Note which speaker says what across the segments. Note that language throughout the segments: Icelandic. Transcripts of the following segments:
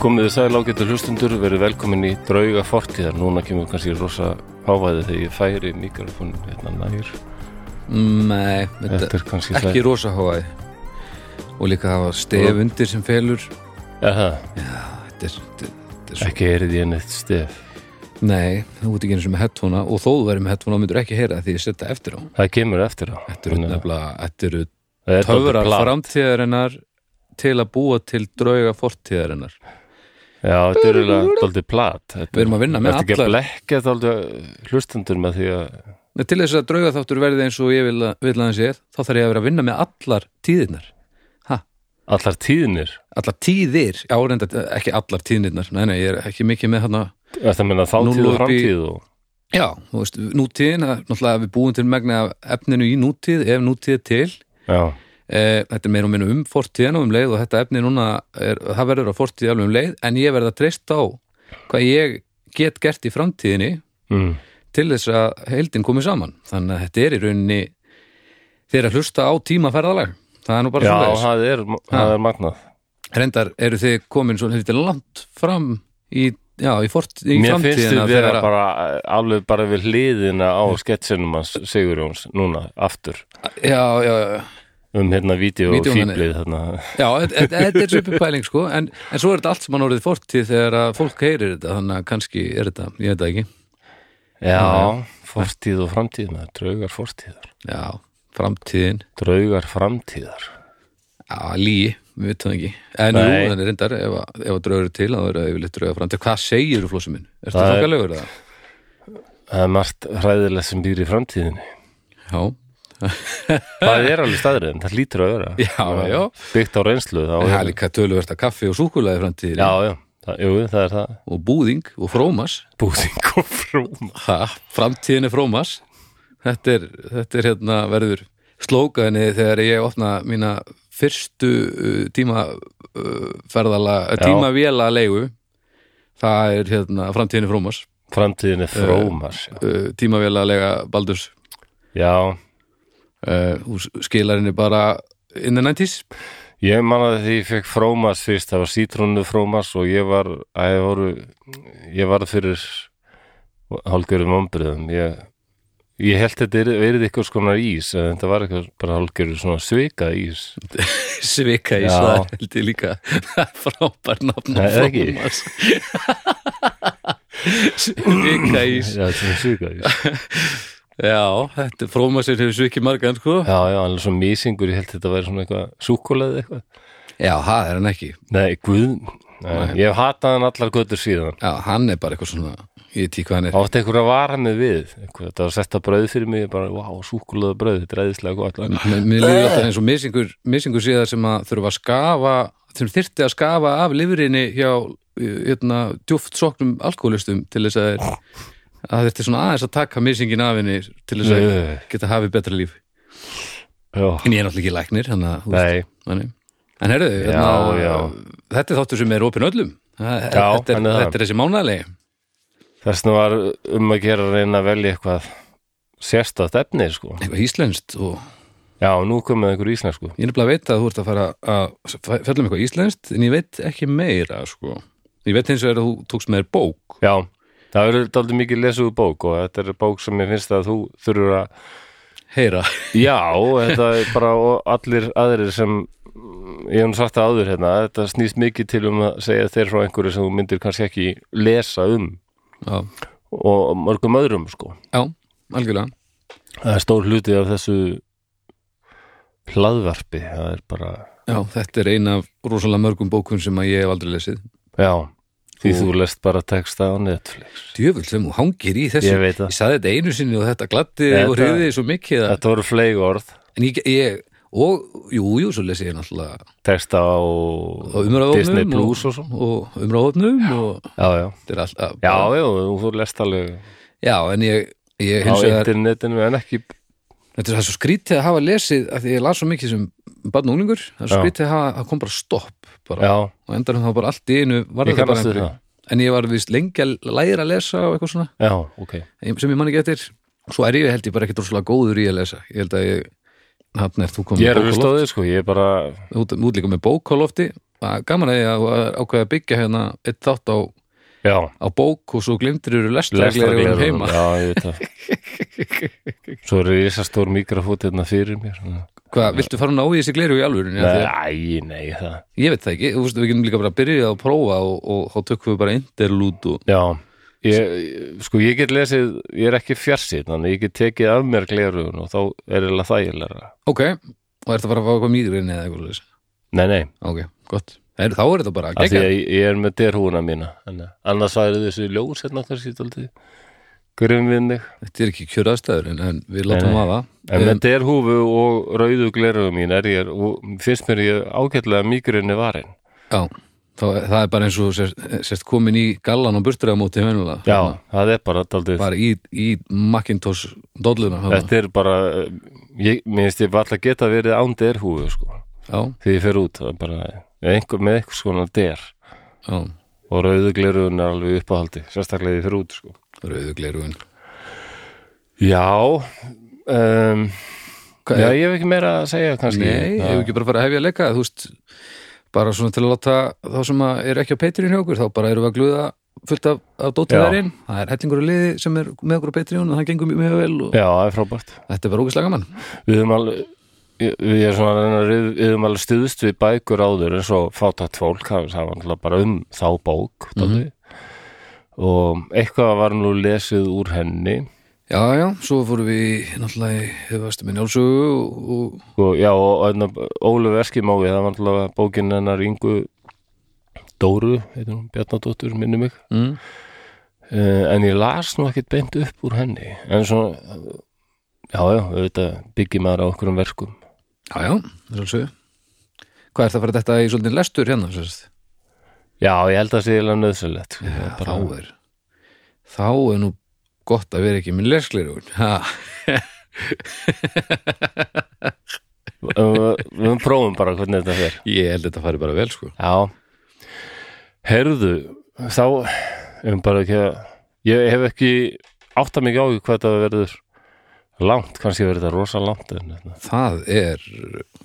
Speaker 1: Komið þið sæl ágættu hlustundur, verið velkomin í drauga fortíðar. Núna kemur kannski rosa hávæði þegar ég færi mikrofónum hérna nær.
Speaker 2: Nei,
Speaker 1: Þetta
Speaker 2: þetta
Speaker 1: er kannski
Speaker 2: er ekki rosa háaði og líka hafa stef undir sem felur
Speaker 1: Aha,
Speaker 2: þetta er, þetta er- þetta er svo,
Speaker 1: ekki erið ég neitt stef.
Speaker 2: nei, þú ert ekki eins og með headfóna og þó þú verður með headfóna og myndur ekki heyra það því ég setja eftir á
Speaker 1: Það kemur eftir á.
Speaker 2: þetta eru nefnilega, þetta eru
Speaker 1: það er dálítið
Speaker 2: töfrar
Speaker 1: plat.
Speaker 2: framtíðarinnar til að búa til drauga fortíðarinnar
Speaker 1: Já, þetta eru daldið plat. Þetta-
Speaker 2: Við erum að vinna með
Speaker 1: Þetta er ekki að
Speaker 2: allar-
Speaker 1: blekja daldið hlustundur með því að...
Speaker 2: Nei, til þess að drauga þáttur verði eins og ég vil, að- vil aðeins ég er, þá þarf ég að vera að vinna með allar tíðirnar ha,
Speaker 1: Allar tíðnir.
Speaker 2: allar tíðir, já, reynda ekki allar tíðirnar, nei, nei, ég er ekki mikið með hana
Speaker 1: Þetta meina þáttíð
Speaker 2: Núll
Speaker 1: og
Speaker 2: upp í-
Speaker 1: framtíð og...
Speaker 2: Já, þú veist, nútíðin, það er náttúrulega að við búum til megna af efninu í nútíð, ef nútíð er til,
Speaker 1: Já,
Speaker 2: e, þetta er meira og minna um fortíðin og um leið og þetta efni núna, er, það verður á fortíð alveg um leið, en ég verð að treysta á hvað ég get gert í framtíðinni
Speaker 1: mm.
Speaker 2: til þess að heildin komi saman, þannig að þetta er í rauninni þeir að hlusta á tímaferðalag, það er nú bara
Speaker 1: Já
Speaker 2: svoleiðis.
Speaker 1: það, er, það er magnað.
Speaker 2: Reyndar eru þið komin svo hefði langt fram í, já, í, fort,
Speaker 1: Mér
Speaker 2: í
Speaker 1: finnst
Speaker 2: framtíðina
Speaker 1: þið vera bara eh, alveg bara við hliðina á sketsinum hans Sigurjóns núna aftur
Speaker 2: Já, já, já.
Speaker 1: um hérna vídeo og
Speaker 2: Vídeómanni.
Speaker 1: fýblið þarna
Speaker 2: Já, þetta- þetta þetta er svipu pæling sko en, en svo er þetta allt sem hann orðið fortíð þegar að fólk heyrir þetta þannig að kannski er þetta, ég veit það ekki
Speaker 1: Já, fortíð og framtíð með draugar fortíðar
Speaker 2: Já, framtíðin,
Speaker 1: draugar framtíðar
Speaker 2: já, lí, við veitum það ekki En
Speaker 1: Nei.
Speaker 2: jú, þannig reyndar, ef, að- ef að draugur er til þá er það yfirleitt drauga framtíð Hvað segir þú flósum minn? Er þetta
Speaker 1: Það er-
Speaker 2: þokkalegur það?
Speaker 1: Það er margt hræðilega sem býr í framtíðinni
Speaker 2: Já,
Speaker 1: Það er alveg staðriðin, það lítur að vera
Speaker 2: Já, já.
Speaker 1: Byggt á reynslu þá
Speaker 2: það er
Speaker 1: er-
Speaker 2: líka töluvert að kaffi og súkulaði framtíðin
Speaker 1: Já, já, það, jú, það er það
Speaker 2: og búðing og frómas
Speaker 1: Búðing og frúm
Speaker 2: ha, Framtíðin er frómas Þetta er, þetta er hérna verður slókaðinni þegar ég opna mína fyrstu uh, tíma uh, ferðala,
Speaker 1: Já.
Speaker 2: tímavéla leigu það er hérna framtíðin er frómas
Speaker 1: Framtíðinni frómar Já,
Speaker 2: uh, tímavéla leiga Baldurs
Speaker 1: já.
Speaker 2: uh, skilarinni bara in the 90s
Speaker 1: Ég man að því ég fekk frómas fyrst, það var sítrúnu frómas og ég var, að ég voru, ég var fyrir hálfgjörðum ombriðum. Ég, ég held þetta er, verið eitthvað skona ís, en þetta var eitthvað bara hálfgjörður svona svika ís.
Speaker 2: svika í
Speaker 1: Já.
Speaker 2: svar held ég líka frábær
Speaker 1: Nei,
Speaker 2: nafn á
Speaker 1: eða ekki.
Speaker 2: frómas svika
Speaker 1: Já, þetta er svika
Speaker 2: í
Speaker 1: ís.
Speaker 2: Já, þetta frómasir hefur svikið margan sko
Speaker 1: Já, já, hann er svo mísingur, ég held þetta væri svona eitthvað súkulegð eitthvað.
Speaker 2: Já, það er hann ekki
Speaker 1: Nei, guð, Nei. ég hef hatað hann allar göttur síðan.
Speaker 2: Já, hann er bara eitthvað svona Ég tík hvað hann er
Speaker 1: Átti einhverja var hann við, eitthvað, þetta var sett að brauð fyrir mig, ég bara, vá, súkulegða brauð, þetta er eðislega gott.
Speaker 2: Mér mér líður alltaf eins og misingur, misingur síðar sem að þurfa að skafa sem þyrfti að skafa af lifurinni hjá hérna, djúft soknum alkoholistum til þess að þeir- að þurfti svona aðeins að taka misingin af henni til þess að
Speaker 1: Nei.
Speaker 2: geta hafið betra líf
Speaker 1: Já,
Speaker 2: En ég er náttúrulega ekki læknir þannig að þú veist,
Speaker 1: nei.
Speaker 2: þannig. En herðu,
Speaker 1: Já, já.
Speaker 2: þetta er þáttur sem er opin öllum Það-
Speaker 1: Já,
Speaker 2: Þetta er,
Speaker 1: hann er það.
Speaker 2: þetta er þessi mánalegi
Speaker 1: Þess vegna var um að gera að reyna að velja eitthvað sérstætt efni, sko.
Speaker 2: eitthvað íslenskt og
Speaker 1: Já, nú komið einhver íslensku.
Speaker 2: ég er nefnilega að veit að þú ert að fara að fjalla með eitthvað íslenskt en ég veit ekki meira sko. ég veit eins og er að þú tókst með þér bók
Speaker 1: Já, það verður daldið mikið lesuðu bók og þetta er bók sem ég finnst að þú þurfur að...
Speaker 2: heyra,
Speaker 1: Já, þetta er bara og allir aðrir sem, ég hef nú sagt það áður hérna, þetta snýst mikið til um að segja þeir frá einhverju sem þú myndir kannski ekki lesa um
Speaker 2: já,
Speaker 1: og mörgum öðrum, sko.
Speaker 2: já algjörlega
Speaker 1: Það er stór hluti af þessu hlaðvarpi, það er bara...
Speaker 2: já, þetta er eina af rosalega mörgum bókum sem að ég hef aldrei lesið
Speaker 1: Já, því
Speaker 2: Og-
Speaker 1: þú lest bara texta á Netflix.
Speaker 2: djöfull sem þú hangir í þessu
Speaker 1: Ég veit það.
Speaker 2: ég saði þetta einu sinni og þetta gladdi
Speaker 1: Þetta-
Speaker 2: og hriði þig svo mikið að,
Speaker 1: Þetta voru fleig orð,
Speaker 2: en ég, ég og, jú, jú, svo lesi ég náttúrulega
Speaker 1: texta á
Speaker 2: og umræðofnum
Speaker 1: Disney Plus og, svo.
Speaker 2: og umræðofnum og
Speaker 1: Já, já.
Speaker 2: þetta er alltaf
Speaker 1: Já, já, þú- þú lest alveg
Speaker 2: já, en ég,
Speaker 1: á
Speaker 2: ég hins vegar
Speaker 1: internetinu en ekki
Speaker 2: Þetta er það er svo skrítið að hafa lesið af því ég las svo mikið sem barn og unglingur það er svo
Speaker 1: Já.
Speaker 2: skrítið að hafa, það kom bara stopp bara,
Speaker 1: Já,
Speaker 2: og endar þá bara allt í einu
Speaker 1: Ég
Speaker 2: var þetta bara
Speaker 1: kannast við
Speaker 2: einhverju. en ég var vist lengi að læra að lesa og eitthvað svona
Speaker 1: já, ok
Speaker 2: ég- sem ég man ekki eftir svo er ég held ég bara ekki droslega góður í að lesa ég held að ég hann er þú
Speaker 1: Ég
Speaker 2: komið
Speaker 1: er að hlusta á þig sko, ég er bara
Speaker 2: út, út líka með bók á lofti að gaman að því að þú ákveði að byggja hérna eitt þátt á,
Speaker 1: já,
Speaker 2: á bók og svo glimtir eru lestraglerum
Speaker 1: lestrargleraugun,
Speaker 2: heima
Speaker 1: já, ég veit það svo er risastór mikrofót hérna fyrir mér svona.
Speaker 2: Hvað, viltu fara að ná í þessi gleru í alvörinu? Af því að-
Speaker 1: nei, nei, það
Speaker 2: Ég veit það ekki, þú veist, við getum líka bara að byrja að prófa og, og þá tökum við bara interlút og
Speaker 1: Já, ég, sko ég get lesið, ég er ekki fjarsið, þannig ég get tekið af mér glerugun og þá er eða þægilega.
Speaker 2: Ok, og ertu að fara að fá eitthvað mýgrinn eða eitthvað leys
Speaker 1: Nei, nei,
Speaker 2: Ok, gott, er, þá er þetta bara
Speaker 1: af því
Speaker 2: geggjað.
Speaker 1: að ég, ég er með derhúna mína, en annars væri þessi ljós hérna kannski tóltið, grumvinnig.
Speaker 2: Þetta er ekki kjöraðstæður en, en við
Speaker 1: Nei,
Speaker 2: látum
Speaker 1: nei.
Speaker 2: að
Speaker 1: En
Speaker 2: það
Speaker 1: með derhúfu og rauðu glerugum mín er ég, og finnst mér ég ágætlega mýgrinni varinn.
Speaker 2: Já, þá, það er bara eins og sérst, sérst komin í gallan og burtræðamóti venjulega
Speaker 1: Já, það er bara tóltið.
Speaker 2: Bara í, í Macintosh dolluna þarna.
Speaker 1: Þetta er bara, ég minnst ég varla geta verið án derhúfu, sko,
Speaker 2: Já,
Speaker 1: því ég fer út, það er bara, einhver, með einhvers konar der.
Speaker 2: já,
Speaker 1: og rauðu glerugun er alveg í uppáhaldi sérstaklega í fyrir út sko.
Speaker 2: rauðu glerugun
Speaker 1: já um,
Speaker 2: Hvað
Speaker 1: já,
Speaker 2: er-
Speaker 1: ég hef ekki meira að segja kannski
Speaker 2: Nei,
Speaker 1: Já.
Speaker 2: hefur ekki bara farið að hefja að leika þú veist, bara svona til að láta þá sem að er ekki á Patreon hjá okkur þá bara erum við að gluða fullt af, af dótið
Speaker 1: Já.
Speaker 2: þar inn það er hellingur að liði sem er með okkur á Patreon og það gengur mjög vel og
Speaker 1: já, það er frábært
Speaker 2: þetta er bara ógislega gaman
Speaker 1: við höfum alveg ég- við erum svona að reyna að rif- við höfum alveg stuðst við bækur áður eins og fátætt fólk það það var náttúrulega bara um þá bók mm og eitthvað var nú lesið úr henni
Speaker 2: Já, já, svo fórum við í, náttúrulega í hefðastu með njálsugu og, og
Speaker 1: og já, og hérna, Óluf Eskimói það var náttúrulega bókin hennar yngu Dóru, heitir hún Bjarnadóttur minni mig
Speaker 2: mm,
Speaker 1: uh, en ég las nú ekkit beint upp úr henni en svona já, já, auðvitað byggjum maður á okkur um verkum
Speaker 2: já, já, njálsugu Hvað er það að fara þetta í svolítið lestur hérna? Sérst?
Speaker 1: já, ég held að það sé eiginlega nöðsynlegt sko, það er
Speaker 2: Þá er þá er nú gott að vera ekki með lesklerugun Ha,
Speaker 1: bara, uh, við prófum bara hvernig þetta fer
Speaker 2: Ég held að þetta fari bara vel sko
Speaker 1: já, herðu þá, um bara ekki að ég hef ekki átta mikið á því hvað þetta verður langt, kannski verður þetta rosa langt en þetta
Speaker 2: Það er,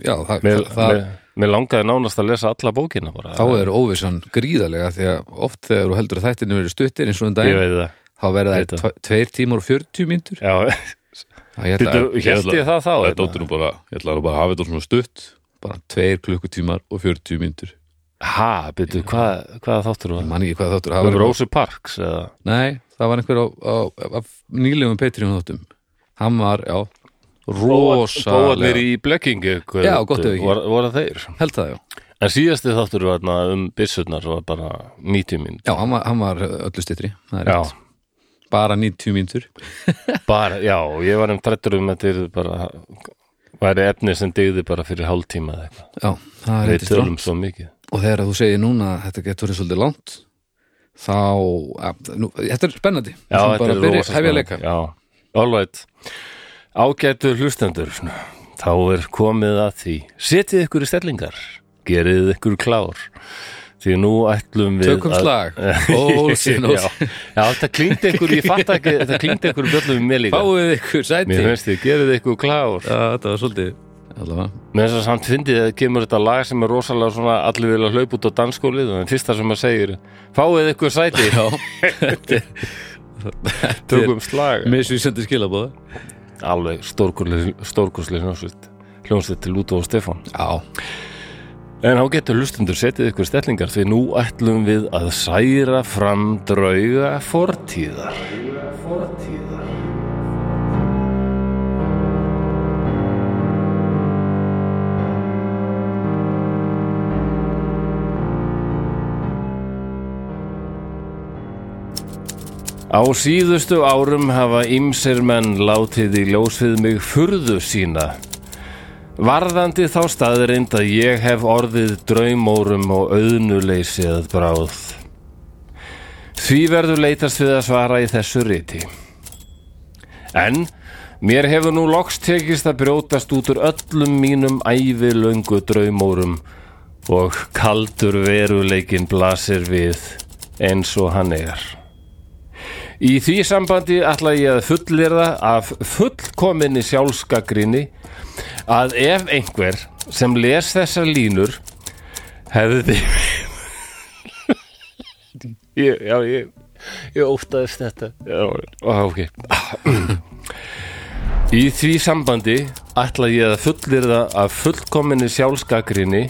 Speaker 2: já, það,
Speaker 1: Mér,
Speaker 2: það,
Speaker 1: mér, mér langaði nánast að lesa alla bókina bara.
Speaker 2: þá er óvissan gríðarlega því að oft þegar þú heldur að þættinu verið stuttir eins og
Speaker 1: Ég
Speaker 2: en daginn,
Speaker 1: veit það.
Speaker 2: þá verða
Speaker 1: veit
Speaker 2: það tveir tímar og 40 mínútur
Speaker 1: Já,
Speaker 2: Það er
Speaker 1: Býttu,
Speaker 2: þetta-
Speaker 1: hélt ég það þá?
Speaker 3: Þetta
Speaker 1: hérna?
Speaker 3: dóttir nú bara, ég ætla nú bara að hafa þetta svona stutt
Speaker 2: bara tveir klukkutímar og 40 mínútur
Speaker 1: Ha, byrju, hvað, hvað þáttur
Speaker 2: Ég
Speaker 1: var?
Speaker 2: man ekki hvað þáttur það
Speaker 1: Það var
Speaker 2: var
Speaker 1: Rósu Parks eða
Speaker 2: Nei, það var einhver á, á, á nýlegum Patreon þáttum Hann var, já,
Speaker 1: Bóðanir
Speaker 2: rosalega
Speaker 1: í blekkingu
Speaker 2: Já, gott ef ekki.
Speaker 1: var, Voru þeir
Speaker 2: Held það, já
Speaker 1: En síðasti þáttur var na, um byssurnar var bara 90 minn
Speaker 2: Já, hann var, hann var öllu styttri, það er
Speaker 1: Já,
Speaker 2: rétt Bara 90 mínútur
Speaker 1: bara, já, ég var um trættur um að þetta yrði bara væri efni sem dygði bara fyrir hálftíma eða eitthvað
Speaker 2: Já, það er
Speaker 1: Við
Speaker 2: reyndist
Speaker 1: tölum svo mikið
Speaker 2: og þegar þú segir núna að þetta getur verið svolítið langt þá, að, nú, þetta er spennandi
Speaker 1: Já,
Speaker 2: Við skulum
Speaker 1: þetta
Speaker 2: bara
Speaker 1: er
Speaker 2: byrja-
Speaker 1: rosa
Speaker 2: hefja
Speaker 1: spennandi.
Speaker 2: leika
Speaker 1: Já, alveg Ágætu hlustendur Þá er komið að því Setið ykkur í stellingar Gerið ykkur klár Því nú ætlum við
Speaker 2: tökum slag,
Speaker 1: já,
Speaker 2: ólsinós
Speaker 1: já, þetta klingdi ykkur, ég fatt ekki þetta klingdi ykkur bjöllum mér líka
Speaker 2: fáið ykkur sæti
Speaker 1: Mér finnst þið, gerið ykkur klár
Speaker 2: Já, þetta var svolítið allavega,
Speaker 1: Mér finnst það samt fyndið að kemur þetta lag sem er rosalega svona allir vilja hlaupa út á dansskólið og það fyrsta sem maður segir fáið ykkur sæti, tökum slag
Speaker 2: misvísendur skilabóða
Speaker 1: alveg stórkursli hljónsvitt hljónsvitt til Lúto og Stefán
Speaker 2: já,
Speaker 1: En á getur hlustundur setið ykkur stellingar því nú ætlum við að særa fram drauga fortíðar. Á síðustu árum hafa ýmsir menn látið í ljós við mig furðu sína Varðandi þá staðreind að ég hef orðið draumórum og auðnuleysi að bráð. Því verður leitast við að svara í þessu riti. En mér hefur nú loks tekist að brjótast út úr öllum mínum ævilöngu draumórum og kaldur veruleikin blasir við eins og hann er. Í því sambandi ætla ég að fullirða af fullkominni sjálfskagrinni að ef einhver sem les þessar línur hefði þið ég, já, ég ég óttaðist þetta já, á, ok í því sambandi ætla ég að fullirða að fullkominni sjálfskakrinni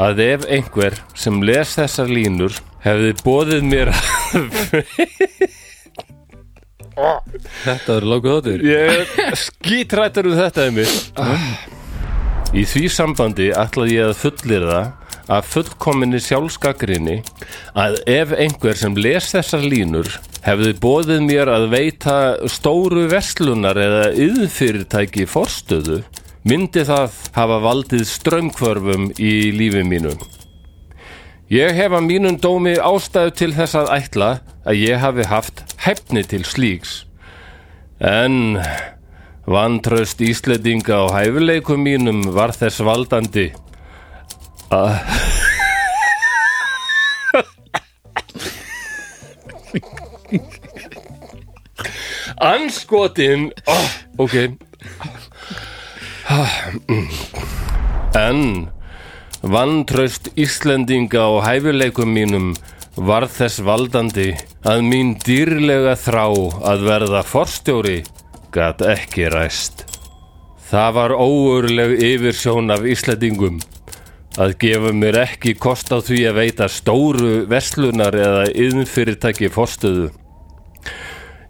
Speaker 1: að ef einhver sem les þessar línur hefði bóðið mér að
Speaker 2: Þetta er lágu þáttur
Speaker 1: ég er skítrættur um þetta einmitt Í því sambandi ætla ég að fullirða að fullkominni sjálfskakrinni að ef einhver sem les þessar línur hefði bóðið mér að veita stóru verslunar eða yðfyrirtæki forstöðu myndi það hafa valdið strömmkvörfum í lífi mínu. Ég hef að mínum dómi ástæðu til þess að ætla að ég hafi haft hefni til slíks. En vantraust Íslendinga á hæfileikum mínum var þess valdandi að Anskotin oh, Ok En vantraust Íslendinga á hæfileikum mínum var þess valdandi að mín dýrlega þrá að verða forstjóri gat ekki ræst. Það var óurleg yfirsjón af Íslendingum að gefa mér ekki kost á því að veita stóru verslunar eða yðnfyrirtæki forstöðu.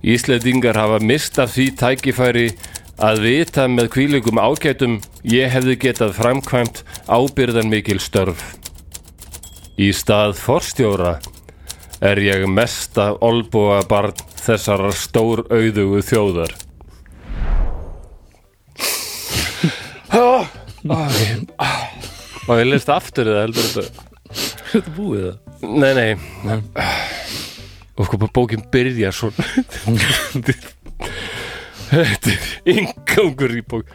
Speaker 1: Íslendingar hafa mist af því tækifæri að vita með kvílugum ágætum ég hefði getað framkvæmt ábyrðan mikil störf. Í stað forstjóra er ég mesta olbúa barn þessar stór auðugu þjóðar.
Speaker 2: Ah,
Speaker 1: Má ég list aftur eða heldur þetta?
Speaker 2: Þetta er búið það
Speaker 1: Nei, nei. Og hvað bókin byrjar svona. Þetta er yngangur í bók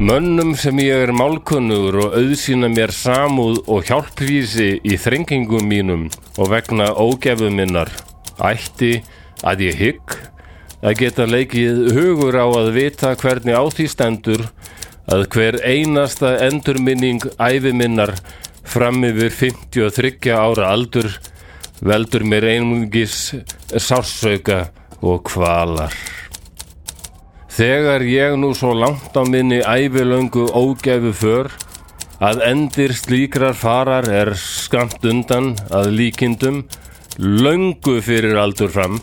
Speaker 1: Mönnum sem ég er málkunnugur og auðsýna mér samúð og hjálpvísi í þrengingum mínum og vegna ógefu minnar ætti að ég hygg að geta leikið hugur á að vita hvernig á því stendur að hver einasta endurminning ævi minnar fram yfir 53 ára aldur veldur mér einungis sársauka og kvalar. Þegar ég nú svo langt á minni ævilöngu ógæfu för að endir slíkrar farar er skamt undan að líkindum löngu fyrir aldur fram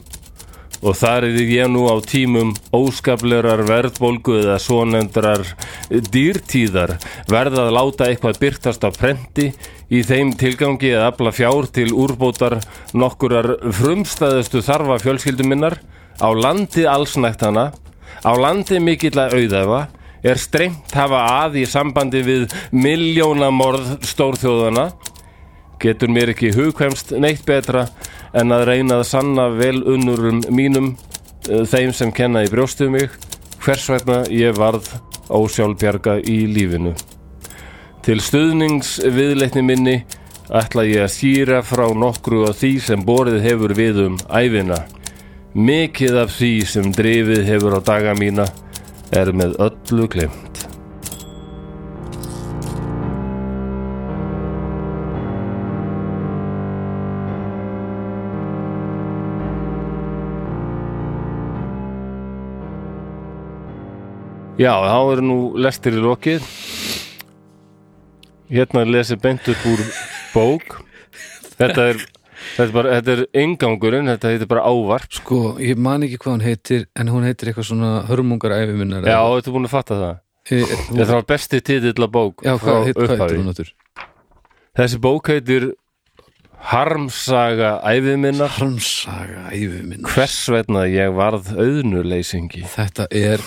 Speaker 1: og þar er ég nú á tímum óskaplerar verðbólgu eða svonendrar dýrtíðar verða að láta eitthvað byrtast á prenti í þeim tilgangi að afla fjár til úrbótar nokkurar frumstæðustu þarfa fjölskylduminnar á landi allsnæktana Á landi mikill að auðafa er strengt hafa að í sambandi við miljónamorð stórþjóðana getur mér ekki hugkvæmst neitt betra en að reyna að sanna vel unnurum mínum eh, þeim sem kenna í brjóstu mig hvers vegna ég varð ósjálfbjarga í lífinu. Til stuðningsviðleitni minni ætla ég að skýra frá nokkru af því sem borið hefur við um æfina. Mikið af því sem drifið hefur á daga mína er með öllu glemt. Já, þá er nú lestir í lokið. Hérna er lesið beint upp úr bók. Þetta er, þetta er bara, þetta er ingangurinn, þetta heitir bara ávarp.
Speaker 2: Sko, ég man ekki hvað hún heitir en hún heitir eitthvað svona hörmungar æfiminnar
Speaker 1: Já, þetta er búin að fatta það.
Speaker 2: Ég-
Speaker 1: Þetta var besti titill að bók
Speaker 2: Eh, Já,
Speaker 1: frá
Speaker 2: hvað heit- hvað
Speaker 1: upphafi.
Speaker 2: heitir hún áttur?
Speaker 1: Þessi bók heitir Harmsaga æfiminnar
Speaker 2: Harmsaga æfiminnar
Speaker 1: Hvers vegna ég varð auðnuleysingi
Speaker 2: Þetta er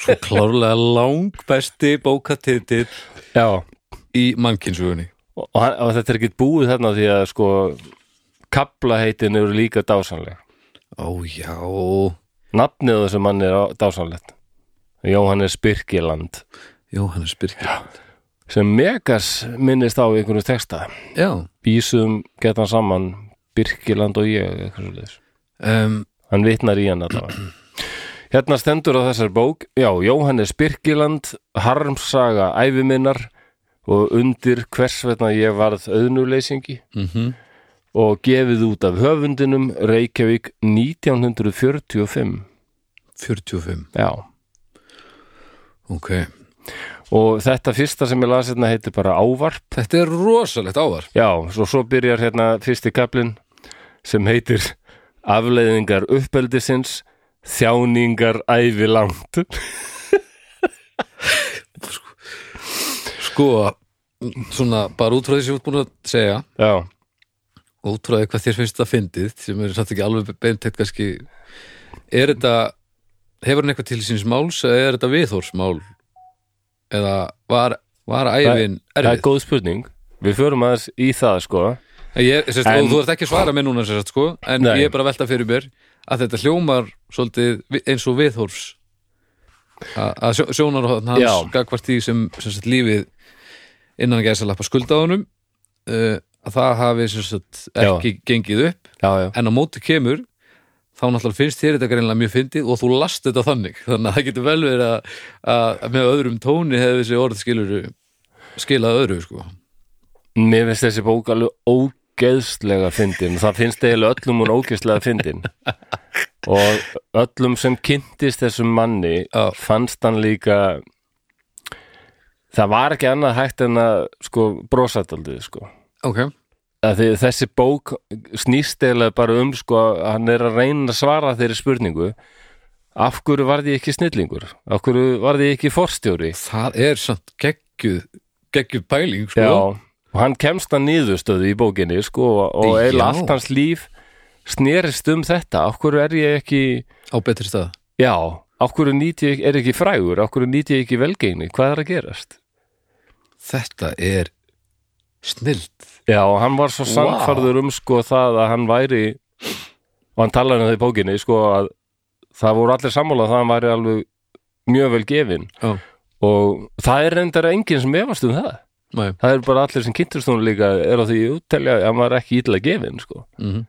Speaker 2: svo klárlega langbesti bókatitill
Speaker 1: Já
Speaker 2: í mannkynnsugunni
Speaker 1: Og, og, hann- og þetta er ekkert búið þarna því að sko kaplaheitin eru líka dásanleg
Speaker 2: Ó já
Speaker 1: Nafnið á þessu manni er á- dásanlegt Jóhannes Birkiland
Speaker 2: Jóhannes Birgir
Speaker 1: sem Megas minnist á í einhvernum texta
Speaker 2: Já,
Speaker 1: Bísum getan saman Birkiland og ég eitthvað svoleiðis.
Speaker 2: um,
Speaker 1: hann vitnar í hann allavega hérna stendur á þessar bók já, Jóhannes Birkiland Harmsaga æviminnar og undir hvers vegna ég varð auðnuleysingi
Speaker 2: mm -hmm.
Speaker 1: og gefið út af höfundinum Reykjavík 1945
Speaker 2: 45,
Speaker 1: Já,
Speaker 2: ok
Speaker 1: og þetta fyrsta sem ég las hérna heitir bara Ávarp
Speaker 2: Þetta er rosalegt ávar
Speaker 1: Já, svo, svo byrjar hérna fyrsti kaplinn sem heitir Afleiðingar uppeldisins Þjáningar ævi langt
Speaker 2: Sko, svona bara útráði sem ég út búin að segja
Speaker 1: Já,
Speaker 2: og útráði hvað þér finnst það fyndið sem er samt ekki alveg beintett kannski Er þetta hefur hann eitthvað til síns máls eða er þetta viðhórsmál eða var, var æfin
Speaker 1: það er
Speaker 2: erfið?
Speaker 1: góð spurning Við förum aðeins í það sko
Speaker 2: Ég, sérst,
Speaker 1: En-
Speaker 2: og þú ert ekki að svara mér núna sérst, sko, en
Speaker 1: Nei.
Speaker 2: ég er bara að velta fyrir mér að þetta hljómar svolítið vi- eins og viðhorfs A- að sjó- sjónarhóðan
Speaker 1: Já.
Speaker 2: hans gagvart því sem sérst, lífið innan gæsa lappa skulda á honum uh, að það hafi sérst, ekki gengið upp
Speaker 1: Já, já,
Speaker 2: en á móti kemur þá náttúrulega finnst þér þetta greinlega mjög fyndið og þú last þetta þannig þannig að það getur vel verið að, að með öðrum tóni hefði þessi orð skilur skilað öðru sko.
Speaker 1: mér finnst þessi bók alveg ógeðslega fyndin og það finnst eiginlega öllum hún ógeðslega fyndin og öllum sem kynntist þessum manni
Speaker 2: Já.
Speaker 1: fannst hann líka það var ekki annað hægt en að sko brosataldið sko
Speaker 2: ok,
Speaker 1: Af því þessi bók snýst eiginlega bara um sko að hann er að reyna að svara þeirri spurningu af hverju varði ég ekki snillingur af hverju varði ég ekki forstjóri
Speaker 2: það er samt geggjuð geggjuð pæling sko.
Speaker 1: Já, og hann kemst að niðurstöðu í bókinni sko, og- og
Speaker 2: Já.
Speaker 1: eiginlega allt hans líf snerist um þetta, af hverju er ég ekki
Speaker 2: á betri stað
Speaker 1: já, af hverju nýt ég er ekki frægur, af hverju nýt ég ekki velgeini hvað er að gerast?
Speaker 2: þetta er snilt
Speaker 1: Já, og hann var svo sannfærður um sko það að hann væri og hann talaði um það í bókinni sko að það voru allir sammála það að hann væri alveg mjög vel gefin
Speaker 2: Já.
Speaker 1: og það er reyndar enginn sem efast um það
Speaker 2: Nei.
Speaker 1: það er bara allir sem kynntust hún líka er á því úttelja að hann var ekki illa gefin sko
Speaker 2: Mhm.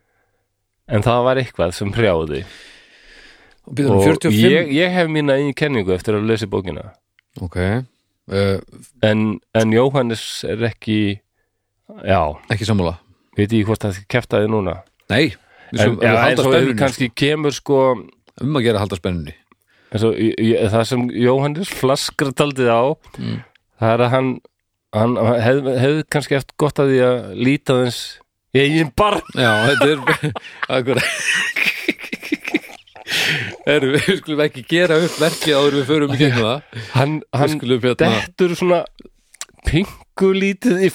Speaker 1: en það var eitthvað sem hrjáði
Speaker 2: Um og býðum
Speaker 1: og
Speaker 2: 45
Speaker 1: ég, ég hef mína einu kenningu eftir að lesa bókina
Speaker 2: ok, uh,
Speaker 1: en, en Jóhannes er ekki já,
Speaker 2: ekki sammála
Speaker 1: veit ég hvort það keftaði núna
Speaker 2: nei, við
Speaker 1: en,
Speaker 2: skulum
Speaker 1: já,
Speaker 2: alveg
Speaker 1: en
Speaker 2: halda
Speaker 1: svo hefur
Speaker 2: spennunni
Speaker 1: kannski kemur sko
Speaker 2: sko. um að gera að halda spennunni
Speaker 1: eins og ég- ég- það sem Jóhannes flaskar taldið á
Speaker 2: Mm.
Speaker 1: það er að hann, hann hefði hef kannski eftir gott að því að líta þess ég er barn
Speaker 2: já, þetta er akkur Heru, við skulum ekki gera upp verkið áður en við förum í gegnum það
Speaker 1: hann,
Speaker 2: við
Speaker 1: hann
Speaker 2: skulum hérna
Speaker 1: dettur svona pingulítið í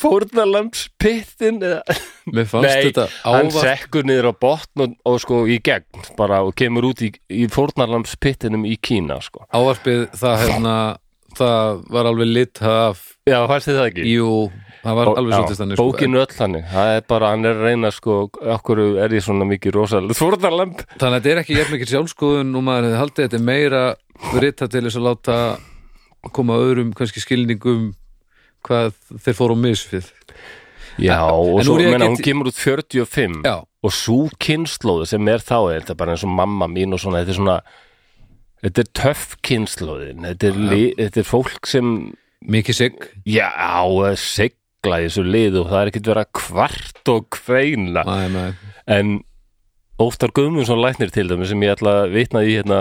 Speaker 1: fórnarlampspittin eða
Speaker 2: mér fannst þetta
Speaker 1: hann
Speaker 2: ávar
Speaker 1: sekkur niður á botn og, og sko í gegn bara og kemur út í, í fórnarlampspittinum í Kína sko.
Speaker 2: ávarpið það hérna það var alveg lit af
Speaker 1: Já, fannst þið það ekki?
Speaker 2: Jú, það var
Speaker 1: Og-
Speaker 2: alveg
Speaker 1: já,
Speaker 2: svolítið þannig sko.
Speaker 1: Bókinu öll þannig, það er bara, hann er að reyna sko, okkur er ég svona mikið rosalega fórnarlamp
Speaker 2: En Þannig að þetta er ekki jafn mikið sjálfskoðun og maður hefði haldið þetta er meira rita til þess að láta koma öðrum kannski skilningum hvað þeir fóru á misfið
Speaker 1: Já, og
Speaker 2: en
Speaker 1: svo,
Speaker 2: nú er ég
Speaker 1: menna,
Speaker 2: ekki-
Speaker 1: hún kemur út 45
Speaker 2: Já,
Speaker 1: og svo kynnslóðu sem er þá er þetta bara eins og mamma mín og svona, þetta er svona þetta er töff kynnslóðin þetta er, li, þetta er fólk sem
Speaker 2: mikið sigg
Speaker 1: já, að segla í þessu lið og það er ekkert verið að kvart og kveina
Speaker 2: Nei, nei,
Speaker 1: en Óttar Guðmundsson læknir til dæmi sem ég ætla að vitna í hérna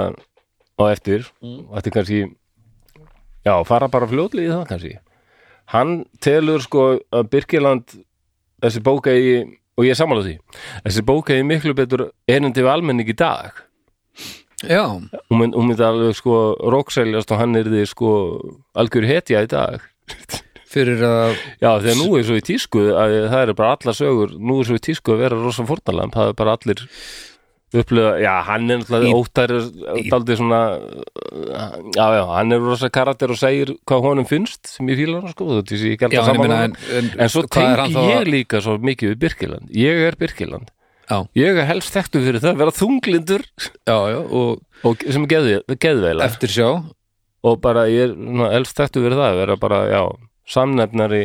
Speaker 1: á eftir og þetta er kannski já, fara bara fljótlega í það kannski hann telur sko að Birkiland þessi bóka í og ég er sammála því þessi bóka í miklu betur erindi við almenning í dag
Speaker 2: já,
Speaker 1: hún mynd- hún myndi alveg sko rokkseljast og hann er því sko algjör hetja í dag
Speaker 2: fyrir að
Speaker 1: já þegar nú er svo í tísku að það eru bara allar sögur nú er svo í tísku að vera rosa fórnalamb það er bara allir upplifa já hann er náttúrulega
Speaker 2: Í-
Speaker 1: óttar daldið svona já já hann er rosa karakter og segir hvað honum finnst sem ég fílar hann sko þú veist ég gælt
Speaker 2: já,
Speaker 1: að
Speaker 2: en, ég
Speaker 1: saman
Speaker 2: meina,
Speaker 1: en,
Speaker 2: en, en,
Speaker 1: en svo
Speaker 2: hvað er hann
Speaker 1: tengi
Speaker 2: þá
Speaker 1: ég
Speaker 2: að-
Speaker 1: líka svo mikið við Birkiland ég er Birkiland
Speaker 2: Já.
Speaker 1: ég er helst þekktu fyrir það að vera þunglindur
Speaker 2: Já, já, og
Speaker 1: og sem geði, geðveila
Speaker 2: eftir sjá
Speaker 1: og bara ég er svona, elst þetta verið það að vera bara, já, samnefnari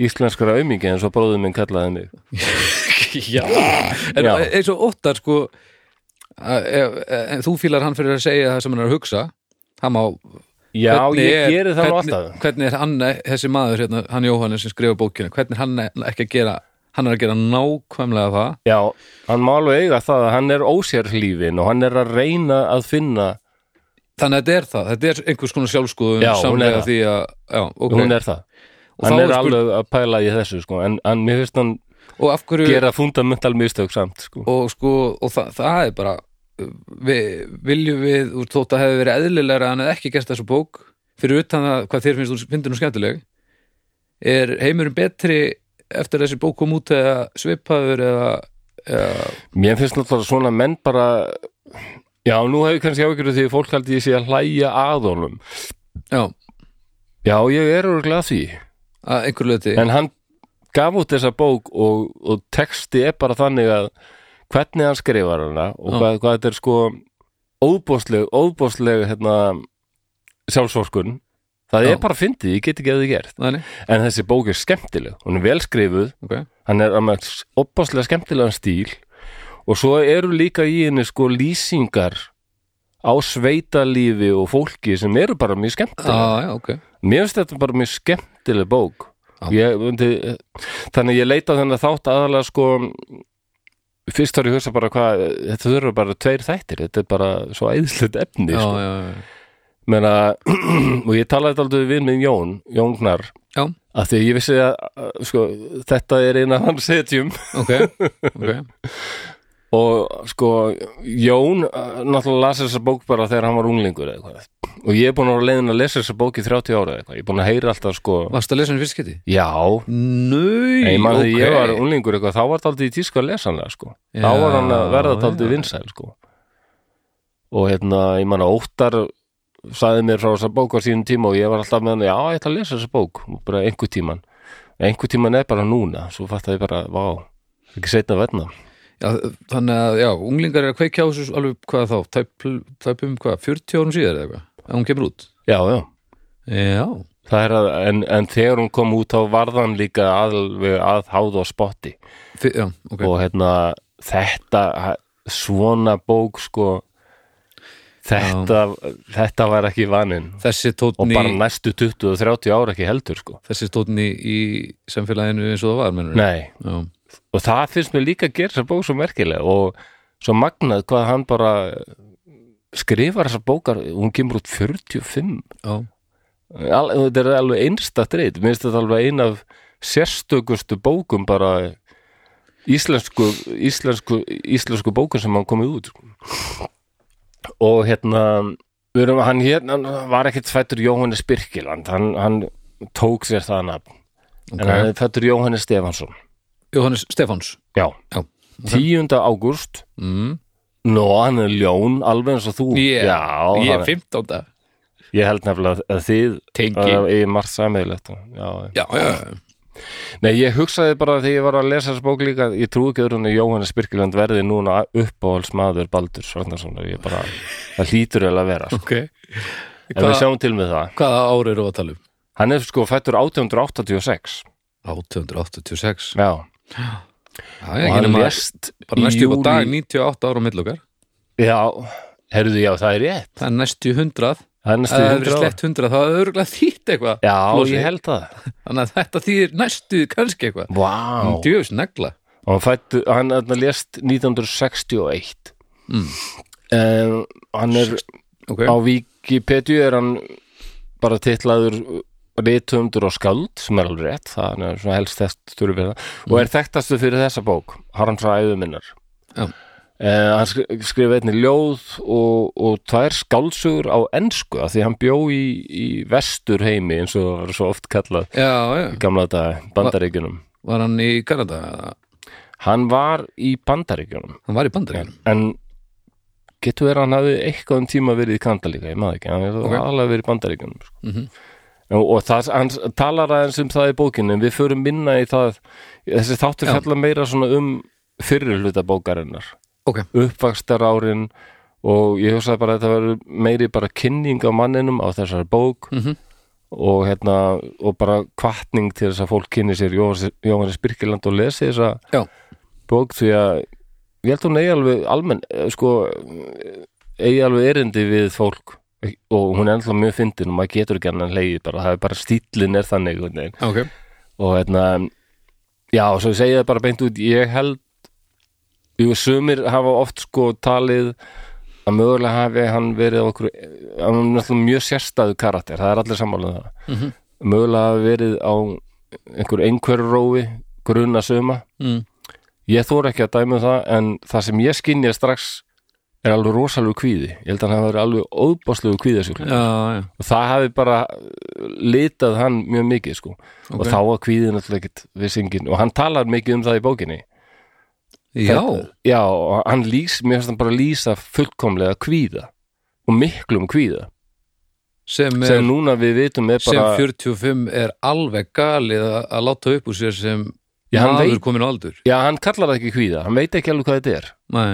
Speaker 1: íslenskara aumingi eins og bróðum minn kallaði mig
Speaker 2: Já, en
Speaker 1: Já.
Speaker 2: eins og óttar sko e- að- ef- ef- en þú fílar hann fyrir að segja það sem hann er að hugsa hann má
Speaker 1: Já,
Speaker 2: Hvernig
Speaker 1: ég
Speaker 2: er-
Speaker 1: geri það nú
Speaker 2: hvernig-
Speaker 1: alltaf
Speaker 2: Hvernig er hann, þessi maður hérna, hann Jóhannes sem skrifa bókina, hvernig er hann ekki að gera hann er að gera nákvæmlega það
Speaker 1: Já, hann má alveg eiga það að hann er ósérhlífin og hann er að reyna að finna
Speaker 2: Þannig að þetta er það, þetta er einhvers konar sjálfskoðun
Speaker 1: Já, hún er
Speaker 2: samlega
Speaker 1: það.
Speaker 2: því að, já, ok
Speaker 1: hún er það
Speaker 2: Og
Speaker 1: hann
Speaker 2: þá
Speaker 1: er
Speaker 2: er spurning-
Speaker 1: alveg að pæla í þessu sko, en, en mér finnst hann
Speaker 2: og af hverju,
Speaker 1: gera fundamental mistök samt sko.
Speaker 2: og sko, og það, það er bara uh, við, viljum við, úr þótt að hefði verið eðlilegra að hann hefði ekki gert þessu bók fyrir utan að hvað þér finnst, finnst hún skemmtileg er heimurinn betri eftir að þessi bók kom út eða svipaður eða, eða
Speaker 1: mér finnst náttúrulega svona menn bara já, nú hefur kannski áhyggjur af því að fólk haldi ég sé að hlæja að honum
Speaker 2: já,
Speaker 1: já, ég er örgulega því
Speaker 2: að einhverju löti
Speaker 1: en hann gaf út þessa bók og, og texti er bara þannig að hvernig hann skrifar hana og
Speaker 2: Já.
Speaker 1: hvað, hvað þetta er sko óbóðsleg, óbóðsleg hérna, sjálfsvorkun það
Speaker 2: Já.
Speaker 1: er bara fyndið, ég get ekki að þið gert
Speaker 2: þannig,
Speaker 1: en þessi bók er skemmtileg, hún er velskrifuð
Speaker 2: ok,
Speaker 1: hann er með opaslega skemmtilegan stíl og svo eru líka í henni sko lýsingar á sveitalífi og fólki sem eru bara mjög
Speaker 2: já,
Speaker 1: skemmtilega
Speaker 2: Ah, já, ok
Speaker 1: mér finnst þetta bara mjög skemmtileg bók
Speaker 2: Já.
Speaker 1: ég, myndi, þannig ég leita þennan þátt aðalega sko fyrst var ég að hugsa bara hvað þetta þurfa bara tveir þættir, þetta er bara svo æðislegt efni
Speaker 2: já,
Speaker 1: sko.
Speaker 2: já, já,
Speaker 1: Meina, og ég talaði aldrei við minn Jón, Jóngnar
Speaker 2: Já.
Speaker 1: að því að ég vissi að að, sko, þetta er eina hans setjum
Speaker 2: ok, ok
Speaker 1: og sko Jón eh, náttúrulega las þessa bók bara þegar hann var unglingur eða eitthvað og ég er búin að vera leiðin að lesa þessa bók í 30 ára eða eitthvað, ég er búin að heyra alltaf sko
Speaker 2: Varst að lesa hann í fyrst geti?
Speaker 1: já,
Speaker 2: Nau,
Speaker 1: ég man þegar ég var
Speaker 2: ok
Speaker 1: unglingur eitthvað, þá var það aldrei í tísku að lesa hann það, sko,
Speaker 2: Já,
Speaker 1: þá var hann að verða það aldrei
Speaker 2: já.
Speaker 1: vinsæl sko og hérna, ég man að Óttar saði mér frá þessa bók á sínum tíma og ég var alltaf með hann, já, ég ætla að lesa þessa bók og bara einhver tíman, einhver tíman er bara núna, svo fatt ég bara, vá ekki seinna verna,
Speaker 2: Já, þannig að, já, unglingar er að kveikja á þessu alveg hvað þá, tæp, tæpum hvað, 40 árum síðar eða eitthvað, að hún kemur út
Speaker 1: já, já
Speaker 2: Já,
Speaker 1: Það er að, en, en þegar hún kom út þá varð hann líka alveg að háða á spotti
Speaker 2: Fi- já, ok
Speaker 1: og hérna þetta svona bók sko þetta, þetta var ekki vaninn
Speaker 2: Þessi
Speaker 1: og
Speaker 2: tónni,
Speaker 1: bara næstu 20 og 30 ára ekki heldur sko
Speaker 2: þessi tónni í samfélaginu eins og það var, mennur
Speaker 1: Nei,
Speaker 2: Já,
Speaker 1: og það finnst mér líka að gera þessa bók svo merkilega og svo magnað hvað hann bara skrifar þessa bókar, hún kemur út 45
Speaker 2: já,
Speaker 1: Al, þetta er alveg einstakt reynd minnst þetta alveg ein af sérstökustu bókum bara íslensku, íslensku, íslensku bókum sem hann komið út sko. og hérna við erum, hann hérna hann var ekkert fættur Jóhannes Birkiland hann, hann tók sér það nafn
Speaker 2: ok
Speaker 1: en hann er fættur Jóhannes Stefansson
Speaker 2: Jóhannes Stefáns
Speaker 1: já,
Speaker 2: Já, ok.
Speaker 1: 10. ágúst
Speaker 2: mm.
Speaker 1: Nó, hann er ljón, alveg eins og þú
Speaker 2: Ég,
Speaker 1: Já,
Speaker 2: ég
Speaker 1: hann
Speaker 2: er 15 dag
Speaker 1: er- ég held nefnilega að þið
Speaker 2: Tengi
Speaker 1: að ég margt sammeðilegt Já, já
Speaker 2: Já, já,
Speaker 1: Nei, ég hugsaði bara þegar ég var að lesa þess bók líka ég trúi ekki öðrunni Jóhannes Birkiland verði núna uppáhaldsmaður Baldur Svarnarssonar ég bara, það hlýtur eða að vera sko.
Speaker 2: ok
Speaker 1: en við
Speaker 2: Hva,
Speaker 1: sjáum til með það
Speaker 2: Hvaða ári eru að tala um?
Speaker 1: Hann er sko fættur 1886
Speaker 2: 886
Speaker 1: Já,
Speaker 2: Já,
Speaker 1: og
Speaker 2: ég
Speaker 1: hann
Speaker 2: kynum að
Speaker 1: lest
Speaker 2: bara
Speaker 1: í
Speaker 2: næstu upp á dag
Speaker 1: júlí-
Speaker 2: 98 ára á millokkar
Speaker 1: Já, herruðu, já, það er rétt
Speaker 2: Það er næstu 100
Speaker 1: Það er næstu
Speaker 2: Það
Speaker 1: 100
Speaker 2: hefur verið
Speaker 1: ára
Speaker 2: slett 100 Það hefur örgulega þýtt eitthvað
Speaker 1: Já,
Speaker 2: Flosi.
Speaker 1: ég held það
Speaker 2: Þannig að þetta þýðir næstu kannski eitthvað
Speaker 1: Vá,
Speaker 2: Hún djöfis negla
Speaker 1: og hann fættu, hann, hann lest 1961
Speaker 2: Mm.
Speaker 1: um, Hann er
Speaker 2: Ok,
Speaker 1: á Wikipedia er hann bara titlaður rithöfundur og skáld sem er alveg rétt, það er svona helst þesstur við það, og er þekktastu fyrir þessa bók Harms ræðu minnar
Speaker 2: Já.
Speaker 1: Eh, hann skri- skrifa einnig ljóð og, og tvær skálsugur á ensku af því hann bjó í, í vestur heimi eins og það var svo oft kallað
Speaker 2: já, já,
Speaker 1: í gamla þetta bandaríkjunum
Speaker 2: var hann í Kanada eða?
Speaker 1: hann var í bandaríkjunum
Speaker 2: Hann var í bandaríkjunum
Speaker 1: en getur verið að hann hafi eitthvað um tíma verið í Kanada líka, ég maður ekki hann hefur
Speaker 2: Ok.
Speaker 1: okay. alveg verið í bandaríkjunum sko.
Speaker 2: mm -hmm.
Speaker 1: og, og það, hann talar aðeins um það í bókinu en við förum minna í það þessi þáttur
Speaker 2: Já.
Speaker 1: fjallar meira svona um fyrir hluta bókarinnar
Speaker 2: Ok.
Speaker 1: uppvakstar árin og ég hugsaði bara að þetta verður meiri bara kynning á manninum á þessari bók
Speaker 2: Mhm.
Speaker 1: og hérna og bara kvartning til þess að fólk kynni sér Jóhannes Jóhannes Birkiland og lesi þessa
Speaker 2: Já.
Speaker 1: bók því að ég held hún eigi alveg almenn eh, sko eh, eigi alveg erindi við fólk og hún er ennþá mjög fyndin og maður getur ekki annan leiði bara, það er bara stíllinn er þannig einhvern veginn
Speaker 2: ok,
Speaker 1: og hérna já, og svo ég segi það bara beint út ég held jú, sumir hafa oft sko talið að mögulega hafi hann verið á okkur, hann er náttúrulega mjög sérstæðu karakter, það er allir sammála um það
Speaker 2: Mhm.
Speaker 1: mögulega hafi verið á einhver einhverju rói grunna suma,
Speaker 2: mm.
Speaker 1: ég þóra ekki að dæmi um það en það sem ég skynja strax er alveg rosalegu kvíði ég held að hann hafi verið alveg óbáslegu kvíðasjúkling
Speaker 2: já, já,
Speaker 1: og það hafi bara uh, litað hann mjög mikið sko
Speaker 2: Ok.
Speaker 1: og þá var kvíðin alltaf ekkit við syngin og hann talar mikið um það í bókinni
Speaker 2: já,
Speaker 1: já og hann lýs, mér finnst hann bara lýsa fullkomlega kvíða og miklum kvíða
Speaker 2: sem er
Speaker 1: sem núna við vitum er
Speaker 2: sem
Speaker 1: bara
Speaker 2: 45 er alveg galið að að láta upp úr sér sem
Speaker 1: Já, hann
Speaker 2: maður
Speaker 1: veit-
Speaker 2: komin á aldur
Speaker 1: já hann kallar það ekki kvíða, hann veit ekki alveg hvað þetta er
Speaker 2: Nei.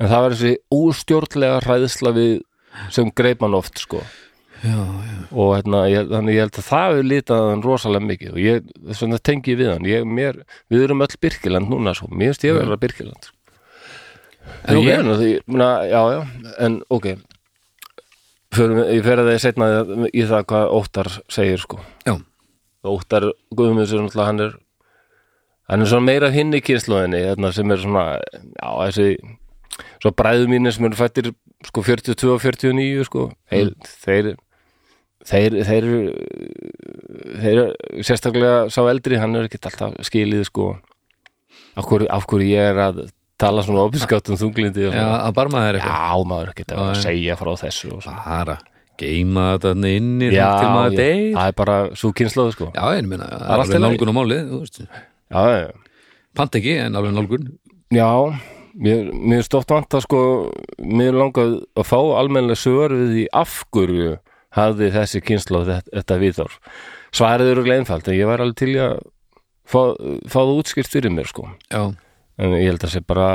Speaker 1: en það var þessi óstjórnlega hræðsla við sem greip hann oft sko
Speaker 2: já, já,
Speaker 1: og hérna, ég, þannig ég held að það hefur litað hann rosalega mikið og ég, þess vegna tengi ég við hann ég, mér, við erum öll Birkiland núna sko, mér finnst ég að vera Birkiland sko. en
Speaker 2: En ok.
Speaker 1: ég er náttúrulega, já, já en ok Förum, ég fer að það setna í það hvað Óttar segir sko
Speaker 2: já,
Speaker 1: Óttar Guðmunds er náttúrulega hann er hann er svona meira af hinni kynsluðinni þarna sem er svona já, þessi, svo bræðu mínir sem eru fættir sko 42 og 49 sko, þeir,
Speaker 2: Mm.
Speaker 1: þeir þeir, þeir þeir, sérstaklega sá eldri, hann er ekkert alltaf skilið sko af hverju, af hverju ég er að tala svona opinskátt um þunglindi og
Speaker 2: já,
Speaker 1: svona.
Speaker 2: að barma þær eitthvað
Speaker 1: já maður er ekkert að
Speaker 2: Já, já.
Speaker 1: segja frá þessu og svona.
Speaker 2: bara geima þetta þarna inni
Speaker 1: já,
Speaker 2: þar til maður
Speaker 1: já,
Speaker 2: deyr
Speaker 1: það er bara svo kynsluð sko
Speaker 2: já, en minna,
Speaker 1: er
Speaker 2: það
Speaker 1: allt
Speaker 2: er
Speaker 1: í
Speaker 2: alveg
Speaker 1: lagi.
Speaker 2: nálgun á málið þú veist.
Speaker 1: já, já, já
Speaker 2: pant ekki, en alveg nálgun
Speaker 1: Já, mér, mér stótt vant að sko, mér langað að fá almennlega svör við því af hverju hafði þessi kynsla þetta, þetta viðhorf. Svarið eru gleinfald, en ég var alveg til í að fá, fá það útskýrt fyrir mér sko.
Speaker 2: já,
Speaker 1: En ég held að sé bara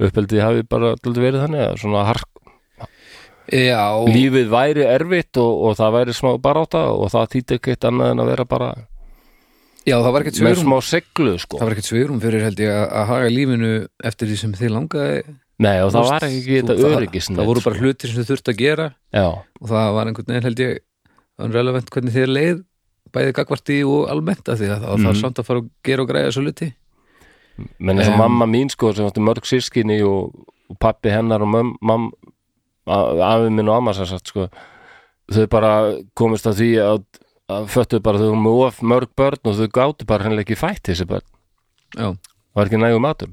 Speaker 1: uppeldið hafi bara alltaf verið þannig að svona hark,
Speaker 2: já,
Speaker 1: lífið væri erfitt og, og það væri smá baráta og það þýtti ekkert annað en að vera bara
Speaker 2: já það var ekkert
Speaker 1: með
Speaker 2: svörum
Speaker 1: smá seglu sko.
Speaker 2: það var ekkert svörum fyrir held ég að- að haga lífinu eftir því sem þið langaði
Speaker 1: Nei og það
Speaker 2: Þú
Speaker 1: var
Speaker 2: veist,
Speaker 1: ekki
Speaker 2: þú-
Speaker 1: þetta
Speaker 2: það-
Speaker 1: öryggisnett.
Speaker 2: það voru bara hlutir sem þau þurft að gera
Speaker 1: Já,
Speaker 2: og það var einhvern veginn held ég unrelevant hvernig þér leið bæðið gagvarti og almennt af því að það var
Speaker 1: Mhm.
Speaker 2: samt að fara og gera og græja svo luti
Speaker 1: menn eins og
Speaker 2: Em.
Speaker 1: mamma mín sko sem átti mörg sískinni og, og pappi hennar og mömm, mamm a- afi minn og amma sem sagt sko þau bara komist að því að, að föttu bara þau voru með of mörg börn og þau gáttu bara hennilega ekki fætt þessi börn
Speaker 2: já,
Speaker 1: það var ekki nægum matur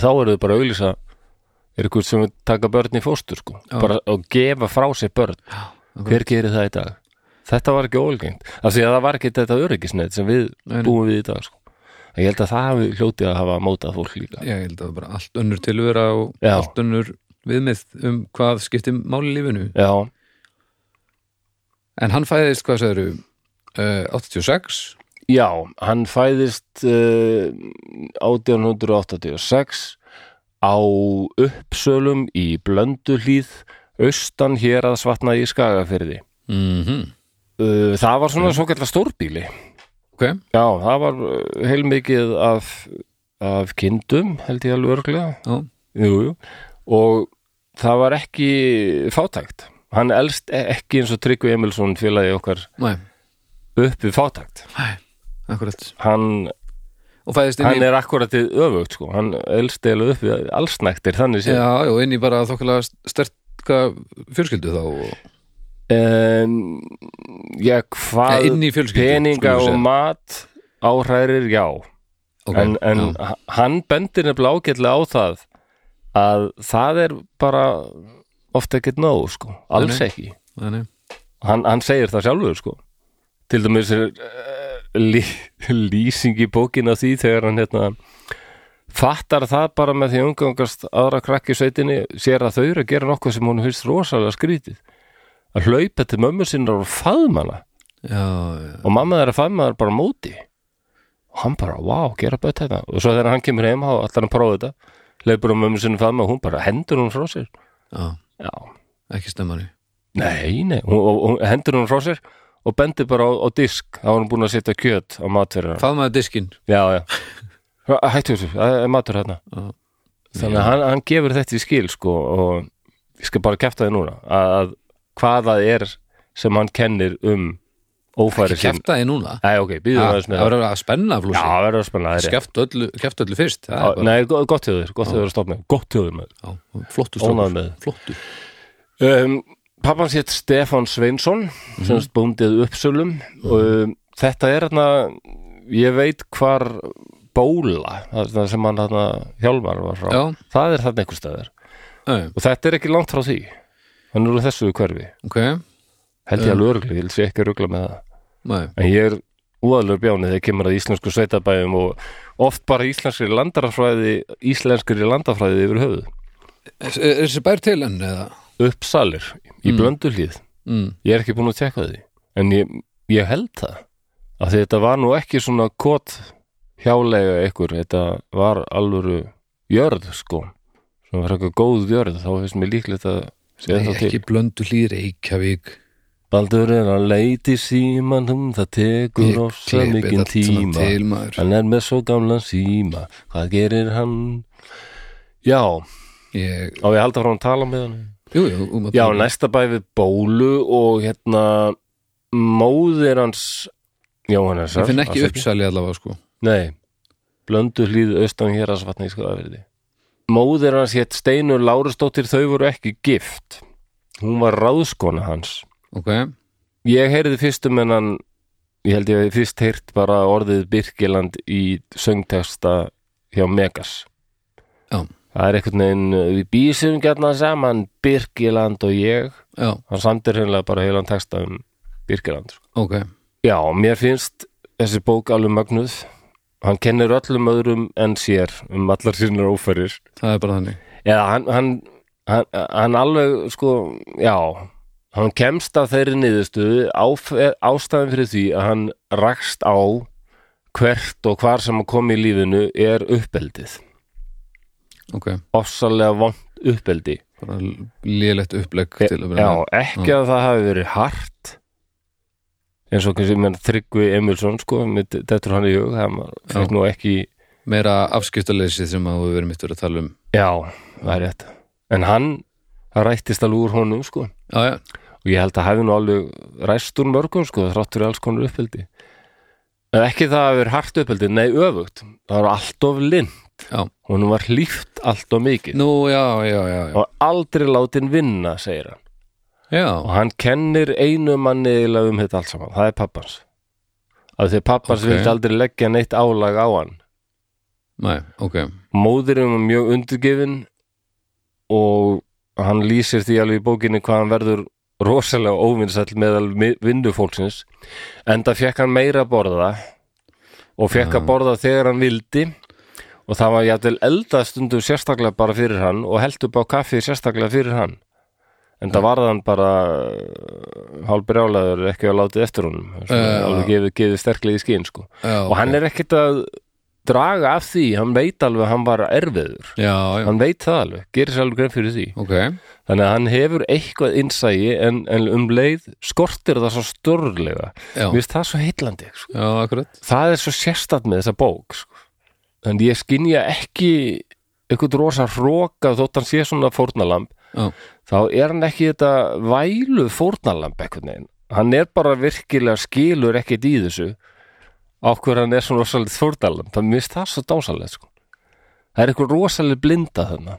Speaker 1: þá eru þau bara að auglýsa er ykkur sem taka börn í fóstur sko
Speaker 2: Já.
Speaker 1: bara að gefa frá sér börn
Speaker 2: ok.
Speaker 1: hver gerir það í dag? Þetta var ekki ólgengt af því að það var ekki þetta öryggisneitt sem við
Speaker 2: Nei, nei.
Speaker 1: búum við í dag sko ég held að það hafi hljótið að hafa mótað fólk líka
Speaker 2: ég held að það var bara allt önnur tilvera og
Speaker 1: Já.
Speaker 2: allt önnur viðmið um hvað skipti máli í lífinu
Speaker 1: já,
Speaker 2: en hann fæðist hvað sagður uh, 86
Speaker 1: Já, hann fæðist uh, 1886 á uppsölum í Blönduhlíð austan hér að svatna í Skagafyrði.
Speaker 2: mm -hmm.
Speaker 1: Uh, það var svona svo kallar stórbíli.
Speaker 2: ok,
Speaker 1: Já, það var uh, heilmikið af, af kindum, held ég alveg örglega.
Speaker 2: já,
Speaker 1: Jú, jú. Og það var ekki fátækt. Hann elst e-, ekki eins og Tryggvi Emilsson félagi okkar
Speaker 2: næ,
Speaker 1: upp við fátækt.
Speaker 2: akkurat
Speaker 1: Hann
Speaker 2: og fæðist inn
Speaker 1: hann
Speaker 2: í
Speaker 1: er akkurat í öfugt sko. hann elst eða upp við allsnæktir þannig séð
Speaker 2: já, já, inn í bara þokkalega sterka fjörskildu þá og,
Speaker 1: um, já
Speaker 2: ja,
Speaker 1: hvað
Speaker 2: Eh, inn í fjörskildu
Speaker 1: peninga og mat áhrærir já en, en hann bendir nefnilega ágætlega á það að það er bara ofta ekkert nóg sko. alls
Speaker 2: Nei,
Speaker 1: ekki
Speaker 2: Þannig,
Speaker 1: hann, hann segir það sjálfur sko til dæmis er uh, lí, lýsing í bókin af því þegar hann hérna fattar það bara með því að umgangast aðra krakki í sveitinni sér að þau eru að gera nokkuð sem hún finnst rosalega skrítið að hlaupa til mömmu sinnar og faðma hana
Speaker 2: já, já
Speaker 1: og mamma þeirra faðma þeirra bara á móti og hann bara, vá, gera bætt þetta og svo þegar hann kemur heim, þá ætlar hann að prófa þetta leipur á mömmu sinni faðma og hún bara hendur hún frá sér
Speaker 2: Já,
Speaker 1: já,
Speaker 2: ekki stemmari
Speaker 1: Nei, nei, hún, og, og hendur hún frá sér og bendir bara á, á disk þá var hún búin að setja kjöt á matverðina
Speaker 2: Faðmaði diskinn
Speaker 1: Já, já Hættu þessu, það er matur hérna
Speaker 2: Já.
Speaker 1: Þannig að hann, hann gefur þetta í skil sko og ég skal bara kæfta þið núna að, að hvað það er sem hann kennir um ófæri
Speaker 2: Ekki
Speaker 1: sinn.
Speaker 2: kæfta þið núna
Speaker 1: Nei, ok, býðum
Speaker 2: Ha,
Speaker 1: aðeins með
Speaker 2: Það
Speaker 1: það.
Speaker 2: verður að spenna
Speaker 1: Já,
Speaker 2: flúsi
Speaker 1: það verður að spenna það.
Speaker 2: Kæftu öllu, kæftu öllu fyrst Það er
Speaker 1: Já,
Speaker 2: bara-
Speaker 1: Nei, go- gott hjá þér, gott hjá þér að stopna Gott hjá þér maður
Speaker 2: Já, flottur
Speaker 1: Ónæður
Speaker 2: strókur
Speaker 1: með.
Speaker 2: Flottur
Speaker 1: um, Pappans hétt Stefán Sveinsson sem
Speaker 2: Mhm.
Speaker 1: mm. bóndið uppsölum um, Þetta er hérna ég veit hvar bóla þarna sem hann hérna hjálmar var frá,
Speaker 2: Já,
Speaker 1: það er þarna einhver staðar
Speaker 2: Nei,
Speaker 1: og þetta er ekki langt frá því hann er úr þessu hverfi,
Speaker 2: ok
Speaker 1: held
Speaker 2: Um.
Speaker 1: ég alveg örgli ég held ég ekki að rugla með það
Speaker 2: Nei,
Speaker 1: en ég er úðalur bjánið þegar kemur að íslensku sveitabæjum og oft bara íslenskri landarafræði íslenskri landafræði yfir höfuð
Speaker 2: er, er þessi bær til enn eða?
Speaker 1: uppsalir í
Speaker 2: Mm.
Speaker 1: blönduhlíð
Speaker 2: Mm.
Speaker 1: ég er ekki búin að tekka því en ég, ég held það af því þetta var nú ekki svona kot hjálega ykkur þetta var alvöru jörð sko sem var eitthvað góð jörð þá finnst mér líklegt að sé
Speaker 2: Nei,
Speaker 1: það til
Speaker 2: ekki blöndu hlýr Reykjavík
Speaker 1: Baldur er að leiti símanum það tekur ofsa
Speaker 2: klippi
Speaker 1: mikinn
Speaker 2: þetta svona
Speaker 1: tíma
Speaker 2: til maður
Speaker 1: hann er með svo gamla síma hvað gerir hann já, á
Speaker 2: Ég,
Speaker 1: ég halda frá að tala með hann
Speaker 2: Jú, jú, um að
Speaker 1: Já,
Speaker 2: tala.
Speaker 1: næsta bæ við Bólu og hérna móðir hans Jóhannesar
Speaker 2: Ég finn ekki
Speaker 1: afsakið.
Speaker 2: uppsali allavega sko
Speaker 1: Nei, blöndu hlýð austan hér að svatna í skoðaverði Móðir hans hétt Steinur Lárusdóttir þau voru ekki gift Hún var ráðskona hans
Speaker 2: Ok,
Speaker 1: Ég heyrði fyrst um hennan ég held ég hefði fyrst heyrt bara orðið Birkiland í söngtexta hjá Megas
Speaker 2: Já.
Speaker 1: Það er einhvern veginn við býsum gjarnan saman Birkiland og ég
Speaker 2: já,
Speaker 1: hann samdir hennilega bara heilan texta um Birkiland. sko.
Speaker 2: ok
Speaker 1: Já, mér finnst þessi bók alveg magnuð. Hann kennir öllum öðrum en sér um allar sínar ófærir.
Speaker 2: Það er bara þannig
Speaker 1: Eða hann, hann, hann, hann alveg, sko, já, hann kemst af þeirri niðurstöðu áf, ástæðan fyrir því að hann rakst á hvert og hvar sem hann kom í lífinu er uppeldið.
Speaker 2: Ok,
Speaker 1: Ofsalega vond uppeldi.
Speaker 2: bara lélegt upplegg
Speaker 1: E-
Speaker 2: til að vera
Speaker 1: Já, ekki að það hafi verið hart eins og kannski menn Tryggvi Emilsson sko, með dettur hann í hug það
Speaker 2: Já.
Speaker 1: fyrir nú ekki
Speaker 2: með. Meira afskiptaleysið sem að við verum mitt verið að tala um
Speaker 1: já, það er rétt en hann, það rættist alveg úr honum sko,
Speaker 2: Já, já,
Speaker 1: og ég held að hafi nú alveg ræst úr mörgum sko, þrátt fyrir alls konar uppeldi en ekki það hafi verið hart uppeldi, nei öfugt það var allt of lind
Speaker 2: Já.
Speaker 1: honum var hlýft allt of mikið
Speaker 2: nú, já, já, já Já,
Speaker 1: og aldrei látin vinna, segir hann
Speaker 2: já.
Speaker 1: og hann kennir einu manni eiginlega um þetta allt saman, það er pappans af því að pappans
Speaker 2: Ok.
Speaker 1: vildi aldrei leggja neitt álag á hann
Speaker 2: Nei, ok
Speaker 1: móðurinn var mjög undirgefin og hann lýsir því alveg í bókinni hvað hann verður rosalega óvinnsall meðal mi- vinnufólksins en það fekk hann meira að borða og fekk
Speaker 2: Ah.
Speaker 1: að borða þegar hann vildi og það var jafnvel eldað stundum sérstaklega bara fyrir hann og held upp á kaffi sérstaklega fyrir hann en það varð hann bara eh, hálfbrjálaður ekki að látið eftir honum Svona
Speaker 2: Já.
Speaker 1: alveg gefið, gefið sterklega í skinn sko
Speaker 2: já,
Speaker 1: og hann er ekkert að draga af því, hann veit alveg að hann var erfiður
Speaker 2: Já, já,
Speaker 1: hann veit það alveg, gerir sér alveg grein fyrir því
Speaker 2: ok
Speaker 1: þannig að hann hefur eitthvað innsægi en, en um leið skortir það svo stórlega
Speaker 2: Já,
Speaker 1: mér finnst það svo heitlandi sko.
Speaker 2: já, akkurat
Speaker 1: það er svo sérstætt með þessa bók sko. en ég skynja ekki eitthvað rosa hróka þótt hann sé svona fórnalamb
Speaker 2: Já,
Speaker 1: þá er hann ekki þetta vælu fórnalamb eitthvað neginn hann er bara virkilega skilur ekkert í þessu á hver hann er svona rosalega fórnalamb það mist það svo dásalega sko. það er eitthvað rosalega blinda þarna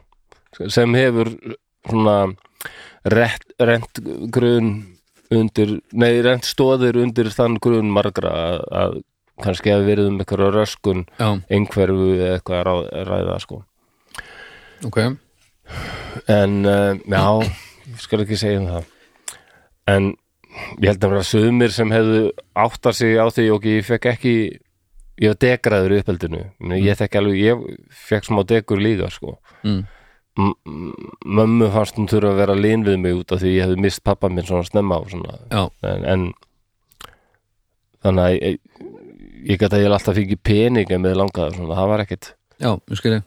Speaker 1: sem hefur eh, svona rent, rent grun undir, nei rent stóðir undir þann grun margra að, að kannski hafi verið um eitthvað röskun
Speaker 2: já,
Speaker 1: einhverfu eða eitthvað að ráð- ræða sko
Speaker 2: ok
Speaker 1: en uh, já, ég skal ekki segja um það en ég held að vera sömur sem hefðu áttar sig á því og ég fekk ekki ég var degraður í uppeldinu Ég meina, ég þekki alveg, ég fekk smá degur líka sko
Speaker 2: mm.
Speaker 1: M- m- mömmu fannst hún þurfa að vera lín við mig út af því ég hefði mist pappa minn svona snemma og svona
Speaker 2: Já,
Speaker 1: en, en þannig að ég, ég gæti að ég alltaf fengi pening en með langaði svona, það var ekkit
Speaker 2: já, ég skil ég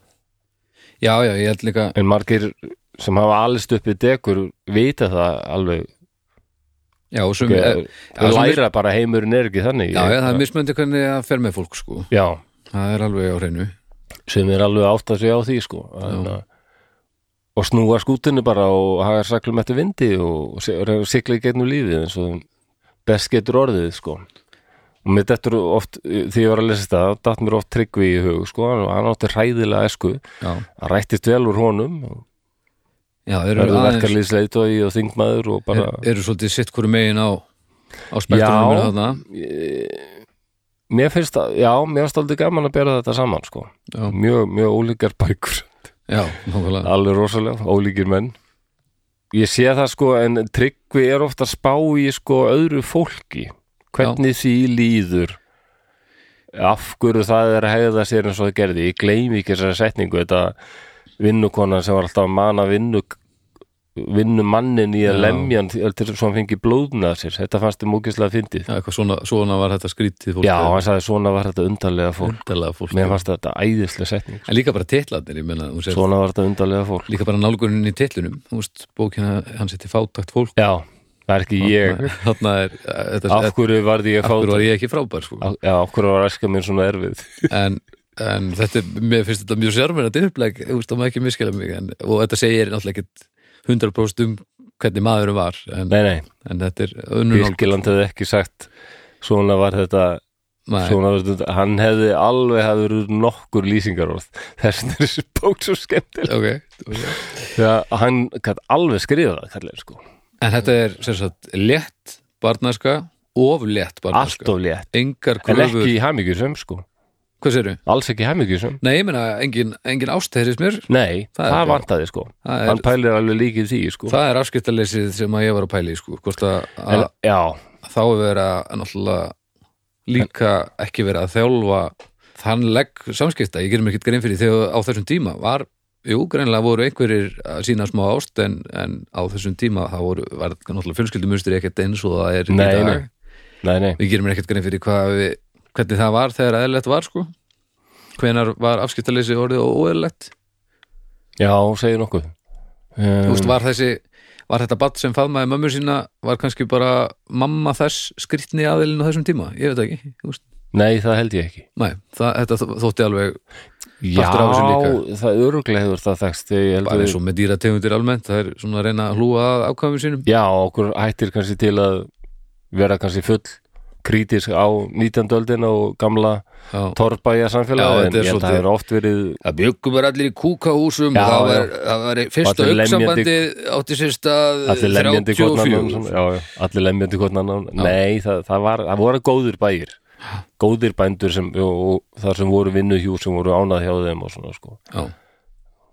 Speaker 2: Já, já, ég held líka
Speaker 1: en margir sem hafa allist upp í degur vita það alveg
Speaker 2: Já, og sum, eh,
Speaker 1: Ég,
Speaker 2: já,
Speaker 1: ég
Speaker 2: svo
Speaker 1: læra bara heimurinn er ekki þannig
Speaker 2: Já,
Speaker 1: Ég-
Speaker 2: já, það er mismöndi hvernig það fer með fólk sko
Speaker 1: já,
Speaker 2: Það er alveg á hreinu
Speaker 1: sem er alveg átt að segja á því sko En,
Speaker 2: Já.
Speaker 1: að- og snúa skútinu bara og haga saklum eftir vindi og, og, og sigla í gegnum lífið eins og best getur orðið sko og mér dettur oft, því ég var að lesa þetta datt mér oft tryggvi í hug sko hann, hann átti hræðilega esku
Speaker 2: já,
Speaker 1: hann rættist vel úr honum
Speaker 2: já eru,
Speaker 1: verður
Speaker 2: aðeins, er,
Speaker 1: verkarlýsleitói og þingmaður og bara
Speaker 2: eru svolítið sitt hverju megin á, á hérna. spektruminu
Speaker 1: Já.
Speaker 2: þarna
Speaker 1: mér finnst það, já, mér finnst aldrei gaman að bera þetta saman sko
Speaker 2: Já.
Speaker 1: mjög, mjög ólíkar bækur
Speaker 2: já, nákvæmlega
Speaker 1: alveg rosalega, ólíkir menn ég sé það sko en tryggvi er ofta að spá í sko öðru fólki hvernig því líður af hverju það er að hegða sér eins og það gerði ég gleymi ekki þessari setningu þetta vinnukona sem var alltaf að mana vinnu vinnu mannin í að
Speaker 2: Já.
Speaker 1: lemja hann til til- svo hann fengi blóðnað sér þetta fannst þið múkislega fyndið
Speaker 2: já, eitthvað svona, svona var þetta skrítið fólk
Speaker 1: já, hann sagði svona var þetta undarlega fólk
Speaker 2: hundalega fólk
Speaker 1: mér fannst þetta æðislega setning sko.
Speaker 2: en líka bara titlarnir, ég menna svo...
Speaker 1: svona var þetta undarlega fólk
Speaker 2: líka bara nálgunin í titlunum þú veist, bókina, hann setið fátakt fólk
Speaker 1: já, það er ekki ég
Speaker 2: þarna er, þetta,
Speaker 1: af hverju varði ég
Speaker 2: af hverju
Speaker 1: fátt
Speaker 2: var ég ekki frábær sko.
Speaker 1: Af- Já, okkur var æska mín svona erfið
Speaker 2: en, en þetta, er- mér finnst þetta mjög sérmenn að dyrbleg, þú veist, það má ekki miskila mig en, og þetta segir náttúrulega ekkit 100% um hvernig maðurum var en,
Speaker 1: Nei, nei,
Speaker 2: en þetta er önnur nálgun.
Speaker 1: Birkiland hefði ekki sagt Svona var þetta
Speaker 2: Nei,
Speaker 1: svona var þetta, Hann hefði alveg hefði verið nokkur lýsingarorð Þess vegna er þessi bók svo skemmtileg
Speaker 2: ok
Speaker 1: Þegar hann gætt alveg skrifað kallir, sko.
Speaker 2: en þetta er sem sagt létt barnaska, of létt
Speaker 1: Allt
Speaker 2: barnaska
Speaker 1: of létt
Speaker 2: engar
Speaker 1: En
Speaker 2: kröfur,
Speaker 1: ekki í hamingjusum, sko
Speaker 2: hvað séru?
Speaker 1: Alls ekki hamingjusum
Speaker 2: Nei, ég meina, engin, engin ástæðis mér
Speaker 1: Nei,
Speaker 2: Það er
Speaker 1: það,
Speaker 2: ekki-
Speaker 1: vantaði, sko
Speaker 2: það er,
Speaker 1: Hann pælir alveg líkið því, sko
Speaker 2: það er afskiptaleysið sem að ég var að pæla í sko, hvort að, að
Speaker 1: en, Já,
Speaker 2: þá er verið að náttúrulega líka ekki verið að þjálfa þann legg samskipta, ég gerum ekkert grein fyrir því að á þessum tíma var jú, greinlega voru einhverjir að sína smá ást en, en á þessum tíma það voru, var náttúrulega fjölskyldumustri ekkert eins og það er
Speaker 1: Nei,
Speaker 2: í dag
Speaker 1: nei. nei, nei
Speaker 2: við gerum ekkert grein fyrir hvað við, hvernig það var þegar eðlilegt var sko hvenar var afskiptaleysi orðið og óeðlilegt
Speaker 1: Já, segir nokkuð
Speaker 2: Þú veist,
Speaker 1: um,
Speaker 2: var þessi var þetta badd sem faðmaði mömmu sína var kannski bara mamma þess skrýtni aðilin á þessum tíma, ég veit það ekki Þú veist,
Speaker 1: Nei, það held ég ekki
Speaker 2: Nei, það, þetta þó- þótti alveg
Speaker 1: Já,
Speaker 2: Partur af þessu
Speaker 1: það öruglega hefur það þekst Ég held
Speaker 2: bara
Speaker 1: að
Speaker 2: eins og með dýrategundir almennt það er svona að reyna að hlúa að ákvæmum sínum
Speaker 1: Já, okkur hættir kannski til að vera kannski full krítisk á 19. öldina og gamla
Speaker 2: Já,
Speaker 1: torrbæja
Speaker 2: Já,
Speaker 1: samfélagi en
Speaker 2: þetta er
Speaker 1: ég held að það
Speaker 2: svolítið-
Speaker 1: er oft verið
Speaker 2: það byggum bara allir í kúkahúsum
Speaker 1: Já,
Speaker 2: og það
Speaker 1: já.
Speaker 2: var, það var fyrsta
Speaker 1: Allir lemjandi-
Speaker 2: auksambandi átti sérst að
Speaker 1: allir lemjandi hvort annan
Speaker 2: 34
Speaker 1: svona, já, já, allir lemjandi hvort annan Nei, það, það, var, það voru góðir bæir góðir bændur sem, og, og þar sem voru vinnuhjú sem voru ánað hjá þeim og svona sko
Speaker 2: Já.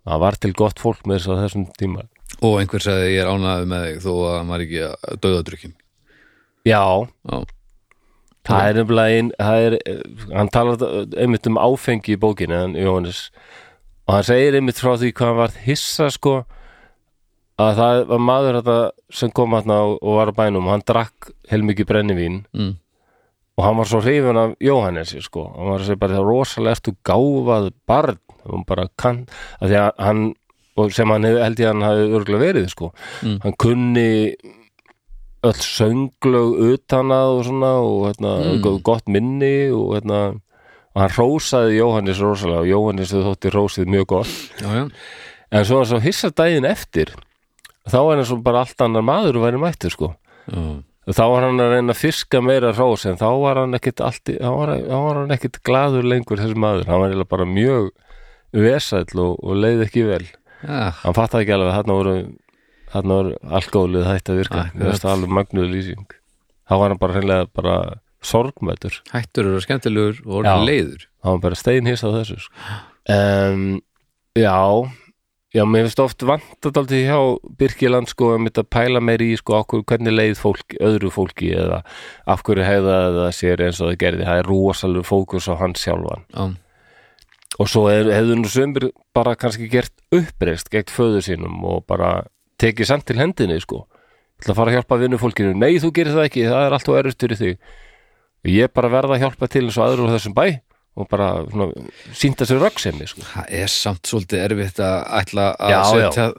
Speaker 1: Það var til gott fólk með þess að þessum tíma
Speaker 2: og einhver sagði ég er ánæði með þig þó að hann var ekki að döðadrykkin
Speaker 1: Já,
Speaker 2: Já,
Speaker 1: Það er nefnilega ein, það er, eh, hann talar einmitt um áfengi í bókinni, hann Jóhannes, og hann segir einmitt frá því hvað hann varð hissa, sko, að það var maður þetta sem kom hann og og var á bænum, hann drakk heilmikið brennivín
Speaker 2: Mm.
Speaker 1: og hann var svo hrifin af Jóhannesi, sko, hann var að segja bara það rosalega ertu gáfað barn, hann bara kann, að því að hann, og sem hann hef, held ég að hann hafi örgulega verið, sko,
Speaker 2: Mm.
Speaker 1: hann kunni öll sönglög utan að og svona og hérna,
Speaker 2: Mm.
Speaker 1: go- gott minni og hérna og hann rósaði Jóhannes rosalega og Jóhannes þótti rósið mjög gott
Speaker 2: já, já,
Speaker 1: en svo hann svo hissa daginn eftir þá er hann svo bara allt annar maður og væri mættur sko
Speaker 2: já.
Speaker 1: og þá var hann að reyna að fiska meira rós en þá var hann ekkit, allt, í- þá var, hann- þá var hann ekkit gladur lengur þessi maður hann var eiginlega bara mjög vesæll og, og leið ekki vel
Speaker 2: Ah,
Speaker 1: hann fattaði ekki alveg að þarna voru þarna voru alkoholið hætt að virka
Speaker 2: Akkurat.
Speaker 1: mér finnst það alveg magnuð lýsing þá var hann bara hreinlega bara sorgmætur
Speaker 2: hættur eru skemmtilegur og orðin
Speaker 1: Já.
Speaker 2: leiður
Speaker 1: þá var bara steinhist á þessu sko. um, já já, mér finnst oft vantat aldrei hjá Birkiland sko að mitt að pæla meir í sko okkur, hvernig leið fólk, öðru fólki eða af hverju hefða það sér eins og það gerði, það er rosalur fókus á hann sjálfan
Speaker 2: Já,
Speaker 1: og svo er, hefðu nú sömur bara kannski gert uppreist gegn föður sínum og bara tekið samt til hendinni sko Ég ætla að fara að hjálpa vinnu fólkinu nei þú gerir það ekki, það er allt og erust fyrir þig ég bara verða að hjálpa til eins og aður á þessum bæ og bara svona, sínda sér röggsemi sko.
Speaker 2: það er samt svolítið erfitt að ætla
Speaker 1: Já,
Speaker 2: að
Speaker 1: já.
Speaker 2: setja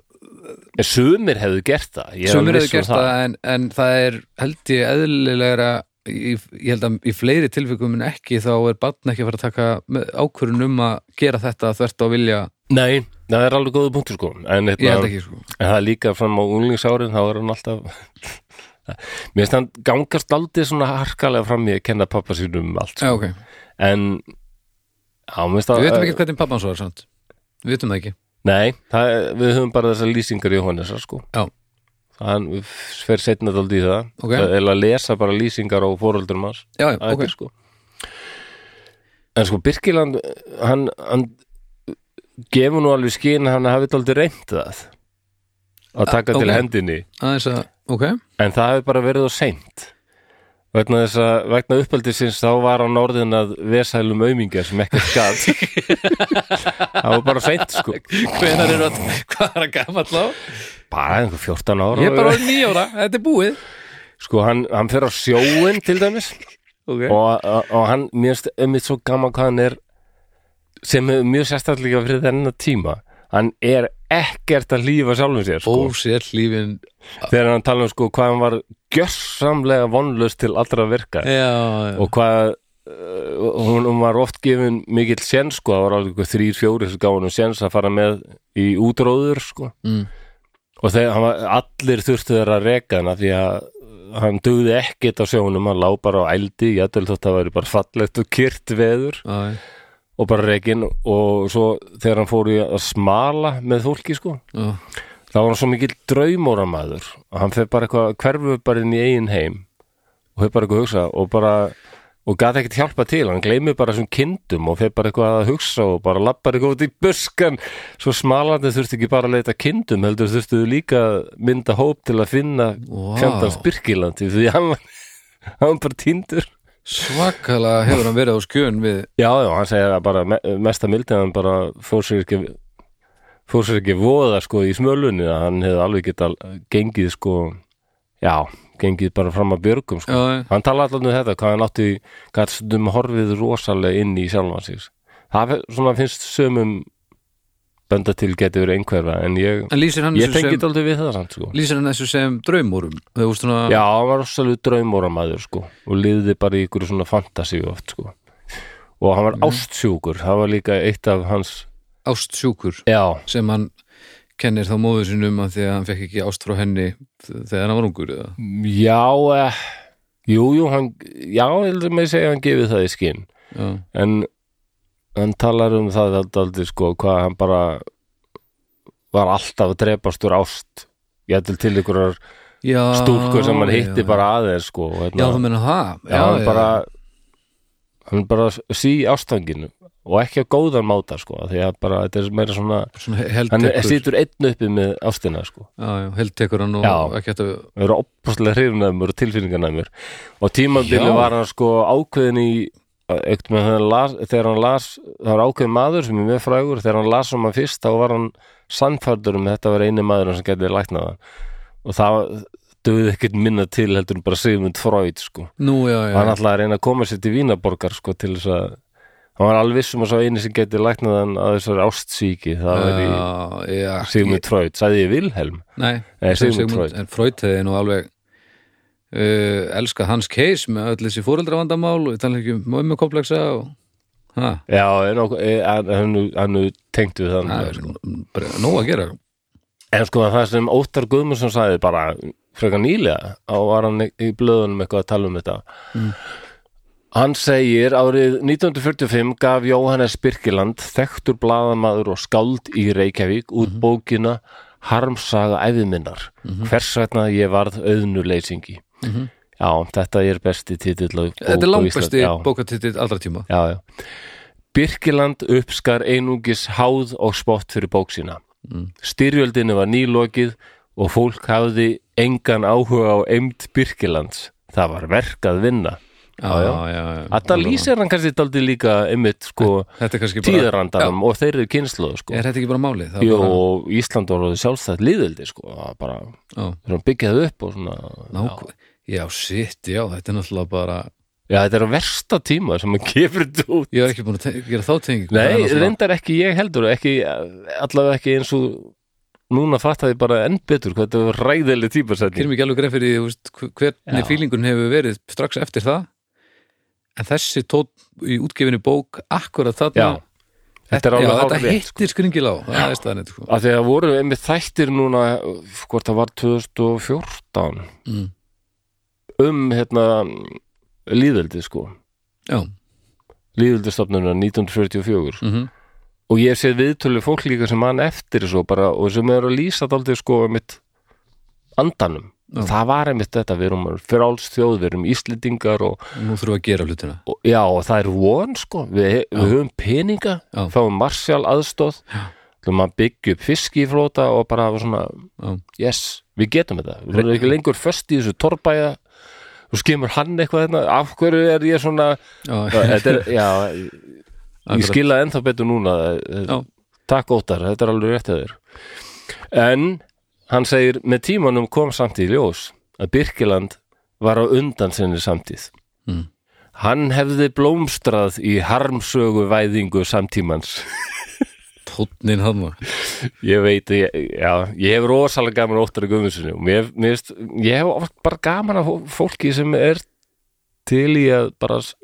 Speaker 1: en sömur hefðu gert það ég er
Speaker 2: sumir
Speaker 1: alveg
Speaker 2: hefur
Speaker 1: viss um
Speaker 2: gert það, en, en það er held ég eðlilegra í, ég held að í fleiri tilfengum en ekki þá er barn ekki að fara að taka ákvörun um að gera þetta þvert á vilja
Speaker 1: Nei, það er alveg góðu punktur sko en,
Speaker 2: Ég held
Speaker 1: hérna,
Speaker 2: ekki, sko.
Speaker 1: en það er líka fram á unglingsárin þá er hann alltaf mér finnst hann gangast aldrei svona harkalega fram í að kenna pappa sínum um allt
Speaker 2: Já,
Speaker 1: sko.
Speaker 2: ok.
Speaker 1: en á, mér finnst
Speaker 2: Við veitum
Speaker 1: það eh,
Speaker 2: ekki hvernig pappan svo er, sant? Við veitum það ekki.
Speaker 1: nei, það, er- við höfum bara þessar lýsingar Jóhannesar sko
Speaker 2: Já.
Speaker 1: hann fer setna daldi í það
Speaker 2: Ok.
Speaker 1: það er að lesa bara lýsingar á fóröldurum hans
Speaker 2: Já, já,
Speaker 1: okay.
Speaker 2: ok.
Speaker 1: sko. en sko Birkiland hann, hann gefur nú alveg skinn að hann hafi aldrei reynt það að taka
Speaker 2: Ah, ok.
Speaker 1: til hendinni
Speaker 2: Aðeins að, ok.
Speaker 1: en það hefur bara verið á seint vegna þess að vegna uppeldisins þá var hann orðin að vesælum aumingja sem ekkert skatt það var bara seint sko
Speaker 2: Hvenar er það, hvað er að gama allá?
Speaker 1: bara einhver 14 ára
Speaker 2: Ég er bara orðin nýja ára, þetta er búið.
Speaker 1: sko hann, hann fer á sjóin til dæmis
Speaker 2: Ok.
Speaker 1: og, og, og hann mjög einmitt svo gaman hvað hann er sem er mjög sérstaklega fyrir þennan tíma hann er ekkert að lífa sjálfum sér sko.
Speaker 2: Ósér lífin.
Speaker 1: þegar hann tala um sko, hvað hann var gjörsamlega vonlust til allra verka
Speaker 2: Já, já.
Speaker 1: og hvað uh, hún, hún var oft gefin mikill séns sko, það var alveg þrýr, fjóri sem gaf hann séns að fara með í útróður sko.
Speaker 2: Mm.
Speaker 1: og þegar hann var, allir þurftu þeirra að reka hana því að hann dugði ekkert á sjónum hann lá bara á ældi, ég ætlum þótt að það væri bara fallegt og kyrrt veður
Speaker 2: Já, já.
Speaker 1: og bara rekin og svo þegar hann fór í að smala með fólki sko,
Speaker 2: Já.
Speaker 1: þá var hann svo mikill draumóramæður og hann fer bara eitthvað, hverfur bara inn í eigin heim og hefur bara eitthvað að hugsa og bara, og gæti ekkert hjálpa til hann gleymir bara þessum kindum og fer bara eitthvað að hugsa og bara lappar eitthvað út í buskan svo smalandi þurfti ekki bara að leita að kindum heldur þurftu líka að mynda hóp til að finna
Speaker 2: Vá.
Speaker 1: fjandans Birkilandi því hann var, hann var bara tindur
Speaker 2: Svakalega hefur hann verið á skjön við
Speaker 1: Já, já, hann segir að bara me- mesta mildið hann bara fór sér ekki fór sér ekki voða sko í smölunni að hann hefði alveg geta gengið sko, já, gengið bara fram að björgum sko.
Speaker 2: Já, já.
Speaker 1: Hann tala allan um þetta, hvað hann átti hvað stundum horfið rosalega inn í sjálfan sig Það fe- svona finnst sömum benda til geti verið einhverfa en ég,
Speaker 2: En lýsir hann
Speaker 1: ég
Speaker 2: þessu
Speaker 1: tengið
Speaker 2: sem,
Speaker 1: aldrei við það samt sko
Speaker 2: lýsir hann þessu sem draumurum Þú veist svona
Speaker 1: Já, hann var rosalega draumóramæður sko og liðið bara í ykkur svona fantasíu oft sko og hann var
Speaker 2: Mm.
Speaker 1: ástsjúkur það var líka eitt af hans
Speaker 2: ástsjúkur
Speaker 1: já,
Speaker 2: sem hann kennir þá móður sinum að því að hann fekk ekki ást frá henni þ- þegar hann var ungur eða.
Speaker 1: já eh, jú, jú, hann já, heldur mig að segja að hann gefið það í skinn
Speaker 2: Já,
Speaker 1: en hann talar um það aldrei sko hvað hann bara var alltaf að drepast úr ást ég ætlum til ykkurar
Speaker 2: já
Speaker 1: stúlku sem hann
Speaker 2: já,
Speaker 1: hitti
Speaker 2: já.
Speaker 1: bara aðeins sko og hérna-
Speaker 2: Já, þú meina það
Speaker 1: já, hann bara hann bara sí ástanginu og ekki á góðan máta sko af því að bara þetta er meira svona
Speaker 2: Svona
Speaker 1: hann er,
Speaker 2: heldtekur
Speaker 1: situr einn uppi með ástina sko
Speaker 2: Já, já, heldtekur hann og
Speaker 1: Já.
Speaker 2: ekki hægt að
Speaker 1: það eru opaslega hrifnaðumur og tilfinningarnæmur og tímabili
Speaker 2: Já.
Speaker 1: var hann sko ákveðin í ekkert með hann las, þegar hann las það var ákveðin maður sem er mjög frægur þegar hann las um hann fyrst þá var hann sannfærdur um að þetta var eini maður sem getið læknaða og það döði ekkert minna til heldur en bara Sigmund Freud sko
Speaker 2: Nú, já, já,
Speaker 1: og hann ætlaði að reyna að koma sér til Vínaborgar sko til þess að hann var alveg viss um að sá eini sem geti læknað hann að þessari ástsíki það væri
Speaker 2: já, já
Speaker 1: Sigmund Freud, sagði ég Vilhelm
Speaker 2: Nei,
Speaker 1: Nei,
Speaker 2: sagði
Speaker 1: Sigmund Freud.
Speaker 2: En Freud hefði nú alveg uh, elskað hans case með öll þessi fóreldravandamál og tala ekki um mömmukompleksa og ha,
Speaker 1: já, en ok- eh, hann- hann hann tengdu við þann
Speaker 2: það er bara nóg að gera
Speaker 1: en sko það sem Óttar Guðmundsson sagði bara frekar nýlega á var hann í- í blöðunum eitthvað að tala um þetta
Speaker 2: Mm.
Speaker 1: Hann segir árið 1945 gaf Jóhannes Birkiland þekktur blaðamaður og skáld í Reykjavík út
Speaker 2: Mhm.
Speaker 1: bókina Harmsaga æfiminnar hvers vegna ég varð auðnuleysingi Já, þetta er besti titill á bók
Speaker 2: Mhm. Þetta er
Speaker 1: á
Speaker 2: langbæsti
Speaker 1: Íslandi, já.
Speaker 2: bókatitill allra tíma
Speaker 1: Já, já. Birkiland uppskar einungis háð og spott fyrir bók sína. Mm. Styrjöldinu var nýlokið og fólk hafði engan áhuga á eimt Birkilands. Það var verk að vinna. Já, já.
Speaker 2: já, já.
Speaker 1: Þetta lýsir hann kannski daldi líka einmitt sko
Speaker 2: Þetta er kannski Mm. bara
Speaker 1: tíðarandarum og þeir eru kynsluð sko.
Speaker 2: Er þetta ekki bara málið? Það er
Speaker 1: Jú,
Speaker 2: bara-
Speaker 1: og Ísland voru sjálfstætt liðildi sko, það var bara
Speaker 2: Já,
Speaker 1: þeir byggjaði upp og svona
Speaker 2: nák Já, sitt, já, þetta er náttúrulega bara
Speaker 1: Já, þetta er að versta tíma sem maður gefur þetta út
Speaker 2: Ég er ekki búin að te- gera þá tengingu Það er
Speaker 1: Nei,
Speaker 2: náttúrulega-
Speaker 1: reyndar ekki ég heldur ekki, allavega ekki eins og núna fattaði bara enn betur hvað þetta var ræðileg típasetning
Speaker 2: gerum ekki alveg greið fyrir því þú veist, hv- hvernig
Speaker 1: Já.
Speaker 2: fílingun hefur verið strax eftir það en þessi tótt í útgefinni bók akkurat þarna
Speaker 1: Já. Þetta er
Speaker 2: já,
Speaker 1: alveg hárrétt,
Speaker 2: þetta
Speaker 1: sko.
Speaker 2: hittir skringil á það er staðan sko.
Speaker 1: að því að voru einmitt þættir núna hvort það var 2014
Speaker 2: mm.
Speaker 1: um hérna líðeldi sko
Speaker 2: já,
Speaker 1: líðeldistofnunum 1944
Speaker 2: mhm,
Speaker 1: og ég hef séð viðtölu fólk líka sem mann eftir svo bara og sem er að lýsa daldið sko einmitt andanum
Speaker 2: Já.
Speaker 1: það var einmitt þetta við erum frálst þjóð, við erum íslendingar og,
Speaker 2: nú þurfum við að gera hlutina
Speaker 1: og já og það er von sko við, við höfum peninga,
Speaker 2: Já.
Speaker 1: fáum marsjál aðstóð ætlum að byggja upp fiskiflóta og bara hafa svona
Speaker 2: já,
Speaker 1: yes, við getum þetta við erum ekki lengur föst í þessu torrbæja og skemur hann eitthvað hérna af hverju er ég svona
Speaker 2: já,
Speaker 1: þetta er, já, ég
Speaker 2: Akkurat.
Speaker 1: skila ennþá betur núna
Speaker 2: já,
Speaker 1: takk óttar, þetta er alveg rétt að þér en hann segir með tímanum kom samt í ljós að Birkiland var á undan sinni samtíð
Speaker 2: Mm.
Speaker 1: hann hefði blómstrað í harmsögu væðingu samtímans
Speaker 2: tónnin hann var
Speaker 1: Ég veit, ég, já, ég hef rosalega gaman óttar í guðmjössinu og mér, mér, finnst- ég hef oft bara gaman af hó- fólki sem er til í að bara s-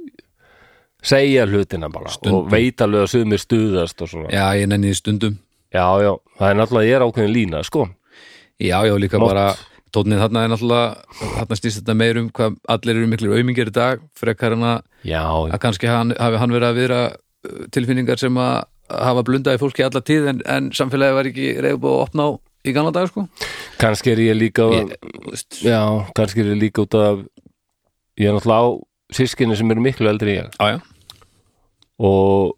Speaker 1: segja hlutina bara og veit alveg að sumir stuðast og svona.
Speaker 2: já, ég nenni því stundum
Speaker 1: Já, já, það er náttúrulega, ég er ákveðin lína, sko.
Speaker 2: já, já, líka
Speaker 1: Mátt.
Speaker 2: bara tónnin þarna er náttúrulega þarna snýst þetta meir um hvað allir eru miklir aumingir í dag frekar en að,
Speaker 1: Já,
Speaker 2: að kannski hann, hafi hann verið að vera uh, tilfinningar sem að hafa blundað í fólki alla tíð en, en samfélagi var ekki reyðbúið að opna á í gamla dag sko
Speaker 1: kannski er ég líka,
Speaker 2: Þú veist.
Speaker 1: já, kannski er ég líka út af, ég er náttúrulega á sískinni sem eru miklu eldri en ég
Speaker 2: já, já,
Speaker 1: og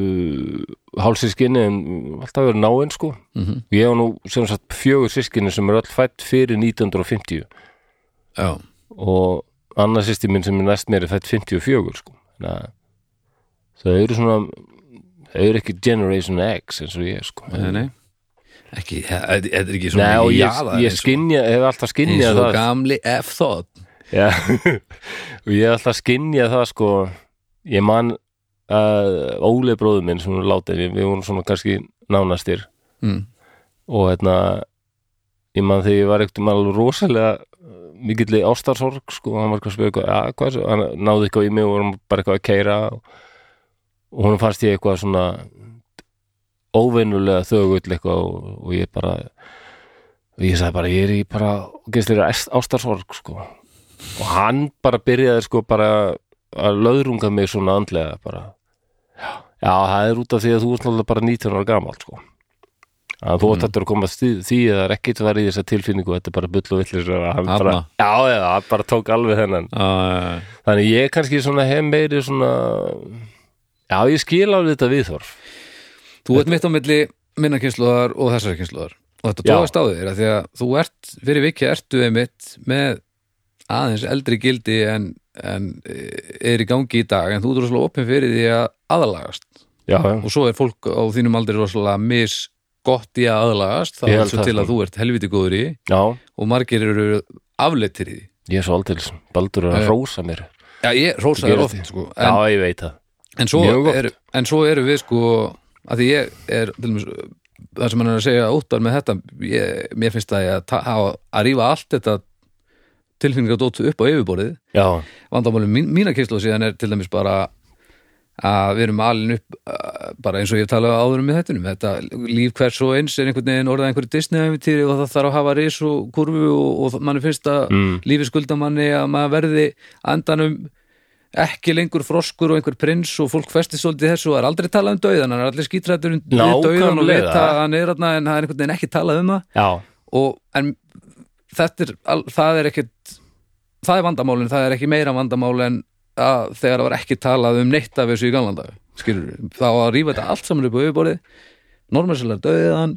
Speaker 1: uh, hálsískinni en alltaf verið náinn, sko.
Speaker 2: mhm,
Speaker 1: Ég á nú sem sagt fjögur sískinni sem eru öll fætt fyrir 1950
Speaker 2: já,
Speaker 1: og annað sýsti minn sem er næst mér er fætt 54 sko. Þannig að þau eru svona þau eru ekki Generation X eins og ég sko.
Speaker 2: nei, nei ekki, þetta þetta er ekki svona
Speaker 1: Nei, og ég,
Speaker 2: jaðar
Speaker 1: ég
Speaker 2: eins og-
Speaker 1: skinja, hef alltaf
Speaker 2: eins
Speaker 1: skinjað
Speaker 2: og
Speaker 1: það
Speaker 2: gamli F-þótt
Speaker 1: Já, og ég hef alltaf skinjað það sko, ég man að Óli bróður minn sem hún látið, við, við vorum svona kannski nánastir
Speaker 2: mm.
Speaker 1: og hérna ég man þegar ég var ekkert um alveg rosalega uh, mikill ástarsorg sko, hann var eitthvað að spyrja eitthvað, ja, hvað er svo hann náði eitthvað í mig og vorum bara eitthvað að keira og, og honum fannst ég eitthvað svona óvennulega þögull eitthvað og, og ég bara og ég sagði bara, ég er í bara gæstlega ástarsorg sko og hann bara byrjaði sko bara að löðrunga mig svona andlega bara, já, það er út af því að þú ert náttúrulega bara 19 ára gamalt sko að þú átt eftir að koma því, því að það er ekkit var í þessa tilfinningu þetta er bara bull og villir
Speaker 2: Þarna.
Speaker 1: bara, já, já, hann bara tók alveg þennan
Speaker 2: uh,
Speaker 1: þannig ég kannski svona hef meiri svona já, ég skil alveg þetta viðþorf
Speaker 2: Þú ert mitt á milli minna kynsluðar og þessari kynsluðar og þetta
Speaker 1: Já.
Speaker 2: tóðast á þér að því að þú ert fyrir vikið ertu einmitt með aðeins eldri gildi en, en eh, er í gangi í dag en þú ert rosalega opinn fyrir því að aðalagast
Speaker 1: já, já,
Speaker 2: og svo er fólk á þínum aldrei rosalega mis gott í að aðalagast
Speaker 1: Ég
Speaker 2: það er
Speaker 1: held
Speaker 2: svo
Speaker 1: það,
Speaker 2: til
Speaker 1: sko.
Speaker 2: að þú ert helviti góður í því
Speaker 1: já,
Speaker 2: og margir eru afleittir í því
Speaker 1: ég er svo aldils baldur er
Speaker 2: Já,
Speaker 1: að
Speaker 2: já.
Speaker 1: rósa mér
Speaker 2: Já, ég rósa
Speaker 1: Gerist
Speaker 2: þér oft
Speaker 1: því.
Speaker 2: sko, Eh, en,
Speaker 1: já, ég veit það
Speaker 2: en svo,
Speaker 1: Mjög gott.
Speaker 2: er, en svo eru við sko að því ég er til dæmis, það sem hann er að segja óttar með þetta ég, mér finnst að ég að, ta- hafa, að rífa allt þetta tilfinningadóttu upp á yfirborðið
Speaker 1: já,
Speaker 2: vandamálum mín, mína kynslu síðan er til dæmis bara að við erum alin upp uh, bara eins og ég talaði áður um með þettunum þetta líf hvers og eins er einhvern veginn orðað einhverju Disney-eventýri og það þarf að hafa ris og kurvu og, og mann er finnst að
Speaker 1: Mm.
Speaker 2: lífi skulda manni að maður verði á endanum ekki lengur froskur og einhver prins og fólk festið svolítið þessu og það er aldrei talað um dauðan hann er allir skítrættur um dauðan og
Speaker 1: Nákvæmlega.
Speaker 2: vita að hann er þarna en það er einhvern veginn ekki talað um það
Speaker 1: já,
Speaker 2: og, en þetta er, al, það er ekkit það er vandamálin, það er ekki meira vandamál en að þegar það var ekki talað um neitt af þessu í galanda skilur, þá að rífa þetta allt saman upp á yfirborðið normersilega döðiðan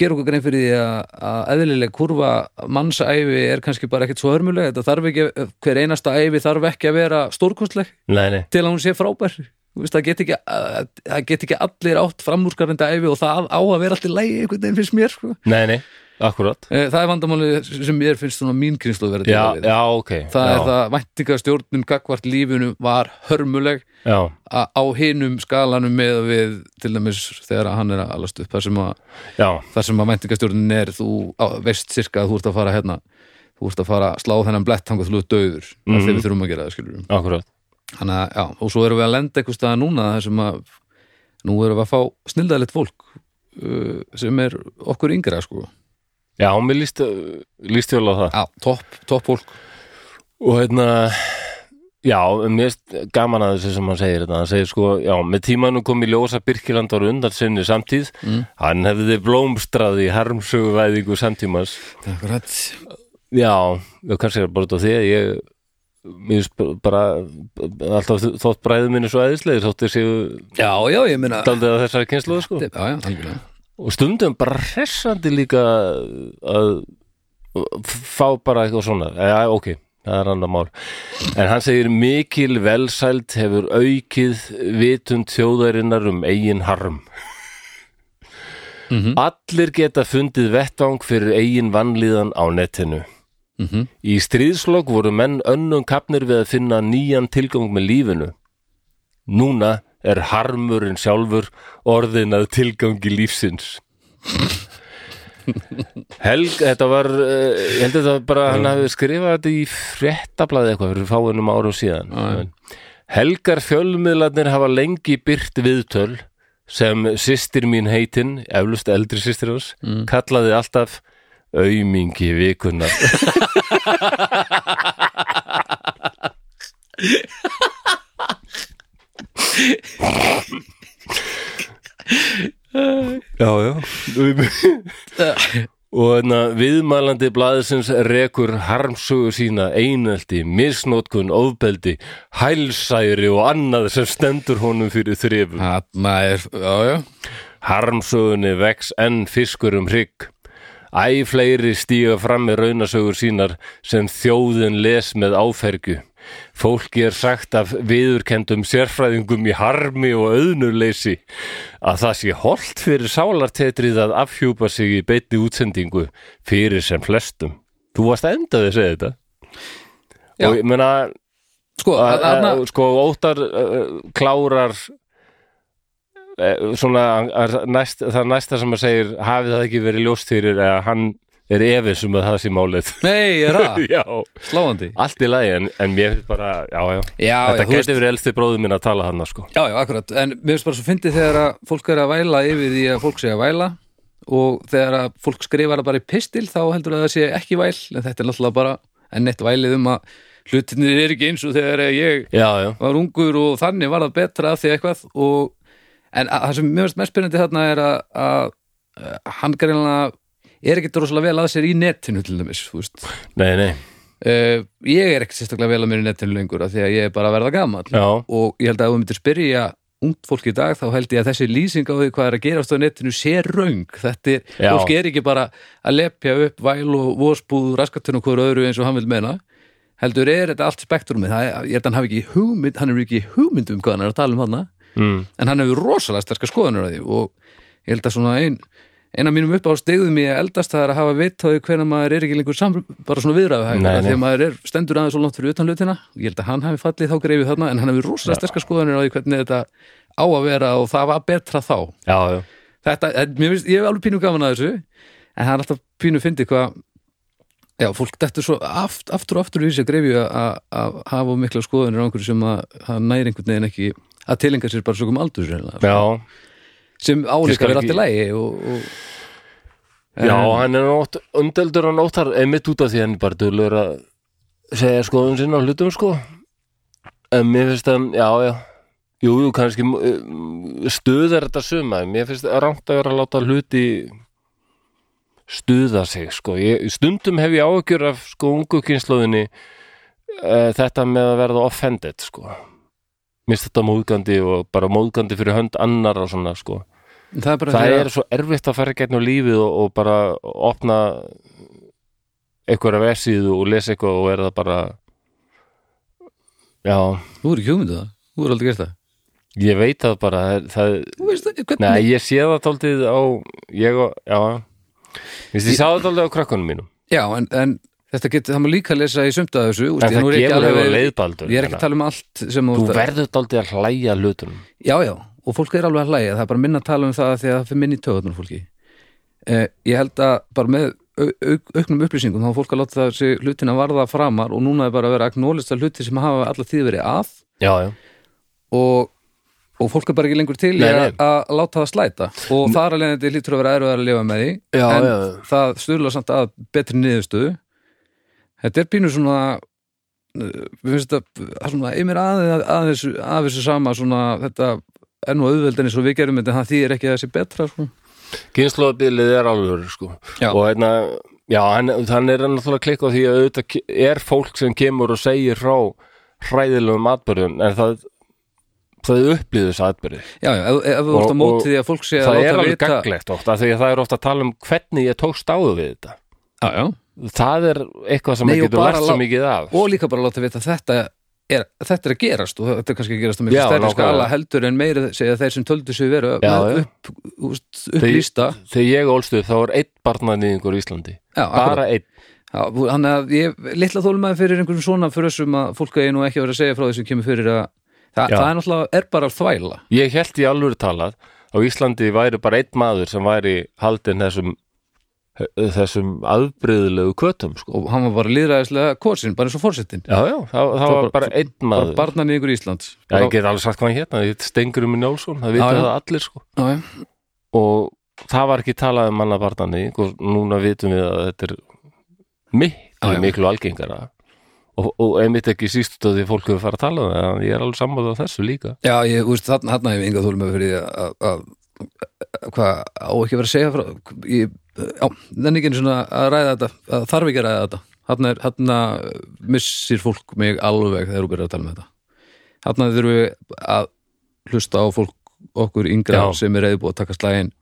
Speaker 2: gera okkur grein fyrir því að, að eðlileg kurva mannsæfi er kannski bara ekkit svo hörmuleg, þetta þarf ekki hver einasta æfi þarf ekki að vera stórkostleg
Speaker 1: nei, nei
Speaker 2: til að hún sé frábær Þú veist, það get ekki, að- það get ekki allir átt framúrskarandi æfi og það á að vera allt í lægi einhvern veginn finnst mér sko.
Speaker 1: nei, nei, akkurat
Speaker 2: Eh, Það er vandamálið sem mér finnst svona mín kynslu að vera til
Speaker 1: já,
Speaker 2: við.
Speaker 1: já, ok
Speaker 2: það
Speaker 1: já,
Speaker 2: er það að væntingastjórnum gagvart lífinu var hörmuleg
Speaker 1: já,
Speaker 2: að á hinum skalanum með að við til dæmis þegar hann er að alast upp þar sem að,
Speaker 1: já,
Speaker 2: þar sem að væntingastjórnin er þú á, veist sirka að þú ert að fara hérna þú ert að fara að slá þennan blett þangað þú ert döður mm
Speaker 1: Mhm.
Speaker 2: -hmm. þegar við þurfum að gera það skilur
Speaker 1: akkurat
Speaker 2: Þannig að, já, og svo erum við að lenda eitthvað staða núna þar sem að nú erum við að fá snildaðlegt fólk uh, sem er okkur yngra sko
Speaker 1: Já, mér líst, líst vel á það
Speaker 2: já, topp, topp fólk
Speaker 1: Og hérna Já, mér er gaman að þessu sem hann segir þetta, hann segir sko, já, með tímanum kom í ljósa Birkiland ára undan sinni samtíð
Speaker 2: Mm.
Speaker 1: hann hefði blómstraði harmsöguvæðingu samtímans
Speaker 2: Akkurat.
Speaker 1: Já, ég kannski er bara út af því að ég mér finnst bara alltaf þótt bræðum minni svo æðislega þótt þessi
Speaker 2: já, já, ég meina já,
Speaker 1: daldið að þessari kynsluðu sko
Speaker 2: já, algjörlega
Speaker 1: og stundum bara hressandi líka að fá bara eitthvað svona ja, ok, það er annar mál en hann segir mikil velsæld hefur aukið vitund þjóðarinnar um eigin harm allir geta fundið vettvang fyrir eigin vannlíðan á netinu
Speaker 2: Mhm.
Speaker 1: í stríðslokk voru menn önnum kapnir við að finna nýjan tilgang með lífinu núna er harmurinn sjálfur orðin að tilgangi lífsins Helg, þetta var eh, ég held að þetta var bara, hann hafi skrifað þetta í fréttablaði eitthvað fyrir fáinum árum síðan Helgar fjölmiðlarnir hafa lengi byrt viðtöl sem systir mín heitin, eflust eldri systir hans, kallaði alltaf aumingi vikunar Já, já Og hérna viðmælandi blaðisins rekur harmsögu sína einelti, misnótkun, ofbeldi, hælsæri og annað sem stendur honum fyrir þrifum.
Speaker 2: Þarna er, já, já
Speaker 1: Harmsögunni vex enn fiskur um hrygg. Æ fleiri stíga fram með raunasögur sínar sem þjóðin les með áfergju. Fólki er sagt af viðurkendum sérfræðingum í harmi og auðnuleysi að það sé holt fyrir sálartetrið að afhjúpa sig í beinni útsendingu fyrir sem flestum. Þú varst endað að segja þetta.
Speaker 2: Já.
Speaker 1: Og ég meina,
Speaker 2: sko,
Speaker 1: að, að,
Speaker 2: þarna,
Speaker 1: sko óttar uh, klárar uh, svona að, næst, það næsta sem að segir hafi það ekki verið ljóst fyrir eða hann er efins um að það sé málið
Speaker 2: nei, er það,
Speaker 1: já,
Speaker 2: sláandi
Speaker 1: allt í lagi en, en mér finnst bara, já, já,
Speaker 2: já, já,
Speaker 1: þetta
Speaker 2: þú veist
Speaker 1: geti verið elsti bróðum minn að tala hann sko.
Speaker 2: Já, já, akkurat, en mér finnst bara svo fyndið þegar að fólk er að væla yfir því að fólk sé að væla og þegar að fólk skrifar það bara í pistil þá heldur það að það sé ekki væl en þetta er náttúrulega bara enn eitt vælið um að hlutinir er ekki eins og þegar ég
Speaker 1: já, já,
Speaker 2: var ungur og þannig var það betra af því eitthvað og en að, það sem mér finnst mest spyrjandi þarna er að, að, að hann greinlega er ekkert rosalega vel að sér í netinu til dæmis, þú veist
Speaker 1: nei, nei
Speaker 2: Uh, ég er ekkert sérstaklega vel að mér í netinu lengur af því að ég er bara að verða gamall
Speaker 1: Já.
Speaker 2: og ég held að ef við myndir spyrja ungt fólk í dag þá held ég að þessi lýsing á því hvað er að gerast á netinu sé röng þetta er,
Speaker 1: Já.
Speaker 2: fólk er ekki bara að lepja upp væl og vósbúð, raskatun og hverju öðru eins og hann vil meina heldur er þetta allt spektrumið, það er, ég held að hann hafi ekki hugmynd, hann hefur ekki hugmynd um hvað hann er að tala um hann
Speaker 1: mm.
Speaker 2: en hann hefur rosalega sterkar skoðanur að því og ég held að svona ein ein af mínum upp á stegðum ég eldast það er að hafa veit á því hvenær maður er ekki lengur samr, bara svona viðræðu
Speaker 1: Nei,
Speaker 2: þegar
Speaker 1: nei.
Speaker 2: maður er stendur aðeins og langt fyrir utan hlutina ég held að hann hafi fallið þá greifið þarna en hann hefur rosalega sterkar skoðanur á því hvernig þetta á að vera og það var betra þá
Speaker 1: já, já,
Speaker 2: þetta, en mér finnst, ég hef alveg pínu gaman að þessu en það er alltaf pínu fyndið hvað já, fólk dettur svo aft, aftur og aftur í þessi að greifju að að hafa of mikla skoðunir á einhverju sem að, að næri einhvern veginn ekki að tilenga sér bara sögum aldur sennilega,
Speaker 1: já,
Speaker 2: sem
Speaker 1: Ég skal
Speaker 2: álíka verið
Speaker 1: ekki-
Speaker 2: allt í lægi og, og
Speaker 1: já hann er nótt, umdeldur hann óttar einmitt út af því hann er bara dölur að segja skoðun sinna á hlutum sko en mér finnst að, já, já jú, jú, kannski mm, stuðar þetta suma, en mér finnst rangt að vera að láta hluti stuða sig, sko ég, stundum hef ég áhugjur af, sko, ungu kynslóðinni uh, þetta með að verða offended, sko mist þetta móðgandi og bara móðgandi fyrir hönd annar og svona, sko
Speaker 2: það er bara
Speaker 1: það
Speaker 2: því
Speaker 1: er svo erfitt að fara gegn á lífið og, og bara opna einhverja versið og lesa eitthvað og er það bara já,
Speaker 2: að þú eru ekki hugmyndu það, þú eru aldrei gert það
Speaker 1: ég veit það bara það, það,
Speaker 2: þú veist það, hvernig
Speaker 1: nei, ég sé það tóltið á ég og, já Vist, ég sá það tóltið á krakkunum mínum
Speaker 2: já, en, en þetta getur, það má líka lesa í sumt að þessu, þú
Speaker 1: en
Speaker 2: ég, nú
Speaker 1: það
Speaker 2: er ég ekki
Speaker 1: gefur hefur
Speaker 2: alveg-
Speaker 1: leiðbaldur
Speaker 2: ég er ekki að tala um allt sem
Speaker 1: þú
Speaker 2: ert að-
Speaker 1: verður tóltið að hlæja að hlutunum
Speaker 2: Já, já, og fólk er alveg að hlæja það er bara minna að tala um það því að það fyrir minni í töðunar fólki eh, Ég held að bara með au, auk, auknum upplýsingum þá er fólk að láta þessi hlutina varða framar og núna er bara að vera agnólista hluti sem hafa alla tíð verið að
Speaker 1: já, já,
Speaker 2: og og fólk er bara ekki lengur til í
Speaker 1: Nei,
Speaker 2: að
Speaker 1: nei.
Speaker 2: að láta það slæta og þar alveg þetta lítur að vera erfiðar að lifa með því
Speaker 1: Já,
Speaker 2: en
Speaker 1: já.
Speaker 2: það stuðlar samt að betri niðurstöðu þetta er pínu svona uh, við finnst þetta það er svona yfir aðeins að þessu, að þessu sama svona þetta enn og auðveldin eins og við gerum þetta en það þýðir ekki að þessi betra sko.
Speaker 1: Kynnslóðabilið er alveg sko.
Speaker 2: Já.
Speaker 1: og hérna, já, hann, hann er náttúrulega klikk á því að auðvitað ke- er fólk sem kemur og segir frá hræðilegum atbyrðum en það það upplýður þess atbyrði
Speaker 2: já, já, ef, ef þú
Speaker 1: Og-
Speaker 2: ert að
Speaker 1: og
Speaker 2: móti því að fólk sé að
Speaker 1: það er
Speaker 2: láta
Speaker 1: alveg
Speaker 2: vita
Speaker 1: gaglegt ofta því að það er ofta að tala um hvernig ég tókst áðu við þetta
Speaker 2: já, já.
Speaker 1: það er eitthvað sem
Speaker 2: Nei,
Speaker 1: maður
Speaker 2: og
Speaker 1: getur
Speaker 2: bara
Speaker 1: lært svo
Speaker 2: lá-
Speaker 1: mikið af
Speaker 2: og líka bara láta vita að þetta er, þetta er að gerast og þetta er kannski að gerast á miklu
Speaker 1: Já,
Speaker 2: stærri
Speaker 1: nákvæmlega.
Speaker 2: skala heldur en meira segja þeir sem töldu sig veru
Speaker 1: Já,
Speaker 2: með
Speaker 1: já.
Speaker 2: upp, úst, upplýsta
Speaker 1: þegar ég ólst upp þá er einn barnanýðingur í Íslandi
Speaker 2: já,
Speaker 1: bara
Speaker 2: akkurat.
Speaker 1: einn
Speaker 2: já, þannig að ég litla þólmaði fyrir einhverjum svona fyrir þessum að fólk að ég nú ekki að vera að segja frá því sem kemur fyrir að Þa,
Speaker 1: Já.
Speaker 2: það er náttúrulega er bara þvæla
Speaker 1: ég held í alvöru talað á Íslandi væri bara einn maður sem væri haldin þessum þessum afbreyðilegu kötum sko.
Speaker 2: og hann var bara líðræðislega kosin, bara eins og fórsetin
Speaker 1: já, já, það, það var bara einn
Speaker 2: bara
Speaker 1: maður
Speaker 2: barnan í ykkur Íslands
Speaker 1: já, ég get alveg sagt hvað hann hérna, ég heit Stengurum í Njálsson það
Speaker 2: Já,
Speaker 1: vita
Speaker 2: já.
Speaker 1: það allir sko
Speaker 2: já, já.
Speaker 1: og það var ekki talað um annað barnani og núna vitum við að þetta er miklu,
Speaker 2: Já, já.
Speaker 1: miklu algengara og, og einmitt ekki síst út af því að fólk hefur farið að tala um það en ég er alveg sammáð á þessu líka
Speaker 2: Já, ég, þú veist, þarna, þarna hef ég enga þólum fyrir því að, að, að hvað á ekki að vera að segja frá ég, já, þenni ekki einu svona að ræða þetta að þarf ekki að ræða þetta þarna, er, þarna missir fólk mig alveg þegar þú byrjar að tala með þetta þarna þurfum við að hlusta á fólk okkur yngra
Speaker 1: Já.
Speaker 2: sem er reyðbúið að taka slægin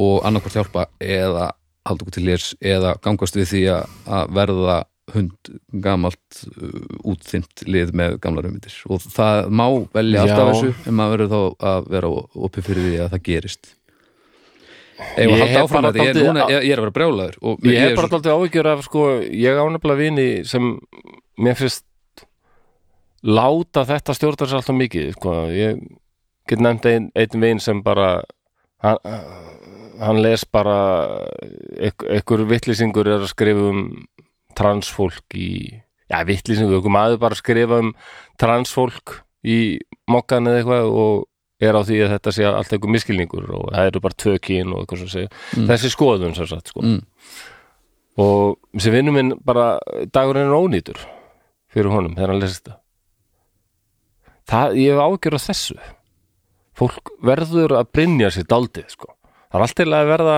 Speaker 2: og annarkvort hjálpa eða halda okkur til hérs eða gangast við því að, að verða hund gamalt uh, útþymt lið með gamla raumindir og það má velja allt
Speaker 1: Já.
Speaker 2: af þessu en maður verður þá að vera opið fyrir því að það gerist Ef
Speaker 1: Ég
Speaker 2: að halda
Speaker 1: hef
Speaker 2: áfram
Speaker 1: bara
Speaker 2: að þetta, ég, er
Speaker 1: dálítið
Speaker 2: núna,
Speaker 1: að-
Speaker 2: ég, ég er að vera brjálaður og
Speaker 1: ég hef
Speaker 2: er
Speaker 1: bara
Speaker 2: svo-
Speaker 1: alltaf áhyggjur af sko, ég ánefla vini sem mér finnst láta þetta stjórnar sér alltaf mikið sko. ég get nefnt ein, einn vin sem bara hann, hann les bara eik- einhver vittlýsingur er að skrifa um transfólk í já, vittlýsingur, einhver maður bara að skrifa um transfólk í mokkan eða eitthvað og er á því að þetta sé alltaf einhver miskilningur og það eru bara tvö kín og eitthvað sem segja
Speaker 2: Mm.
Speaker 1: þessi skoðun sem sagt sko
Speaker 2: mm,
Speaker 1: og sem vinnum minn bara dagurinn er ónýtur fyrir honum þegar hann lesist það það, ég hef ágjör á þessu fólk verður að brinja sér daldið sko, það er allt til að verða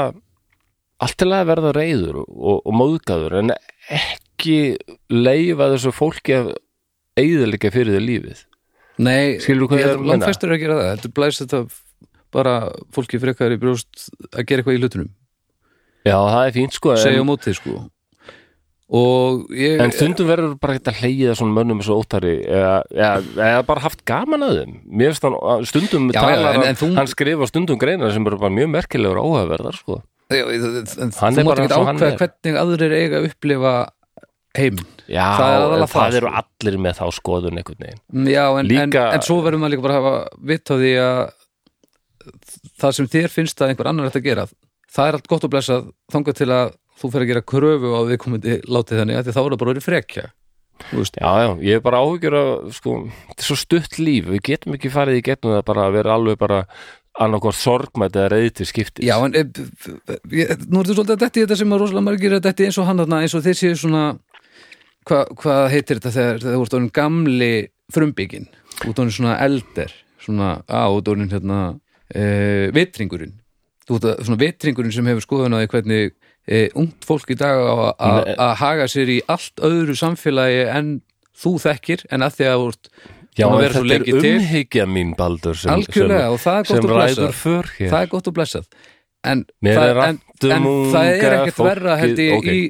Speaker 1: allt til að verða reyður og, og móðgæður en ekki leifa þessu fólki að eigðalega fyrir því lífið
Speaker 2: Nei,
Speaker 1: Skilurðu hvað ég er að meina?
Speaker 2: Langfæstur er að gera það, heldur blæst þetta bara fólki frekar í brjóst að gera eitthvað í hlutunum,
Speaker 1: já, það er fínt sko
Speaker 2: segja á
Speaker 1: en,
Speaker 2: mótið sko og ég
Speaker 1: en stundum verður bara ekkert að hleyja svona mönnum eins og óttari eða, eða, eða bara haft gaman að þeim mér finnst hann stundum
Speaker 2: Já,
Speaker 1: talar
Speaker 2: já, en-
Speaker 1: hann-
Speaker 2: en þú-
Speaker 1: hann skrifa stundum greinar sem eru bara mjög merkilegur og áhugaverðar sko.
Speaker 2: Já, en þú
Speaker 1: Hann er
Speaker 2: mátt
Speaker 1: bara
Speaker 2: ekki
Speaker 1: eins og hann
Speaker 2: ákveða
Speaker 1: er.
Speaker 2: hvernig aðrir eiga að upplifa heiminn
Speaker 1: já,
Speaker 2: Það er aðalega
Speaker 1: en
Speaker 2: það,
Speaker 1: það eru
Speaker 2: sko.
Speaker 1: allir með þá skoðun einhvern veginn
Speaker 2: Mm, Já, en,
Speaker 1: Líka-
Speaker 2: en, en svo verðum maður líka bara að hafa vitt á því að það sem þér finnst að einhver annar ætti að gera það er allt gott og blessað þangað til að þú fer að gera kröfu á því komandi látið þannig að því þá er það bara orðið frekja Þú veist,
Speaker 1: já, já, ég er bara áhugjur að sko, þetta er svo stutt líf, við getum ekki farið í getnum það bara að vera alveg bara annarkvort sorgmætt eða reyði til skiptis
Speaker 2: Já, en e, ég, nú er þetta svolítið að detti í þetta sem að rosalega margir að detti eins og hann þarna, eins og þeir séu svona hva, hvað heitir þetta þegar þegar þú ert orðin gamli frumbyggin út orðin svona elder svona, á, út orðin hérna e, vitringurinn þú ert að- svona vitringurinn sem hefur skoðun á því hvernig e, ungt fólk í dag á að- að
Speaker 1: Nei.
Speaker 2: að haga sér í allt öðru samfélagi en þú þekkir en að því að þú ert
Speaker 1: Já,
Speaker 2: búin að
Speaker 1: en
Speaker 2: vera svo
Speaker 1: þetta
Speaker 2: lengi
Speaker 1: er
Speaker 2: til
Speaker 1: umhyggja mín baldur sem, sem,
Speaker 2: algjörlega og það er
Speaker 1: sem
Speaker 2: gott og blessað
Speaker 1: ræður för hér
Speaker 2: það er gott og blessað en,
Speaker 1: Mér
Speaker 2: það,
Speaker 1: er
Speaker 2: en,
Speaker 1: annt um
Speaker 2: en það er
Speaker 1: unga
Speaker 2: ekkert
Speaker 1: fólkið-
Speaker 2: verra held ég
Speaker 1: ok,
Speaker 2: í,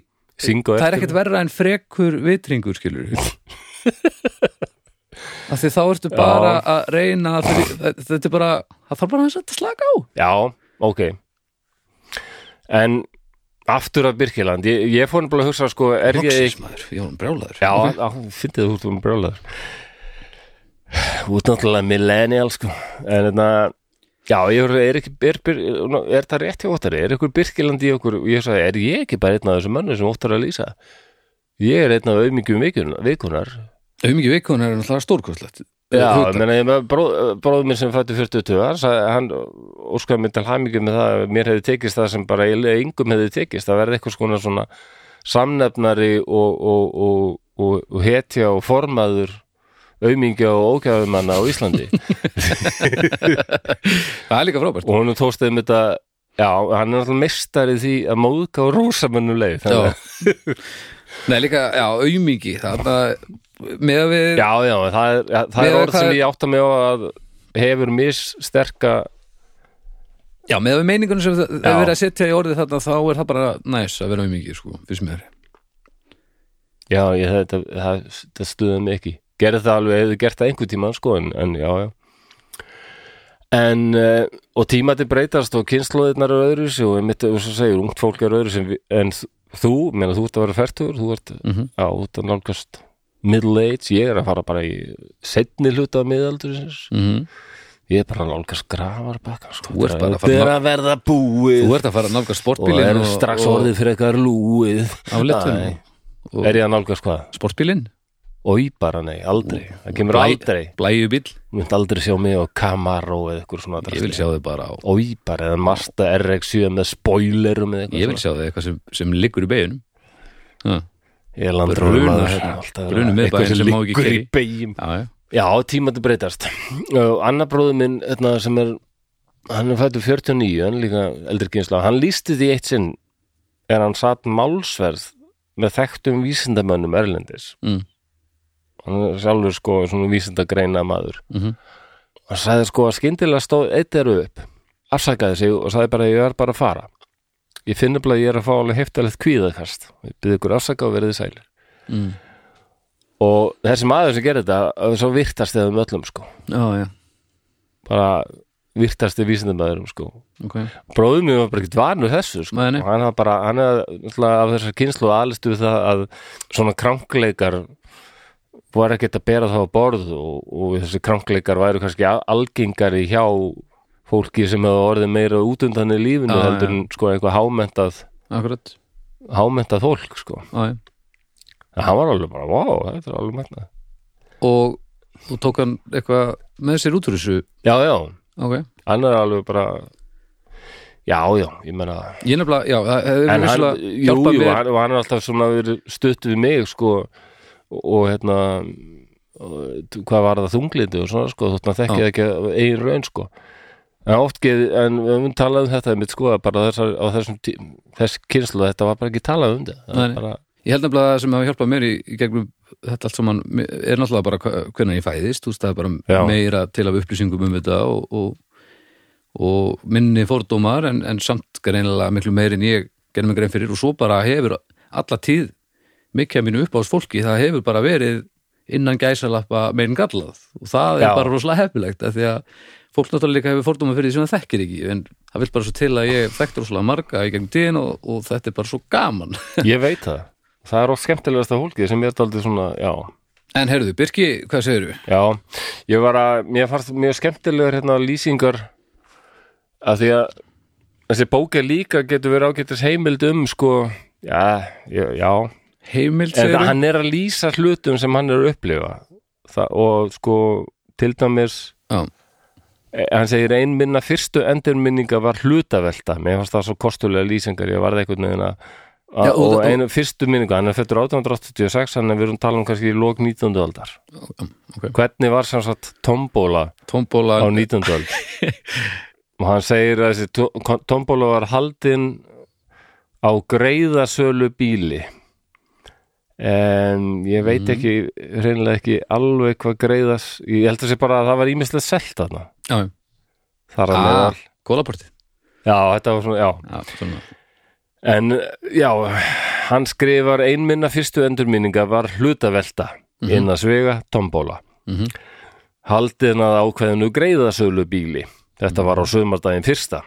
Speaker 1: Syngu
Speaker 2: það er
Speaker 1: eftir.
Speaker 2: ekkert verra en frekur vitringur skilur af því þá ertu bara að reyna að fyrir, þetta er bara það þarf bara aðeins að slaka á
Speaker 1: Já, ok En aftur að Birkiland, ég, ég fór bara að hugsa sko, er ég
Speaker 2: Loksins, maður, ég var brjálaður
Speaker 1: Já,
Speaker 2: Ok.
Speaker 1: okay. fyndið þú út um brjólaður Út náttúrulega millennial sko En þetta Já, ég er, er, ekki, er, er, er það rétt hjá óttari, er ykkur Birkiland í okkur ég sagði, er ég ekki bara einn af þessum mönnum sem óttari að lýsa ég er einn af auðmingjum vikunar
Speaker 2: auðmikið vikunar er náttúrulega stórkostlegt
Speaker 1: Já, ég
Speaker 2: hugtak.
Speaker 1: meina, ég meina bróð, bróð minn sem fættu 42 hann sagði- hann óskaði mér til hamingju með það að mér hefði tekist það sem bara eiginlega yngum hefði tekist, það verði eitthvað skona svona samnefnari og, og, og, og, og hetja og formaður aumingja og ókjáðumanna á Íslandi
Speaker 2: það er líka frábært
Speaker 1: og honum tókst þeim þetta já, hann er náttúrulega meistari í því að móðka og rosamönnuleg
Speaker 2: Já.
Speaker 1: já.
Speaker 2: Nei, líka, já, aumingi þarna, með að við
Speaker 1: já, já, það er, ja, það er
Speaker 2: Miðað við
Speaker 1: orð
Speaker 2: hvað
Speaker 1: sem
Speaker 2: er-
Speaker 1: ég átta mig á að hefur missterka
Speaker 2: Já, með að við meiningunum sem það
Speaker 1: Já.
Speaker 2: er verið að setja í orðið þarna þá er það bara næs að vera aumingi, sko, fyrst mér
Speaker 1: já, ég, þetta, það, það stuðið mig ekki gerði það alveg, hefði gert það einhvern tíma sko, en, en já, já en, eh, og tímati breytast og kynnslóðirnar eru öðruvísi og einmitt, og svo segir, ungt fólk eru öðruvísi en, við- en þú, meina þú ert að vera færtur þú ert
Speaker 2: mm -hmm.
Speaker 1: á út að nálgast middle age, ég er að fara bara í setni hluta af miðaldurisins
Speaker 2: Mhm.
Speaker 1: ég er bara að nálgast grafar bakka sko.
Speaker 2: Þú ert bara að
Speaker 1: Þetta
Speaker 2: fara-
Speaker 1: er að verða búið
Speaker 2: Þú ert að fara að hérna nálga
Speaker 1: og
Speaker 2: sportbílinn
Speaker 1: er strax orðið fyrir eitthvað lúið
Speaker 2: Afléttunum.
Speaker 1: Æ.
Speaker 2: Og-
Speaker 1: er ég að nálgast hvað?
Speaker 2: Sportbílinn,
Speaker 1: Ói bara nei, aldrei, það kemur
Speaker 2: Blæ-
Speaker 1: aldrei
Speaker 2: blæjubíl
Speaker 1: mynd aldrei sjá mig á Camaro eða eitthvað svona
Speaker 2: Ég vil sjá þau bara á
Speaker 1: Ói bara, eða Mazda RX-7 með spoilerum eða eitthvað
Speaker 2: Ég vil sjá þau eitthvað sem, sem liggur í beginum Já,
Speaker 1: Ég er landróður
Speaker 2: Brunar
Speaker 1: maður
Speaker 2: hérna.
Speaker 1: alltaf
Speaker 2: Brunar
Speaker 1: að-
Speaker 2: miðbæinn
Speaker 1: eitthvað
Speaker 2: sem má ekki
Speaker 1: liggur í
Speaker 2: keyra í.
Speaker 1: beigjum
Speaker 2: já, já
Speaker 1: Já, tímandi breytast uh, Anna bróður minn hérna, sem er hann er fættur 49, hann er líka eldri kynsla hann lísti því eitt sinn er hann satt málsverð með þekktum vísindamönnum Erlendis
Speaker 2: Mm.
Speaker 1: hann er sjálfur sko svona vísindagreina maður
Speaker 2: Mhm.
Speaker 1: hann sagði sko að skyndilega stóð eitt eru upp afsakaði sig og sagði bara ég er bara að fara ég finn nefnilega að ég er að fá alveg heftalegt kvíðakast ég byrði ykkur afsaka og verði sælir
Speaker 2: Mm.
Speaker 1: og þessi maður sem gerir þetta svo virtast eða um öllum sko
Speaker 2: Já, já,
Speaker 1: bara virtasti vísindamæðurum sko
Speaker 2: ok
Speaker 1: bróðum minn var bara ekkert vanur þessu sko.
Speaker 2: Nei, nei.
Speaker 1: Og hann var bara, hann er náttúrulega af þessar kynslu aðlistu við það að svona krankleikar voru ekkert að bera þá á borð og, og þessi krankleikar væru kannski al- algengari hjá fólki sem hefur orðið meira útundan í lífinu
Speaker 2: Já,
Speaker 1: heldur en sko eitthvað hámentað
Speaker 2: Akkurat,
Speaker 1: hámentað fólk sko
Speaker 2: já, já
Speaker 1: en hann var alveg bara, wow, þetta er alveg metnað
Speaker 2: Og þú tók hann eitthvað með sér út úr þessu
Speaker 1: já, já,
Speaker 2: Ok,
Speaker 1: hann er alveg bara já, já, ég meina það
Speaker 2: ég nefnilega, já, það hefur
Speaker 1: en hann,
Speaker 2: vissulega
Speaker 1: jú,
Speaker 2: hjálpað
Speaker 1: jú,
Speaker 2: mér-
Speaker 1: hann, og hann er alltaf svona verið stutt við mig sko og, og hérna og, t- hvað var það þunglindi og svona sko þótt maður þekkið ekki af eigin raun sko en oft geði, en við höfum talað um þetta mitt sko að bara þessar, á þessum tí- þess kynslu þetta var bara ekki talað um þetta
Speaker 2: Nei, nei.
Speaker 1: bara,
Speaker 2: Ég held nefnilega að það sem hefur hjálpað mér í, í gegnum þetta allt saman mér- er náttúrulega bara hva- hvernig ég fæðist, þú veist það er bara
Speaker 1: Já.
Speaker 2: meira til af upplýsingum um þetta og, og, og minni fordómar en, en samt greinilega miklu meir en ég gerði mig grein fyrir og svo bara hefur alla tíð mikið af mínu uppáðs fólki, það hefur bara verið innan gæsalappa meginn gallað og það er
Speaker 1: Já.
Speaker 2: bara rosalega heppilegt af því að fólk náttúrulega líka hefur fordóma fyrir því sem það þekkir ekki en það vil bara svo til að ég þekkti rosalega marga í gegn tíðin og, og þetta er bara svo gaman
Speaker 1: ég veit það það er oft skemmtilegasta hólkið sem ég er aldrei svona já,
Speaker 2: En heyrðu, Birki, hvað segirðu?
Speaker 1: Já, ég var að, mér fannst mjög skemmtilegur hérna lýsingar að því að þessi bók er líka getur verið ágættis heimild um sko, já, já, já.
Speaker 2: Heimild,
Speaker 1: en
Speaker 2: segirðu?
Speaker 1: hann er að lýsa hlutum sem hann er að upplifa Þa, og sko, til dæmis
Speaker 2: Já,
Speaker 1: eh, hann segir ein minna fyrstu endurminninga var hlutavelta, mér fannst það svo kostulega lýsingar, ég varði einhvern veginn að
Speaker 2: Já, og
Speaker 1: og
Speaker 2: þetta-
Speaker 1: einu fyrstu minninga, hann er fættur 1886 hann er við erum talað um kannski í lók 19. aldar
Speaker 2: ok.
Speaker 1: hvernig var sem sagt tombóla
Speaker 2: Tómbóla,
Speaker 1: á 19. öld og hann segir að þessi to- kon- tombola var haldin á greiðasölu bíli en ég
Speaker 2: Mhm.
Speaker 1: veit ekki reynilega ekki alveg hvað greiðas ég held að sé bara að það var ímislega selt þarna
Speaker 2: já, já.
Speaker 1: þar að ah.
Speaker 2: Ah,
Speaker 1: meðal
Speaker 2: kólaportið
Speaker 1: já, þetta var svona, já
Speaker 2: Já, svona
Speaker 1: En já, hann skrifar einminna fyrstu endurminninga var hlutavelta mm -hmm. innan svega tombóla.
Speaker 2: Mhm.
Speaker 1: Haldin að ákveðinu greiðasölu bíli. Þetta var á sömardaginn fyrsta.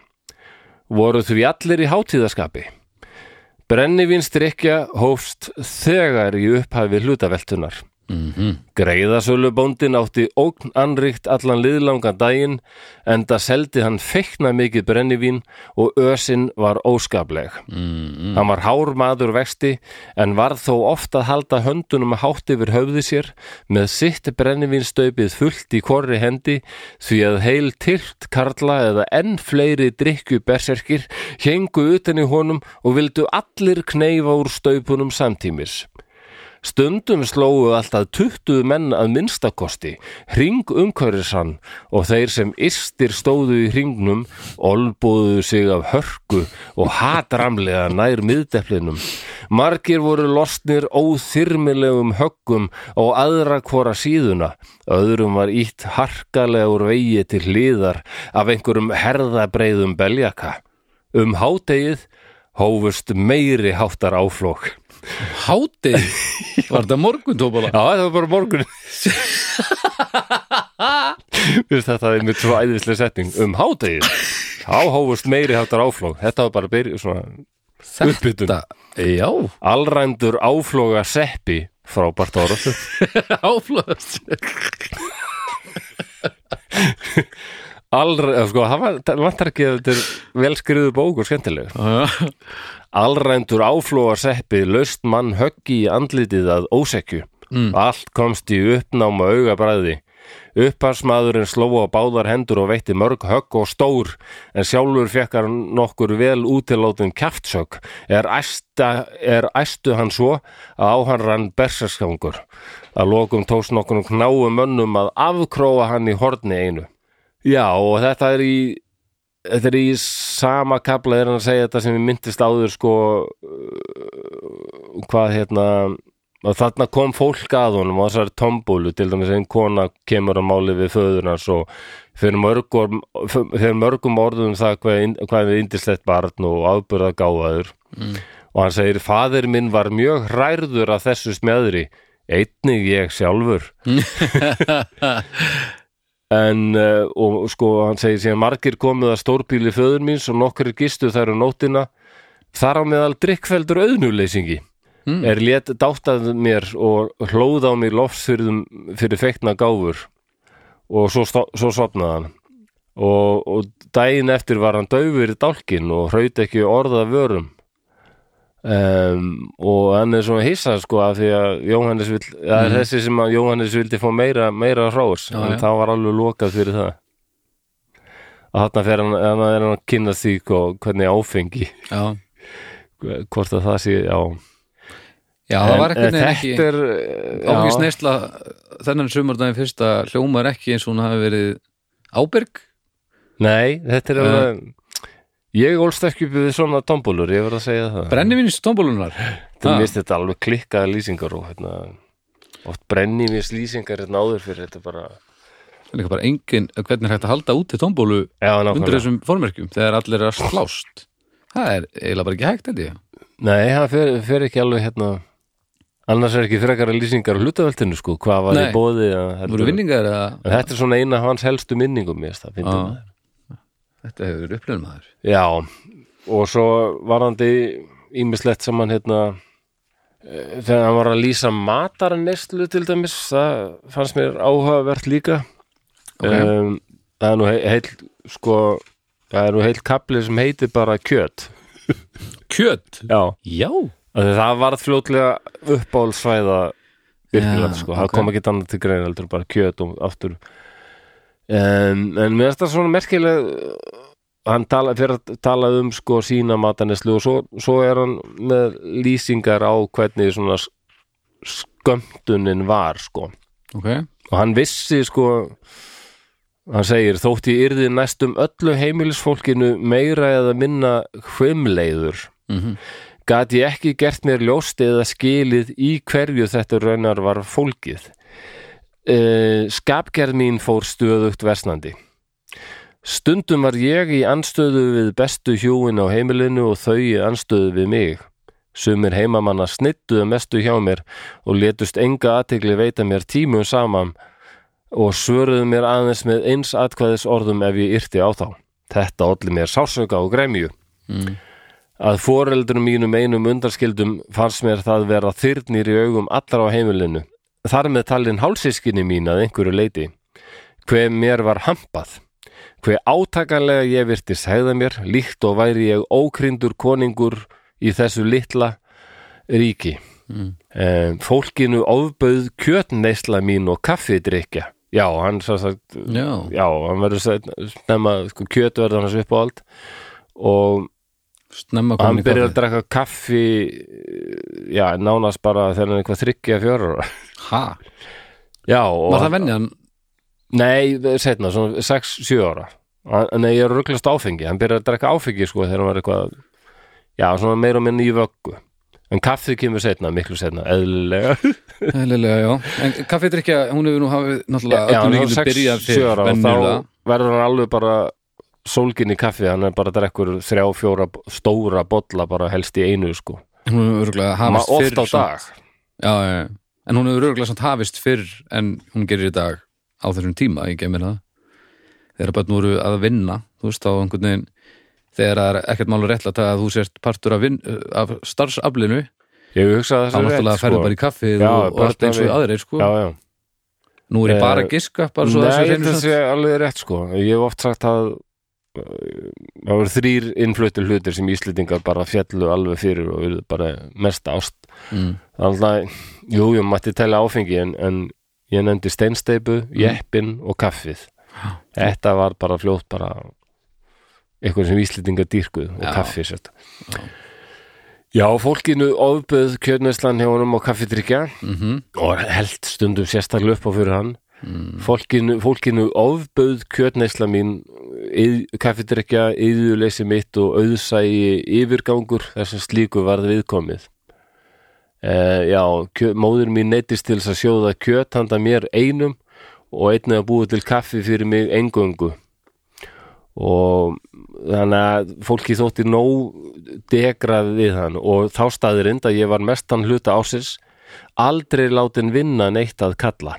Speaker 1: Voru því allir í hátíðaskapi. Brennivín strikja hófst þegar í upphafi hlutaveltunar.
Speaker 2: mhm.
Speaker 1: Greiðasölubóndin átti ógn anrikt allan liðlangan daginn en það seldi hann feikna mikið brennivín og ösin var óskapleg. Hann var hár maður vexti en varð þó oft að halda höndunum hátt yfir höfði sér með sitt brennivínstaupið fullt í korri hendi því að heil tilt karla eða enn fleiri drikku berserkir hengu utan í honum og vildu allir kneifa úr staupunum samtímis. Stundum slóu alltaf 20 menn að minnstakosti, hring umhverfis hann og þeir sem ystir stóðu í hringnum olbúðu sig af hörku og hatramlega nær miðdeplinum. Margir voru losnir óþyrmilegum höggum og aðra hvora síðuna. Öðrum var ítt harkalega úr vegi til hliðar af einhverjum herðabreiðum beljaka. Um hádegið hófust meiri háttar áflokk.
Speaker 2: Hátið, var þetta morgun
Speaker 1: Já,
Speaker 2: tóbala?
Speaker 1: það var bara morgun Vist þetta er mjög svo æðislega setning um hátegið Þá hófust meiri hátar áflóg Þetta var bara byrju svona uppbytun
Speaker 2: Já,
Speaker 1: Alrændur áflóga seppi frábært orð
Speaker 2: áflöðast
Speaker 1: Alr, eh, sko, það var- það vantar ekki að þetta er velskriðu bók og skemmtileg Alrændur áflóa seppi laust mann höggi í andlitið að ósekju. Allt komst í uppnáma augabræði. Upparsmaðurinn sló á báðar hendur og veitti mörg högg og stór en sjálfur fekkar nokkur vel útilótum kjaftsögg er, æsta, er æstu hann svo að á hann rann bersaskangur að lokum tóst nokkur knáum mönnum að afkróa hann í horni einu Já og þetta er í þetta er í sama kapla er hann að segja þetta sem ég myndist áður sko uh, hvað hérna að þarna kom fólk að honum og þessari tombúlu til dæmis einn kona kemur á máli við föður hans og fyrir mörgum, fyrir mörgum orðum um það hvað, er- hvað er indislegt barn og afbyrða gáðaður og hann segir faðir minn var mjög hrærður að þessu smjöðri einnig ég sjálfur en uh, og sko hann segir síðan margir komið að stórbíli föður mín og nokkur gistu þær um nótina þar á meðal drikkfeldur auðnuleysingi
Speaker 2: Hmm.
Speaker 1: er létt dáttað mér og hlóð á mér loftsfyrðum fyrir feikna gáfur og svo, sto- svo sopnaði hann og, og daginn eftir var hann daufur í dálkin og hraut ekki orða vörum um, og hann er svona hissað sko af því að Jóhannes vill, það er þessi sem að Jóhannes vildi fá meira, meira hrós
Speaker 2: Mhm. Já,
Speaker 1: en
Speaker 2: já.
Speaker 1: það var alveg lokað fyrir það að þarna fer hann, hann er hann að kynna því hvað- hvernig áfengi
Speaker 2: Já,
Speaker 1: hvort að það sé, já
Speaker 2: já það var ekkert
Speaker 1: en, en
Speaker 2: neina
Speaker 1: þetta
Speaker 2: ekki
Speaker 1: er
Speaker 2: Ángist
Speaker 1: já,
Speaker 2: neysla þennan sumardaginn fyrsta hljómar ekki eins og hún hafi verið ábyrg
Speaker 1: Nei, þetta er
Speaker 2: Eh.
Speaker 1: alveg Ég ólst ekki upp við svona tombólur, ég verð að segja það
Speaker 2: Brennivinns tómbólunar
Speaker 1: Þetta
Speaker 2: Ah.
Speaker 1: er mist þetta alveg klikkaða lýsingar og hérna oft brenni mér lýsingar hérna áður fyrir þetta bara
Speaker 2: Það er líka bara engin, hvernig er hægt að halda úti tómbólu
Speaker 1: Já,
Speaker 2: undir
Speaker 1: nákvæmlega
Speaker 2: þessum formerkjum þegar allir er að slást Það er eiginlega bara ekki hægt, held ég
Speaker 1: Nei, það fer, fer ekki alveg hérna annars er ekki frekara lýsingar á hlutaveltinu sko, hvað var
Speaker 2: Nei.
Speaker 1: í bóði að,
Speaker 2: Voru
Speaker 1: þetta,
Speaker 2: vinningar eða
Speaker 1: En þetta er svona eina af hans helstu minningum mér, það finnum
Speaker 2: Já. Þetta hefur verið upplifnum aður
Speaker 1: Já, og svo varandi ímislegt sem hann hérna eh, þegar hann var að lýsa matarneslu til dæmis, það fannst mér áhugavert líka
Speaker 2: Ok.
Speaker 1: um, Það er nú heil, heil sko, það er nú heil kapli sem heitir bara kjöt
Speaker 2: Kjöt?
Speaker 1: Já,
Speaker 2: Já
Speaker 1: af því það varð fljótlega uppbálsvæða virkilega,
Speaker 2: Já,
Speaker 1: sko, það
Speaker 2: ok.
Speaker 1: kom ekki annað til grein heldur, bara kjöt og aftur en, en mér finnst það svona merkileg hann tala, fyrir að tala um sko sína mataneslu og svo, svo er hann með lýsingar á hvernig svona s- skömmtunin var sko
Speaker 2: Ok
Speaker 1: og hann vissi sko hann segir þótt ég yrði næstum öllu heimilisfólkinu meira eða minna hvimleiður
Speaker 2: mm
Speaker 1: gat ég ekki gert mér ljóst eða skilið í hverju þetta raunar var fólkið. Uh, skapgerð mín fór stöðugt versnandi. Stundum var ég í anstöðu við bestu hjúin á heimilinu og þau í anstöðu við mig. Sumir heimamanna snittuðu mestu hjá mér og letust enga aðtegli veita mér tímum saman og svöruðu mér aðeins með eins atkvæðis orðum ef ég yrti á þá. Þetta olli mér sásauka og gremju.
Speaker 2: Mm.
Speaker 1: Að foreldur mínum einum undarskildum fannst mér það vera þyrnir í augum allra á heimilinu. þar með talin hálsískinni mín að einhverju leiti, hver mér var hampað, hver átakanlega ég virtist hegða mér, líkt og væri ég ókrindur koningur í þessu litla ríki. Mm. Fólkinu ofbauð kjötneisla mín og kaffidrykja. Já, hann svo sagt,
Speaker 2: já,
Speaker 1: já, hann verður seinna- snemma, sko, kjöt verður hans upp á allt og
Speaker 2: snemma
Speaker 1: hann
Speaker 2: komin í
Speaker 1: byrjar að
Speaker 2: kaffi
Speaker 1: drakka kaffi eh, já, nánast bara þegar hann er eitthvað þryggja fjórar
Speaker 2: ha,
Speaker 1: já, og
Speaker 2: var það vennjan
Speaker 1: nei, setna, svona 6-7 ára Hann- nei, ég er rugglast áfengi hann byrjar að drakka áfengi sko þegar hann var eitthvað já, svona meira og minni í vöggu en kaffi kemur setna, miklu setna eðlilega,
Speaker 2: Eðlilega, já. En kaffetrykja, hún hefur nú hafið náttúrulega
Speaker 1: já,
Speaker 2: öllum
Speaker 1: hann var
Speaker 2: líkindum byrjað
Speaker 1: 6-7
Speaker 2: fyrr
Speaker 1: ára og þá
Speaker 2: venjulega.
Speaker 1: verður hann alveg bara sólginn í kaffi, hann er bara að drekkur þrjá, fjóra, stóra bolla bara helst í einu sko,
Speaker 2: Hún hefur örgulega
Speaker 1: Ma,
Speaker 2: hafist
Speaker 1: oft
Speaker 2: fyrr.
Speaker 1: á
Speaker 2: samt-
Speaker 1: dag
Speaker 2: Já, já, já. En hún hefur örgulega samt hafist fyrr en hún gerir í dag á þessum tíma, ég gemir það. Þegar bara nú eru að vinna, þú veist, á einhvern veginn, þegar það er ekkert mála réttlæta að þú sért partur af, vin, af starfsaflinu,
Speaker 1: ég hugsa þessu
Speaker 2: þá náttúrulega ferðu bara í kaffið
Speaker 1: Já,
Speaker 2: og, og
Speaker 1: bara
Speaker 2: allt eins og
Speaker 1: við-
Speaker 2: aðrir, sko.
Speaker 1: sko. já, já.
Speaker 2: Nú er ég bara
Speaker 1: Eh,
Speaker 2: að giska, bara svo
Speaker 1: Nei,
Speaker 2: þessu
Speaker 1: þetta
Speaker 2: reynir
Speaker 1: sé alveg rétt sko Ég hef oft sagt að uh, það voru þrýr innflutur hlutir sem Íslendingar bara fjallu alveg fyrir og eru bara mest ást
Speaker 2: Mm.
Speaker 1: Alltaf, jú, ég mætti tella áfengi en, en ég nefndi steinsteipu,
Speaker 2: Mm.
Speaker 1: jeppin og kaffið Þetta var bara fljótt bara eitthvað sem Íslendingar dýrkuð og
Speaker 2: Já.
Speaker 1: kaffi sett Já, fólkinu ofböð kjörnæslan hjá honum og kaffidrykja
Speaker 2: Mhm.
Speaker 1: og held stundum sérstaklega upp á fyrir hann fólkinu, fólkinu ofbauð kjötneisla mín yð, kaffidrykja, yðuleysi mitt og auðsægi yfirgangur þar sem slíku varð viðkomið uh, já, kjö, móður mín neytist til þess að sjóða kjöt handa mér einum og einnig að búa til kaffi fyrir mig engöngu og þannig að fólki þótti nóg degrað við hann og þá staðirind að ég var mestan hluta ásins aldrei látin vinna neitt að kalla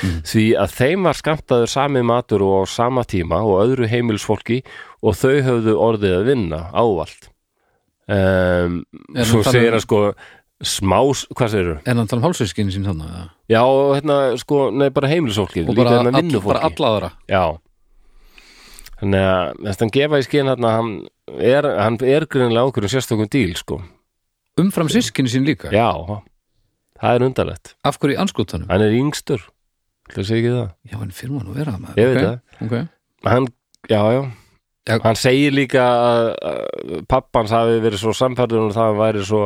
Speaker 2: Mm.
Speaker 1: því að þeim var skamtaður sami matur og á sama tíma og öðru heimilsfólki og þau höfðu orðið að vinna ávallt um,
Speaker 2: Er
Speaker 1: svo
Speaker 2: hann talað
Speaker 1: segir
Speaker 2: um-
Speaker 1: hann sko smá, hvað segirðu?
Speaker 2: En hann tala um hálsveiskinni sín þannig, já.
Speaker 1: Já, og hérna, sko, nei, bara heimilisfólki líka
Speaker 2: og bara,
Speaker 1: hérna
Speaker 2: all, bara
Speaker 1: vinnufólki
Speaker 2: alla aðra
Speaker 1: Já Þannig að þess að hann gefa í skinn hérna að hann er, hann er grunlega okkur um sérstökum díl, sko
Speaker 2: umfram sískinni sín líka,
Speaker 1: Já, það er undarlegt
Speaker 2: af hverju í anskotanum
Speaker 1: Hann er yngstur, það segir ekki það
Speaker 2: já, en fyrir maður að vera það maður
Speaker 1: Ég veit
Speaker 2: það okay.
Speaker 1: Hann, já, já
Speaker 2: Já.
Speaker 1: Hann segir líka að, að pappans hafi verið svo samferður og það að hann væri svo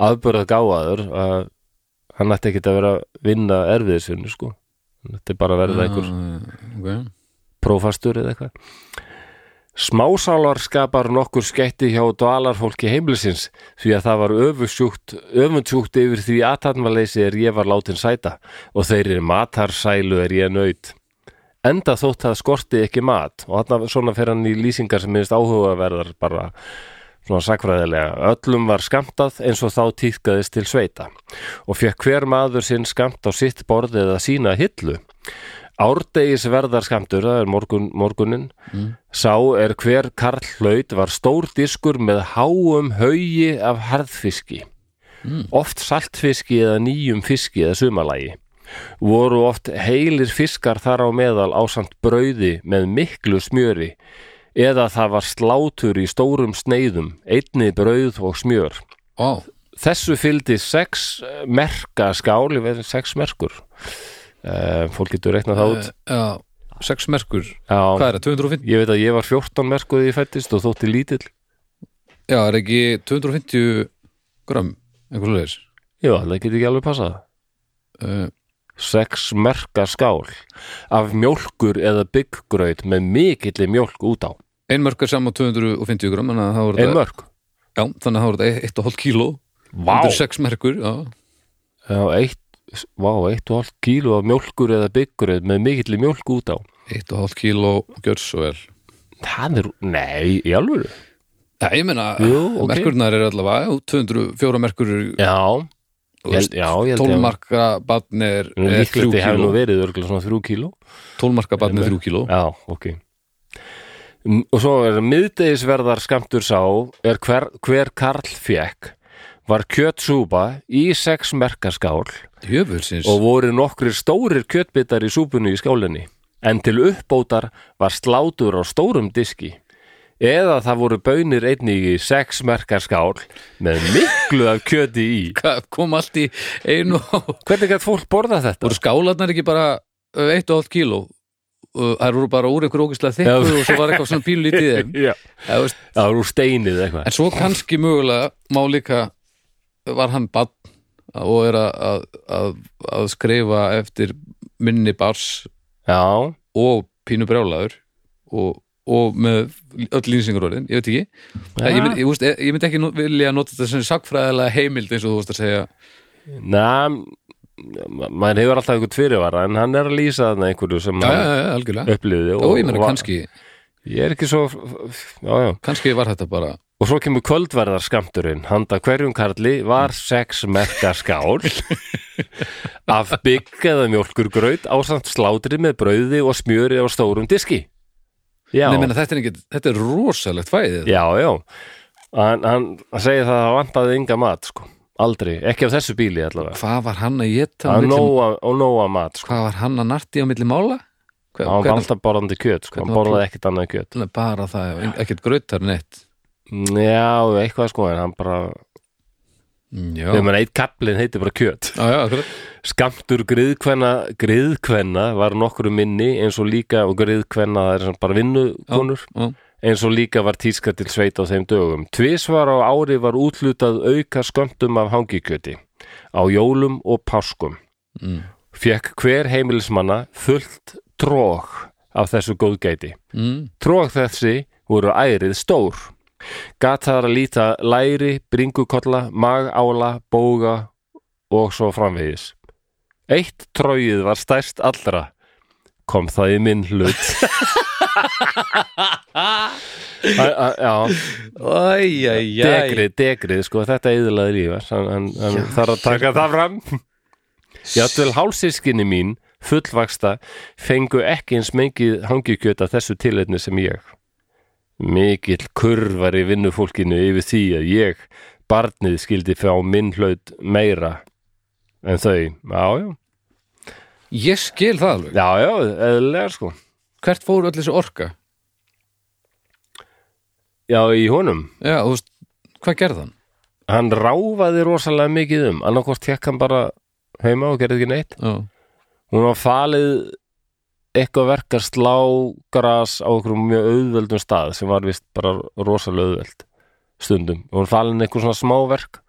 Speaker 1: aðbörða gáðaður að hann ætti ekki að vera að vinna erfiðisvinnu, sko Hann ætti bara að
Speaker 2: Ah.
Speaker 1: verða einhver
Speaker 2: okay.
Speaker 1: prófastur eða eitthvað Smásálar skapar nokkur skeitti hjá dvalarfólki heimlisins því að það var öfundsjúkt, öfundsjúkt yfir því aðtatnvaleysi er ég var látin sæta og þeir eru matarsælu er ég nöyt. Enda þótt það skorti ekki mat og þarna svona fer hann í lýsingar sem minnst áhugaverðar bara svona sakfræðilega. Öllum var skamtað eins og þá týðkaðist til sveita og fekk hver maður sinn skamt á sitt borð eða sína hillu. Árdegis verðarskamtur, það er morgun, morgunin, sá er hver karl hlaut var stór diskur með háum haugi af harðfiski, oft saltfiski eða nýjum fiski eða sumalagi. Voru oft heilir fiskar þar á meðal ásamt brauði með miklu smjöri eða það var slátur í stórum sneiðum, einni brauð og smjör
Speaker 2: wow.
Speaker 1: þessu fylgdi sex eh, merka skál, ég veit, sex merkur uh, fólk getur reiknað það út
Speaker 2: Eh, já, sex merkur hvað
Speaker 1: já,
Speaker 2: er það, 250
Speaker 1: ég veit að ég var 14 merkur þegar ég fættist og þótti lítill
Speaker 2: já, er ekki 250 gram einhver leðis
Speaker 1: já, það getur ekki alveg passað
Speaker 2: uh,
Speaker 1: sex merka skál af mjólkur eða bygggraut með mikilli mjólk út á
Speaker 2: ein mörk er saman 250 gram þannig að það voru
Speaker 1: ein
Speaker 2: þetta-
Speaker 1: mörk,
Speaker 2: já, þannig að það voru þetta eitt og hálf kíló
Speaker 1: vá
Speaker 2: þetta er sex merkur, já
Speaker 1: já, eitt, vá, eitt og hálf kílu af mjólkur eða bygggraut með mikilli mjólk út á
Speaker 2: eitt og hálf kíló, gjör svo vel
Speaker 1: það er, nei, í alvöru
Speaker 2: já, ég meina,
Speaker 1: Jú, ok.
Speaker 2: merkurnar eru allavega já, 204 merkur eru,
Speaker 1: já, Ég
Speaker 2: þú
Speaker 1: held-
Speaker 2: veist,
Speaker 1: já, ég held
Speaker 2: 12
Speaker 1: ég-
Speaker 2: marka batn er, er 3
Speaker 1: líklegt ég hef
Speaker 2: kíló
Speaker 1: nú verið örgulega svona þrjú kíló
Speaker 2: 12 marka barn með 3 kíló
Speaker 1: Já, ok Mm, M- Og svo er miðdegisverðar skamtur sá er hver, hver karl fekk var kjötsúpa í sex merkaskál
Speaker 2: Jöfulsins
Speaker 1: og voru nokkrir stórir kjötbitar í súpunni í skálinni en til uppbótar var slátur á stórum diski eða það voru bönir einni í sex merkaskál með miklu af kjöti í
Speaker 2: Hvað kom allt í einu og
Speaker 1: Hvernig gætt fólk borða þetta?
Speaker 2: voru skálarnar ekki bara uh, eitt og hálft kíló Uh, þær voru bara úr einhver ógislega
Speaker 1: Já.
Speaker 2: þykku og svo var eitthvað svona pínlítið í þeim
Speaker 1: Já,
Speaker 2: Það veist,
Speaker 1: það voru steinið eitthvað
Speaker 2: en svo kannski mögulega má líka var hann bann og er að, að, að, að skrifa eftir minni bars
Speaker 1: Já,
Speaker 2: og pínu brjálaður og, og með öll lýsingurorðin, ég veit ekki ja. ég, mynd, ég, veist, ég myndi ekki no- vilja nota þetta sem sakfræðilega heimild eins og þú veist að segja
Speaker 1: na ma- maður hefur alltaf einhvern fyrirvara en hann er að lýsa þarna einhverju sem
Speaker 2: Já, já,
Speaker 1: hann
Speaker 2: já, já, algjörlega
Speaker 1: upplifði
Speaker 2: og ég meina
Speaker 1: var-
Speaker 2: kannski,
Speaker 1: Ég er ekki svo já, já.
Speaker 2: kannski var þetta bara
Speaker 1: Og svo kemur kvöldverðarskamturinn handa hverjum karli var sex merka skál af bygg eða mjólkurgraut ásamt slátri með brauði og smjöri á stórum diski Já,
Speaker 2: Nei, meina, þetta, er ekki, þetta er rosalegt fæðið
Speaker 1: já, já Hann, hann segir það að hann vantaði ynga mat sko. aldrei, ekki af þessu bíli allavega
Speaker 2: Hvað var hann að geta
Speaker 1: að nóa, og nóa mat sko.
Speaker 2: Hvað var hann að narti á milli mála? Hva,
Speaker 1: hann var alltaf borðandi kjöt sko. hann
Speaker 2: hvernig var
Speaker 1: borðaði ekkert annað en kjöt
Speaker 2: Nei, bara það, já, ekkert grautar neitt
Speaker 1: Já, eitthvað sko, en hann bara
Speaker 2: Mm, Já,
Speaker 1: þegar maður eitt kaplinn heitir bara kjöt
Speaker 2: já, já, akkurat.
Speaker 1: Skamtur griðkvenna, griðkvenna var nokkru minni eins og líka og griðkvenna það er sem bara vinnukonur
Speaker 2: já.
Speaker 1: eins og líka var tíska til sveit á þeim dögum. Tvisvar á ári var útlutað auka skömmtum af hangikjöti á jólum og páskum.
Speaker 2: Mm.
Speaker 1: Fekk hver heimilismanna fullt trók af þessu góðgæti.
Speaker 2: Mm.
Speaker 1: Trók þessi voru ærið stór. Gat þar að líta læri, bringukolla, magála, bóga og svo framvegis. Eitt tróið var stærst allra. Kom það í minn hlut. Æ, æ, Já,
Speaker 2: Æjæjæj
Speaker 1: degrið, degrið, sko, þetta eðlaði lífar. Hann, hann, hann þarf að taka það fram. Játvel hálsískinni mín, fullvaksta, fengu ekki eins mengið hangikjöt af þessu tilefni sem ég. Mikill kurvar í vinnufólkinu yfir því að ég, barnið, skildi fá minn hlaut meira en þau. Já, já,
Speaker 2: Ég skil það alveg
Speaker 1: já, já, eðlilega sko.
Speaker 2: Hvert fór öll þessi orka?
Speaker 1: Já, í honum.
Speaker 2: Já, þú veist, hvað gerði hann?
Speaker 1: Hann ráfaði rosalega mikið um, annarkort tekk hann bara heima og gerði ekki neitt.
Speaker 2: Já,
Speaker 1: Hún var falið eitthvað verk að slá gras á einhverjum mjög auðveldum stað sem var vist bara rosalega auðveld stundum. Hún var falin eitthvað svona smáverk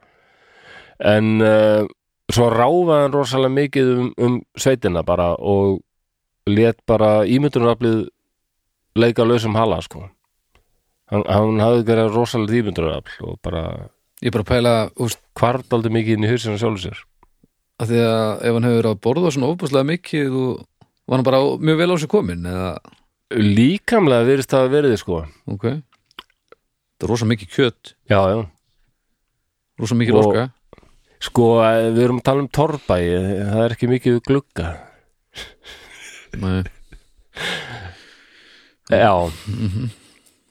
Speaker 1: en uh, svo ráfaði hann rosalega mikið um, um sveitina bara og let bara ímyndunaraflið leika lausum hala sko. Hann, hann hafði gerað rosalega ímyndunarafl og bara
Speaker 2: ég bara pæla, þú veist,
Speaker 1: hvarf aldrei mikið inn í hursinu sjálfur sér.
Speaker 2: að því að ef hann hefur verið að borða svona ofbúslega mikið og var hann bara á- mjög vel á sig komin eða,
Speaker 1: Líkamlega virðist það að verið sko.
Speaker 2: ok Það er rosa mikið kjöt,
Speaker 1: Já, já.
Speaker 2: rosa mikið
Speaker 1: Og-
Speaker 2: orka
Speaker 1: Sko, við erum að tala um torrbæi, það er ekki mikið við glugga.
Speaker 2: Nei,
Speaker 1: Já,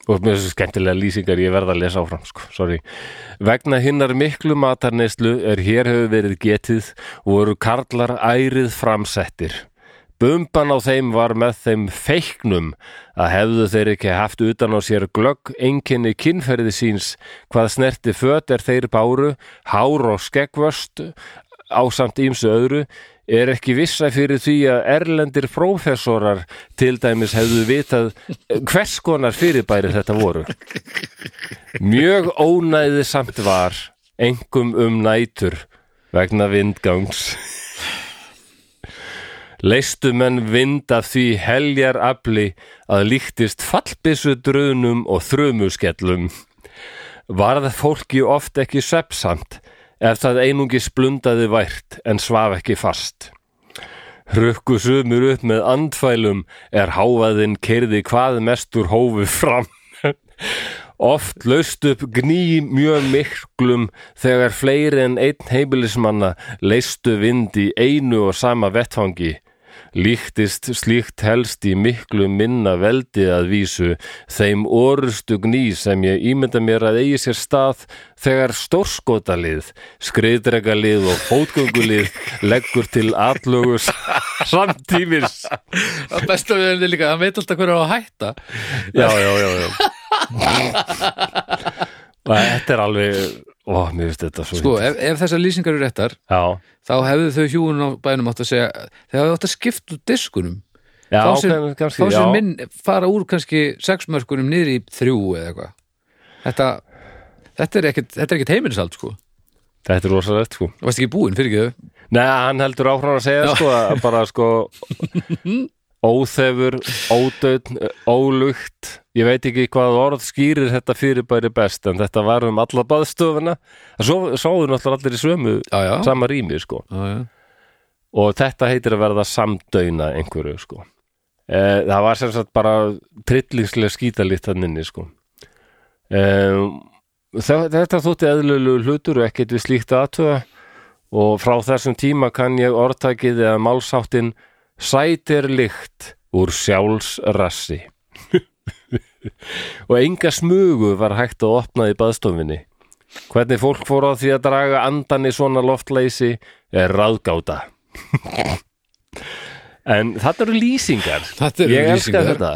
Speaker 1: og mér er svo skemmtilega lýsingar, ég verð að lesa áfram, sko, sorry. Vegna hinnar miklu matarneyslu er hér hefur verið getið og voru karlar ærið framsettir. Bumban á þeim var með þeim feiknum að hefðu þeir ekki haft utan á sér glögg enginni kynferði síns hvað snerti föt er þeir báru, hár og skeggvöst ásamt ímsu öðru er ekki vissa fyrir því að erlendir prófessorar til dæmis hefðu vitað eh, hvers konar fyrirbæri þetta voru. Mjög ónæði samt var, engum um nætur vegna vindgangs. Leistu menn vind af því heljar afli að líktist fallbissu drunum og þrumuskellum. Varð fólki oft ekki svepsamt ef það einungis blundaði vært en svaf ekki fast. Rukku sumur upp með andfælum er hávaðinn kerði hvað mest úr hófu fram. Oft laust upp gný mjög miklum þegar fleiri en einn heimilismanna leistu vind í einu og sama vettfangi. Líktist slíkt helst í miklu minna veldi að vísu þeim orustu gný sem ég ímynda mér að eigi sér stað þegar stórskotalið, skriðdregalið og fótgöngulið leggur til atlögu s- samtímis.
Speaker 2: Það besta við henni líka, hann veit alltaf hverju á að hætta
Speaker 1: Já, já, já, já. Og þetta er alveg, ó, mér finnst þetta svo
Speaker 2: Sko,
Speaker 1: fyndið.
Speaker 2: ef, ef þessar lýsingar eru réttar
Speaker 1: Já,
Speaker 2: þá hefðu þau hjúin á bænum átt að segja þau hefðu átt að skipta út diskunum
Speaker 1: já,
Speaker 2: Fá sér-
Speaker 1: kann- kannski,
Speaker 2: þá
Speaker 1: já.
Speaker 2: sem minn fara úr kannski sexmörkunum niður í þrjú eða eitthvað þetta, þetta er ekkit, þetta er ekkit heimilisald sko og
Speaker 1: Þetta er rosalegt, sko.
Speaker 2: varst ekki búinn fyrir ekki þau
Speaker 1: Nei, hann heldur áfram að segja sko, að bara sko óþefur, ódöðn ólugt, ég veit ekki hvað orð skýrir þetta fyrirbæri best en þetta var um alla baðstofuna það svo, sáðu náttúrulega allir í sömu
Speaker 2: já, já.
Speaker 1: sama rými sko
Speaker 2: Já, já.
Speaker 1: og þetta heitir að verða samdöina einhverju sko e, það var sem sagt bara trillingslega skítalitt hann inni sko e, þetta þótti eðlulegu hlutur og ekkert við slíkt aðtöða og frá þessum tíma kann ég orðtakið eða málsáttin sætir lykt úr sjálfsrassi og enga smugu var hægt að opna í baðstofinni hvernig fólk fór á því að draga andan í svona loftleysi er ráðgáta en þetta eru lýsingar
Speaker 2: Þetta eru
Speaker 1: ég elska
Speaker 2: lýsingar.
Speaker 1: þetta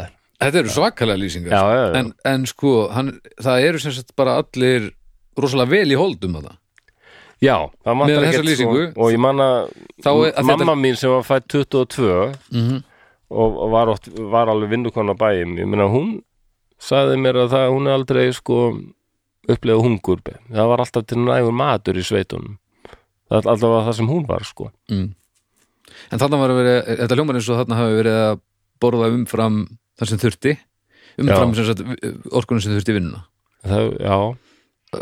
Speaker 2: þetta eru svakalega lýsingar
Speaker 1: já, já, já.
Speaker 2: En, en sko, hann, það eru sem sagt bara allir rosalega vel í holdum að það
Speaker 1: já, það
Speaker 2: Með
Speaker 1: vantar
Speaker 2: þessa
Speaker 1: ekkert sko,
Speaker 2: lýsingu-
Speaker 1: og ég manna
Speaker 2: Þá er- að
Speaker 1: mamma
Speaker 2: þetta-
Speaker 1: mín sem var fætt 22
Speaker 2: Mhm.
Speaker 1: og og var, oft, var alveg vindukon á bæjum ég meina hún sagði mér að það, hún er aldrei sko upplega hungur það var alltaf til nægur matur í sveitunum það er alltaf það sem hún var sko
Speaker 2: Mm. En þarna var að vera, þetta hljómar eins og þarna hafi verið að borða umfram það sem þurfti umfram sem sagt orkunum sem þurfti í vinnuna
Speaker 1: það, já,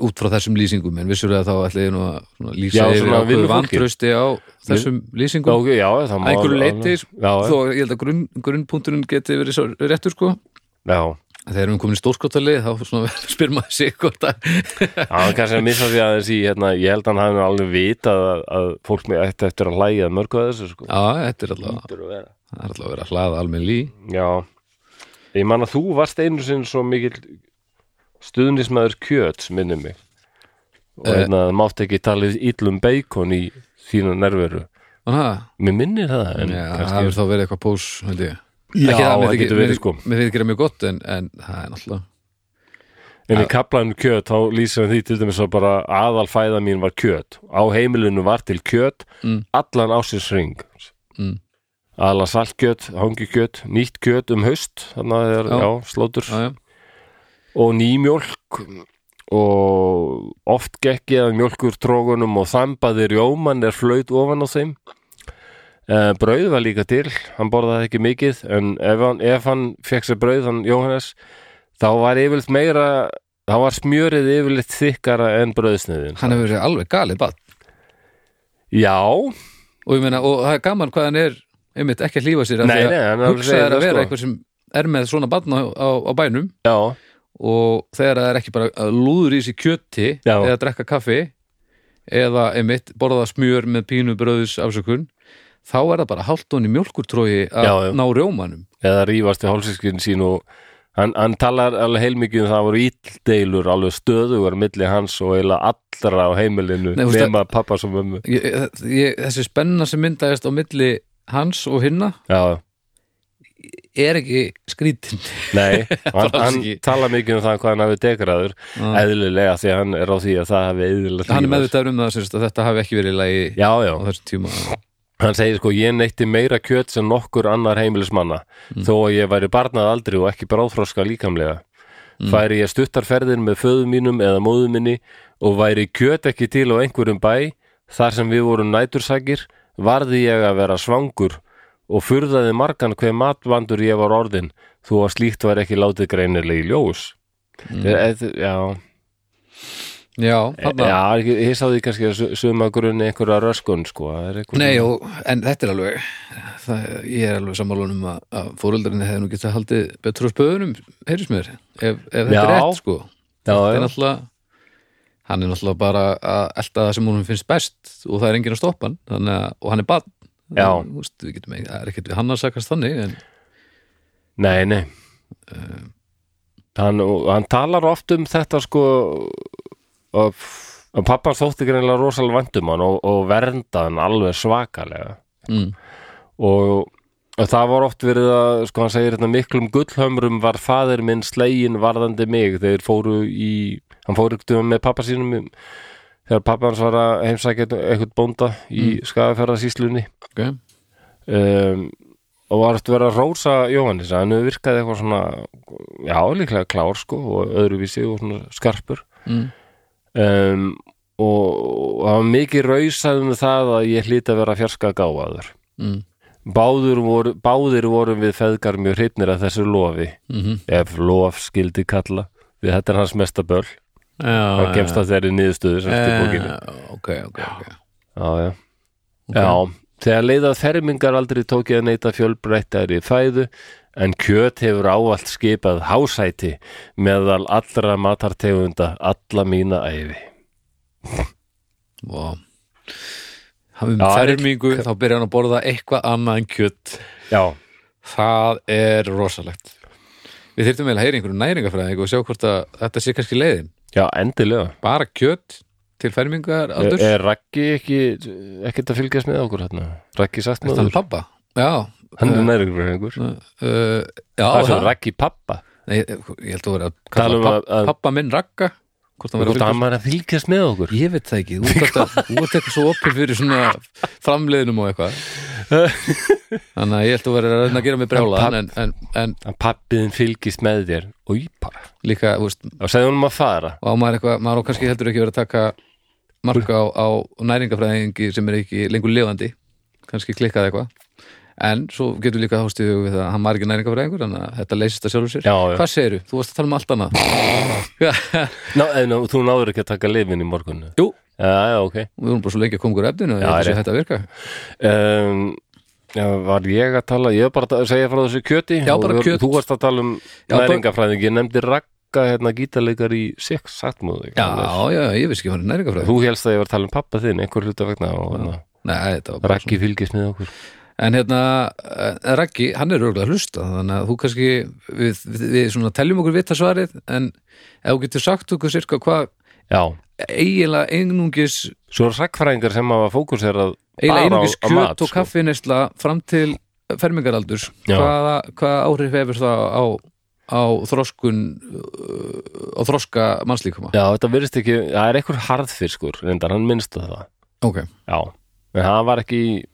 Speaker 2: út frá þessum lýsingum en vissulega þá ætla ég nú að svona, lýsa
Speaker 1: Já,
Speaker 2: yfir
Speaker 1: svona
Speaker 2: ákveðu
Speaker 1: vinnufólki.
Speaker 2: vantrausti á þessum
Speaker 1: já,
Speaker 2: lýsingum
Speaker 1: ok, já það má-
Speaker 2: að einhverju leiti,
Speaker 1: já,
Speaker 2: þó að ég held að grunn, grunnpunktunum geti verið svo réttur sko
Speaker 1: já,
Speaker 2: þegar við komum í stórskotali þá svona, spyr maður sig hvort að
Speaker 1: Já, hann kannski að missa því aðeins í hérna, ég held að hann hafi nú alveg vitað að, að fólk með ætti eftir að hlæja að mörgu að þessu sko.
Speaker 2: já, þetta er alltaf,
Speaker 1: Hlýtur að vera.
Speaker 2: það er alltaf að vera að hlaða almenn lí
Speaker 1: Já, ég man að þú varst einu sinn svo mikill stuðnismæður kjöts minnum mig og
Speaker 2: Eh.
Speaker 1: hérna það mátti ekki talið illum beikon í þína nerveru
Speaker 2: Þannig
Speaker 1: Mér minnir það en
Speaker 2: Já, það
Speaker 1: kannski
Speaker 2: hefur þá verið eitthvað pós, held ég
Speaker 1: Já,
Speaker 2: Ekki
Speaker 1: það
Speaker 2: mér þykir-
Speaker 1: getur verið,
Speaker 2: mér-
Speaker 1: sko.
Speaker 2: Mér þykir það mjög gott, en, en það er náttúrulega
Speaker 1: En í kaplanum kjöt þá lýsir hann því til dæmis að bara aðalfæða mín var kjöt á heimilinu var til kjöt
Speaker 2: Mm.
Speaker 1: allan ásins ring
Speaker 2: Mm.
Speaker 1: aðla saltkjöt, hangikjöt nýtt kjöt um haust þannig að það er,
Speaker 2: Já.
Speaker 1: já, slótur
Speaker 2: já, já.
Speaker 1: og nýmjólk og oft gekk ég að mjólkur trógunum og þambaði rjóman er flaut ofan á þeim e, brauð var líka til hann borðaði ekki mikið en ef hann, ef hann fekk sér brauð, hann Jóhannes þá var yfirleitt meira þá var smjörið yfirleitt þykkara en brauðsniðin
Speaker 2: Hann hefur verið alveg galið bad
Speaker 1: já,
Speaker 2: Og ég meina, og það er gaman hvað hann er einmitt ekki að hlífa sér af
Speaker 1: Nei,
Speaker 2: því að
Speaker 1: nei, hann er alveg
Speaker 2: hugsa
Speaker 1: segir
Speaker 2: er að
Speaker 1: það,
Speaker 2: vera
Speaker 1: sko.
Speaker 2: einhver sem er með svona badna á, á, á bænum
Speaker 1: já,
Speaker 2: og þegar það er ekki bara að lúður í sér kjöti
Speaker 1: Já.
Speaker 2: eða drekka kaffi eða einmitt borða smjör með pínu bröðus afsökun þá er það bara haldun í mjólkurtrói að
Speaker 1: Já, já.
Speaker 2: ná rjómanum
Speaker 1: eða rífast í hálsískin sín og hann, hann talar alveg heilmikið um það voru íldeilur alveg stöðugar milli hans og eiginlega allra á heimilinu
Speaker 2: Nei, þú veist að-
Speaker 1: nema pappa sem mömmu
Speaker 2: ég, ég, þessi spenna sem myndaðist á milli hans og hinna
Speaker 1: já,
Speaker 2: er ekki skrítin
Speaker 1: Nei, hann,
Speaker 2: alls
Speaker 1: hann
Speaker 2: ekki.
Speaker 1: tala mikið um það hvað hann hafi degraður
Speaker 2: Já.
Speaker 1: eðlilega því að hann er á því að það hafi eðlilega
Speaker 2: Ah. hann er meðvitaður um það sérst, að þetta hafi ekki verið í lagi
Speaker 1: Já, já,
Speaker 2: á þessum tíma
Speaker 1: hann segir sko ég neytti meira kjöt sem nokkur annar heimilismanna
Speaker 2: Mm.
Speaker 1: þó að ég væri barnað aldrei og ekki bráðfroska líkamlega
Speaker 2: Mm.
Speaker 1: færi ég stuttarferðir með föðu mínum eða móðu minni og væri kjöt ekki til á einhverjum bæ þar sem við vorum nætursakir varði ég að vera svangur og furðaði margan hver matvandur ég var orðin þó að slíkt var ekki látið greinilegi ljós mm. eð, Já,
Speaker 2: já, þarna
Speaker 1: já ég, ég sá því kannski að su- suma grunni einhverja röskun sko það er eitthvað-
Speaker 2: Nei, og, en þetta er alveg það, ég er alveg sammálunum að, að fóröldarinni hefði nú getað haldið betur á spöðunum, heyris mér ef, ef þetta er
Speaker 1: Já.
Speaker 2: rétt, sko
Speaker 1: Já,
Speaker 2: þetta
Speaker 1: já.
Speaker 2: er náttúrulega hann er náttúrulega bara að elta það sem hún finnst best og það er enginn að stoppa hann þannig að, og hann er bann
Speaker 1: Já.
Speaker 2: Þú veist, við getum ekki, það er ekkert við hann að sakast þannig en
Speaker 1: Nei, nei hann, og hann talar oft um þetta sko og, og pappan þótti greinlega rosalega vænt um hann og, og vernda hann alveg svakalega
Speaker 2: mm,
Speaker 1: og, og það var oft verið að sko hann segir þetta miklum gullhömrum var faðir minn slegin varðandi mig þeir fóru í hann fóru ykkur með pappa sínum í- þegar pappa hans var að heimsækja eitthvað bónda í mm. skafaferðasíslunni
Speaker 2: ok,
Speaker 1: um, og var eftir verið að rósa Jóhannes að hann hefur virkað eitthvað svona já, líklega klár sko og öðruvísi og svona skarpur
Speaker 2: mm,
Speaker 1: um, og, og hann var mikið rausað um það að ég hlýt að vera fjarska gáfaður
Speaker 2: mm,
Speaker 1: Báður voru, báðir vorum við feðgar mjög hrytnir að þessu lofi
Speaker 2: mm
Speaker 1: ef lof skildi kalla því þetta er hans mesta börl
Speaker 2: Ah, já, Eh,
Speaker 1: hann kemst að þeirri niðurstöðu sem stið bókinu
Speaker 2: ok, ok, ok
Speaker 1: já, já. já, þegar leiðað fermingar aldrei tók ég að neyta fjölbreyttari fæðu en kjöt hefur ávallt skipað hásæti meðal allra matartegunda alla mína æfi
Speaker 2: Vá. Hann um
Speaker 1: Já, hann er-
Speaker 2: fermingu, þá byrja hann að borða eitthvað annað en kjött.
Speaker 1: já,
Speaker 2: Það er rosalegt. Við þyrftum eiginlega að heyra í einhverjum næringafræðing og sjá hvort að þetta sé kannski leiðin.
Speaker 1: já, endilega
Speaker 2: Bara kjött til fermingar
Speaker 1: er,
Speaker 2: aldurs.
Speaker 1: er Raggi ekki ekkert að fylgjast með okkur hérna Raggi sagt
Speaker 2: Þetta er
Speaker 1: maður,
Speaker 2: pappa. Já.
Speaker 1: hann er næringur
Speaker 2: Uh, uh, já,
Speaker 1: það er svo
Speaker 2: það.
Speaker 1: Raggi pappa
Speaker 2: Nei, ég held að vera að
Speaker 1: Tala
Speaker 2: kalla
Speaker 1: um
Speaker 2: pappa,
Speaker 1: að-
Speaker 2: pappa minn rakka. Hvort
Speaker 1: Þú
Speaker 2: hann vera að
Speaker 1: veist að
Speaker 2: fylgjast.
Speaker 1: maður er að fylgjast með okkur
Speaker 2: Ég veit það ekki. Þú ert alltaf- þú ert eitthvað svo opið fyrir svona framleiðinum og eitthvað. Þannig að ég held að vera að reyna að gera mig brjála. En, en, en
Speaker 1: að pappiðin fylgist með þér og ípa
Speaker 2: líka, þú veist,
Speaker 1: og segði honum að fara
Speaker 2: og á maður eitthvað, maður á kannski heldur ekki verið að taka marka á, á næringafræðingi sem er ekki lengur lifandi kannski klikkað eitthvað en svo getur líka hóstið við það að hann var ekki næringafræðingur þannig að þetta leysist að sjálfur sér
Speaker 1: Já, já.
Speaker 2: hvað segirðu? Þú varst að tala um allt annað
Speaker 1: Ná, en, nú- þú náður ekki að taka lifin í morgunu
Speaker 2: Jú,
Speaker 1: Já, já, ok
Speaker 2: við vorum bara svo lengi að koma úr efninu og ég
Speaker 1: Já,
Speaker 2: held að sé
Speaker 1: rétt.
Speaker 2: þetta að virka
Speaker 1: um, já, Var ég að tala, ég var bara að segja frá þessu kjöti
Speaker 2: Já,
Speaker 1: og
Speaker 2: bara
Speaker 1: þú-
Speaker 2: kjöt.
Speaker 1: Þú varst að tala um
Speaker 2: Já, bara-
Speaker 1: næringafræðing Ég nefndi Ragga hérna gítarleikar í Six Satmúð
Speaker 2: Já, já, ég veist ekki hann er næringafræðingur
Speaker 1: Þú helst að ég var að tala um pappa þinn einhver hluta vegna og hérna,
Speaker 2: Nei, þetta var bara
Speaker 1: Raggi fylgist með okkur
Speaker 2: En hérna, eh, Raggi, hann er örgulega að hlusta þannig að þú kannski, við, við, við svona teljum okkur vita svarið en ef þú getur sagt okkur sirka hvað
Speaker 1: Já,
Speaker 2: eiginlega einungis
Speaker 1: svo er raggfræðingar sem hafa fókuserað bara
Speaker 2: eiginlega
Speaker 1: á-
Speaker 2: einungis
Speaker 1: á mat,
Speaker 2: kjöt og
Speaker 1: sko.
Speaker 2: kaffinesla fram til fermingaraldurs
Speaker 1: Já.
Speaker 2: hvaða, hvaða áhrif hefur það á, á þroskun uh, á þroska mannslíkuma
Speaker 1: Já, þetta virðist ekki, það er einhver harðfiskur reyndar, hann minnst það
Speaker 2: ok,
Speaker 1: Já, en hann var ekki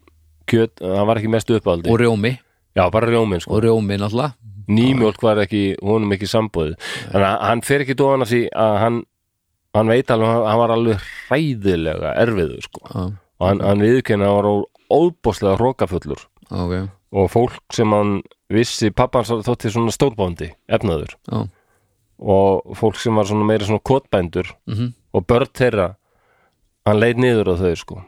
Speaker 1: kjöt, hann var ekki mest uppaldi
Speaker 2: og rjómi
Speaker 1: Já, bara rjóminn sko,
Speaker 2: og rjómi náttúrulega
Speaker 1: nýmjólk var ekki honum ekki sambúð en hann- hann fer ekki dóðan af því að hann hann veit alveg, hann- hann var alveg hræðilega erfiður sko
Speaker 2: ah,
Speaker 1: og hann, hann viðurkenni að hann var óbóðslega hrókafullur
Speaker 2: ok,
Speaker 1: og fólk sem hann vissi pappans þótti svona stórbóndi, efnaður
Speaker 2: já
Speaker 1: og fólk sem var svona meira svona kotbændur
Speaker 2: mhm,
Speaker 1: og börn þeirra hann leit niður á þau sko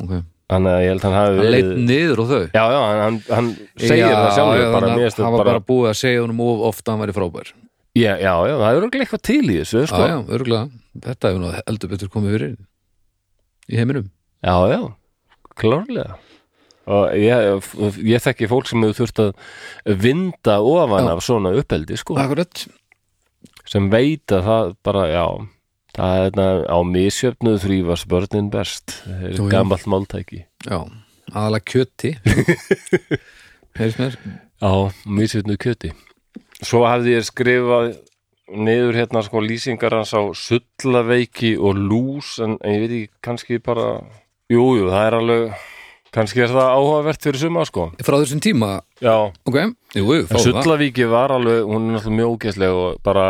Speaker 2: ok,
Speaker 1: Þannig að ég held að hann hafi
Speaker 2: hann
Speaker 1: verið
Speaker 2: leit niður á þau
Speaker 1: Já, já, hann, hann, hann segir það sjálfur
Speaker 2: já,
Speaker 1: bara,
Speaker 2: þannig að
Speaker 1: mér finnst
Speaker 2: hann
Speaker 1: þetta
Speaker 2: var
Speaker 1: bara,
Speaker 2: bara búið að segja honum of ofta að hann væri frábær
Speaker 1: Já, já, já, það eru ekki eitthvað til í þessu, sko
Speaker 2: já, já, örgulega, þetta hefur nú heldur betur komið fyrir í heiminum
Speaker 1: Já, já, klárlega og ég, ég þekki fólk sem hefur þurft að vinda ofan
Speaker 2: Já.
Speaker 1: af svona uppeldi sko,
Speaker 2: akkurat,
Speaker 1: sem veit að það bara, já það er þetta á misjöfnuð þrýfast börnin best, það er
Speaker 2: Jú, jú.
Speaker 1: gamalt máltæki
Speaker 2: já, aðalega kjöti heyrst mér
Speaker 1: á misjöfnuð kjöti Svo hafði ég skrifað niður hérna sko lýsingar hans á sullaveiki og lús en, en ég veit ekki, kannski bara jújú, jú, það er alveg kannski er það áhugavert fyrir suma sko
Speaker 2: frá þessum tíma,
Speaker 1: Já,
Speaker 2: ok, jú, jú,
Speaker 1: En
Speaker 2: fáum það
Speaker 1: Sullavíki var alveg, hún er náttúrulega mjög ógeðsleg og bara,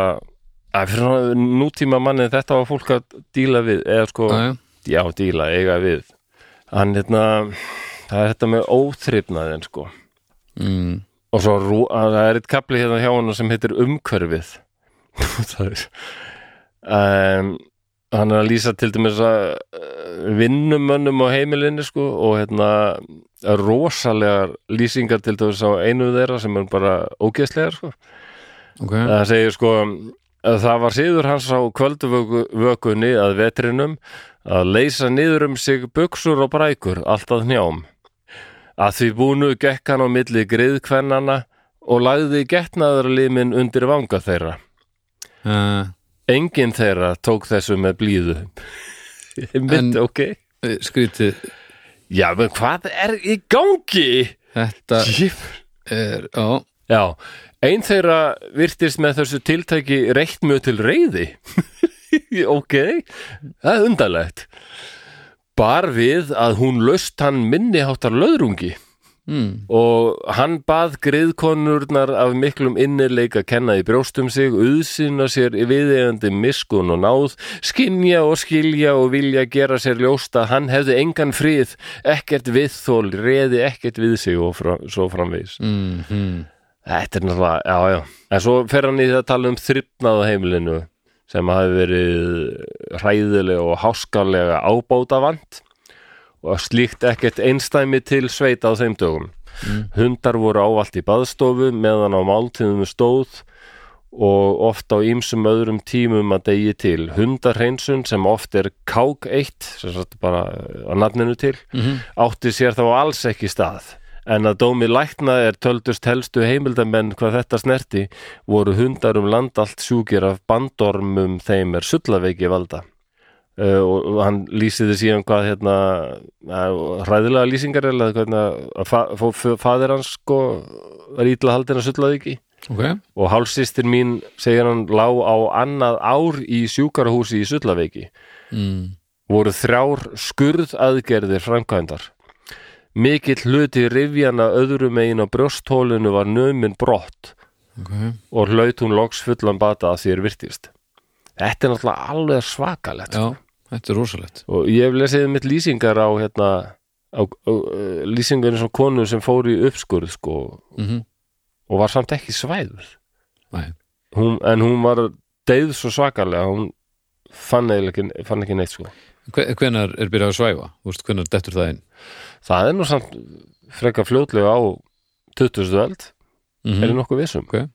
Speaker 1: að fyrir svona nútíma manni þetta var fólk að díla við, eða sko,
Speaker 2: Já, já.
Speaker 1: já, díla, eiga við. Hann, hérna, það er þetta með óþrifnaðin, sko.
Speaker 2: mm,
Speaker 1: Og svo, rú- að það er eitt kapli hérna hjá hann sem heitir umhverfið. það er, um, hann er að lýsa til dæmis að eh, vinnumönnum á heimilinni, sko, og hérna, rosalegar lýsingar til dæmis á einu þeirra sem er bara ógeðslegar, sko.
Speaker 2: ok,
Speaker 1: Það segir sko að það var síður hans á kvöldvökunni að vetrinum að leysa niður um sig buksur og brækur allt að hnjám Að því búnu gekk hann á milli griðkvennana og lagði getnaðarlimin undir vanga þeirra.
Speaker 2: uh,
Speaker 1: Engin þeirra tók þessu með blíðu. Mitt,
Speaker 2: En-
Speaker 1: ok.
Speaker 2: eh, skrítið
Speaker 1: Já, menn hvað er í gangi?
Speaker 2: þetta
Speaker 1: Ég...
Speaker 2: er á,
Speaker 1: Já, einn þeirra virtist með þessu tiltæki reitt mjög til reyði. ok, það er undarlegt. Bar við að hún löst hann minniháttar löðrungi
Speaker 2: mm,
Speaker 1: og hann bað griðkonurnar af miklum innileik að kenna í brjóstum sig, uðsynna sér í viðeigandi miskun og náð, skinja og skilja og vilja gera sér ljóst að hann hefði engan frið, ekkert viðþól, reði ekkert við sig og frá, svo framvegis.
Speaker 2: mm, mm.
Speaker 1: Þetta er náttúrulega, já, já. En svo fer hann í það að tala um þryfnað á heimilinu sem hafi verið hræðilega og háskarlega ábótavant og slíkt ekkert einstæmi til sveita á þeim dögum.
Speaker 2: mm,
Speaker 1: Hundar voru ávallt í baðstofu meðan á máltíðum stóð og oft á ýmsum öðrum tímum að degi til. Hundarhreinsun sem oft er kák eitt, sem sagt bara eh, að nafninu til,
Speaker 2: mm.
Speaker 1: átti sér þá alls ekki stað. En að dómi lækna er töldust helstu heimildamenn hvað þetta snerti voru hundar um land allt sjúkir af bandormum þeim er sullaveiki valda. Uh, og og hann lýsiði síðan hvað hérna uh, hræðilega lýsingar eða hvernig að fa fó- fó- faðir hans sko var ítla haldin að sullaveiki
Speaker 2: ok
Speaker 1: og hálsýstir mín segir hann lá á annað ár í sjúkarhúsi í sullaveiki
Speaker 2: mm,
Speaker 1: voru þrjár skurðaðgerðir framkvæmdar. Mikill hluti rifjana öðrum megin á brjósthólinu var nömin brott
Speaker 2: ok
Speaker 1: og hlaut hún loks fullan bata að þér virtist. Þetta er náttúrulega alveg svakalegt.
Speaker 2: já, þetta er rosalegt
Speaker 1: Og ég hef lesið mitt lýsingar á, hérna, á, á eh, lýsingarnir sem konu sem fór í uppskurð sko,
Speaker 2: mm -hmm.
Speaker 1: og var samt ekki svæður.
Speaker 2: Nei.
Speaker 1: Hún, en hún var deyð svo svakalega, hún fann, eiginlega ekki, fann ekki neitt sko.
Speaker 2: hvenar er byrjað að svæfa Þú veist, hvenar dettur það inn
Speaker 1: Það er nú samt frekar fljótlega á 20. öld,
Speaker 2: mm
Speaker 1: mm. er nokkuð vissum.
Speaker 2: Ég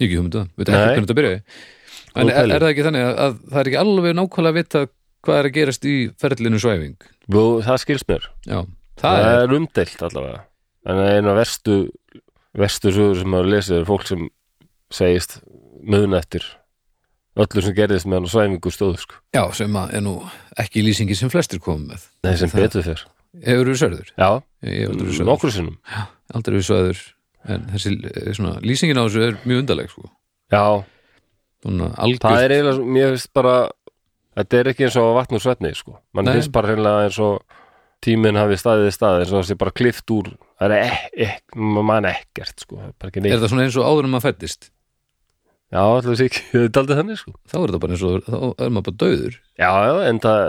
Speaker 2: ekki hugmynda, veit ekki
Speaker 1: Nei.
Speaker 2: hvernig þetta byrjaði En
Speaker 1: Góð
Speaker 2: er,
Speaker 1: pæling.
Speaker 2: er það ekki þannig að, að það er ekki alveg nákvæmlega að vita hvað er að gerast í ferlinu svæfing
Speaker 1: Jú, það skils mér.
Speaker 2: Já,
Speaker 1: Það,
Speaker 2: það er
Speaker 1: er umdeilt allavega. En eina verstu, verstu sögur sem maður lesið er fólk sem segist mun eftir öllu sem gerðist meðan á svæfingu stóðu sko.
Speaker 2: Já, sem að er nú ekki lýsingi sem flestir komum með
Speaker 1: Nei, sem
Speaker 2: Það-
Speaker 1: betur fyrr.
Speaker 2: Hefur við sörður?
Speaker 1: Já,
Speaker 2: Ég hef aldrei verið sörður,
Speaker 1: nokkur sinnum.
Speaker 2: aldrei verið sörður En þessi eh, svona, lýsingin á þessu er mjög undarleg sko.
Speaker 1: Já,
Speaker 2: Svona
Speaker 1: það
Speaker 2: algjör
Speaker 1: er eiginlega, svo- mér finnst bara, þetta er ekki eins og vatn og svetni sko. Man
Speaker 2: Nei.
Speaker 1: finnst bara hreinlega eins og tíminn hafi staðið í staðið, eins og það sé bara klift úr, það er ek, ek, mann ekkert sko. Það er bara ekki neitt.
Speaker 2: Er það svona eins og áður en maður fættist?
Speaker 1: Já, allir sér ekki, þetta er aldrei þannig sko
Speaker 2: Þá er það bara eins og, þá er maður bara döður
Speaker 1: Já, já, en það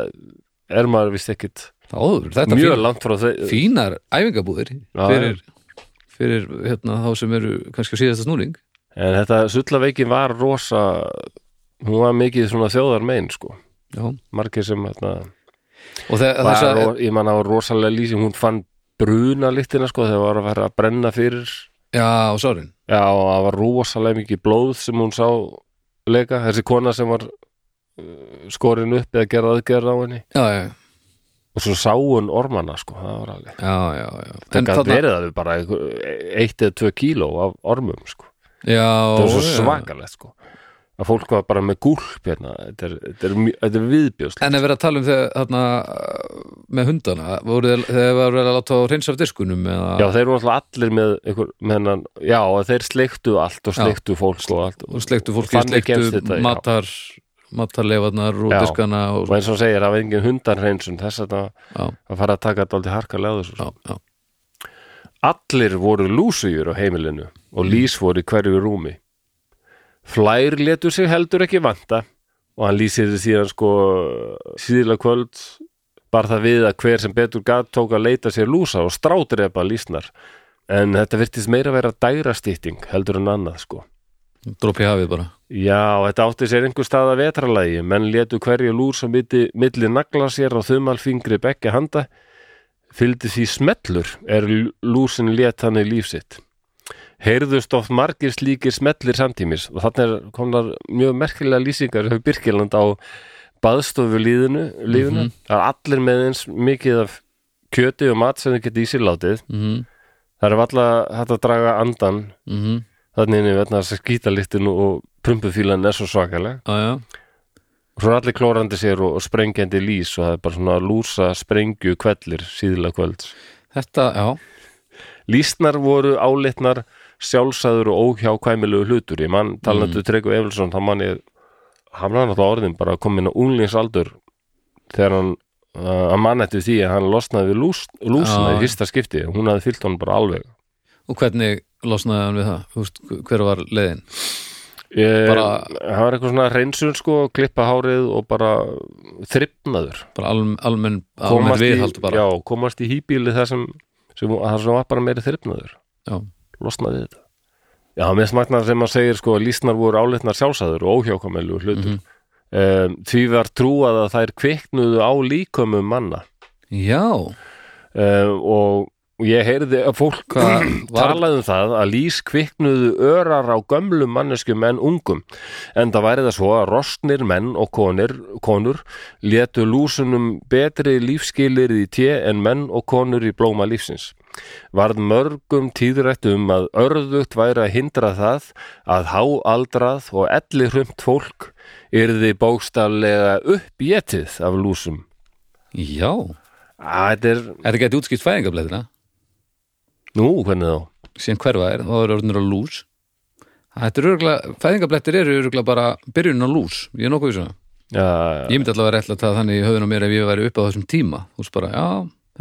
Speaker 1: er maður vist ekkit
Speaker 2: Þá áður, þetta
Speaker 1: mjög
Speaker 2: fín-
Speaker 1: langt frá þeir
Speaker 2: fínar æfingabúðir
Speaker 1: já.
Speaker 2: fyrir, fyrir hérna, þá sem eru kannski á síðasta snúning
Speaker 1: En þetta sullaveikin var rosa hún var mikið svona þjóðar mein sko
Speaker 2: Já.
Speaker 1: margir sem hérna,
Speaker 2: og þe-
Speaker 1: var,
Speaker 2: þessa
Speaker 1: ro- ég manna á rosalega lýsing hún fann bruna líktina sko þegar var að vera að brenna fyrir
Speaker 2: já, og sárin
Speaker 1: Já, og það var rosalega mikið blóð sem hún sá leika, þessi kona sem var uh, skorin upp eða gerða aðgerða á henni
Speaker 2: já, já,
Speaker 1: og svo sá hún ormana sko, það var alveg
Speaker 2: já, já, já.
Speaker 1: Það gæti verið að við bara einhver- eitt eða tvö kíló af ormum sko.
Speaker 2: já,
Speaker 1: Það var svo
Speaker 2: já.
Speaker 1: svakalegt sko. Að fólk var bara með gúlp hérna. Þetta er, þetta er, mjö- þetta er viðbjóðslega.
Speaker 2: en ef við erum að tala um þegar þarna með hundana, voru þeir, þeir var verið að láta á reynsa af diskunum
Speaker 1: Já,
Speaker 2: eða,
Speaker 1: þeir eru alltaf allir með einhver, með hennan, já, og þeir sleiktu allt og
Speaker 2: Já.
Speaker 1: sleiktu fólk og allt.
Speaker 2: og sleiktu fólki,
Speaker 1: Þannig
Speaker 2: sleiktu
Speaker 1: kemst þetta, já.
Speaker 2: matar matarleifarnar og
Speaker 1: Já.
Speaker 2: diskana og,
Speaker 1: Og eins og segir, það var engin hundarhreinsun þess að það
Speaker 2: já,
Speaker 1: að fara að taka þetta aldrei harkalega á þessu. sko.
Speaker 2: já, já,
Speaker 1: Allir voru lúsugjur á heimilinu og lýs voru í hverju rúmi. Flær letur sig heldur ekki vanta og hann lýsir þessi síðan sko síðla kvöld bar það við að hver sem betur gat tók að leita sér lúsa og strátrepa lýsnar. En þetta virtist meira vera dærastýtting heldur en annað sko.
Speaker 2: dropi í hafið bara
Speaker 1: Já, þetta átti sér einhver stað að vetralagi, menn létu hverju lúr sem milli, milli nagla sér á þumalfingri bekki handa, fylgdi því smellur er lú- lúsin lét þannig líf sitt. Heyrðust oft margir slíkir smellir samtímis og þannig er komnar mjög merkilega lýsingar hjá Birkiland á baðstofu líðinu, lífinu. Það er allir með eins mikið af kjöti og mat sem þið geti í sér látið
Speaker 2: mm -hmm.
Speaker 1: Það er valla hægt að draga andan
Speaker 2: mm -hmm.
Speaker 1: þannig inni vegna þess að skítaliktinu og prumpufílan er svo svakaleg
Speaker 2: ah, já.
Speaker 1: og svo er allir klórandi sér og, og sprengjandi lýs og það er bara svona lúsa sprengju kvellir síðla kvölds
Speaker 2: Þetta, já,
Speaker 1: Lýsnar voru álitnar sjálfsæður og óhjákvæmilegu hlutur ég mann talandu mm. Tryggur Efilsson þá mann ég hann var náttúrulega orðin bara komin á unglingsaldur þegar hann uh, að mann eftir því að hann losnaði við lús, lúsna
Speaker 2: Já.
Speaker 1: í fyrsta skipti og hún hafði fyllt honum bara alveg
Speaker 2: og hvernig losnaði hann við það? Þú veist, hver var leiðin?
Speaker 1: ég,
Speaker 2: Bara-
Speaker 1: Eh, hann var eitthvað svona reynsun sko klippa hárið og bara þrippnaður
Speaker 2: Bara alm, almenn, almenn viðhald bara
Speaker 1: já, komast í hýbíli þar sem, sem, þar sem var bara meiri þrifnaður
Speaker 2: Já.
Speaker 1: losnaði þetta já, mér smaknað sem að segir sko að lýsnar voru álitnar sjálfsæður og óhjákvæmilu hlutur
Speaker 2: Mhm.
Speaker 1: mm því var trúað að þær kviknuðu á líkömum manna
Speaker 2: Já,
Speaker 1: um, og ég heyrði að fólk
Speaker 2: hvað var
Speaker 1: talaði um það að lýs kviknuðu örar á gömlum manneskjum en ungum en það væri það svo að rostnir menn og konir, konur létu lúsunum betri lífskilir í té en menn og konur í blóma lífsins varð mörgum tíðrætt um að örðugt væri að hindra það að háaldrað og elli hrumt fólk yrði bókstaflega uppjetið af lúsum
Speaker 2: Já,
Speaker 1: Æ, Þetta er,
Speaker 2: er þetta gæti útskipt fæðingableðina?
Speaker 1: nú hvernig þá?
Speaker 2: Síðan hverfa er, þá eru orðinur á lús Þetta eru örgulega, fæðingablettir eru örgulega bara byrjun á lús, ég er nokkuð við svona
Speaker 1: Já,
Speaker 2: Ég myndi allavega vera ætla að það þannig í höfðun á mér ef ég væri upp á þessum tíma Þú veist bara, já,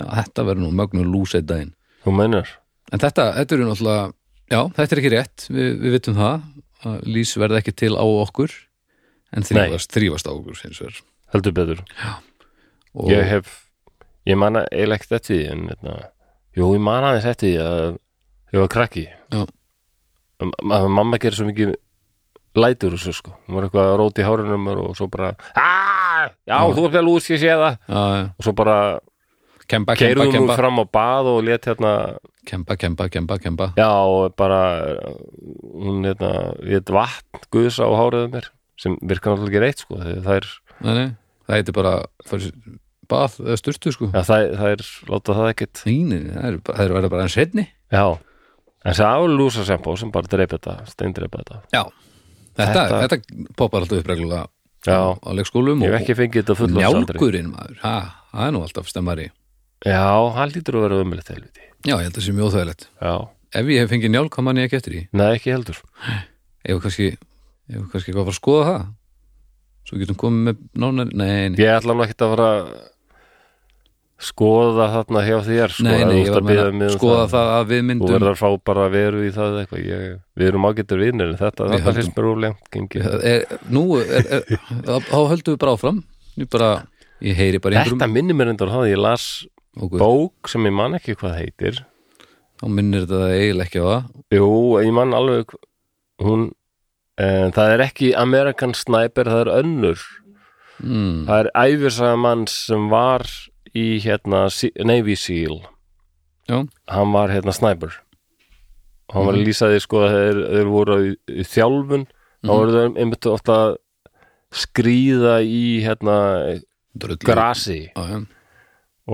Speaker 2: já þetta verður nú mögnu lús eitt daginn
Speaker 1: þú meinar
Speaker 2: En þetta, þetta eru náttúrulega, já, þetta er ekki rétt, við, við vitum það, að lýs verða ekki til á okkur, en þrýfast, þrýfast á okkur, hins vegar.
Speaker 1: heldur betur
Speaker 2: Og,
Speaker 1: Ég hef, ég manna eiginlega ekkert eftir því en veitna, jú, ég manna aðeins eftir því að ég var krakki
Speaker 2: Já.
Speaker 1: Ma- ma- Mamma gerir svo mikið lætur og svo sko hún var eitthvað að róti í hárinu á mér og svo bara "Ah, já,
Speaker 2: Já.
Speaker 1: þú ert vel úr, ég sé það
Speaker 2: að,
Speaker 1: og svo bara
Speaker 2: kemba, kemba,
Speaker 1: keirðum hún
Speaker 2: kemba,
Speaker 1: fram á bað og lét hérna
Speaker 2: kemba, kemba, kemba, kemba,
Speaker 1: já, og bara hún hérna, lét vatn guðsa á hárið á mér sem virkar náttúrulega ekki reitt sko þegar það er,
Speaker 2: nei, nei, það heitir bara, fyrir, bað, eða sturtu, sko.
Speaker 1: já, það, það er láta það ekkit
Speaker 2: Nei, nei, nei, það er, það er verða bara eins hreinni.
Speaker 1: Já, en þessi álúsa sempó sem bara dreip þetta, steindreipa þetta
Speaker 2: Já, þetta,
Speaker 1: Þetta-
Speaker 2: þetta, poppar alltaf upp reglulega
Speaker 1: Já.
Speaker 2: á leikskólum
Speaker 1: Ég hef
Speaker 2: og,
Speaker 1: ekki fengið þetta
Speaker 2: og
Speaker 1: fulla
Speaker 2: njálgurinn, maður, ha, það er nú alltaf stemmari.
Speaker 1: Já, hann lítur að vera umlega helviti
Speaker 2: Já, ég held að það sé mjög óþægilegt.
Speaker 1: Já,
Speaker 2: Ef ég hef fengið njálg, hvað mann ég ekki eftir í?
Speaker 1: nei ekki heldur
Speaker 2: Ef við kannski, ef við kannski eitthvað að fara að skoða það Svo getum komið með nánar Nei, nei,
Speaker 1: Ég ætla nú ekkert að vera að skoða þarna hjá þér sko,
Speaker 2: nei,
Speaker 1: ef
Speaker 2: nei
Speaker 1: þú
Speaker 2: ég
Speaker 1: ert að
Speaker 2: var að
Speaker 1: biðja
Speaker 2: meina
Speaker 1: mig um
Speaker 2: skoða það að við
Speaker 1: Þú
Speaker 2: myndum
Speaker 1: verður að fá bara veru í það eða eitthvað ég, Við erum ágættur vinnir en þetta,
Speaker 2: Við
Speaker 1: þetta
Speaker 2: höldum-
Speaker 1: finnst mér úrlega gengið
Speaker 2: er, Nú, er, er, þá þá höldum við bara áfram Ég bara, ég heyri bara í
Speaker 1: Þetta
Speaker 2: einhverjum
Speaker 1: minnir mér endur það, ég las
Speaker 2: okkur,
Speaker 1: bók sem ég man ekki hvað heitir
Speaker 2: Þá minnir þetta það eiginlega ekki á það
Speaker 1: Jú, ég man alveg hún, e, það er ekki American Sniper, það er önnur
Speaker 2: mm,
Speaker 1: það er æfisaga mann sem var í hérna Se- Navy SEAL
Speaker 2: Já,
Speaker 1: hann var hérna sniper og hann var að lýsa því sko að þeir, þeir voru í, í þjálfun þá voru þeir einmitt ofta að skríða í hérna
Speaker 2: drullu
Speaker 1: grasi
Speaker 2: Já, já,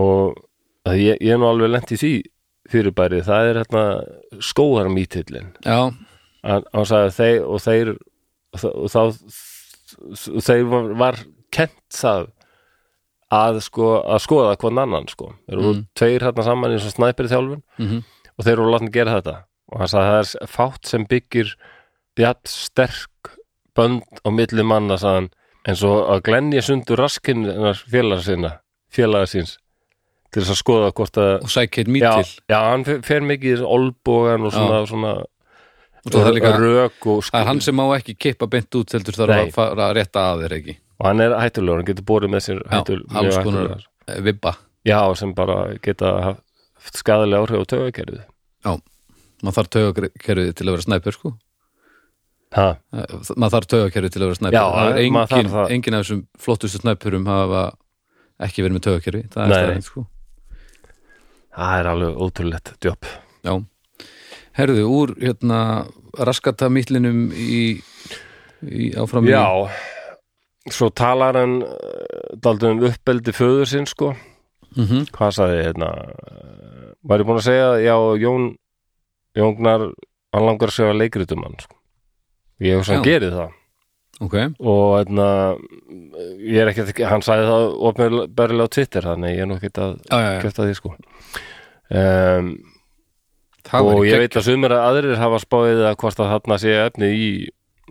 Speaker 1: og að ég, ég er nú alveg lent í því fyrirbæri, það er hérna skóðarmítillin
Speaker 2: já,
Speaker 1: hann, hann sagði að þeir og þeir og þá- og þá og þeir var, var kent það að, sko, að skoða hvern annan sko. þeir eru tveir hérna saman eins og snæperi þjálfun
Speaker 2: Mhm.
Speaker 1: og þeir eru látni að gera þetta og hann sagði að það er fátt sem byggir jafn sterk bönd á milli manna sagðan, eins og að glenja sundur raskinn félaga sinna félaga síns til þess að skoða hvort að
Speaker 2: og sækir
Speaker 1: já,
Speaker 2: mítil
Speaker 1: já, hann fer, fer mikið í þessu olbogan og svona, svona
Speaker 2: Og svo það er líka,
Speaker 1: rök og,
Speaker 2: það er
Speaker 1: hann,
Speaker 2: hann sem má ekki kippa beint út heldur þarf
Speaker 1: Nei.
Speaker 2: að fara að rétta að þeir ekki
Speaker 1: og hann er hættulegur, hann getur borið með sér
Speaker 2: Já,
Speaker 1: hættul- mjög
Speaker 2: alls konar
Speaker 1: hættulegar.
Speaker 2: eh, vibba
Speaker 1: já, sem bara geta haft skadalega áhrif á tögakerfið
Speaker 2: Já, maður þarf taugakerfið til að vera snæpur sko
Speaker 1: ha,
Speaker 2: Það- maður þarf taugakerfi til að vera snæpur
Speaker 1: Já,
Speaker 2: það er
Speaker 1: maður
Speaker 2: engin,
Speaker 1: þarf það.
Speaker 2: engin af þessum flottustu snæpurum hafa ekki verið með taugakerfi það er
Speaker 1: Nei.
Speaker 2: stærðin sko
Speaker 1: það er alveg ótrúlegt djóp
Speaker 2: Já. herðu, úr hérna raskata mýtlinum í, í áfram í-
Speaker 1: já, svo talar hann eh, dálítið um uppbeldi föður sinn sko
Speaker 2: Mhm.
Speaker 1: hvað sagði hérna eh, var ég búin að segja, já, Jón Jóngnar, hann langar að segja leikritum hann sko. ég hef hann
Speaker 2: Já.
Speaker 1: gerið það
Speaker 2: ok,
Speaker 1: og hérna ég er ekkert, hann sagði það ofnbærilega á Twitter, þannig ég er nú ekkert að
Speaker 2: já, já, já.
Speaker 1: kjöfta því sko um,
Speaker 2: það
Speaker 1: og
Speaker 2: var
Speaker 1: ég
Speaker 2: ekki
Speaker 1: veit að sumir að aðrir hafa spáðið að hvort að þarna sé efni í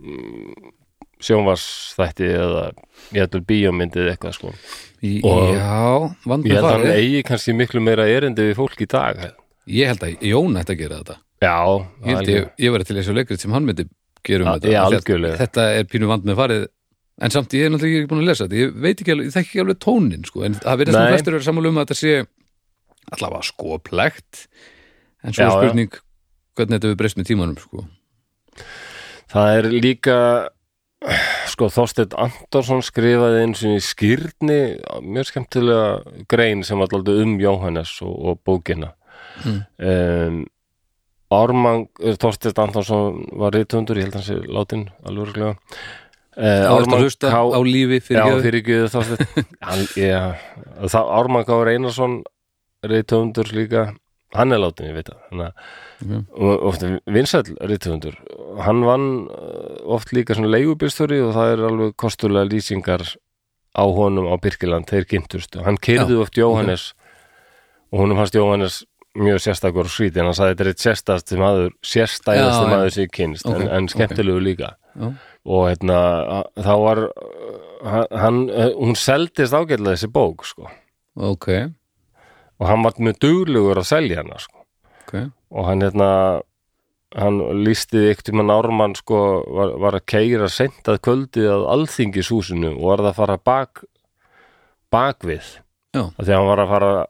Speaker 1: mm, sjónvarsþætti eða ég heldur bíómyndið eitthvað sko og-
Speaker 2: já,
Speaker 1: ég
Speaker 2: vandum
Speaker 1: held að hann
Speaker 2: farið
Speaker 1: eigi kannski miklu meira erindi við fólk í dag já,
Speaker 2: ég held að Jón ætti að gera þetta ég, held ég,
Speaker 1: algjörlega.
Speaker 2: ég verið til þessu leikrit sem hann myndi gera um
Speaker 1: Ja,
Speaker 2: þetta
Speaker 1: já,
Speaker 2: Af því að
Speaker 1: algjörlega.
Speaker 2: þetta er pínu vand með farið en samt ég er náttúrulega ekki búin að lesa þetta ég veit ekki alveg, ég þekki ekki alveg tónin sko, en það verið
Speaker 1: Nei.
Speaker 2: sem flestur eru sammála um að þetta sé allavega skoplegt en svo
Speaker 1: Já, já.
Speaker 2: er spurning hvernig þetta við breyst með tímanum sko.
Speaker 1: það er líka sko Þorsteinn Andorsson skrifaði eins og í skýrni mjög skemmtilega grein sem var alltaf um Jóhannes og, og bókina
Speaker 2: Mm.
Speaker 1: um, Ármann eh, Þorsteinn Andorsson var rithundur, ég held hans er látin alveg reglega uh,
Speaker 2: það verður að hlusta á lífi fyrir
Speaker 1: Já, fyrir ekki Þorsteinn Hann- já, það- Ármann Káur Einarsson reytöfundur líka hann er látin, ég veit það Þannig að-
Speaker 2: Ok.
Speaker 1: og oft vinsæll reytöfundur hann vann uh, oft líka svona leigubýrstöri og það er alveg kostulega lýsingar á honum á Birkiland, þeir kynntust og hann keirði oft Jóhannes og honum fannst Jóhannes mjög sérstakur og skrítið, en hann sagði þetta er eitt sérstast maður, sérstæðasti
Speaker 2: Já, já.
Speaker 1: maður sem ég kynst
Speaker 2: Ok,
Speaker 1: en, en
Speaker 2: ok.
Speaker 1: skemmtilegu líka
Speaker 2: Já.
Speaker 1: og hérna a- þá var uh, hann, uh, hún seldist ágætlega þessi bók sko
Speaker 2: ok,
Speaker 1: og hann var mjög duglugur að selja hana sko
Speaker 2: ok
Speaker 1: og hann hérna hann lísti ykti mann Ármann sko var, var að keira seint að kvöldið að alþingishúsinu og var það að fara bak bakvið
Speaker 2: Já.
Speaker 1: Af því að hann var að fara að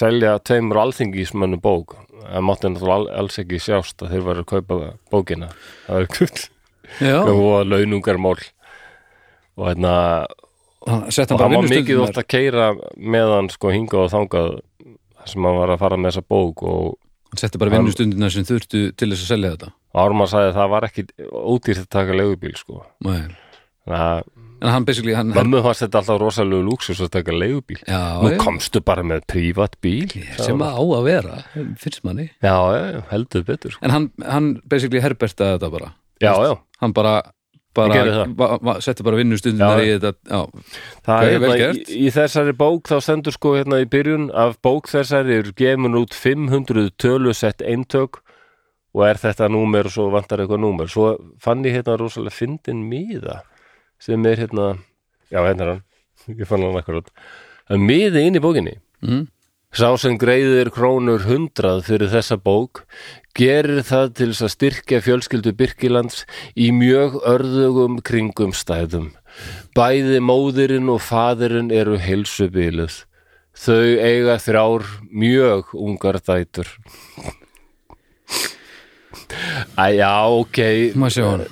Speaker 1: selja tveimur alþingismönnu bók það mátti náttúrulega al- alls ekki sjást að þeir var að kaupa bókina það var kull
Speaker 2: já,
Speaker 1: og launungarmál og hérna
Speaker 2: hann sett hann
Speaker 1: og hann
Speaker 2: bara
Speaker 1: var mikið
Speaker 2: vinnustundunar
Speaker 1: oft að keira með hann sko hingað og þangað þar sem hann var að fara með þessa bók og
Speaker 2: hann setti bara
Speaker 1: hann-
Speaker 2: vinnustundunar sem þurftu til þess að selja þetta
Speaker 1: Ármann sagði að það var ekki ódýrt að taka leigubíl sko
Speaker 2: Nei.
Speaker 1: þannig að
Speaker 2: en hann basically hann,
Speaker 1: mömmu fannst þetta alltaf rosalegu lúksus að taka leigubíl
Speaker 2: já,
Speaker 1: nú
Speaker 2: já,
Speaker 1: komstu bara með prívat bíl
Speaker 2: sem að á að vera finnst manni
Speaker 1: já, já, heldur betur sko.
Speaker 2: En hann, hann basically herbertaði þetta bara
Speaker 1: já, já,
Speaker 2: Hann bara,
Speaker 1: Ég gerði
Speaker 2: bara
Speaker 1: það.
Speaker 2: va- va- setti bara vinnustundi
Speaker 1: Já,
Speaker 2: í þetta já.
Speaker 1: Það
Speaker 2: Ok,
Speaker 1: er
Speaker 2: vel
Speaker 1: hérna,
Speaker 2: gert.
Speaker 1: í, í þessari bók þá stendur sko hérna í byrjun af bók þessari eru gefin út 500 tölusett eintök og er þetta númer og svo vantar eitthvað númer svo fann ég hérna rosalega fyndin míða sem er hérna já hérna er hann, ég fann hann akkurat að miði inn í bókinni
Speaker 2: Mm.
Speaker 1: Sá sem greiðir krónur hundrað fyrir þessa bók gerir það til þess að styrkja fjölskyldu Birkilands í mjög örðugum kringumstæðum. Bæði móðirinn og faðirinn eru heilsubiluð. Þau eiga þrjár mjög ungar dætur. Æ, já, ok.
Speaker 2: Má sjá hann.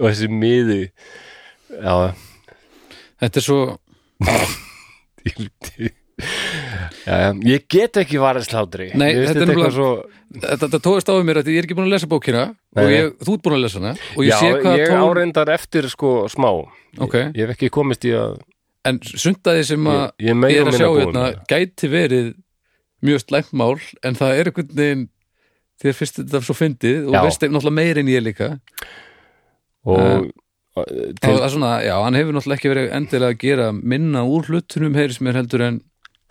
Speaker 1: Og þessi miði. Já,
Speaker 2: Þetta er svo
Speaker 1: dýldi. Já, já, ég get ekki varist hlátri.
Speaker 2: Nei,
Speaker 1: Mér finnst
Speaker 2: þetta er
Speaker 1: eitthvað
Speaker 2: nefnilega-
Speaker 1: svo...
Speaker 2: Þetta, þetta tóðist á við mér að ég er ekki búin að lesa bókina
Speaker 1: Nei,
Speaker 2: og
Speaker 1: nei.
Speaker 2: ég, þú ert búin að lesa hana og ég
Speaker 1: Já,
Speaker 2: sé hvað
Speaker 1: ég
Speaker 2: tón
Speaker 1: áreindar eftir sko smá
Speaker 2: Ok.
Speaker 1: Ég hef ekki komist í að
Speaker 2: En sundaði sem að
Speaker 1: Ég- ég meira
Speaker 2: ég er að
Speaker 1: minna
Speaker 2: sjá
Speaker 1: búin
Speaker 2: hérna
Speaker 1: með það.
Speaker 2: gæti verið mjög slæmt mál en það er einhvern veginn þér fyrst þetta svo fyndið og
Speaker 1: Já.
Speaker 2: veist þeim náttúrulega meir en ég líka Eh,
Speaker 1: og uh,
Speaker 2: Til...
Speaker 1: til,
Speaker 2: Það er svona, já, hann hefur náttúrulega ekki verið endilega að gera minna úr hlutunum heyris mér heldur en,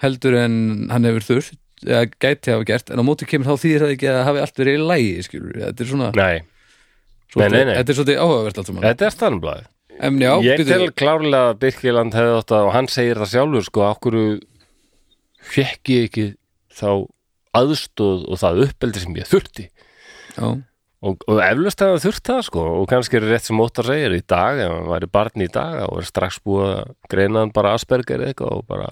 Speaker 2: heldur en hann hefur þurft, eða gæti hafa gert en á móti kemur þá þýðir það ekki að það hafi allt verið í lægi, skilur, þetta er svona
Speaker 1: Nei,
Speaker 2: svolítið,
Speaker 1: nei, nei.
Speaker 2: þetta er svolítið áhugavert allt saman
Speaker 1: þetta er stannblæð
Speaker 2: en já,
Speaker 1: Ég
Speaker 2: býtu,
Speaker 1: tel klárlega að Birkiland hefði átt að og hann segir það sjálfur sko okkur fekk ég ekki þá aðstóð og það uppeldi sem ég þurfti
Speaker 2: já,
Speaker 1: og, og eflust hefði hann þurft það sko og kannski er rétt sem Óttar segir í dag ef hann væri barn í dag og er strax búið að greina hann bara Asperger eða eitthvað og bara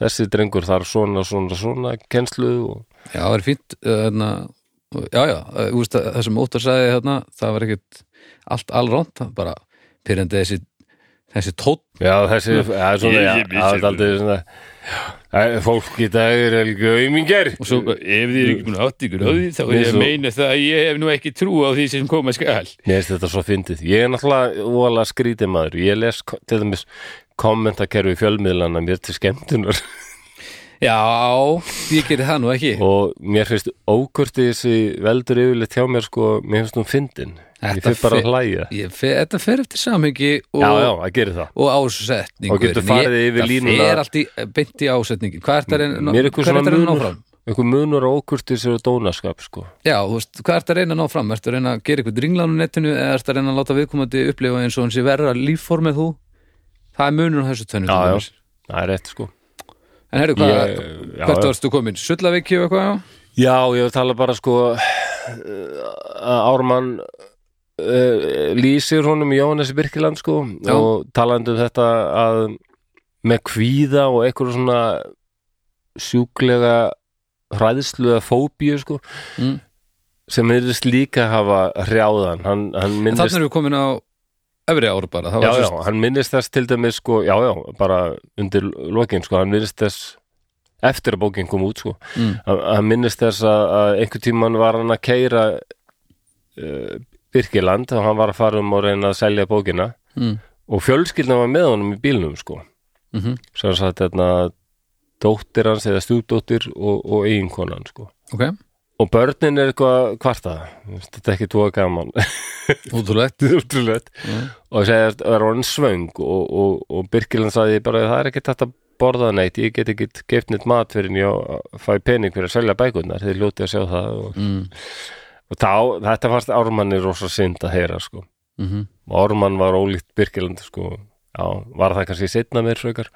Speaker 1: þessi drengur þarf svona svona svona kennslu og
Speaker 2: já, það er fínt eh, hérna, já, já, eh, þú veist að það sem Óttar sagði hérna, það var ekkert allt alrónt, það bara pyrrandi þessi, þessi tótt
Speaker 1: Já, þessi, það er svona,
Speaker 3: Ég-
Speaker 1: já,
Speaker 3: ég- ég-
Speaker 1: það er aldrei svona, já, fólk í dag er helgu aumingar.
Speaker 2: og svo,
Speaker 3: Ef þið er ekki búin að átt ykkur á því þá er
Speaker 1: Nei,
Speaker 3: ég að
Speaker 1: svo-
Speaker 3: meina það að ég hef nú ekki trú á því sem koma skal
Speaker 1: Mér finnst þetta svo fyndið. Ég er náttúrulega óalega skrítið maður. Ég les ko- til dæmis kommentakerfi fjölmiðlana mér til skemmtunar.
Speaker 2: Já, ég geri það nú ekki
Speaker 1: og mér finnst ókurti þessi veldur yfirleitt hjá mér sko, mér finnst hún fyndin ég
Speaker 2: Þetta
Speaker 1: fyrir bara
Speaker 2: fe-
Speaker 1: að hlæja
Speaker 2: Ég fer, Þetta fer eftir samhengi og,
Speaker 1: já, já, það gerir það
Speaker 2: og ásetningur
Speaker 1: Og getur farið yfir línuna.
Speaker 2: Það fer allt í, eh, beint í ásetningin Hvað er þetta
Speaker 1: mér er eitthvað
Speaker 2: að
Speaker 1: svona
Speaker 2: reyna að ná
Speaker 1: munur
Speaker 2: fram?
Speaker 1: eitthvað munur á ókurtis og dónaskap sko.
Speaker 2: Já, þú veist, hvað ertu að reyna að ná fram? Ertu að reyna að gera eitthvað dringlan á netinu eða ertu að reyna að láta viðkomandi upplifa eins og hann sé verra lífformið þú? Það er munur á þessu tönnu
Speaker 1: Já, já. það er rétt sko
Speaker 2: En herru, hvað,
Speaker 1: Ég- já,
Speaker 2: hvert
Speaker 1: já.
Speaker 2: varstu komin? Sullaveiki og eitthvað? já?
Speaker 1: já, ég vil tala bara sko eh, að Ármann uh, lýsir honum Jóhannes Birkiland sko
Speaker 2: Já.
Speaker 1: og talandi um þetta að með kvíða og eitthvað svona sjúklega hræðslu eða fóbíu sko
Speaker 2: Mm.
Speaker 1: sem myndist líka hafa hrjáðan hann, hann
Speaker 2: En
Speaker 1: myndist
Speaker 2: þannig erum við komin á öfri ár bara Það
Speaker 1: já,
Speaker 2: var
Speaker 1: já,
Speaker 2: svo-
Speaker 1: hann minnist þess til dæmis sko, já, já, bara undir lokin sko, hann minnist þess eftir að bókin kom út sko
Speaker 2: Mm.
Speaker 1: hann, hann minnist þess að, að einhver tíman var hann að keira uh, Birkiland og hann var að fara um og reyna að selja bókina
Speaker 2: Mm.
Speaker 1: og fjölskyldan var með honum í bílnum sko
Speaker 2: Mhm.
Speaker 1: sem sagt þarna dóttir hans eða stjúpdóttir og, og eiginkonan sko
Speaker 2: Ok,
Speaker 1: og börnin er eitthvað kvarta þetta er ekki tóa gaman
Speaker 2: útrúlegt
Speaker 1: útrúlegt
Speaker 2: Mm,
Speaker 1: og segja að er hann svöng og, og, og Birkiland sagði bara það er ekki þetta borða neitt, ég get ekki geift neitt mat fyrir en ég fæ pening fyrir að selja bækurnar, þið ljóti að sjá það og,
Speaker 2: Mm.
Speaker 1: og þá, þetta fannst Ármanni rosa synd að heyra sko
Speaker 2: Mhm.
Speaker 1: og Ármann var ólíkt Birkiland sko, já, var það kannski setna mér frekar,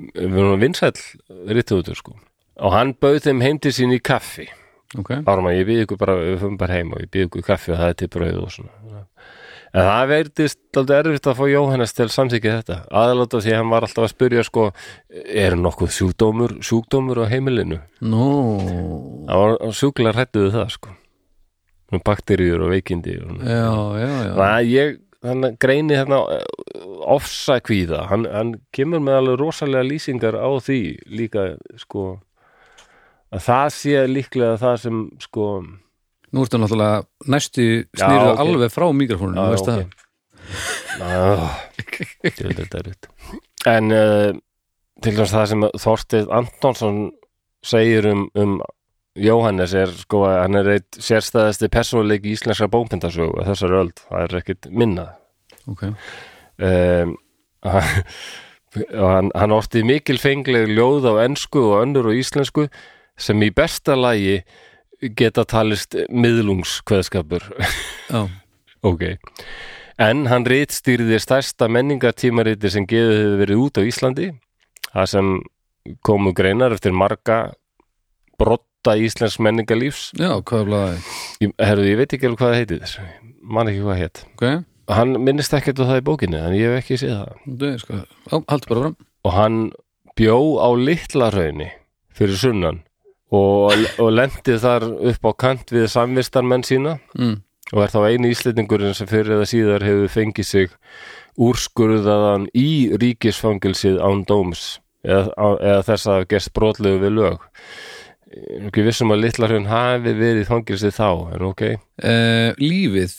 Speaker 1: við erum vinsæll rítuður sko og hann bauð þeim heim til sín í kaffi
Speaker 2: Ok,
Speaker 1: Ármann, ég býð ykkur bara, við fyrir bara heim og ég býð ykkur kaffi og það er til brauð og svona en það verðist aldrei erfitt að fá Jóhannes til samþykja þetta aðalátt af því að hann var alltaf að spyrja sko, er nokkuð sjúkdómur sjúkdómur á heimilinu
Speaker 2: nú
Speaker 1: það var sjúklar hrættuðu það sko Svona bakteríur og veikindi og svona.
Speaker 2: Já, já, já
Speaker 1: Þannig að ég þannig að greini þarna ofsa kvíða, hann, hann kemur með alveg rosalega lýsingar á því líka sko að það sé líklega það sem sko
Speaker 2: Nú ertu náttúrulega næstu snýrðu
Speaker 1: ok.
Speaker 2: alveg frá mikrofóninu
Speaker 1: já,
Speaker 2: veist það
Speaker 1: ok. Ná, ég veit þetta er rétt Ah. en uh, til dæmis það sem Þorstið Antonsson segir um, um Jóhannes er sko að hann er eitt sérstæðasti persónuleik í íslenska bókmyndasögu þessar öld, það er ekkit minna
Speaker 2: Ok,
Speaker 1: um, hann, hann, hann orti mikil fengleg ljóð á ensku og önnur og íslensku sem í besta lagi geta talist miðlungskveðskapur
Speaker 2: já,
Speaker 1: ok en hann rítstýrði stærsta menningartímariti sem geðið hefur verið út á Íslandi það sem komu greinar eftir marga brotta íslensk menningarlífs
Speaker 2: já, hvað er blaði
Speaker 1: ég, herrðu, ég veit ekki alveg hvað það heiti þess man ekki hvað hétt
Speaker 2: Ok,
Speaker 1: hann minnist ekkert á það í bókinni en ég hef ekki séð það
Speaker 2: það er sko Já, haldur bara fram
Speaker 1: og hann bjó á litla raunni fyrir sunnan og, og lendi þar upp á kant við samvistarmenn sína
Speaker 2: mm.
Speaker 1: og er þá eini íslendingurinn sem fyrir eða síðar hefur fengið sig úrskurðaðan í ríkisfangilsið án dóms eða, á- eða þess að hafa gerst brotlegu við lög Ég er ekki vissum að litla hraun hafi verið í fangilsið þá en ok,
Speaker 2: eh, Lífið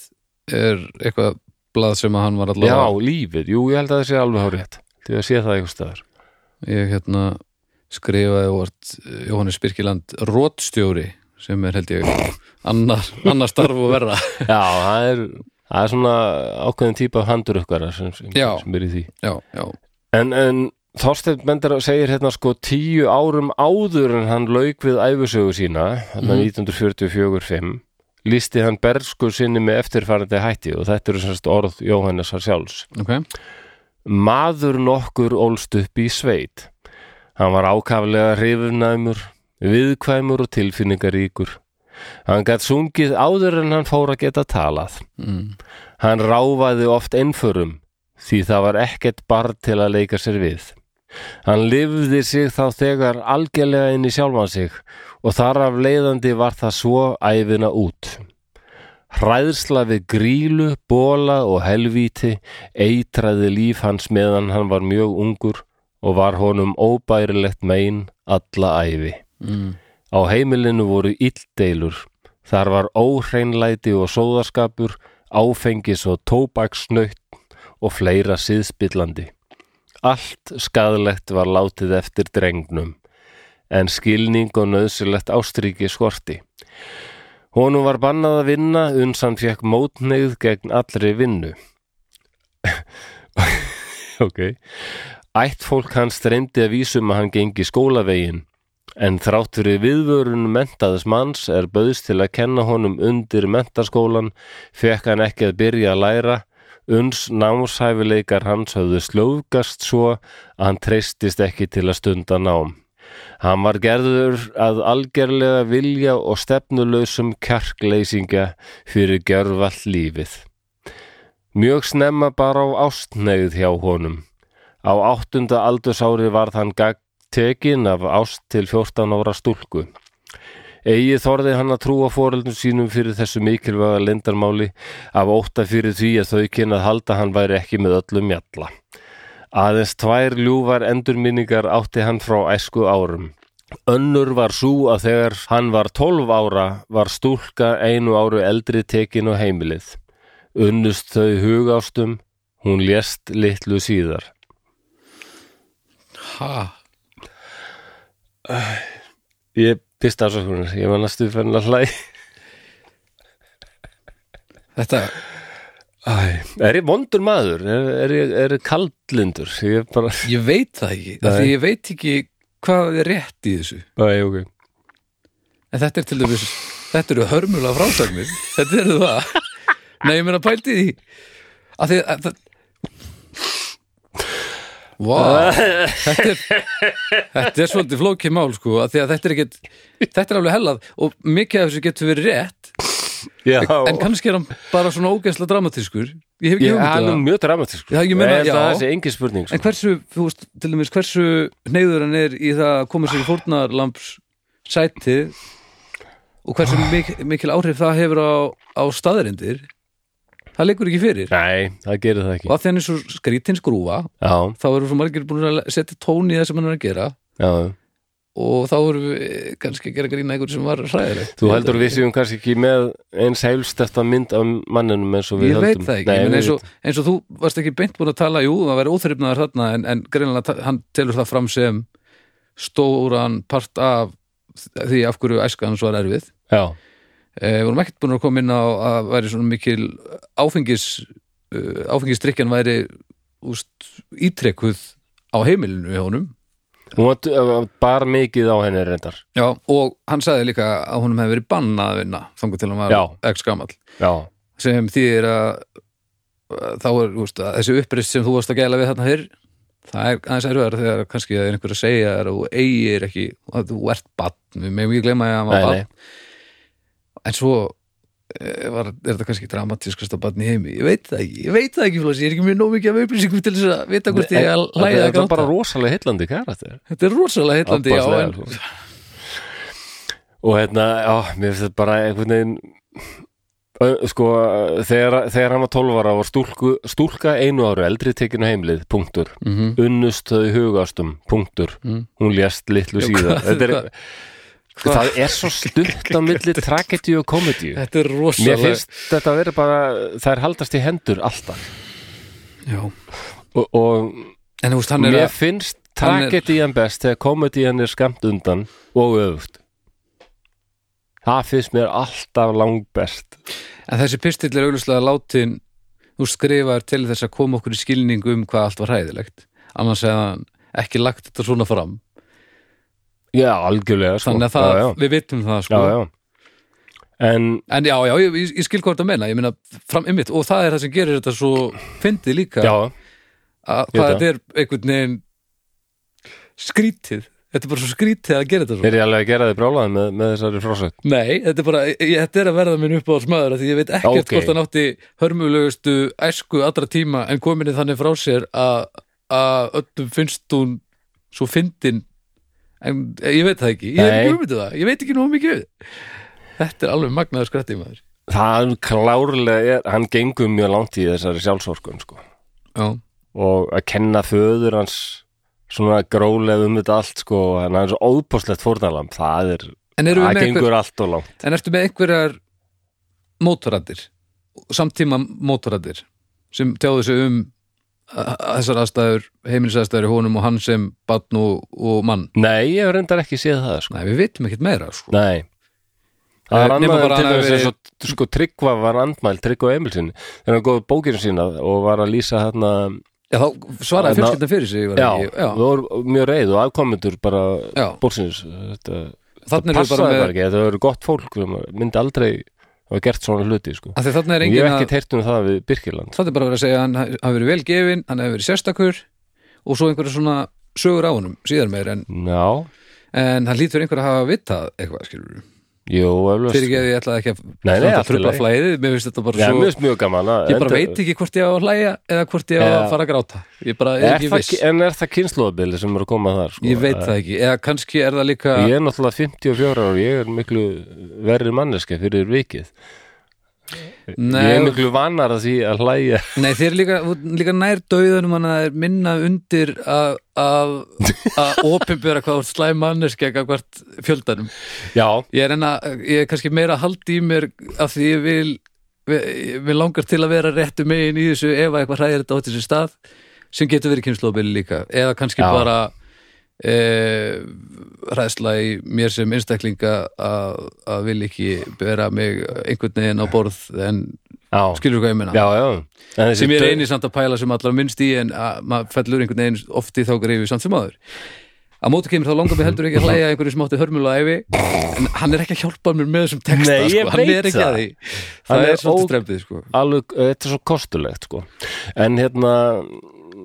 Speaker 2: er eitthvað blað sem að hann var
Speaker 1: já,
Speaker 2: allavega
Speaker 1: lífið jú, ég held að það sé alveg hár rétt því að sé það eitthvað staðar
Speaker 2: Ég hérna skrifaði vart Jóhannes Birkiland Rótstjóri sem er held ég annar, annar starf og verra
Speaker 1: já, það er, það er svona ákveðin típa handur ykkar sem, sem,
Speaker 2: Já.
Speaker 1: sem er í því
Speaker 2: Já, já,
Speaker 1: En, en Þorsteinn Bender segir hérna sko tíu árum áður en hann lauk við æfusögu sína, hann
Speaker 2: Mhm.
Speaker 1: 1944-5, lísti hann bernsku sinni með eftirfarandi hætti og þetta eru semst orð Jóhannesar sjálfs.
Speaker 2: ok
Speaker 1: Maður nokkur ólst upp í sveit. Hann var ákaflega hrifurnæmur, viðkvæmur og tilfinningaríkur. Hann gætt sungið áður en hann fór að geta talað.
Speaker 2: mm.
Speaker 1: Hann ráfaði oft einförum því það var ekkert barn til að leika sér við. Hann lifði sig þá þegar algjörlega inn í sjálfan sig og þar af leiðandi var það svo æfina út. Hræðsla við grílu, bóla og helvíti eitraði líf hans meðan hann var mjög ungur og var honum óbærilegt mein alla æfi.
Speaker 2: Mm.
Speaker 1: Á heimilinu voru illdeilur. Þar var óhreinlæti og sóðaskapur, áfengis og tóbaksnaut og fleira síðspillandi. Allt skadlegt var látið eftir drengnum. en skilning og nöðsilegt ástríki skorti. Honum var bannað að vinna, unsan fekk mótneið gegn allri vinnu. ok. Ætt fólk hans streyndi að vísum að hann gengi skólavegin, en þrátt fyrir viðvörun mentaðis manns er bauðst til að kenna honum undir mentaskólan, fekk hann ekki að byrja að læra, uns námshæfileikar hans höfðu slóðgast svo að hann treystist ekki til að stunda nám. Hann var gerður að algerlega vilja og stefnulausum kjarkleysinga fyrir gjörvall lífið. Mjög snemma bara á ástneið hjá honum. Á áttunda aldursári varð hann gagn tekin af ást til 14 ára stúlku. Egið þorði hann að trúa foreldum sínum fyrir þessu mikilvæga lindarmáli af óta fyrir því að þau kynna að halda hann væri ekki með öllum mjalla. Aðeins tvær ljúfar endurminningar átti hann frá æsku árum. Önnur var sú að þegar hann var 12 ára var stúlka einu áru eldri tekin og heimilið. Unnust þau hugástum, hún lést litlu síðar.
Speaker 2: Ha,
Speaker 1: Ég pista afsökunar, ég var næstu fenn að hlæ.
Speaker 2: þetta,
Speaker 1: Æ, er ég vondur maður? Er, er, ég- er ég kaldlindur? Ég er bara...
Speaker 2: ég veit það ekki af
Speaker 1: Nei.
Speaker 2: því ég veit ekki hvað er rétt í þessu
Speaker 1: Æ, ok.
Speaker 2: En þetta er til dæmis, þetta eru hörmulega frásagnir, þetta eru það. Nei, ég meina pælti því. Að því að það... Vá, þetta er, þetta er svolítið flókið mál sko, að því að þetta er ekkit, þetta er alveg hellað og mikið af þessu getur verið rétt,
Speaker 1: Já,
Speaker 2: en kannski er hann bara svona ógeðslega dramatískur. Ég hef ekki um
Speaker 1: ég, hann
Speaker 2: hugmyndið
Speaker 1: er
Speaker 2: það.
Speaker 1: mjög dramatisk.
Speaker 2: Já, ég meina,
Speaker 1: Ég held að
Speaker 2: já.
Speaker 1: Það sé engin spurning.
Speaker 2: En
Speaker 1: Sko.
Speaker 2: hversu, þú veist, til dæmis, hversu neyður hann er í það að koma sér í fórnarlamps sætið og hversu
Speaker 1: Ah.
Speaker 2: mik mikil áhrif það hefur á, á staðarindir það liggur ekki fyrir
Speaker 1: Nei, það gerir það
Speaker 2: og
Speaker 1: ekki.
Speaker 2: af því hann er svo skrítinn skrúfa
Speaker 1: Já,
Speaker 2: þá eru svo margir búin að setja tón í það sem hann er að gera
Speaker 1: já.
Speaker 2: og þá eru við eh, kannski að gera grína einhver sem var hræðilegt
Speaker 1: Þú heldur við séum kannski ekki með eins heilstæsta mynd af manninum eins og við
Speaker 2: Ég
Speaker 1: höldum.
Speaker 2: veit það ekki, Nei,
Speaker 1: við
Speaker 2: eins, og, eins og þú varst ekki beint búin að tala, jú, það væri óþrifnaðar þarna en, en greinlega ta- hann telur það fram sem stóran part af því af hverju æskan svo er erfið.
Speaker 1: Já,
Speaker 2: Eh, Við vorum ekkert búin að koma inn á að væri svona mikil áfengis, uh, áfengisdrykjan væri úst, ítrekkuð á heimilinu hjá honum.
Speaker 1: hún var uh, bara mikið á henni reyndar.
Speaker 2: Já, og hann sagði líka að honum hefði verið bannað að vinna þangur til hann var
Speaker 1: Já.
Speaker 2: ekki skamall.
Speaker 1: Já,
Speaker 2: sem þýðir að að þá er úst, að þessi uppreist sem þú varst að gæla við þarna fyrr það er aðeins erfiðar þegar kannski það er einhver að segja þér og þú eigir ekki að þú ert bann, við meðum ekki gleyma því að maður
Speaker 1: Nei, nei.
Speaker 2: bann en svo eh, var, er þetta kannski dramatískasta bann í heimi ég veit það ekki, ég veit það ekki flósi, ég er ekki með nóg mikið af upplýsingum til þess að vita hvort ég er að
Speaker 1: Þetta-
Speaker 2: hlæða
Speaker 1: Þetta er bara rosalega heillandi karakter.
Speaker 2: þetta er rosalega heitlandi já,
Speaker 1: Ofboðslega,
Speaker 2: en,
Speaker 1: sko. og hérna, já, mér finnst þetta bara einhvern veginn Ö, sko, þegar, þegar hann var 12 ára var stúlku, stúlka einu ára eldri tekinu heimlið, punktur
Speaker 2: mm
Speaker 1: unnust þau hugástum, punktur
Speaker 2: Mm.
Speaker 1: hún lést litlu
Speaker 2: Já,
Speaker 1: síðan
Speaker 2: hvað-
Speaker 1: þetta er,
Speaker 2: hvað-
Speaker 1: það er svo stutt á milli tragedy og komedi
Speaker 2: þetta er
Speaker 1: mér
Speaker 2: rosalega
Speaker 1: finnst þetta verið bara það er haldast í hendur alltaf
Speaker 2: já.
Speaker 1: og, og
Speaker 2: en þú veist, hann er
Speaker 1: mér
Speaker 2: að
Speaker 1: finnst
Speaker 2: hann er-
Speaker 1: tragedyan best þegar komedian er skamt undan og öfugt það finnst mér alltaf langbest
Speaker 2: En þessi pistill er augljóslega látin þú skrifar til þess að koma okkur í skilning um hvað allt var hræðilegt annars hefði hann ekki lagt þetta svona fram
Speaker 1: já, algjörlega sko.
Speaker 2: þannig að það,
Speaker 1: já, já.
Speaker 2: við vitum það sko.
Speaker 1: já, já. En
Speaker 2: en já, já, ég, ég- ég skil hvort að menna ég meina fram ymmit og það er það sem gerir þetta svo fyndið líka
Speaker 1: já,
Speaker 2: að
Speaker 1: ég
Speaker 2: hvað
Speaker 1: veit
Speaker 2: þetta er einhvern veginn skrítið þetta er bara svo skrítið að gera þetta svo
Speaker 1: er ég alveg að gera þið brálaðið með, með þessari frásögn
Speaker 2: Nei, þetta er bara, ég, þetta er að verða minn upp á smaður því ég veit ekkert
Speaker 1: Ok.
Speaker 2: hvort hann átti hörmulegustu æsku allra tíma en kominni þannig frá sér að að öllum finnst hún svo fyndin en eh, ég veit það ekki, ég hef
Speaker 1: Nei.
Speaker 2: ekki ummyndið það ég veit ekki nú mikið við Þetta er alveg magnaður skrætti maður
Speaker 1: Það klárlega er, hann gengur mjög langt í þessari sjálfsorkun sko.
Speaker 2: Já,
Speaker 1: og að kenna föður hans svona grólega um þetta allt sko, en hann er svo óbúslegt fórnalam það er,
Speaker 2: en eru við
Speaker 1: það
Speaker 2: með
Speaker 1: gengur
Speaker 2: einhver,
Speaker 1: allt og langt
Speaker 2: en ertu með einhverjar mótorandir samtíma mótorandir sem tjáðu sig um að- að þessar aðstæður, heimilisaðstæður í honum og hann sem barn og, og mann
Speaker 1: Nei, ég hef reyndar ekki séð það sko.
Speaker 2: Nei, við vitum ekkert meira sko.
Speaker 1: Nei Það
Speaker 2: Eh,
Speaker 1: er
Speaker 2: nema
Speaker 1: annað
Speaker 2: bara
Speaker 1: til
Speaker 2: hann
Speaker 1: þess
Speaker 2: hafi
Speaker 1: að svo, sko, Tryggva var andmæl, Tryggva Emilsin þegar hann góði bókinu sína og var að lýsa hérna,
Speaker 2: Já, þá svaraði
Speaker 1: Ná-
Speaker 2: fjölskyldan fyrir sig var
Speaker 1: já,
Speaker 2: ekki-
Speaker 1: það voru mjög reið og afkomendur bara
Speaker 2: já.
Speaker 1: bólsins þetta, það
Speaker 2: Þannig er
Speaker 1: passaði
Speaker 2: bara
Speaker 1: bara
Speaker 2: með
Speaker 1: ekki, þetta voru gott fólk sem myndi aldrei hafa gert svona hluti sko.
Speaker 2: að því þannig er
Speaker 1: ég
Speaker 2: engin
Speaker 1: hef
Speaker 2: að
Speaker 1: ekki teirt um það við Birkiland
Speaker 2: þannig er bara að vera að segja að hann hafi verið vel gefin hann hafi verið sérstakur og svo einhverja svona sögur á honum síðar meir en,
Speaker 1: Já,
Speaker 2: en hann lítur einhverja að hafa vitað eitthvað skilur
Speaker 1: jú, eflaust
Speaker 2: fyrir ekki að ég ætlaði ekki að
Speaker 1: Nei, nei,
Speaker 2: að
Speaker 1: allt í
Speaker 2: trufla
Speaker 1: lagi.
Speaker 2: flæðið, mér finnst þetta bara
Speaker 1: Já,
Speaker 2: svo
Speaker 1: mjög, mjög gaman að-
Speaker 2: ég bara
Speaker 1: enda-
Speaker 2: veit ekki hvort ég á að hlæja eða hvort ég á að
Speaker 1: Já.
Speaker 2: fara að gráta ég bara er
Speaker 1: er
Speaker 2: ekki
Speaker 1: það,
Speaker 2: viss,
Speaker 1: En er það kynnslóðabili sem er að koma þar sko?
Speaker 2: ég veit það ekki eða kannski er það líka
Speaker 1: Ég er náttúrulega 54 ára og ég er miklu verri manneska fyrir vikið
Speaker 2: nei,
Speaker 1: Ég er miklu vanar að því að hlæja
Speaker 2: nei þér er líka, þú ert líka nær döðunum hann að það er minna undir að að að opinbera hvað þú ert slæm manneskja hvert fjöldanum
Speaker 1: Já,
Speaker 2: ég er, enna, ég er kannski meira að haldi í mér af því ég vil við langar til að vera réttu megin í þessu ef að eitthvað hræðir þetta átt þessu stað sem getur verið kynnslóðbili líka eða kannski
Speaker 1: Já.
Speaker 2: bara e, hræðsla í mér sem einstaklinga að, að vil ekki vera mig einhvern veginn á borð en
Speaker 1: já,
Speaker 2: skilur hvað ég menna
Speaker 1: já, já. En þessi
Speaker 2: sem ég
Speaker 1: dö-
Speaker 2: er eini samt að pæla sem allar minnst í en að maður fellur einhvern veginn oft í þá greifu samt sem aður að móti kemur þá langar mér heldur ekki að hlæja að einhverju sem átti hörmulega æfi en hann er ekki að hjálpa mér með þessum texta
Speaker 1: Nei, ég
Speaker 2: sko. hann
Speaker 1: veit
Speaker 2: er ekki
Speaker 1: það.
Speaker 2: að því
Speaker 1: Hann
Speaker 2: það
Speaker 1: er
Speaker 2: er svolítið
Speaker 1: ó-
Speaker 2: strempið sko.
Speaker 1: alveg, þetta er svo kostulegt sko. en hérna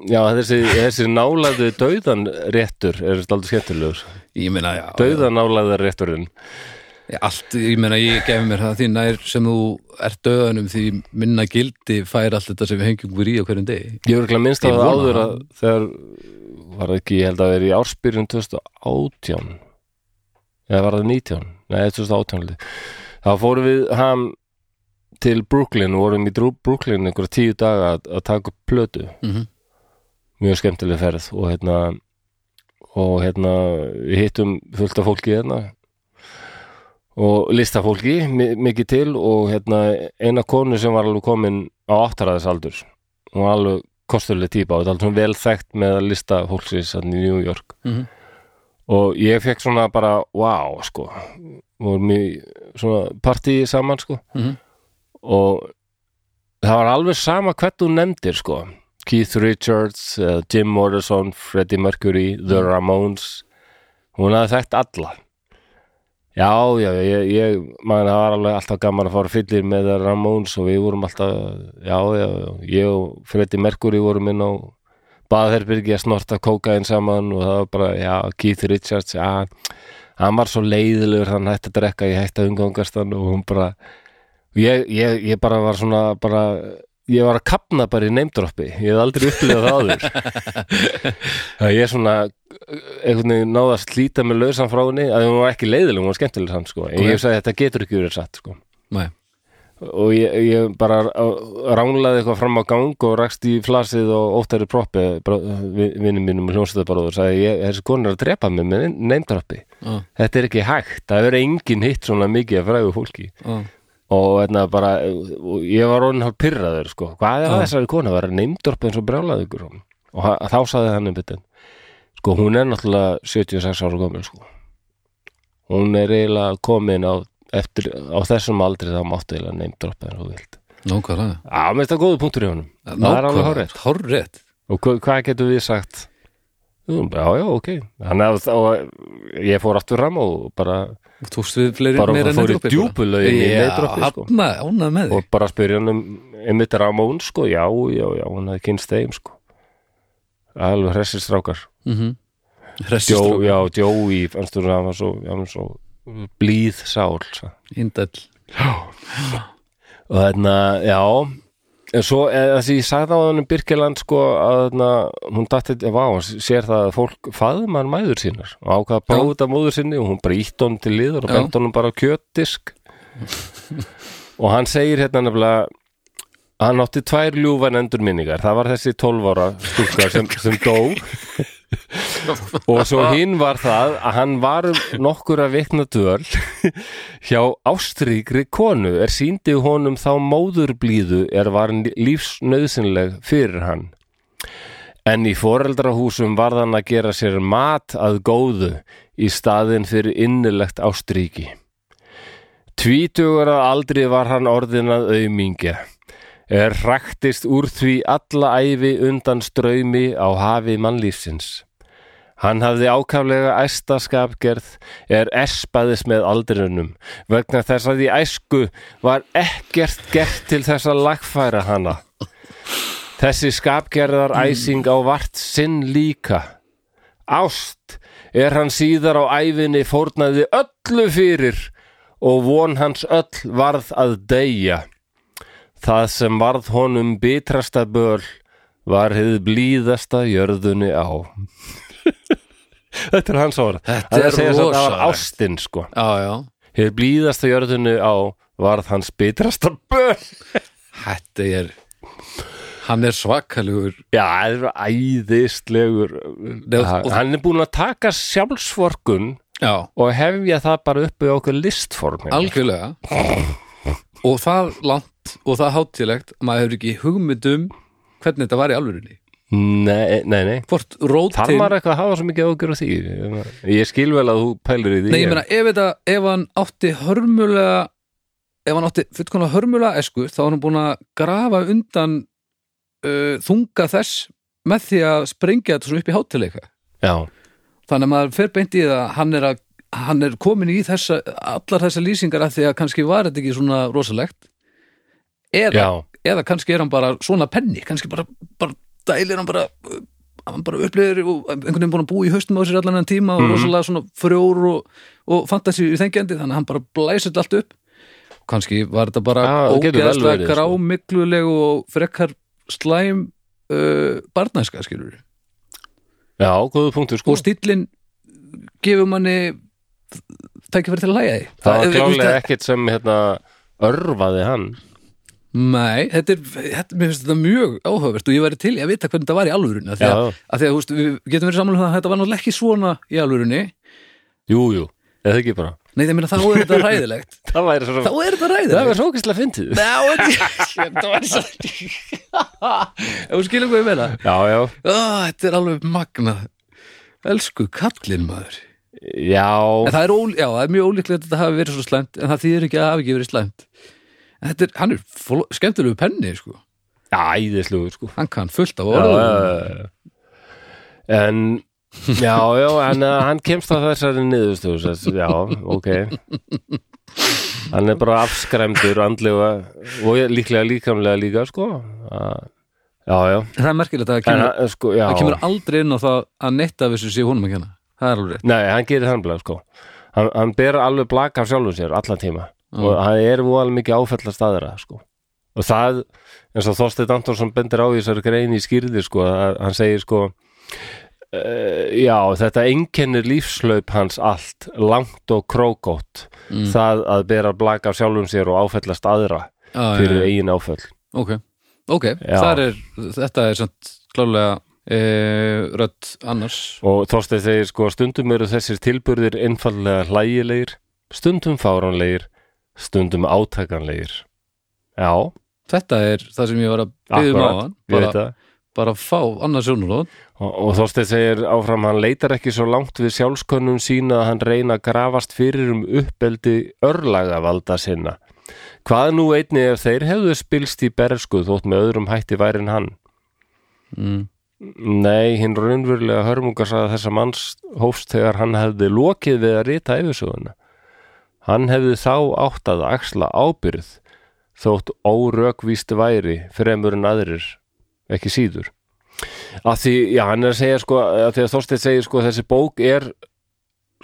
Speaker 1: já, þessi, þessi nálaðu dauðan réttur er þetta aldrei skemmtilegur
Speaker 2: ég meina, já,
Speaker 1: dauðan nálaðar rétturinn
Speaker 2: já, allt, ég meina ég gef mér það því nær sem þú ert döðanum því minna gildi fær allt þetta sem við hengjum úr í á hverjum degi
Speaker 1: ég er ekki minnst að
Speaker 2: Ég
Speaker 1: það
Speaker 2: vona
Speaker 1: áður
Speaker 2: það.
Speaker 1: að þegar var það ekki, ég held að vera í ársbyrjun 2018 eða var það 19 nei, 2018 held ég. þá fórum við ham til Brooklyn og vorum í Drú- Brooklyn einhverja tíu daga að, að taka upp plötu
Speaker 2: mm -hmm.
Speaker 1: mjög skemmtileg ferð og hérna og hérna við hittum fullt af fólki hérna og listafólki mi- mikið til og hérna eina konu sem var alveg komin á áttaraðis aldur hún var alveg kostuleg típa og þetta er alveg svona vel þekkt með að lista fólksins í New York
Speaker 2: Mhm.
Speaker 1: og ég fekk svona bara wow sko vorum í svona partí saman sko
Speaker 2: Mhm.
Speaker 1: og það var alveg sama hvert þú nefndir sko Keith Richards, uh, Jim Morrison Freddie Mercury, The Ramones hún hafði þekkt alla já, já, já, ég, ég maður það var alveg alltaf gaman að fara fyllir með The Ramones og við vorum alltaf já, já, já, ég og Freddie Mercury vorum inn á baðherbyrgi að snorta kókain saman og það var bara, já, Keith Richards já, hann var svo leiðilegur hann hætti að drekka, ég hætti að umgangast hann og hún bara ég, ég, ég bara var svona bara, ég var að kapna bara í neymdroppi ég hef aldrei upplifað það áður það ég svona einhvern veginn náða að slíta mig lausan frá henni að hún var ekki leiðileg, hún var skemmtileg samt sko. en ég sagði þetta getur ekki verið satt sko
Speaker 2: Nei.
Speaker 1: og ég, ég bara á- ránlaði eitthvað fram á gang og rakst í flasið og óttari proppi vinnum mínum og hljómsveitabróður sagði ég, þessi konur er að drepa mig með neymdroppi
Speaker 2: Ah.
Speaker 1: þetta er ekki hægt, það er engin hitt svona mikið að fræðu fólki
Speaker 2: ah.
Speaker 1: og hérna bara, og ég var orðin hálf pyrraður sko, hvað er að þessari konu var neymdroppi eins og brjálaði ykkur hún og ha- þá sagði hann um bitin sko, hún er náttúrulega 76 ára komin sko hún er eiginlega komin á, eftir, á þessum aldri þá máttu eiginlega neymdroppi eins og þú vilt
Speaker 2: Nókvæða
Speaker 1: Já, mér finnst það góðu punktur í honum Það er alveg hárrétt.
Speaker 2: Hárrétt
Speaker 1: Og hva- hvað getum við sagt? Jú, Já, já, ok Þannig að þá ég fór aftur fram og bara,
Speaker 2: Þú tókst við fleiri
Speaker 1: bara
Speaker 2: meira en
Speaker 1: fór í
Speaker 2: neydroppi bara?
Speaker 1: djúpulögin í
Speaker 2: Já,
Speaker 1: neitdroppi sko.
Speaker 2: hafna, ánað með
Speaker 1: og
Speaker 2: þig
Speaker 1: bara spyrja hann um einmitt Ramón, sko, já, já, já hún hafði kynst þeim, sko alveg hressir strákar
Speaker 2: Mhm.
Speaker 1: Jó,
Speaker 2: Hressistrók,
Speaker 1: já, Jói, fannst þú að hann var svo, hann var svo blíð sál sa.
Speaker 2: hindall
Speaker 1: og þarna, já en svo, eða þessi, ég sagði á hann um Birkiland sko, að þarna, hún datti vá, hún sér það að fólk faðumar mæður sínar og ákvað að
Speaker 2: Já.
Speaker 1: prófa þetta móður sinni og hún bara ítt honum til liður og
Speaker 2: Já.
Speaker 1: bent honum bara á kjötdisk og hann segir hérna nefnilega hann átti tvær ljúfan endurminningar það var þessi 12 ára stúlka sem, sem dó og svo hinn var það að hann var nokkur að vikna döl hjá ástríkri konu er síndi honum þá móðurblíðu er var lífsnauðsynleg fyrir hann En í foreldrahúsum varð hann að gera sér mat að góðu í staðin fyrir innilegt ástríki. Tvítugur að aldrei var hann orðin að aumingja. Er raktist úr því alla æfi undan ströymi á hafi mannlífsins. Hann hafði ákaflega æstaskapgerð er espaðis með aldrinunum vegna þess að í æsku var ekkert gert til þess að lagfæra hana. Þessi skapgerðar
Speaker 2: Mm.
Speaker 1: æsing á vart sinn líka. Ást er hann síðar á æfinni fórnaði öllu fyrir og von hans öll varð að deyja. Það sem varð honum bitrasta böl var hið blíðasta jörðunni á. Þetta er hans orð.
Speaker 2: Þetta
Speaker 1: Það
Speaker 2: er
Speaker 1: að segja samt að Það var
Speaker 2: rosalegt.
Speaker 1: ástinn sko.
Speaker 2: já, já
Speaker 1: Hið blíðasta jörðunni á varð hans bitrasta böl.
Speaker 2: Þetta er Hann er svakalugur
Speaker 1: Já, það er æðislegur
Speaker 2: Nei, og-
Speaker 1: Ha-
Speaker 2: og-
Speaker 1: Hann er búin að taka sjálfsvorkun
Speaker 2: Já,
Speaker 1: og hefja það bara uppi á okkur listform hérna.
Speaker 2: algjörlega Og það langt og það hátilegt maður hefur ekki hugmyndum hvernig þetta var í alvörunni
Speaker 1: Nei, nei, nei
Speaker 2: Hvort rót
Speaker 1: Þarf
Speaker 2: til
Speaker 1: maður eitthvað að hafa svo mikið ágjör á því Ég skil vel að þú pælir í því
Speaker 2: Nei, ég meina, ef, þetta, ef hann átti hörmulega ef hann átti fullkona hörmulega esku þá var hann búin að grafa undan uh, þunga þess með því að sprengja þetta svona upp í hátileika
Speaker 1: Já,
Speaker 2: þannig að maður fer beint í það að hann er, að, hann er komin í þessa, allar þessar lýsingar að því að kannski var þetta ekki svona rosalegt eða,
Speaker 1: já,
Speaker 2: eða kannski er hann bara svona penni kannski bara, bara dælir hann bara uh, hann bara upplifir og einhvern veginn búin að búa í haustum á sér allan enn tíma og
Speaker 1: Mhm.
Speaker 2: rosalega svona frjór og, og fantasi í þengjandi þannig að hann bara blæsir þetta allt upp kannski var þetta bara
Speaker 1: Já, það getur vel verið,
Speaker 2: ógeðslega
Speaker 1: sko.
Speaker 2: grámiklulegu og frekar slæm uh, barnæska skilur
Speaker 1: já, góðu punktur sko
Speaker 2: og stíllinn gefur manni tækifæri til að læja því
Speaker 1: Það var
Speaker 2: þú veist,
Speaker 1: klálega ekkert sem hérna örfaði hann
Speaker 2: Nei, þetta er, þetta, mér finnst þetta mjög áhugavert og ég væri til í að vita hvernig þetta var í alvörunni af því að,
Speaker 1: Já.
Speaker 2: að því að, þú veist, við getum verið samanlega að þetta var náttúrulega ekki svona í alvörunni Nei,
Speaker 1: Jú, jú, eða ekki bara
Speaker 2: það meina, þá er þetta ræðilegt
Speaker 1: Það væri svo
Speaker 2: Þá er þetta
Speaker 1: Það
Speaker 2: ræðilegt
Speaker 1: væri svo okkinslega fyndið
Speaker 2: Ná, þetta var svo Ef þú skilur hvað ég meina
Speaker 1: Já, já,
Speaker 2: Ó, Þetta er alveg magnað Elsku kallinn maður
Speaker 1: já
Speaker 2: En það er, ól, já, það er mjög ólíklegt að þetta hafi verið svo slæmt en það þýðir ekki að það hafi ekki verið slæmt En þetta er, hann er fló- skemmtilegu penni sko.
Speaker 1: Æðislegur sko
Speaker 2: hann kann fullt af
Speaker 1: Já, já,
Speaker 2: orðum
Speaker 1: já. En Já, já, en uh, hann kemst á þessari niðurstöðu þess- Já, ok Hann er bara afskræmdur andlega og ég- líklega líkamlega líka sko Ah, Já, já
Speaker 2: það er merkilegt að það
Speaker 1: en,
Speaker 2: kemur,
Speaker 1: hann- sko, já.
Speaker 2: það kemur aldrei inn á það að neitt af þessu sé honum að kenna það er alveg rétt
Speaker 1: Nei, hann gerir þannig bleið sko Hann, hann ber alveg blaka af sjálfum sér allan tíma og hann er voðalega mikið áfellast aðra sko. og það eins og Þorsteinn Antonsson bendir á í þessari grein í skýrði sko, að hann segir sko Uh, já, þetta einkennir lífslaup hans allt, langt og krókótt það að bera blaka af sjálfum sér og áfellast aðra
Speaker 2: Já, já,
Speaker 1: fyrir
Speaker 2: já.
Speaker 1: eigin áfell
Speaker 2: ok, ok,
Speaker 1: Já.
Speaker 2: þar er þetta er samt klálega e, rödd annars
Speaker 1: og Þorsteinn segir sko stundum eru þessir tilburðir einfallega hlægilegir stundum fáránlegir stundum átakanlegir Já,
Speaker 2: þetta er það sem ég var að byggja um á
Speaker 1: akkurat,
Speaker 2: hann
Speaker 1: ég veit
Speaker 2: bara,
Speaker 1: það
Speaker 2: bara fá annars sjónulóð
Speaker 1: Og, og Þorsteinn segir áfram hann leitar ekki svo langt við sjálfskönnum sína að hann reyna að grafast fyrir um uppeldi örlagavalda sinna. Hvað nú einni ef þeir hefðu spilst í bernsku þótt með öðrum hætti væri en hann?
Speaker 2: mm.
Speaker 1: Nei, hinn raunverulega hörmungarsaga þessa manns hófst þegar hann hefði lokið við að rita yfirsöguna. Hann hefði þá átt að axla ábyrð þótt órökvíst væri fremur en aðrir, ekki síður. Að því, já, hann er að segja sko, að því að Þorsteinn segir sko, þessi bók er,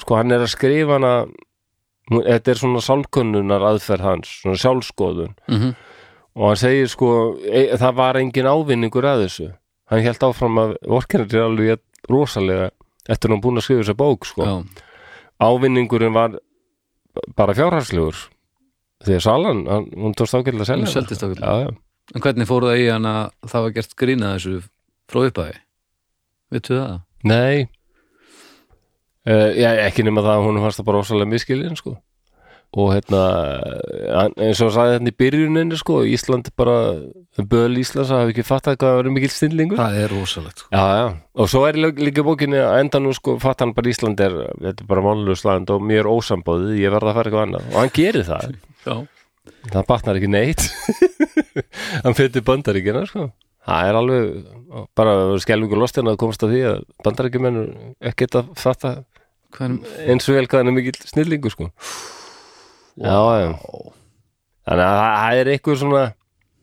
Speaker 1: sko, hann er að skrifa hana, nú, þetta er svona sálkunnunar aðferð hans, svona sjálfskoðun
Speaker 2: Mm
Speaker 1: og hann segir sko e, það var engin ávinningur að þessu hann held áfram að vorkenir er alveg jafn rosalega eftir hann búin að skrifa þessa bók sko
Speaker 2: já,
Speaker 1: ávinningurinn var bara fjárhagslegur því að salan, hann, hún tókst ágætlega að selja
Speaker 2: Hún
Speaker 1: hana.
Speaker 2: seldist ágætlega.
Speaker 1: já, já.
Speaker 2: en hvernig fór það í hann að það var gert grínað þessu frá uppæði veitu það?
Speaker 1: E, nei uh, já, ekki nema það að hún fannst það bara rosalega miskilin sko og hérna hann- eins og hann sagði hérna í byrjuninni sko, Ísland bara, böl Íslands hafi ekki fattað hvað það var mikil snillingur
Speaker 2: það er rosalegt sko.
Speaker 1: Já, já, og svo er lí- líka í bókinni að enda nú sko, fatt hann bara Ísland er þetta er bara málugslaðand og mér ósambóðið ég verð að fara eitthvað annað og hann gerir það
Speaker 2: Já.
Speaker 1: það batnar ekki neitt hann fyrir bandaríkina sko það er alveg bara skelfingu lostin að komast að því að bandaríkjumenn ekkert að fatta
Speaker 2: Hvað er,
Speaker 1: eins og vel hvað hann er mikill snillingu sko já, já þannig að það- það er eitthvað svona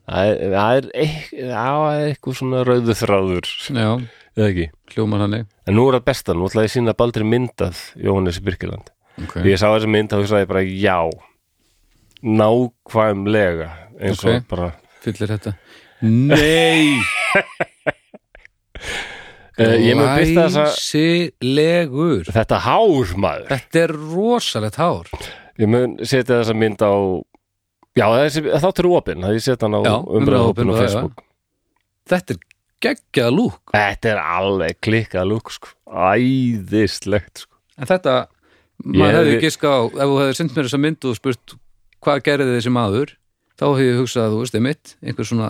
Speaker 1: það er- það er eitth- já, það er eitthvað svona rauðu þráður
Speaker 2: já,
Speaker 1: eða ekki
Speaker 2: hljómar hann
Speaker 1: En nú er það besta, nú ætlaði ég sína Baldri myndað Jóhannes Birkiland.
Speaker 2: okay.
Speaker 1: Okay. Ég sá þessa mynd og hugsaði bara já, nákvæmlega, eins og
Speaker 2: Ok.
Speaker 1: bara...
Speaker 2: fyllir þetta Nei
Speaker 1: Uh,
Speaker 2: Eh,
Speaker 1: ég mun byrta þessa,
Speaker 2: Læsilegur
Speaker 1: þetta hár maður,
Speaker 2: Þetta er rosalegt hár
Speaker 1: ég mun setja þessa mynd á, já þessi, þáttur er opinn, það ég setja hann á
Speaker 2: Já,
Speaker 1: umræðhópin á
Speaker 2: umræðuhópinn, já, já.
Speaker 1: Facebook.
Speaker 2: Þetta er geggjaða lúk
Speaker 1: Þetta er alveg klikkað lúk, sko, æðislegt, sko.
Speaker 2: En þetta, maður
Speaker 1: Ég-
Speaker 2: hefði giska á ef þú hefði sendt mér þessa mynd og spurt hvað gerði þessi maður þá hefði ég hugsað, þú veist, einmitt einhver svona,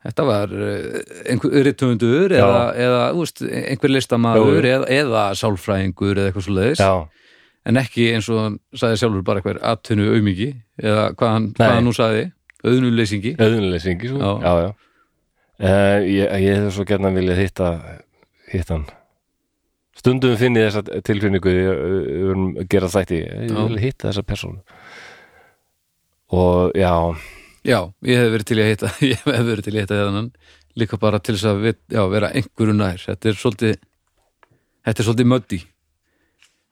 Speaker 2: þetta var eh, einhver rittöfundur
Speaker 1: Já.
Speaker 2: eða, eða þú veist, einhver
Speaker 1: Jú,
Speaker 2: listamaður
Speaker 1: jú.
Speaker 2: eða, eða sálfræðingur eða eitthvað svo leiðis
Speaker 1: Já,
Speaker 2: en ekki eins og hann sagði sjálfur bara eitthvað atvinnu aumingi eða hvað hann,
Speaker 1: Nei.
Speaker 2: hvað hann nú sagði auðnuleysingi
Speaker 1: öðunleysingi, sko,
Speaker 2: Já.
Speaker 1: já, já. Uh, ég, ég hefði svo gerna viljað hitta, hitta hann. Stundum finn ég þessa tilfinningu þegar við erum að gera þætti, ég
Speaker 2: Já.
Speaker 1: vil hitta þessa persónu. Og já,
Speaker 2: já, ég hef verið til í að hitta ég hef verið til í að hitta þennan líka bara til þess að við, já, vera einhverju nær þetta er svolítið þetta er svolítið möddi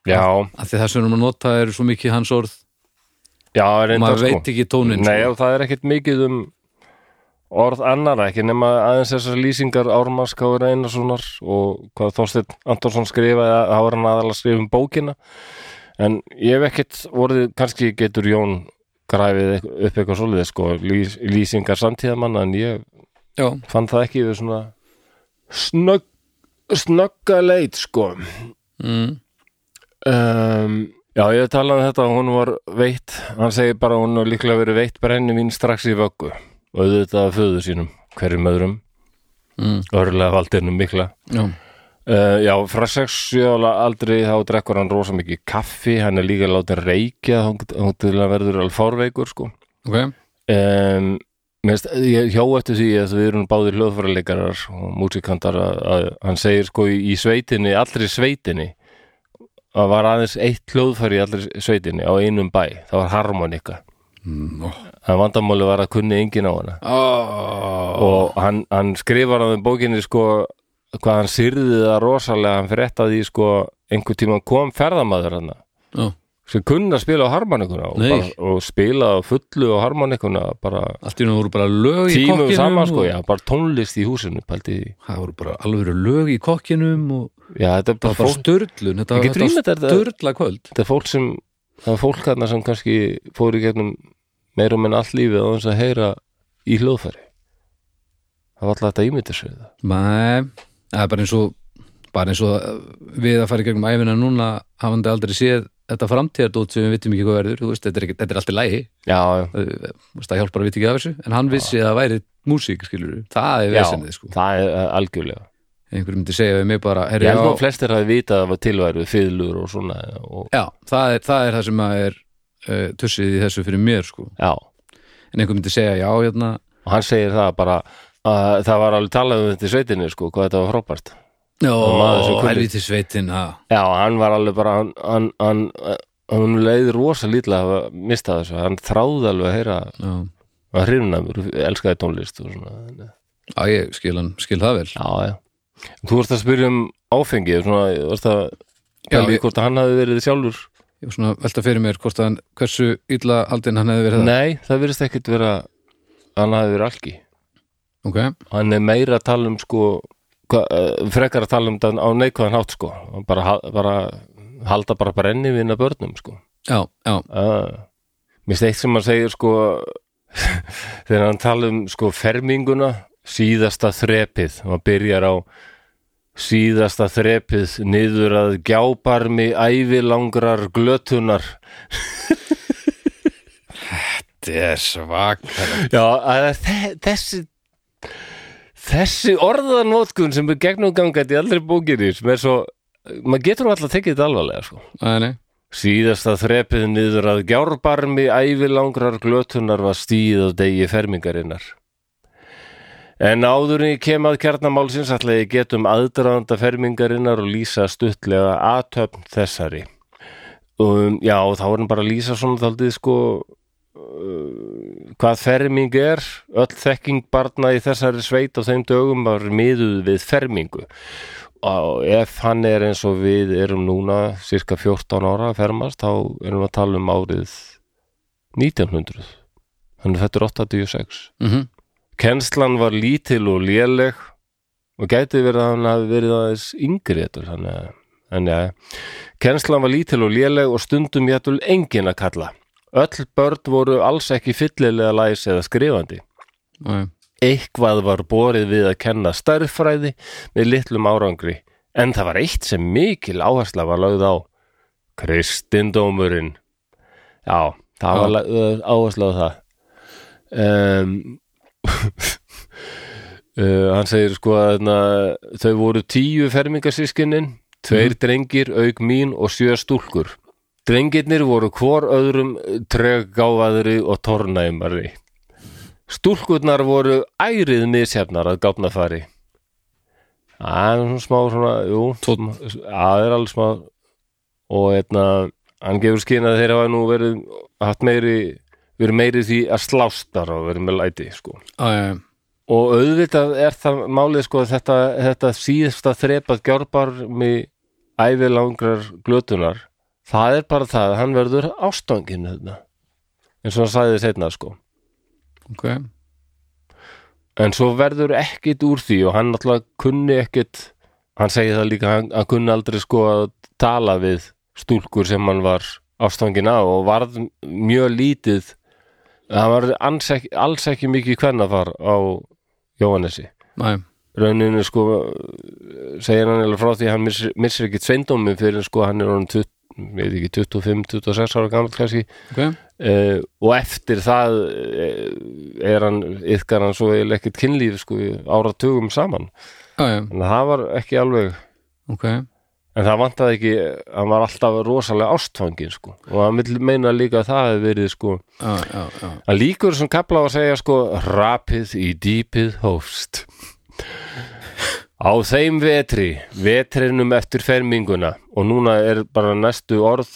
Speaker 1: já,
Speaker 2: af því það sem við erum að nota er svo mikið hans orð
Speaker 1: já, reyndar,
Speaker 2: og maður
Speaker 1: sko.
Speaker 2: veit ekki tónin
Speaker 1: Nei,
Speaker 2: sko.
Speaker 1: og það er ekkert mikið um orð annara, ekki nema aðeins þessar lýsingar Ármanns Káur Einarssonar og hvað Þorsteinn Antonsson skrifaði að það var hann aðalega að skrifa um bókina en ég hef ekkert orðið, kannski getur Jón græfið eit- upp eitthvað svoleiðið sko, lýs, lýsingar samtíðamanna en ég
Speaker 2: já,
Speaker 1: fann það ekki við svona snögg, snögga leit sko
Speaker 2: mm,
Speaker 1: um, Já, ég talaði um þetta að hún var veitt hann segir bara að hún var líklega verið veitt brenni mín strax í vöggu og auðvitað af föður sínum, hverjum öðrum
Speaker 2: mm,
Speaker 1: örlega valdinum mikla
Speaker 2: já,
Speaker 1: Uh, já, frá 6-7 ára aldrei þá drekkur hann rosa mikið kaffi hann er líka látið reykja þá hún til að verður alveg fárveikur sko.
Speaker 2: ok
Speaker 1: um, mest, ég hjá eftir því að við erum báðir hljóðfæraleikarar og músikantar að, að hann segir sko í, í sveitinni, allri sveitinni að var aðeins eitt hljóðfæri í allri sveitinni á einum bæ það var harmonika Mm,
Speaker 2: Nó.
Speaker 1: hann vandamáli var að kunni engin á hana
Speaker 2: Ó,
Speaker 1: og hann, hann skrifar á þeim bókinni sko hvað hann syrði það rosalega hann fréttaði því sko einhvern tímann kom ferðamaður hann
Speaker 2: Já.
Speaker 1: sem kunna að spila á harmonikuna og,
Speaker 2: Nei.
Speaker 1: bara, og spila á fullu á harmonikuna bara
Speaker 2: allt í nú voru bara lög í
Speaker 1: tímum
Speaker 2: kokkinum
Speaker 1: saman sko,
Speaker 2: og-
Speaker 1: já, bara tónlist í húsinu pældi, því.
Speaker 2: það voru bara alveg lög í kokkinum og
Speaker 1: já, þetta er
Speaker 2: það var
Speaker 1: bara
Speaker 2: bara
Speaker 1: fólk,
Speaker 2: störlun þetta,
Speaker 1: Ég get ímyndað
Speaker 2: þetta var
Speaker 1: þér það.
Speaker 2: störla kvöld
Speaker 1: þetta er fólk sem það er fólk þarna sem kannski fóru í gegnum meira um en allt lífið á þess að heyra í hljóðfæri það var alltaf þetta ímyndir sig það
Speaker 2: Nei, það er bara eins og bara eins og uh, við að fara í gegnum æfina núna hafandi aldrei séð þetta framtíðardót sem við vitum ekki hvað verður þú veist, þetta, er ekki, þetta er allt í lægi
Speaker 1: já, já,
Speaker 2: það hjálpar að vita ekki af þessu en hann vissi að það væri músík skilur það er
Speaker 1: já
Speaker 2: vesendið sko
Speaker 1: það er uh, algjörlega
Speaker 2: einhver myndi segja við mig bara
Speaker 1: Ég
Speaker 2: herri,
Speaker 1: held að
Speaker 2: já,
Speaker 1: flestir hafi vitað að það var tilværið fiðlur og svona og,
Speaker 2: já, það, er, það er það sem að er uh, tussið í þessu fyrir mér sko
Speaker 1: já.
Speaker 2: en einhver myndi segja já hérna
Speaker 1: og hann segir það bara að það var alveg talað um þetta í sveitinni sko, hvað þetta var frábært
Speaker 2: Jó,
Speaker 1: maður sem kunni.
Speaker 2: helviti sveitin ha.
Speaker 1: Já, hann var alveg bara hann, hann, hann, eh, hann leiði rosa lítla að hafa mistað þessu, hann þráði alveg að heyra
Speaker 2: já,
Speaker 1: að hrifna mér, elskaði tónlist og svona eh. Þannig að-
Speaker 2: já, ég skil, hann, skil það vel
Speaker 1: Já, já Þú vorst að spyrja um áfengið svona, þú vorst að
Speaker 2: Já,
Speaker 1: pæla í
Speaker 2: ég-
Speaker 1: hvort hann hafi verið sjálfur
Speaker 2: ég var svona að velta fyrir mér hvort að hann, hversu illa aldinn hann hefði verið það
Speaker 1: Nei, það virðist ekkit vera hann hafi verið alki
Speaker 2: okay.
Speaker 1: hann er meira að tala um sko hva, uh, frekar að tala um þann á neikvæðan hátt sko Hann bara, ha- bara halda bara brenni vinna börnum sko
Speaker 2: já, já,
Speaker 1: uh. mér steitt sem hann segir sko þegar hann tala um sko ferminguna síðasta þrepið og hann byrjar á síðasta þrepið niður að gjábarmi ævilangrar glötunar
Speaker 2: þetta er svakar
Speaker 1: Já, að þe- þessi þessi orðanótkun sem er gegnumgangandi í aldrei bókinni sem er svo, maður getur alltaf tekið þetta alvarlega sko.
Speaker 2: Æ,
Speaker 1: Síðasta þrepið niður að gjárbarmi ævilangrar glötunar var stíð á degi fermingarinnar. En áður en ég kem að kjarnamálsins ætla ég get um aðdraðanda fermingarinnar og lýsa stuttlega aðtöfn þessari. Um, já, þá er hann bara að lýsa svona þaldið sko uh, hvað ferming er. Öll þekking barna í þessari sveit á þeim dögum var miðuð við fermingu. Og ef hann er eins og við erum núna cirka 14 ára að fermast þá erum við að tala um árið 1900. Þannig að þetta er 86.
Speaker 2: mhm,
Speaker 1: Kennslan var lítil og léleg og gæti verið að hann hafi verið aðeins yngri þetta þannig að en ja, kennslan var lítil og léleg og stundum jætul engin að kalla. Öll börn voru alls ekki fyllilega læs eða skrifandi.
Speaker 2: æ,
Speaker 1: Eitthvað var borið við að kenna stærðfræði með litlum árangri en það var eitt sem mikil áhersla var lögð á. Kristindómurinn. Já, það var
Speaker 2: Já.
Speaker 1: lögð áhersla á það. Um, Uh, hann segir sko að hérna, þau voru tíu fermingasískinnin, tveir drengir auk mín og sjö stúlkur. Drengirnir voru hvor öðrum treggáfaðri og tornæmari. Stúlkurnar voru ærið misjafnar að gáfna fari. Það er svona smá svona, jú,
Speaker 2: Tónn.
Speaker 1: það er alveg smá og hérna, hann gefur skyn að þeir hafa nú verið, haft meiri, verið meiri því að slástar og verið með læti, sko
Speaker 2: æ,
Speaker 1: og auðvitað er það málið sko að þetta, þetta síðasta þrepað gjárbarmi ævilangrar glötunar það er bara það, hann verður ástangin þetta, eins og hann sagði setna sko,
Speaker 2: ok
Speaker 1: en svo verður ekkit úr því og hann náttúrulega kunni ekkit, hann segi það líka hann, hann kunni aldrei sko að tala við stúlkur sem hann var ástangin á og varð mjög lítið hann var alls ekki, alls ekki mikið kvennafar á Jóhannesi
Speaker 2: Æ,
Speaker 1: rauninu sko segir hann eða frá því að hann missir, missir ekki sveindómi fyrir sko hann er honum 20, ég veit ekki 25-26 ára gamall kannski
Speaker 2: ok
Speaker 1: uh, og eftir það uh, er hann, yfkar hann svo eiginlega ekkert kynlíf sko áratugum saman
Speaker 2: Æ, æ,
Speaker 1: en það var ekki alveg
Speaker 2: ok
Speaker 1: en það vantaði ekki, hann var alltaf rosalega ástfangin sko og hann vil meina líka að það hefði verið sko
Speaker 2: Já, já, já
Speaker 1: Hann líkur sem kapla á að segja sko rapið í dýpið hófst. Á þeim vetri, vetrinum eftir ferminguna og núna er bara næstu orð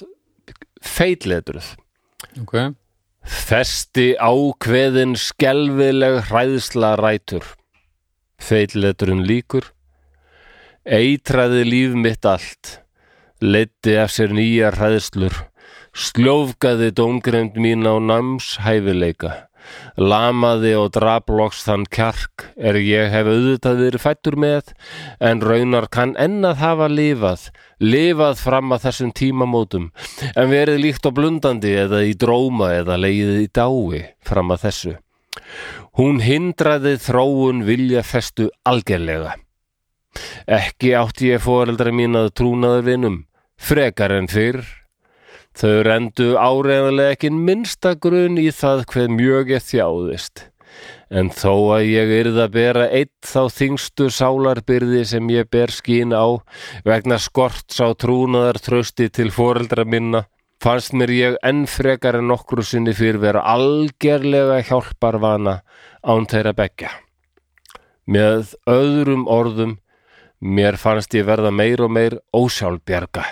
Speaker 1: feitletruð.
Speaker 2: Ok,
Speaker 1: Festi ákveðin skelfileg hræðsla rætur. Feitleturinn líkur. Eitraði líf mitt allt. Leiddi af sér nýjar hræðslur. Sljófgaði dómgrend mín á náms hæfileika. Lamaði og draploks þann kjark er ég hef auðvitað verið fættur með en raunar kann enn að hafa lifað, lifað fram að þessum tímamótum en verið líkt á blundandi eða í dróma eða leiðið í dái fram að þessu. Hún hindraði þróun viljafestu algerlega. Ekki átti ég foreldra mín að trúnaða vinum, frekar en fyrr. Þau rendu áreðanlega ekki minnsta grun í það hver mjög ég þjáðist. En þó að ég yrði að bera eitt þá þingstu sálarbyrði sem ég ber skín á vegna skorts á trúnaðar trösti til foreldra minna, fannst mér ég enn frekar en nokkru sinni fyrir vera algerlega hjálparvana án þeirra beggja. Með öðrum orðum, mér fannst ég verða meir og meir ósjálfbjarga,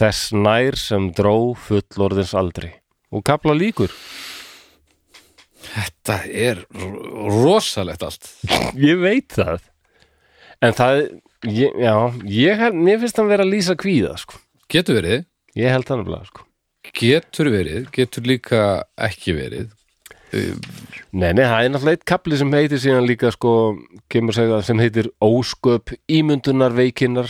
Speaker 1: þess nær sem dró fullorðins aldri. Og kapla líkur.
Speaker 2: þetta er ro- rosalegt allt
Speaker 1: Ég veit það. En það, ég, já, ég, held- mér finnst hann vera að lýsa kvíða, sko.
Speaker 2: Getur verið,
Speaker 1: Ég held hann að blaða, sko.
Speaker 2: getur verið, getur líka ekki verið
Speaker 1: Nei, nei, það er náttúrulega eitt kapli sem heitir síðan líka sko, kemur segja það, sem heitir Ósköp ímyndunar veikinnar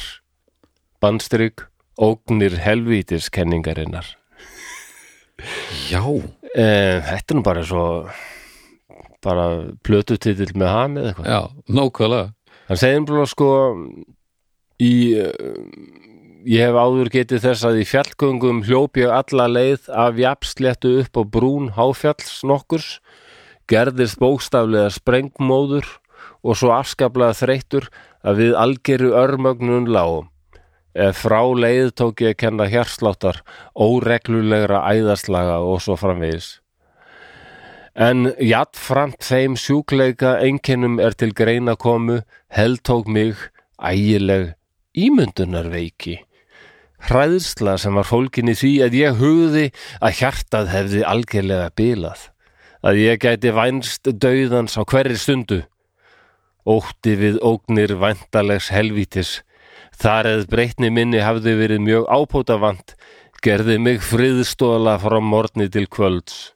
Speaker 1: bandstrygg ógnir helvítiskenningarinnar
Speaker 2: Já,
Speaker 1: e, Þetta er nú bara svo bara plötutitill með hann eða eitthvað
Speaker 2: já, nákvæmlega
Speaker 1: Hann segir bara sko í eh, ég hef áður getið þess að í fjallgöngum hljóp ég alla leið af jafnsléttu upp á brún háfjalls nokkurs, gerðist bókstaflega sprengmóður og svo afskaplega þreyttur að við algeru örmögnun lágum. Ef frá leið tók ég að kenna hjarsláttar, óreglulegra æðaslaga og svo framvegis. En jafnframt þeim sjúkleika einkennum er til greina komu, heldtók mig ægileg ímyndunarveiki. Hræðsla sem var fólkin í því að ég hugði að hjartað hefði algjörlega bilað. Að ég gæti vænst dauðans á hverri stundu. Ótti við ógnir væntalegs helvítis. Þar eð breytni minni hafði verið mjög ápótavant, gerði mig friðstóla frá morgni til kvölds.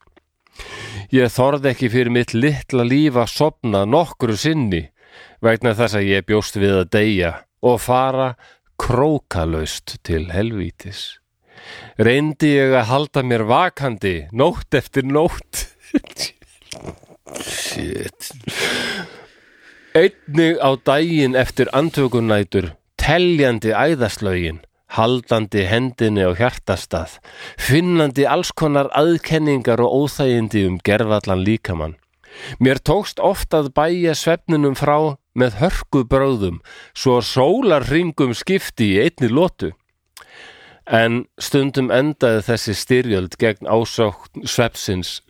Speaker 1: Ég þorði ekki fyrir mitt litla líf að sopna nokkru sinni vegna þess að ég bjóst við að deyja og fara krókalaust til helvítis. Reyndi ég að halda mér vakandi nótt eftir nótt. Shit. Einnig á daginn eftir andvökunnætur, teljandi æðaslögin, haldandi hendinni á hjartastað, finnandi alls konar aðkenningar og óþægindi um gerðallan líkamann. Mér tókst oft að bæja svefninum frá með hörku bröðum, svo sólar ringum skipti í einni lotu. En stundum endaði þessi styrjöld gegn ásákn svepsins.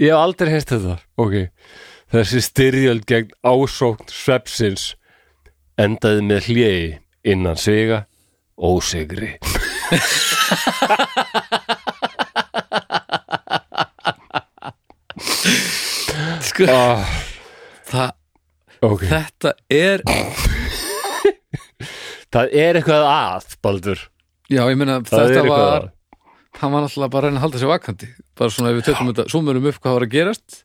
Speaker 1: Ég hef aldrei heist þetta. Ok. Þessi styrjöld gegn ásókn svepsins endaði með hljegi innan siga ósigri.
Speaker 2: Sko,
Speaker 1: Ah,
Speaker 2: það,
Speaker 1: ok.
Speaker 2: þetta er
Speaker 1: Það er eitthvað að, Baldur.
Speaker 2: já, ég meina,
Speaker 1: Það
Speaker 2: þetta
Speaker 1: er eitthvað
Speaker 2: var
Speaker 1: að.
Speaker 2: hann var alltaf bara að reyna að halda sér vakandi bara svona ef við tökum þetta, súmurum upp hvað var að gerast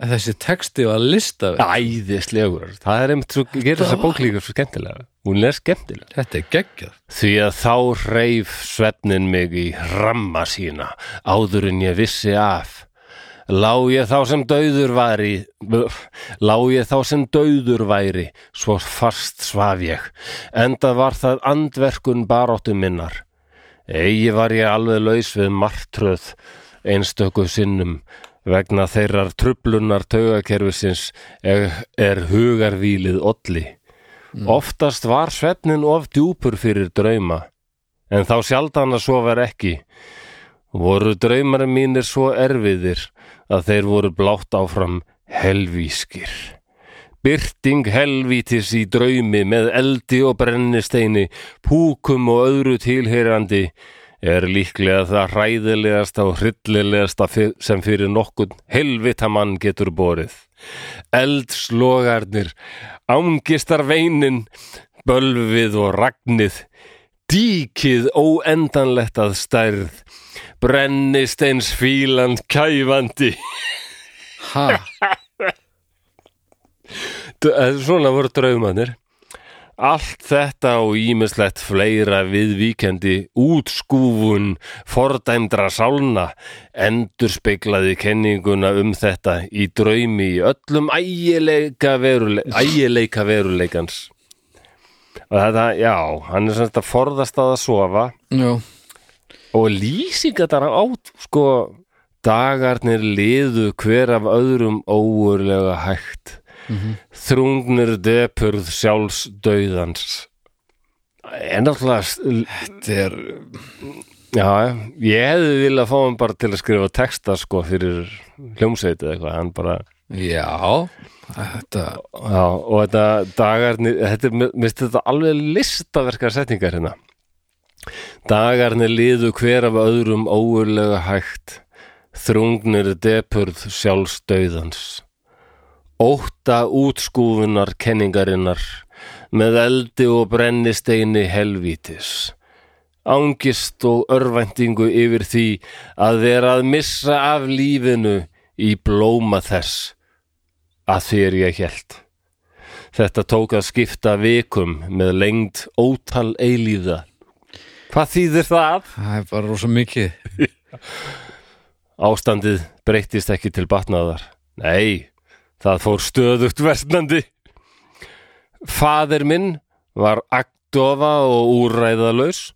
Speaker 2: en þessi texti var listað
Speaker 1: Æðislegur. Það er einmitt svo, gerir þessa bók líka svo skemmtilega. Hún er skemmtilega.
Speaker 2: þetta er geggjað
Speaker 1: Því að þá reif svefnin mig í ramma sína áður en ég vissi af. Lá ég þá sem dauður væri, lá ég þá sem dauður væri, svo fast svaf ég, enda var það andverkun baróttu minnar. Eigi var ég alveg laus við martröð einstöku sinnum vegna þeirrar trublunar taugakerfisins er, er hugarvílið olli. Mm. Oftast var svefnin of djúpur fyrir drauma, en þá sjaldan að svo var ekki. Voru draumar mínir svo erfiðir að þeir voru blátt áfram helvískir. Byrting helvítis í draumi með eldi og brennisteini, púkum og öðru tilheyrandi er líklega það hræðilegasta og hryllilegasta fyr- sem fyrir nokkun helvita mann getur borið eldslogarnir, ángistarveinin, bölvið og ragnið, díkið óendanlegt að stærð, brennisteins fílan kæfandi.
Speaker 2: ha,
Speaker 1: D- eh, Svona voru draumannir. Allt þetta og ímislegt fleira viðvíkendi útskúfun fordæmdra sálna endurspeglaði kenninguna um þetta í draumi í öllum ægileika, veruleik, ægileika veruleikans. Og þetta, já, hann er semst að forðast að að sofa
Speaker 2: já,
Speaker 1: og lýsingar þar át sko dagarnir liðu hver af öðrum óurlega hægt þrungnir depurð sjálfsdauðans en alltaf
Speaker 2: þetta er
Speaker 1: já, ég hefði viljað fá hann bara til að skrifa texta sko fyrir hljómsveit eða eitthvað hann bara,
Speaker 2: já, þetta
Speaker 1: já, og þetta dagarnir, þetta er, mér finnst þetta alveg listaverkar setningar hérna dagarnir liðu hver af öðrum óurlega hægt þrungnir depurð sjálfsdauðans ótta útskúfunar kenningarinnar með eldi og brennisteini helvítis ángist og örvæntingu yfir því að vera að missa af lífinu í blóma þess að því er ég hjælt þetta tók að skipta vikum með lengd ótal eilíða hvað þýðir það?
Speaker 2: það er bara rosa mikið
Speaker 1: Ástandið breyttist ekki til batnaðar. Nei, það fór stöðugt versnandi. Fadir minn var agdofa og úræðalaus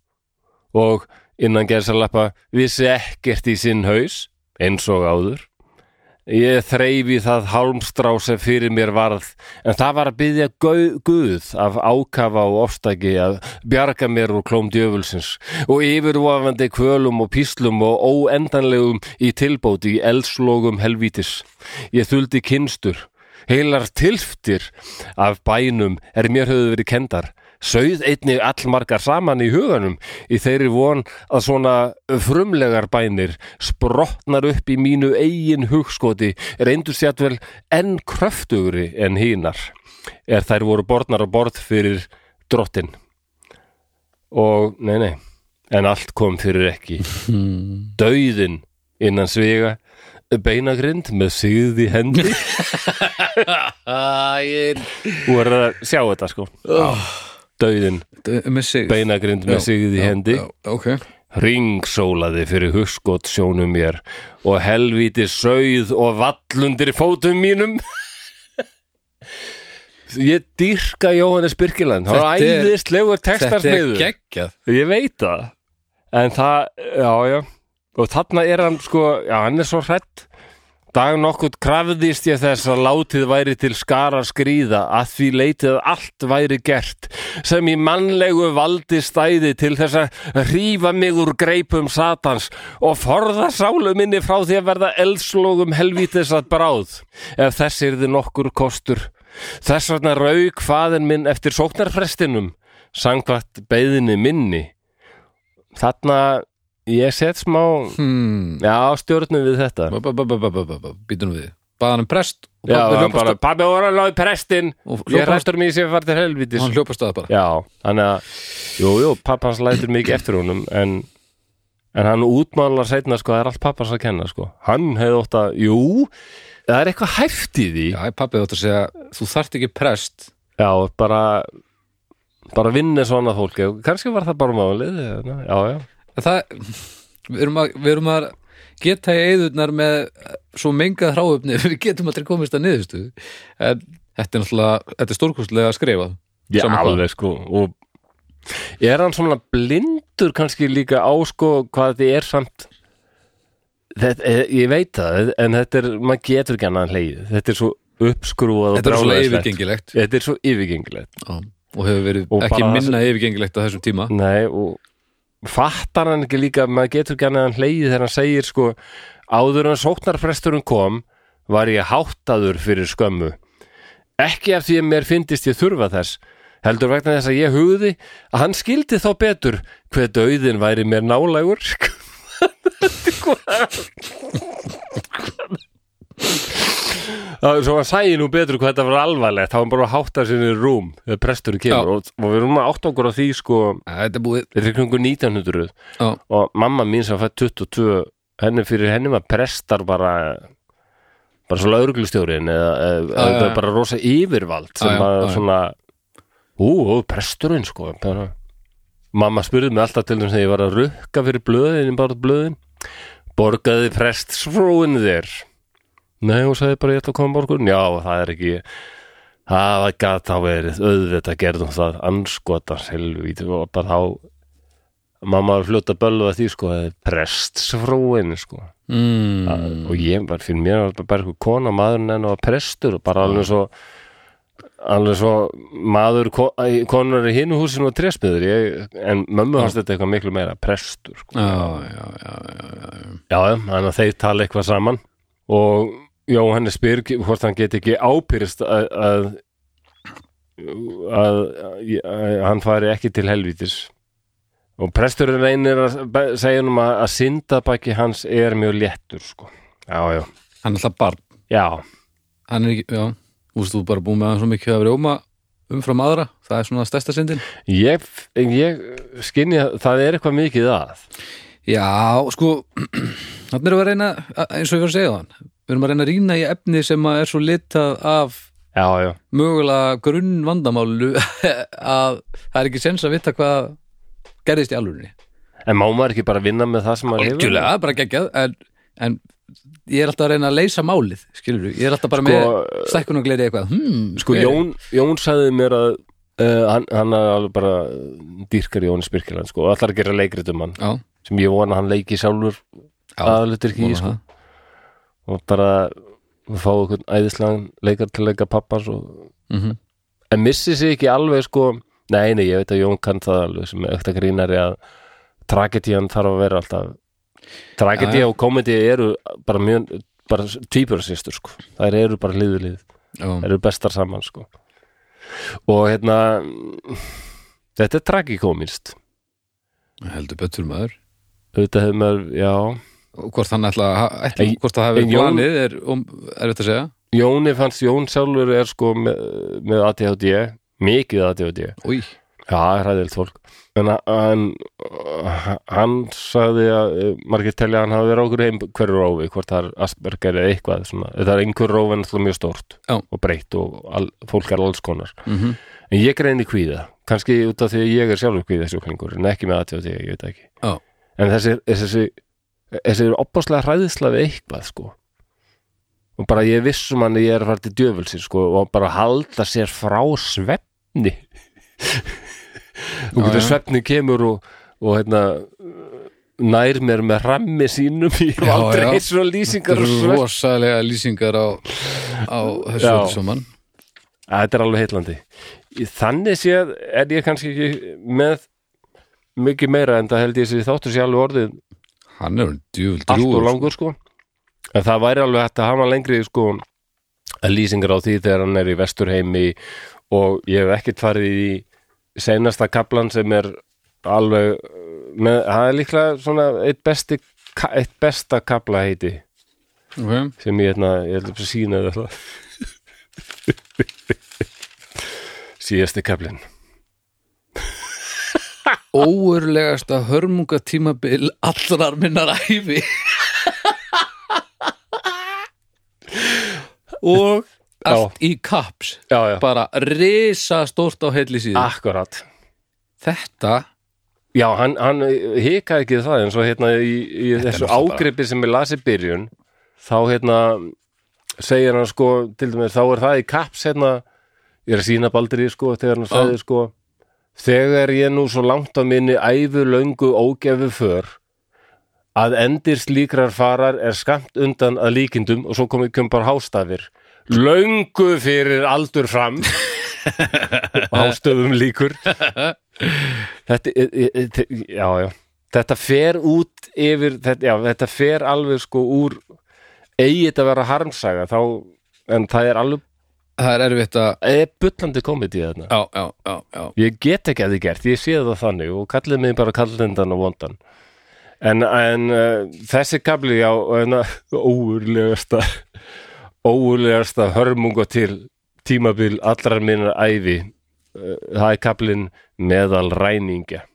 Speaker 1: og innan gerðsalappa vissi ekkert í sinn haus eins og áður. Ég þreifi það hálmstrá sem fyrir mér varð en það var að byggja guð af ákafa og ofstæki að bjarga mér úr klóm djöfulsins og yfirvofandi kvölum og píslum og óendanlegum í tilbóti í elslogum helvítis. Ég þuldi kynstur Heilar tilftir af bænum er mér höfðu verið kendar. Sauð einnig allmargar saman í huganum í þeirri von að svona frumlegar bænir sprotnar upp í mínu eigin hugskoti reyndu sjátvel enn kröftugri en hínar er þær voru borðnar á borð fyrir drottin. Og nei, nei, en allt kom fyrir ekki. Dauðin innan sviga, beinagrind með sigði hendi
Speaker 2: Ægir
Speaker 1: Þú er að sjá þetta sko Dauðin,
Speaker 2: Missi
Speaker 1: beinagrind með sigð í hendi
Speaker 2: Ok
Speaker 1: Ringsólaði fyrir hugskot sjónum mér Og helvíti sauð og vallundir fótum mínum Ég dýrka Jóhannes Birkiland Það
Speaker 2: Þetta er-
Speaker 1: er æðislegur
Speaker 2: Þetta er
Speaker 1: textarsmiður
Speaker 2: geggjað
Speaker 1: Ég veit það En það, já, já Og þarna er hann sko, já, hann er svo hrætt Dag nokkurt krafðist ég þess að látið væri til skara skríða að því leitið að allt væri gert sem í mannlegu valdi stæði til þess að rífa mig úr greipum satans og forða sálu minni frá því að verða elslogum helvítis að bráð ef þess yrði nokkur kostur. Þess vegna rauk faðin minn eftir sóknarfrestinum sangvart beðinni minni. Þarna ég set smá,
Speaker 2: Hmm
Speaker 1: já, stjórnum við þetta.
Speaker 2: Býtum við Baðan um prest og
Speaker 1: Já,
Speaker 2: pabbi
Speaker 1: hann
Speaker 2: hljóp af
Speaker 1: bara, pabbi voru að láði prestinn
Speaker 2: Og
Speaker 1: Ég
Speaker 2: hljóp af-
Speaker 1: rættur mig sem farið til
Speaker 2: stað-
Speaker 1: helvitis
Speaker 2: Hann hljópa staða bara
Speaker 1: Já, hann að Jú, jú, pappi hans lætur mikið eftir honum En, en hann útmálar seinna sko, það er allt pappi hans að kenna sko Hann hefði ótt að, jú Það er eitthvað hæft í því Já,
Speaker 2: Já, pappið átt að segja Þú þarft ekki prest
Speaker 1: bara bara vinna svona fólki Kannski var það bara málið eða- Já, já,
Speaker 2: En Það Við erum að, við erum að geta í eðurnar með eh, svo mengað hráöfni við getum aldrei komist að niðurstu en þetta er náttúrulega, þetta er stórkostlega að skrifa
Speaker 1: Já,
Speaker 2: Sama hvað.
Speaker 1: alveg sko og er hann svona blindur kannski líka á sko hvað þetta er samt þetta, eh, ég veit það en þetta er, maður getur ekki annan hlegið þetta er svo uppskrúað og
Speaker 2: þetta er svo
Speaker 1: brjálæðislegt.
Speaker 2: yfirgengilegt
Speaker 1: þetta er svo yfirgengilegt
Speaker 2: Já, og hefur verið
Speaker 1: Og
Speaker 2: ekki
Speaker 1: bara
Speaker 2: minna yfirgengilegt á þessum tíma
Speaker 1: Nei, og fattar hann ekki líka maður getur ekki annan hlegið þegar hann segir sko áður en sóknarfresturinn kom var ég háttaður fyrir skömmu ekki af því að mér fyndist ég þurfa þess heldur vegna þess að ég hugði að hann skildi þá betur hver dauðin væri mér nálægur Sko, Hvað? svo hann sæði nú betur hvað þetta var alvarlegt þá var hann bara að hátta sinni rúm þegar presturinn kemur
Speaker 2: Já.
Speaker 1: og, og við erum að átta okkur á því sko
Speaker 2: Æ, Þetta er búið
Speaker 1: þetta er kringu 1900
Speaker 2: Já.
Speaker 1: og mamma mín sem fætt 22 henni fyrir henni var prestar bara bara svo lauruglustjórin eða, eða,
Speaker 2: Já, já,
Speaker 1: eða
Speaker 2: já.
Speaker 1: bara rosa yfirvald sem
Speaker 2: Já, já,
Speaker 1: að
Speaker 2: já, já.
Speaker 1: svona ú, ú, presturinn sko bara. mamma spurði mig alltaf til þess að ég var að rukka fyrir blöðin bara blöðin borgaði prestsfrúin þér nei, hún sagði bara ég ætla að koma borgun já, það er ekki það var gata verið, auðvitað gerðum það anskotans helvíti og bara þá mamma var fljótt að bölva því sko að prestsfrúin sko
Speaker 2: mm.
Speaker 1: og ég var fyrir mér var bara eitthvað kona maðurinn enn og prestur og bara alveg svo alveg svo maður ko- æ, konur í hinu húsinu og trésmiður ég, en mömmu hans þetta eitthvað miklu meira prestur sko.
Speaker 2: Já, já, já,
Speaker 1: já, já, þannig að þeir tala eitthvað saman og Jóhannes spyr hvort hann get ekki ápyrist að að, að, að, að hann fari ekki til helvítis og presturinn reynir að be- segja um að, að syndabæki hans er mjög léttur sko. já, já,
Speaker 2: Hann er alltaf barn
Speaker 1: já
Speaker 2: Hann er ekki, já, þú veist þú er bara búið með hann svo mikið að rjóma umfram aðra það er svona stærsta syndin
Speaker 1: Ég, ég skinni að það er eitthvað mikið að
Speaker 2: Já, sko þannig erum við að reyna, að- eins og ég var að segja þann við erum að reyna að rýna í efni sem að er svo litað af
Speaker 1: Já, já,
Speaker 2: mögulega grunn vandamálu að það er ekki sens að vita hvað gerðist í alvörinni
Speaker 1: en má maður ekki bara vinna með það sem maður hefur
Speaker 2: Algjörlega, bara geggjað en en ég er alltaf að reyna að leysa málið skilur ég er alltaf bara með stækkun og gleri eitthvað hmm,
Speaker 1: Sko
Speaker 2: ok.
Speaker 1: Jón, Jón sagði mér að uh, hann, hann er alveg bara dýrkar Jónis Birkiland sko og allar að gera leikrit um hann
Speaker 2: já,
Speaker 1: sem ég vona að hann leiki sjálfur
Speaker 2: Já,
Speaker 1: aðalutur ekki
Speaker 2: vona
Speaker 1: sko.
Speaker 2: það.
Speaker 1: og bara fá einhvern æðislegan leikar til að leika pappa svo.
Speaker 2: Mhm.
Speaker 1: en missi sig ekki alveg sko nei, nei, ég veit að Jón kann það alveg sem er ökta grínari að tragedían þarf að vera alltaf
Speaker 2: Já, já.
Speaker 1: tragedía og komedi eru bara mjög bara tvíbjörnsýstur sko þær eru bara hliðulíð
Speaker 2: já,
Speaker 1: eru bestar saman sko og hérna þetta er tragikómist
Speaker 2: heldur betur maður
Speaker 1: auðvitað hefur maður, já
Speaker 2: og hvort hann ætla að ætla,
Speaker 1: En-
Speaker 2: hvort það hafi
Speaker 1: en
Speaker 2: verið
Speaker 1: Jón-
Speaker 2: planið er, um, er þetta að segja
Speaker 1: Jóni fannst Jón sjálfur er sko með, með ADHD mikið ADHD,
Speaker 2: Új,
Speaker 1: já, hræðilt fólk en hann hann sagði að eh, margir telja að hann hafi verið okkur einhverju rófi hvort það er Asperger eða eitthvað svona. það er einhverju rófi en alltaf mjög stort
Speaker 2: Já.
Speaker 1: og breytt og al, fólk er alls konar
Speaker 2: mm
Speaker 1: en ég greini kvíða, kannski út af því að ég er sjálfur kvíða sjúklingur en ekki með ADHD, ég veit það ekki
Speaker 2: já,
Speaker 1: en þessi, þessi, þessi er opaslega hræðisla við eitthvað sko og bara ég er viss um hann að ég er að fara til djöfulsi sko og bara halda sér frá svefni og
Speaker 2: Já,
Speaker 1: hvernig
Speaker 2: já.
Speaker 1: svefni kemur og, og hérna nær mér með rammi sínum í
Speaker 2: Já, já.
Speaker 1: aldrei eins og
Speaker 2: þetta
Speaker 1: lýsingar og
Speaker 2: eru
Speaker 1: svefni
Speaker 2: rosalega lýsingar á, á þessu
Speaker 1: Já.
Speaker 2: öllu saman
Speaker 1: Að Þetta er alveg heitlandi. Þannig séð er ég kannski ekki með mikið meira en það held ég sér þáttur sér alveg orðið
Speaker 2: hann er hann djúvul
Speaker 1: allt og
Speaker 2: drúgur
Speaker 1: langur sko en það væri alveg hægt að hafa lengri sko lýsingar á því þegar hann er í vesturheimi og ég hef ekkert farið í seinasta kaplan sem er alveg uh, með, það er líklega svona eitt, besti, ka- eitt besta kapla heiti
Speaker 2: okay.
Speaker 1: sem ég hérna, ég heldur að sína þér það síðasti kaplinn
Speaker 2: óurlegasta hörmungatímabil allrar minnar æfi og allt í kaps
Speaker 1: já, já,
Speaker 2: bara risa stórt á heilli síðu
Speaker 1: Ah. akkurat
Speaker 2: þetta
Speaker 1: Já, hann, hann hikaði ekki við það en svo hérna í, í þessu
Speaker 2: náttúrulega
Speaker 1: ágripi sem ég lasi í byrjun þá hérna segir hann sko, til dæmis þá er það í kaps hérna, ég er að sína baldur í sko þegar hann sagði sko þegar ég nú svo langt á minni æfu löngu ógefu för að endir slíkrar farar er skamt undan að líkindum og svo komið kjum bara hástafir löngu fyrir aldur fram og hástöfum líkur þetta, e, e, e, te- já, já þetta fer út yfir þetta, já, þetta fer alveg sko úr eigi þetta að vera harmsaga þá, en það er alveg
Speaker 2: það er erfitt að
Speaker 1: er bullandi komedi þarna
Speaker 2: já, já, já, já.
Speaker 1: ég get ekki að því gert, ég sé það þannig og kallið mig bara kallendan og vondan en, en uh, þessi kabli já, en, uh, óurlegasta óurlegasta hörmunga til tímabil allra minnar æfi uh, það er kablin meðal ræningja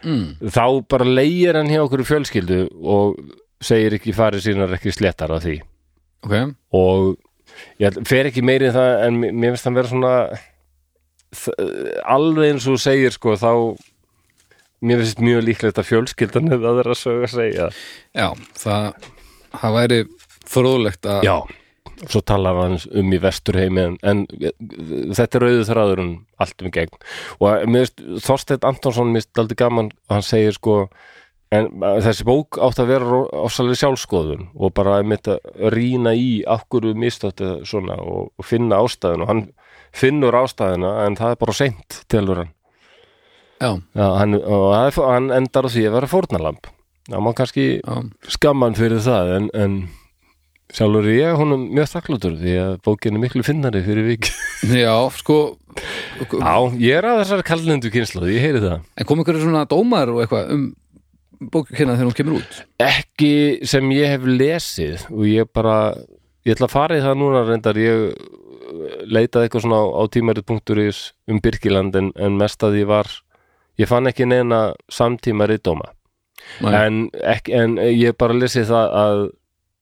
Speaker 2: Mm.
Speaker 1: þá bara leigir hann hjá okkur í fjölskyldu og segir ekki farið sínar ekki sléttar af því
Speaker 2: ok,
Speaker 1: og ég held- fer ekki meiri en það en mér- mér finnst hann vera svona þ- alveg eins og þú segir sko þá mér finnst mjög líklegt að fjölskyldan hefði aðra sög að segja
Speaker 2: já það, það væri fróðlegt að
Speaker 1: já, svo talar hann um í vesturheimi en, en eh, þetta er auðvitað þræðurinn allt um í gegn og mér finnst Þorsteinn Antonsson mér finnst aldrei gaman og hann segir sko en uh, þessi bók átt að vera ofsalega sjálfskoðun og bara einmitt að rýna í af hverju mistöttu svona og, og finna ástæðuna og hann finnur ástæðuna en það er bara seint telur hann
Speaker 2: já,
Speaker 1: Já, hann, og það er- hann endar á því að vera fórnalamb þá má kannski
Speaker 2: já.
Speaker 1: skamman fyrir það en, en sjálfur er ég honum mjög þakklátur því að bókin er miklu finnari fyrir vik
Speaker 2: já sko
Speaker 1: Já, ég er að þessar kallendu kynslu ég heyri það
Speaker 2: en kom ykkur svona dómar og eitthvað um bókina þegar hún kemur út
Speaker 1: ekki sem ég hef lesið og ég bara ég ætla að fara í það núna reyndar ég uh, leitaði eitthvað svona á tímarit.is um Birkiland en, en mest að ég var ég fann ekki neina samtíma reyndóma
Speaker 2: Nei.
Speaker 1: en, ekki, en ég bara lesi það að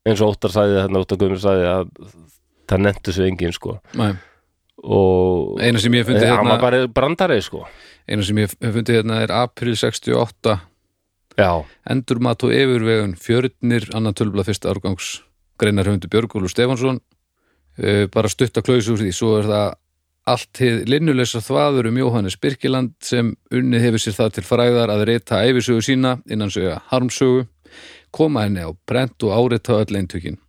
Speaker 1: eins og Óttar sagði þarna Óttar Guðmur sagði að það nefntu sig engin sko
Speaker 2: Nei.
Speaker 1: og
Speaker 2: eina sem ég hef
Speaker 1: Eh, hann
Speaker 2: fundið
Speaker 1: var
Speaker 2: hérna
Speaker 1: bara brandari sko
Speaker 2: eina sem ég hef fundið hérna er april 68
Speaker 1: já,
Speaker 2: Endurmat og yfirvegun fjörnir annan tölubla fyrsta árgangs greinar höfundu Björgólu Stefánsson Eh, bara stutta klausu úr því svo er það allt hið linnuleysa þvaður um Jóhannes Birkiland sem unnið hefur sér það til fræðar að reyta æfisögu sína innan sögja harmsögu koma henni á brent og árita öll eintökin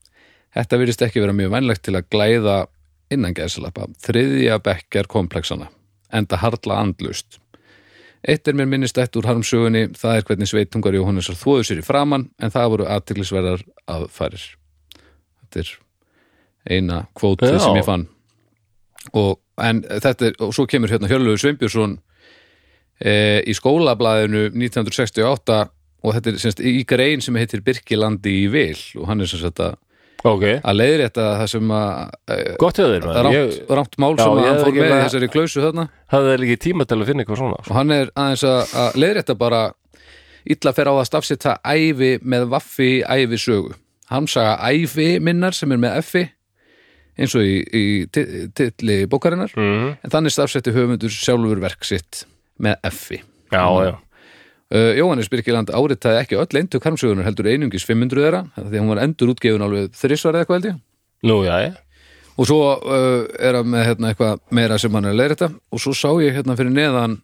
Speaker 2: Þetta virðist ekki vera mjög vænlegt til að glæða innan gæðsalappa þriðja bekkjar komplexana enda harla andlust Eitt er mér minnistætt úr harmsögunni, það er hvernig sveitungar Jóhannesar þvóðu sér í framann, en það voru aðtiklisverðar aðfærir. Þetta er eina kvótið
Speaker 1: Já.
Speaker 2: sem ég fann. Og, en þetta er, og svo kemur hérna Hjörlegu Sveinbjörnsson e, í skólablaðinu 1968 og þetta er semst, í grein sem heitir Birkilandi í vil og hann er sem sagt að,
Speaker 1: ok
Speaker 2: að leiðir þetta það sem að e,
Speaker 1: gott hjá þér maður,
Speaker 2: rámt,
Speaker 1: ég
Speaker 2: rámt mál
Speaker 1: Já,
Speaker 2: sem
Speaker 1: ég
Speaker 2: að hann
Speaker 1: hefði
Speaker 2: fór
Speaker 1: ekki
Speaker 2: með í
Speaker 1: bara-
Speaker 2: þessari klausu þarna
Speaker 1: hafði ekki tíma til að finna eitthvað svona sko.
Speaker 2: og hann er aðeins að, að leiðrétta bara illa fer á að stafsetta ævi með vaffi ævi sögu hann saga ævi minnar sem er með effi eins og í, í ti- titli bókarinnar
Speaker 1: mm.
Speaker 2: en þannig stafsetti höfundur sjálfur verk sitt með effi
Speaker 1: já, já,
Speaker 2: Uh, Jóhannes Birkiland áritaði ekki öll eintu karmsögunar heldur einungis 500 þeirra því að hún var endur útgefin alveg þrisvar eða eitthvað held ég
Speaker 1: nú já, já
Speaker 2: og svo uh, er hann með hérna, eitthvað meira sem hann er að leira þetta og svo sá ég hérna fyrir neðan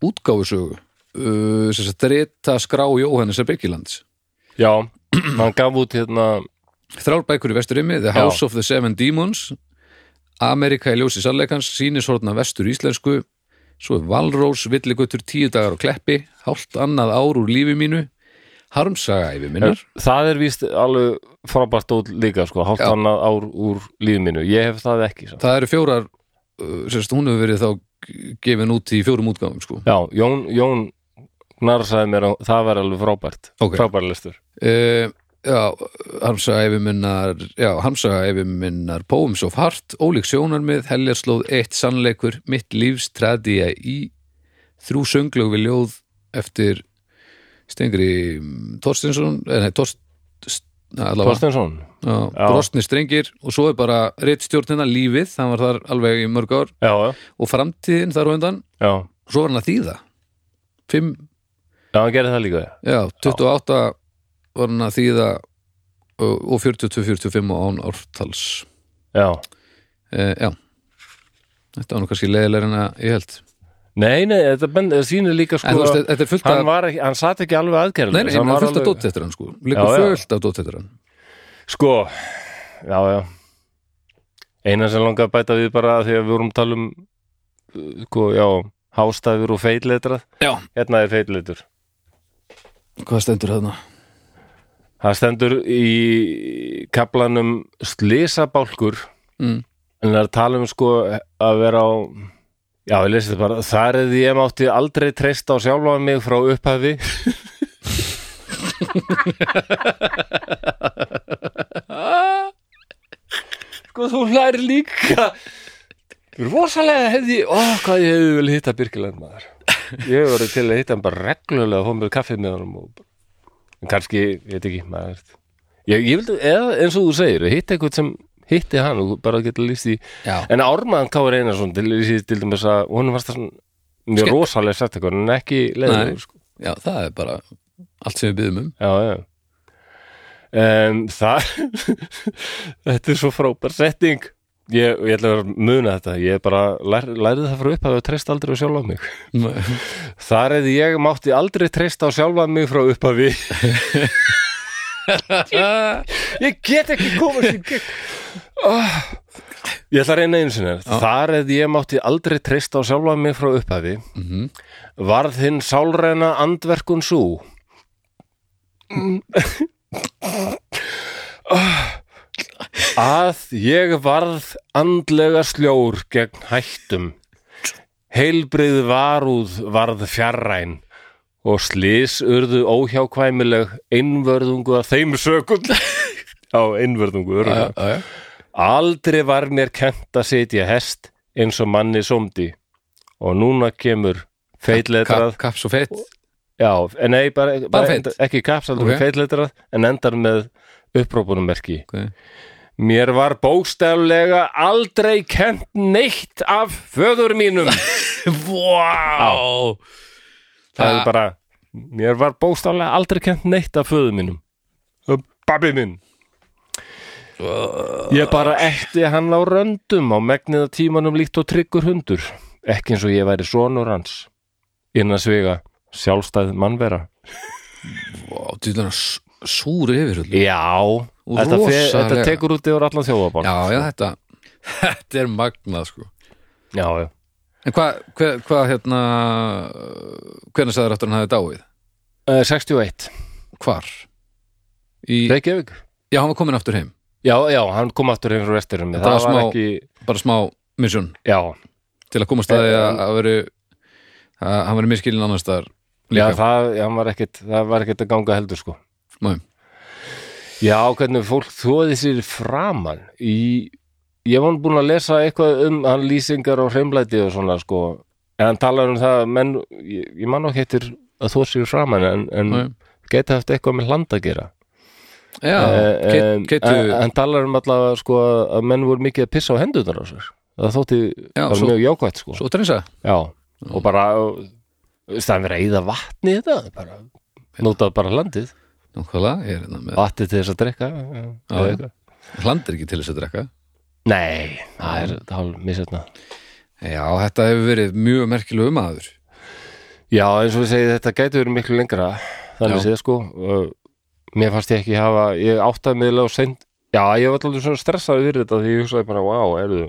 Speaker 2: útgáfusögu uh, sem sagt rita skrá Jóhannesar Birkilands
Speaker 1: já, hann gaf út hérna
Speaker 2: þrjár bækur í vesturimi, The
Speaker 1: Já.
Speaker 2: House of the Seven Demons Amerika í ljósi sannleikans sýnishorna vestur íslensku svo er Valrós, Villigutur, Tíu dagar á Kleppi hálft annað ár úr lífi mínu harmsaga yfir minnar
Speaker 1: eh, það er víst alveg frábært út líka sko, hálft
Speaker 2: Já.
Speaker 1: annað ár úr líð mínu ég hef það ekki samt.
Speaker 2: það eru fjórar uh, sem sagt, hún hefur verið þá gefin út í fjórum útgáfum sko
Speaker 1: já, Jón, Jón Gnarr sagði mér að það var alveg frábært
Speaker 2: Ok.
Speaker 1: frábært listur
Speaker 2: Uh, já, harmsaga yfirminnar já, harmsaga yfirminnar Poems of Heart, ólík sjónarmið heljarslóð eitt sannleikur, mitt lífs træði ég í þrjú sönglög við ljóð eftir Stengri Torstinsson eh, nei, Torst st- allavega,
Speaker 1: Þorstensson,
Speaker 2: já,
Speaker 1: já.
Speaker 2: Brostni strengir og svo er bara reittstjórnina lífið hann var þar alveg í mörg ár
Speaker 1: já, já,
Speaker 2: og framtíðin þar á undan,
Speaker 1: já
Speaker 2: svo var hann að þýða fimm
Speaker 1: já, hann gerði það líka já.
Speaker 2: Já, 28 var hann að þýða og og 42-45 og án ártals
Speaker 1: já,
Speaker 2: e, Já Þetta var nú kannski leiðilega en að ég held
Speaker 1: nei, nei, þetta ben, sýnir líka sko
Speaker 2: En þú veist,
Speaker 1: að
Speaker 2: þetta er fullt
Speaker 1: hann,
Speaker 2: af
Speaker 1: var ekki, hann satt ekki alveg aðgerðlega
Speaker 2: Nei, nei, hann var fullt af dótt eftir hann sko Liggur
Speaker 1: Já, já.
Speaker 2: fullt af dótt eftir hann
Speaker 1: Sko, já, já Einar sem langar að bæta við bara af því að við vorum að tala um uh, sko, já, hástafur og feitletrað
Speaker 2: Já.
Speaker 1: Hérna er feitletur
Speaker 2: Hvað stendur þarna?
Speaker 1: Það stendur í kaplanum slysabálkur
Speaker 2: Mm.
Speaker 1: en það er að tala um sko að vera á Já, ég lesi þetta bara Þar eða ég mátti aldrei treysta á sjálfa mig frá upphafi Sko, þú hlæri líka Rosalega hefði Ó, hvað ég hefði vel hitta Birkiland maður Ég hefði verið til að hitta hann bara reglulega og fóð mér kaffið með honum og bara en kannski, ég veit ekki maður, veist. ég, ég vildi, eða eins og þú segir hitt eitthvað sem hitti hann og bara geta lýst í
Speaker 2: Já,
Speaker 1: en Ármann Kári Einarsson til, lýsti til dæmis að honum varst það svona mjög
Speaker 2: Skemmt.
Speaker 1: rosalega sett eitthvað en ekki
Speaker 2: Nei.
Speaker 1: leiður sko.
Speaker 2: já, það er bara allt sem við byggum um
Speaker 1: já, já um, það þetta er svo frábær setting ég, ég ætla að vera að muna þetta ég bara lær, lærði það frá upp að þau treyst aldrei á sjálfa mig Þar eða ég mátti aldrei treysta á sjálfa mig frá upphafi ég, ég get ekki komast í gegn oh. Ég ætla að reyna einu sinni Þar eða ég mátti aldrei treysta á sjálfa mig frá upphafi
Speaker 2: Mhm.
Speaker 1: Varð hinn sálræna andverkun svo Að ég varð andlega sljór gegn hættum Heilbrigð varúð varð fjarræn og slís urðu óhjákvæmileg einvörðungu að þeim sökund á einvörðungu
Speaker 2: Já,
Speaker 1: örugglega.
Speaker 2: já, já.
Speaker 1: aldrei var mér kent að sitja hest eins og manni sómdi og núna kemur feitletrað
Speaker 2: Kapp- Kapp svo feitt
Speaker 1: já, en nei, bara, bara,
Speaker 2: feit.
Speaker 1: enda- ekki kapsaldur
Speaker 2: Ok.
Speaker 1: okay. feitletrað en endar með upprópunummerki
Speaker 2: Ok.
Speaker 1: Mér var bókstaflega aldrei kent neitt af föður mínum
Speaker 2: Vá
Speaker 1: Það er bara Mér var bóstálega aldrei kent neitt af föðu mínum Um Babbi minn Ég bara efti hann á röndum á megniða tímanum líkt og tryggur hundur Ekki eins og ég væri sonur hans Innan svega sjálfstæð mannvera
Speaker 2: Vá, þú er það súri yfir öllu.
Speaker 1: Já Þetta, fe,
Speaker 2: rosalega.
Speaker 1: þetta tekur út yfir allan þjóðabann
Speaker 2: Já, já, þetta Þetta er magnað, sko
Speaker 1: já, já.
Speaker 2: En hvað, hvað, hvað hérna Hvernig sagður aftur hann hafði dáið?
Speaker 1: Eh, 61
Speaker 2: Hvar? Í,
Speaker 1: Reykjavík
Speaker 2: já, hann var komin aftur heim
Speaker 1: Já, já, hann kom aftur heim frá vesturum
Speaker 2: Þetta
Speaker 1: Það var
Speaker 2: var smá-
Speaker 1: ekki,
Speaker 2: Bara smá misjón
Speaker 1: já,
Speaker 2: til að komast að því
Speaker 1: Eh,
Speaker 2: að að veri að hann veri miskilin annars þar
Speaker 1: já,
Speaker 2: líka
Speaker 1: það, já, hann var ekkit, það var ekkit að ganga heldur sko
Speaker 2: Nei.
Speaker 1: Já, hvernig fólk þóði sér framan í, ég var búin að lesa eitthvað um hann lýsingar og hreimlæti og svona sko, en hann talar um það að menn, ég, ég man ekki heitir að þóð sér framan en, en
Speaker 2: Nei.
Speaker 1: geta haft eitthvað með hland að gera Eh,
Speaker 2: Já,
Speaker 1: en,
Speaker 2: get- getu
Speaker 1: en talar um allavega sko að menn voru mikið að pissa á hendunar á sér, það þótti
Speaker 2: Já,
Speaker 1: bara
Speaker 2: svo-
Speaker 1: mjög jákvætt sko
Speaker 2: Svo trensa
Speaker 1: Já, og bara staðan verið að eyða vatni í þetta bara, notaðu bara landið
Speaker 2: Nákvæmlega, ég er hérna með
Speaker 1: vatni til þess að drekka já, eða
Speaker 2: já.
Speaker 1: eitthvað.
Speaker 2: Hlandir ekki til þess að drekka
Speaker 1: Nei, það er hálf misetna
Speaker 2: Já, þetta hefur verið mjög merkilegu maður
Speaker 1: Já, eins og við segið þetta gæti verið miklu lengra þannig
Speaker 2: Já.
Speaker 1: séð sko uh, mér fannst ég ekki hafa, ég áttaði miðlega og send, já, ég var alltaf svona stressaði fyrir þetta því ég hugsaði bara, wow, erðu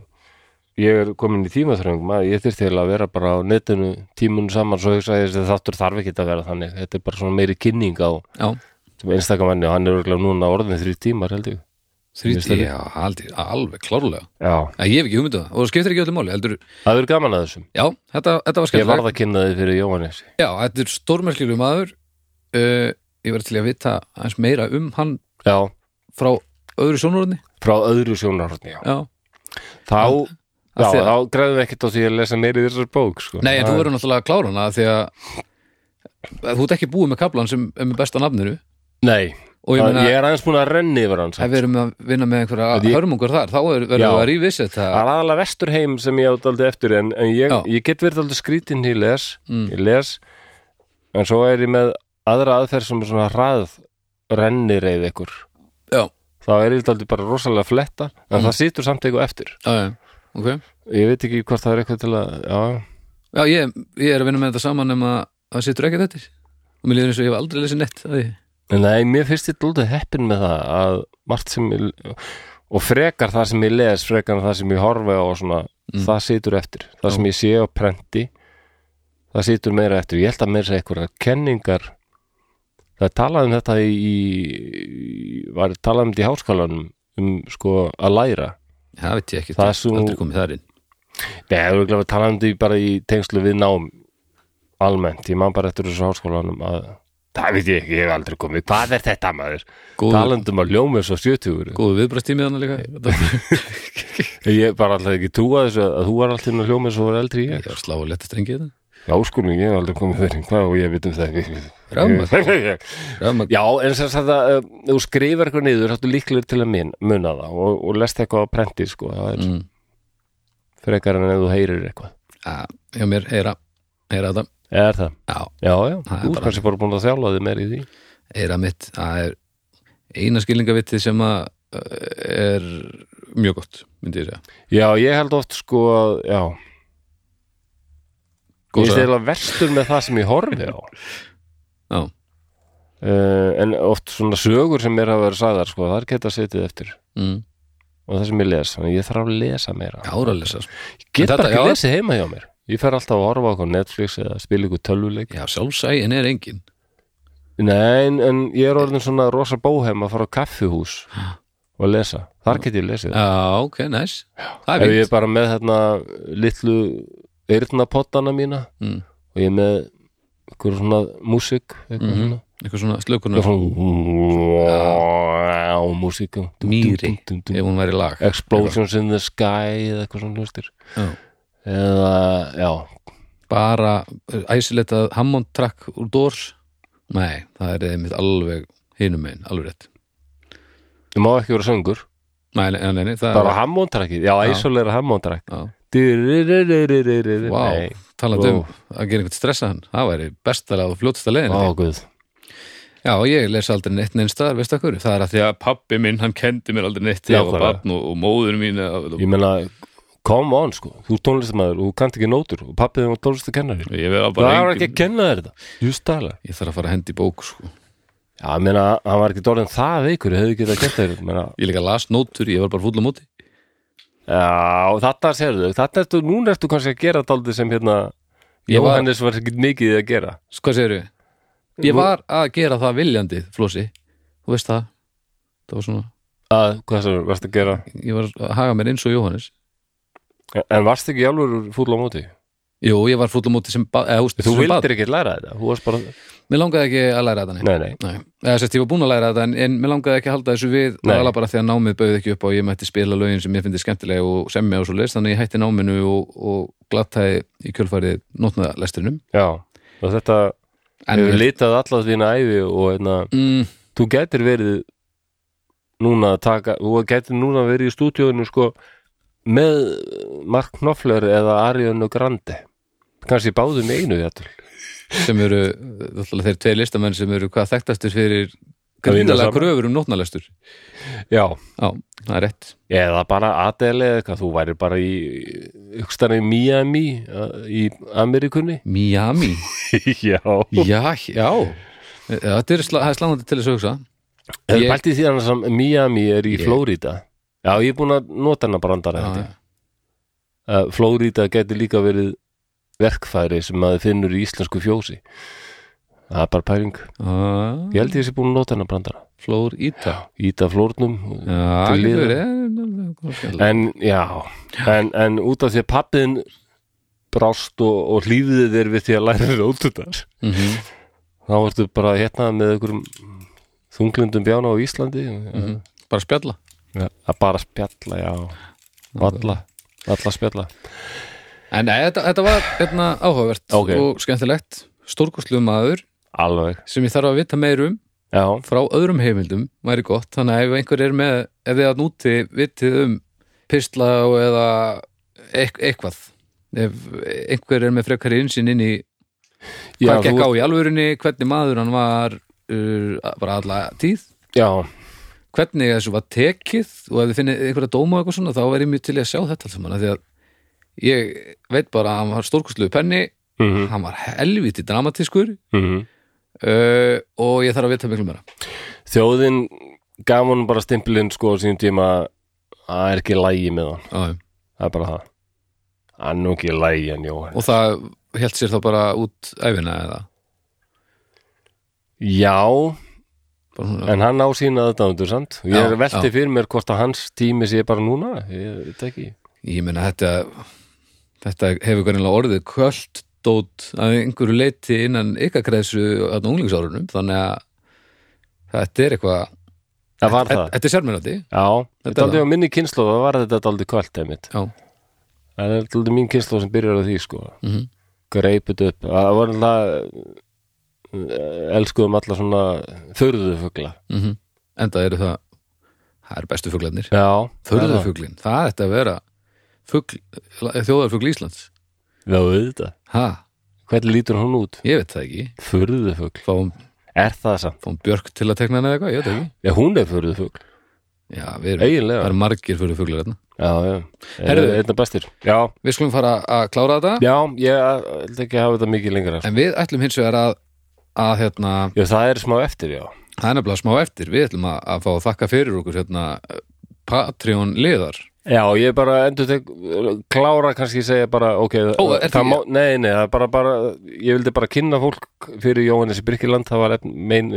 Speaker 1: ég er komin í tímaþröng maður, ég þyrfti til að vera bara á netinu tímun saman, svo hugsaði ég þessi þáttur þarf ekki að vera þannig, þetta er bara svona meiri kynning á
Speaker 2: Já,
Speaker 1: sem einstakamanni og hann er örgulega núna orðin þrjú tímar held ég
Speaker 2: þríti,
Speaker 1: Meistari.
Speaker 2: já, aldrei, alveg klárlega
Speaker 1: Já,
Speaker 2: Æ, Ég hef ekki hugmyndu það og það skiptir ekki öllu máli heldur,
Speaker 1: það verður gaman að þessum
Speaker 2: Já, þetta, þetta var
Speaker 1: Ég
Speaker 2: skemmtilegt
Speaker 1: varð að kynna þið fyrir Jóhannes
Speaker 2: Já, þetta er stórmerkilegu maður uh, Ég var til í að vita aðeins meira um hann
Speaker 1: Já,
Speaker 2: frá öðru sjónurðni
Speaker 1: frá öðru sjónarhorni já.
Speaker 2: Já,
Speaker 1: Þá, já,
Speaker 2: að því-
Speaker 1: þá græðum við ekkert á því að lesa meiri þessar bók sko.
Speaker 2: Nei, en þú
Speaker 1: Það-
Speaker 2: verður náttúrulega að klára hana af því að þú ert ekki búið með kaplan sem er með besta nafninu
Speaker 1: Nei,
Speaker 2: og ég
Speaker 1: það-
Speaker 2: meina,
Speaker 1: ég er aðeins búin að renni yfir hans
Speaker 2: ef við erum að vinna með einhverja
Speaker 1: Að ég-
Speaker 2: hörmungur þar, þá er- verður
Speaker 1: Já.
Speaker 2: við að rífis þetta,
Speaker 1: Það er aðalega vesturheim sem ég átt aldrei eftir en, en ég,
Speaker 2: Já. Mm.
Speaker 1: ég get verið aldrei skrítin í les, ég les en svo er ég með aðra aðferð sem er svona hrað rennir eða ykkur
Speaker 2: já,
Speaker 1: þá er ég aldrei bara rosalega fletta en
Speaker 2: Mm.
Speaker 1: það situr samt eitthvað eftir
Speaker 2: já, já, ok
Speaker 1: ég veit ekki hvort það er eitthvað til að já,
Speaker 2: Já, ég, ég er að vinna með þetta saman nema að það situr ekkert eftir og mér líður eins og ég hef aldrei lesið nett að því
Speaker 1: nei, mér finnst ég dóldu heppin með það að margt sem ég, og frekar það sem ég les frekar en það sem ég horfi á og svona, það situr eftir það sem ég sé á prenti það situr meira eftir, ég held að meira segja eitthvað kenningar það er talað um þetta í, í var talað um þetta í háskálanum um sko að læra
Speaker 2: Það veit ég ekki,
Speaker 1: Það er
Speaker 2: það
Speaker 1: svo-
Speaker 2: aldrei komið þar inn
Speaker 1: Nei, það er glæðið að tala um því bara í tengslu við nám almennt, ég man bara eftir þessu háskólanum að það veit ég ekki, ég hef aldrei komið hvað er þetta maður?
Speaker 2: Góður.
Speaker 1: Talandum um að ljóma svo 70
Speaker 2: Góðu viðbrastímið hann líka Þetta-
Speaker 1: Ég bara alltaf ekki trúa þessu að þú var alltaf inn að ljóma svo var eldri en ég
Speaker 2: Ég var að slá að leta strengi þetta
Speaker 1: Já, skulum, ég hef aldrei komið þeirinn hvað og ég veit um það ekki
Speaker 2: Rafmagn. Rafmagn-
Speaker 1: Já, en sem sagt að um, þú skrifar eitthvað niður, þáttu líklegur til að mun- muna það og, og lest eitthvað á prenti sko, það er
Speaker 2: Mm.
Speaker 1: frekar en ef þú heyrir eitthvað
Speaker 2: Já, hjá mér, heyra, heyra þetta
Speaker 1: Er það?
Speaker 2: Já,
Speaker 1: Já, já,
Speaker 2: Það er
Speaker 1: þú
Speaker 2: bara-
Speaker 1: er kannski bara búin að þjálfa þig meir í því
Speaker 2: eira mitt það er eina skilningavitið sem að uh, er mjög gott myndi ég segja
Speaker 1: Já, ég held oft sko að, já
Speaker 2: Góð
Speaker 1: Ég
Speaker 2: saga.
Speaker 1: stila verstur með það sem ég horfi á
Speaker 2: Já.
Speaker 1: uh, En oft svona sögur sem mér hafa verið sagðar sko, þar geta setið eftir
Speaker 2: mm.
Speaker 1: og það sem ég les, þannig að ég þarf að lesa meira
Speaker 2: áralesa sko.
Speaker 1: Ég Get
Speaker 2: En
Speaker 1: bara
Speaker 2: þetta-
Speaker 1: ekki
Speaker 2: já.
Speaker 1: lesið heima hjá mér Ég fer alltaf að horfa á okkur Netflix eða spila ykkur tölvuleik
Speaker 2: já, sjálfsægin er engin
Speaker 1: Nei, en, en ég er orðin svona rosa bóhem að fara á kaffihús og lesa, þar get ég lesið
Speaker 2: já, ok, næs það
Speaker 1: Ef
Speaker 2: er
Speaker 1: ég er
Speaker 2: fínt
Speaker 1: bara með hérna litlu eyrnapottana mína
Speaker 2: Mm.
Speaker 1: og ég er með eitthvað svona músík eitthvað
Speaker 2: Mhm.
Speaker 1: mm -hmm.
Speaker 2: eitthvað svona slökunar
Speaker 1: svona og músík
Speaker 2: Mýri.
Speaker 1: um-
Speaker 2: ef hún væri lag
Speaker 1: Explosions in the sky eða eitthvað svona hlustir
Speaker 2: Já.
Speaker 1: eða, já,
Speaker 2: bara æsiletað Hammond track úr Dors nei, það er einmitt alveg hinum megin, alveg rétt
Speaker 1: það má ekki vera söngur
Speaker 2: nei, nei, nei, nei það
Speaker 1: bara hammóntrakið, já, æsóleira hammóntrak
Speaker 2: Já.
Speaker 1: Vá,
Speaker 2: Vá, talandi um
Speaker 1: Vó.
Speaker 2: að gera einhvern stressaðan það væri bestalega og fljótasta leiðin
Speaker 1: Á, guð.
Speaker 2: já, ég les aldrei neitt neins staðar, veistu okkur það er að því
Speaker 3: Þegar pappi minn, hann kendi mér aldrei neitt
Speaker 1: Já,
Speaker 3: þegar ég var
Speaker 1: bara.
Speaker 3: barn og, og móður mín og,
Speaker 1: Ég meina, come on, sko. Þú er tónlistamæður og þú kannt ekki nótur og pappið þinn var tónlistakennari.
Speaker 3: ég verða
Speaker 1: Það
Speaker 3: bara
Speaker 1: var ekki að kenna þér þetta. Just dæla.
Speaker 2: að ég þarf að fara að hendi í bók sko.
Speaker 1: Já, ég meina, hann var ekki dórðin það veikur, hefði getað að kenna þér. þetta, Meina,
Speaker 2: ég líka las nótur, ég var bara fúll á móti
Speaker 1: já, og þetta serðu, þetta ertu, núna ertu kannski að gera daldið sem hérna,
Speaker 2: Ég var-
Speaker 1: Jóhannes var ekki mikið að gera.
Speaker 2: sko, hvað segirðu? ég var að gera það viljandi, Flósi þú veist það það var svona,
Speaker 1: Að, hvað sem varst að gera?
Speaker 2: ég var að haga mér eins og Jóhannes
Speaker 1: En varst ekki alveg fúll á móti?
Speaker 2: jú, ég var fúll á móti sem, ba- eða, húst,
Speaker 1: Þú
Speaker 2: sem
Speaker 1: vildir ekki læra þetta, þú varst bara,
Speaker 2: mér langaði ekki að læra þetta neitt
Speaker 1: nei, nei.
Speaker 2: Nei, eða sérst ég var búin að læra þetta en, en mér langaði ekki að halda þessu við
Speaker 1: Nei.
Speaker 2: aðalega bara því að námið bauði ekki upp á að ég mætti spila lögin sem ég fyndi skemmtilega og semja og svo leist þannig að ég hætti náminu og, og glattaði í kjölfærið nótnaðalestrinum
Speaker 1: Já, og þetta
Speaker 2: en
Speaker 1: hefur
Speaker 2: ég,
Speaker 1: litað allar þína æfi og einna,
Speaker 2: mm,
Speaker 1: þú gætir verið núna að taka, þú gætir núna verið í stúdíóinu sko með Mark Knopfler eða Arion og Grande kannski báðum í einu þetta
Speaker 2: sem eru alltaf þeir tvei listamenn sem eru hvað þekktastur fyrir
Speaker 1: Að vinna
Speaker 2: gríðalega
Speaker 1: saman.
Speaker 2: kröfur um nótnaðalestur
Speaker 1: Já,
Speaker 2: Já, það er rétt
Speaker 1: eða bara Adele eða eitthvað, þú væri bara í hugstana í Miami að- í Amerikunni
Speaker 2: Miami,
Speaker 1: Já,
Speaker 2: já, já E, Þetta er, sla, það er sláðandi til þess að hugsa
Speaker 1: ég...
Speaker 2: Ég-
Speaker 1: Bælti því annars að Miami er í
Speaker 2: Ég-
Speaker 1: Flórida Já, ég er búin að nota hana brandara held ég.
Speaker 2: Já,
Speaker 1: að Flórida geti líka verið verkfæri sem maður finnur í íslensku fjósi það er bara pæling
Speaker 2: já.
Speaker 1: ég held ég sé búin að nota hennar brandara
Speaker 2: Flór Íta
Speaker 1: íta flórnum
Speaker 2: Já,
Speaker 1: Til
Speaker 2: getur
Speaker 1: liðar.
Speaker 2: verið, eh,
Speaker 1: en já, en, en út af því að pappiðin brást og, og hlýðið þér við því að læra þér óttutar
Speaker 2: mhm.
Speaker 1: þá ertu bara hérna með einhverjum þunglundum bjána á Íslandi
Speaker 2: bara að spjalla
Speaker 1: Mhm. að bara spjalla, já alla, alla spjalla
Speaker 2: en nei, þetta, þetta var hérna, áhugavert
Speaker 1: Ok.
Speaker 2: og skemmtilegt stórkostlu maður
Speaker 1: alveg,
Speaker 2: sem ég þarf að vita meir um
Speaker 1: já,
Speaker 2: frá öðrum heimildum væri gott þannig að ef einhver er með ef þið að núti vitið um pistla og eða eitth- eitthvað ef einhver er með frekari insinn inn í
Speaker 1: já,
Speaker 2: hvað gekk á
Speaker 1: þú,
Speaker 2: í alvörinni, hvernig maður hann var uh, bara alla tíð
Speaker 1: já
Speaker 2: hvernig þessu var tekið og ef þið finnið einhverja dóma og eitthvað svona þá væri mjög til í að sjá þetta alls saman af því að ég veit bara að hann var stórkostlu penni
Speaker 1: mm -hmm,
Speaker 2: hann var helviti dramatískur
Speaker 1: mhm.
Speaker 2: uh, og ég þarf að vita miklu meira
Speaker 1: þjóðin gaf hann bara stimpilinn sko á sínum tíma að það er ekki lægi með hann,
Speaker 2: Aðeim.
Speaker 1: það er bara það hann er nú ekki lægi hann Jóhann
Speaker 2: og það held sér þá bara út æfina eða
Speaker 1: já,
Speaker 2: bara svona,
Speaker 1: en hann á sína aðdæmundur samt ég
Speaker 2: Já,
Speaker 1: er velti
Speaker 2: já.
Speaker 1: fyrir mér hvort að hans tími sé bara núna, ég veit ekki
Speaker 2: ég meina þetta þetta hefur hvernig orðið kvöld dót að einhverju leiti innan ykkakreðsu að unglingsárunum þannig að þetta er eitthvað
Speaker 1: það var það,
Speaker 2: þetta er sérmennandi
Speaker 1: já
Speaker 2: Þetta
Speaker 1: þetta er
Speaker 2: er
Speaker 1: aldrei á minni kynslu það var þetta aldrei kvöld einmitt.
Speaker 2: Já.
Speaker 1: það er aldrei mín kynslu sem byrjar á því sko
Speaker 2: Mhm.
Speaker 1: greipið upp, það var alltaf elskuðum alla svona þurðufugla
Speaker 2: mm enda eru það það eru bestu fuglarnir
Speaker 1: já, það er það.
Speaker 2: Þörðarfuglin, það ætti að vera fugl, þjóðarfugl Íslands
Speaker 1: Já, auðvitað
Speaker 2: ha,
Speaker 1: Hvernig lítur hún út?
Speaker 2: ég veit það ekki
Speaker 1: Furðufugl.
Speaker 2: fáum,
Speaker 1: Er það samt?
Speaker 2: fáum Björk til að tekna hana eða eitthvað, ég veit það ekki
Speaker 1: Já, hún er furðufugl.
Speaker 2: já, við erum, það
Speaker 1: Eiginlega.
Speaker 2: eru margir fyrir fuglar hérna
Speaker 1: Já, já.
Speaker 2: Herðu.
Speaker 1: Herðu. Einna bestir. Já,
Speaker 2: við skulum fara að klára þetta
Speaker 1: já, ég held ekki að hafa þetta mikið lengra. sko.
Speaker 2: en við ætlum hins vegar að að hérna,
Speaker 1: Já, það er smá eftir, já.
Speaker 2: það er nefnilega smá eftir við ætlum að, að fá að þakka fyrir okkur hérna Patreon liðar
Speaker 1: Já, ég bara endur tek, klára kannski segja bara, ok,
Speaker 2: Ó, er það
Speaker 1: það má, nei, nei, það er bara, bara, ég vildi bara kynna fólk fyrir Jóhannes í Byrkiland, það var megin,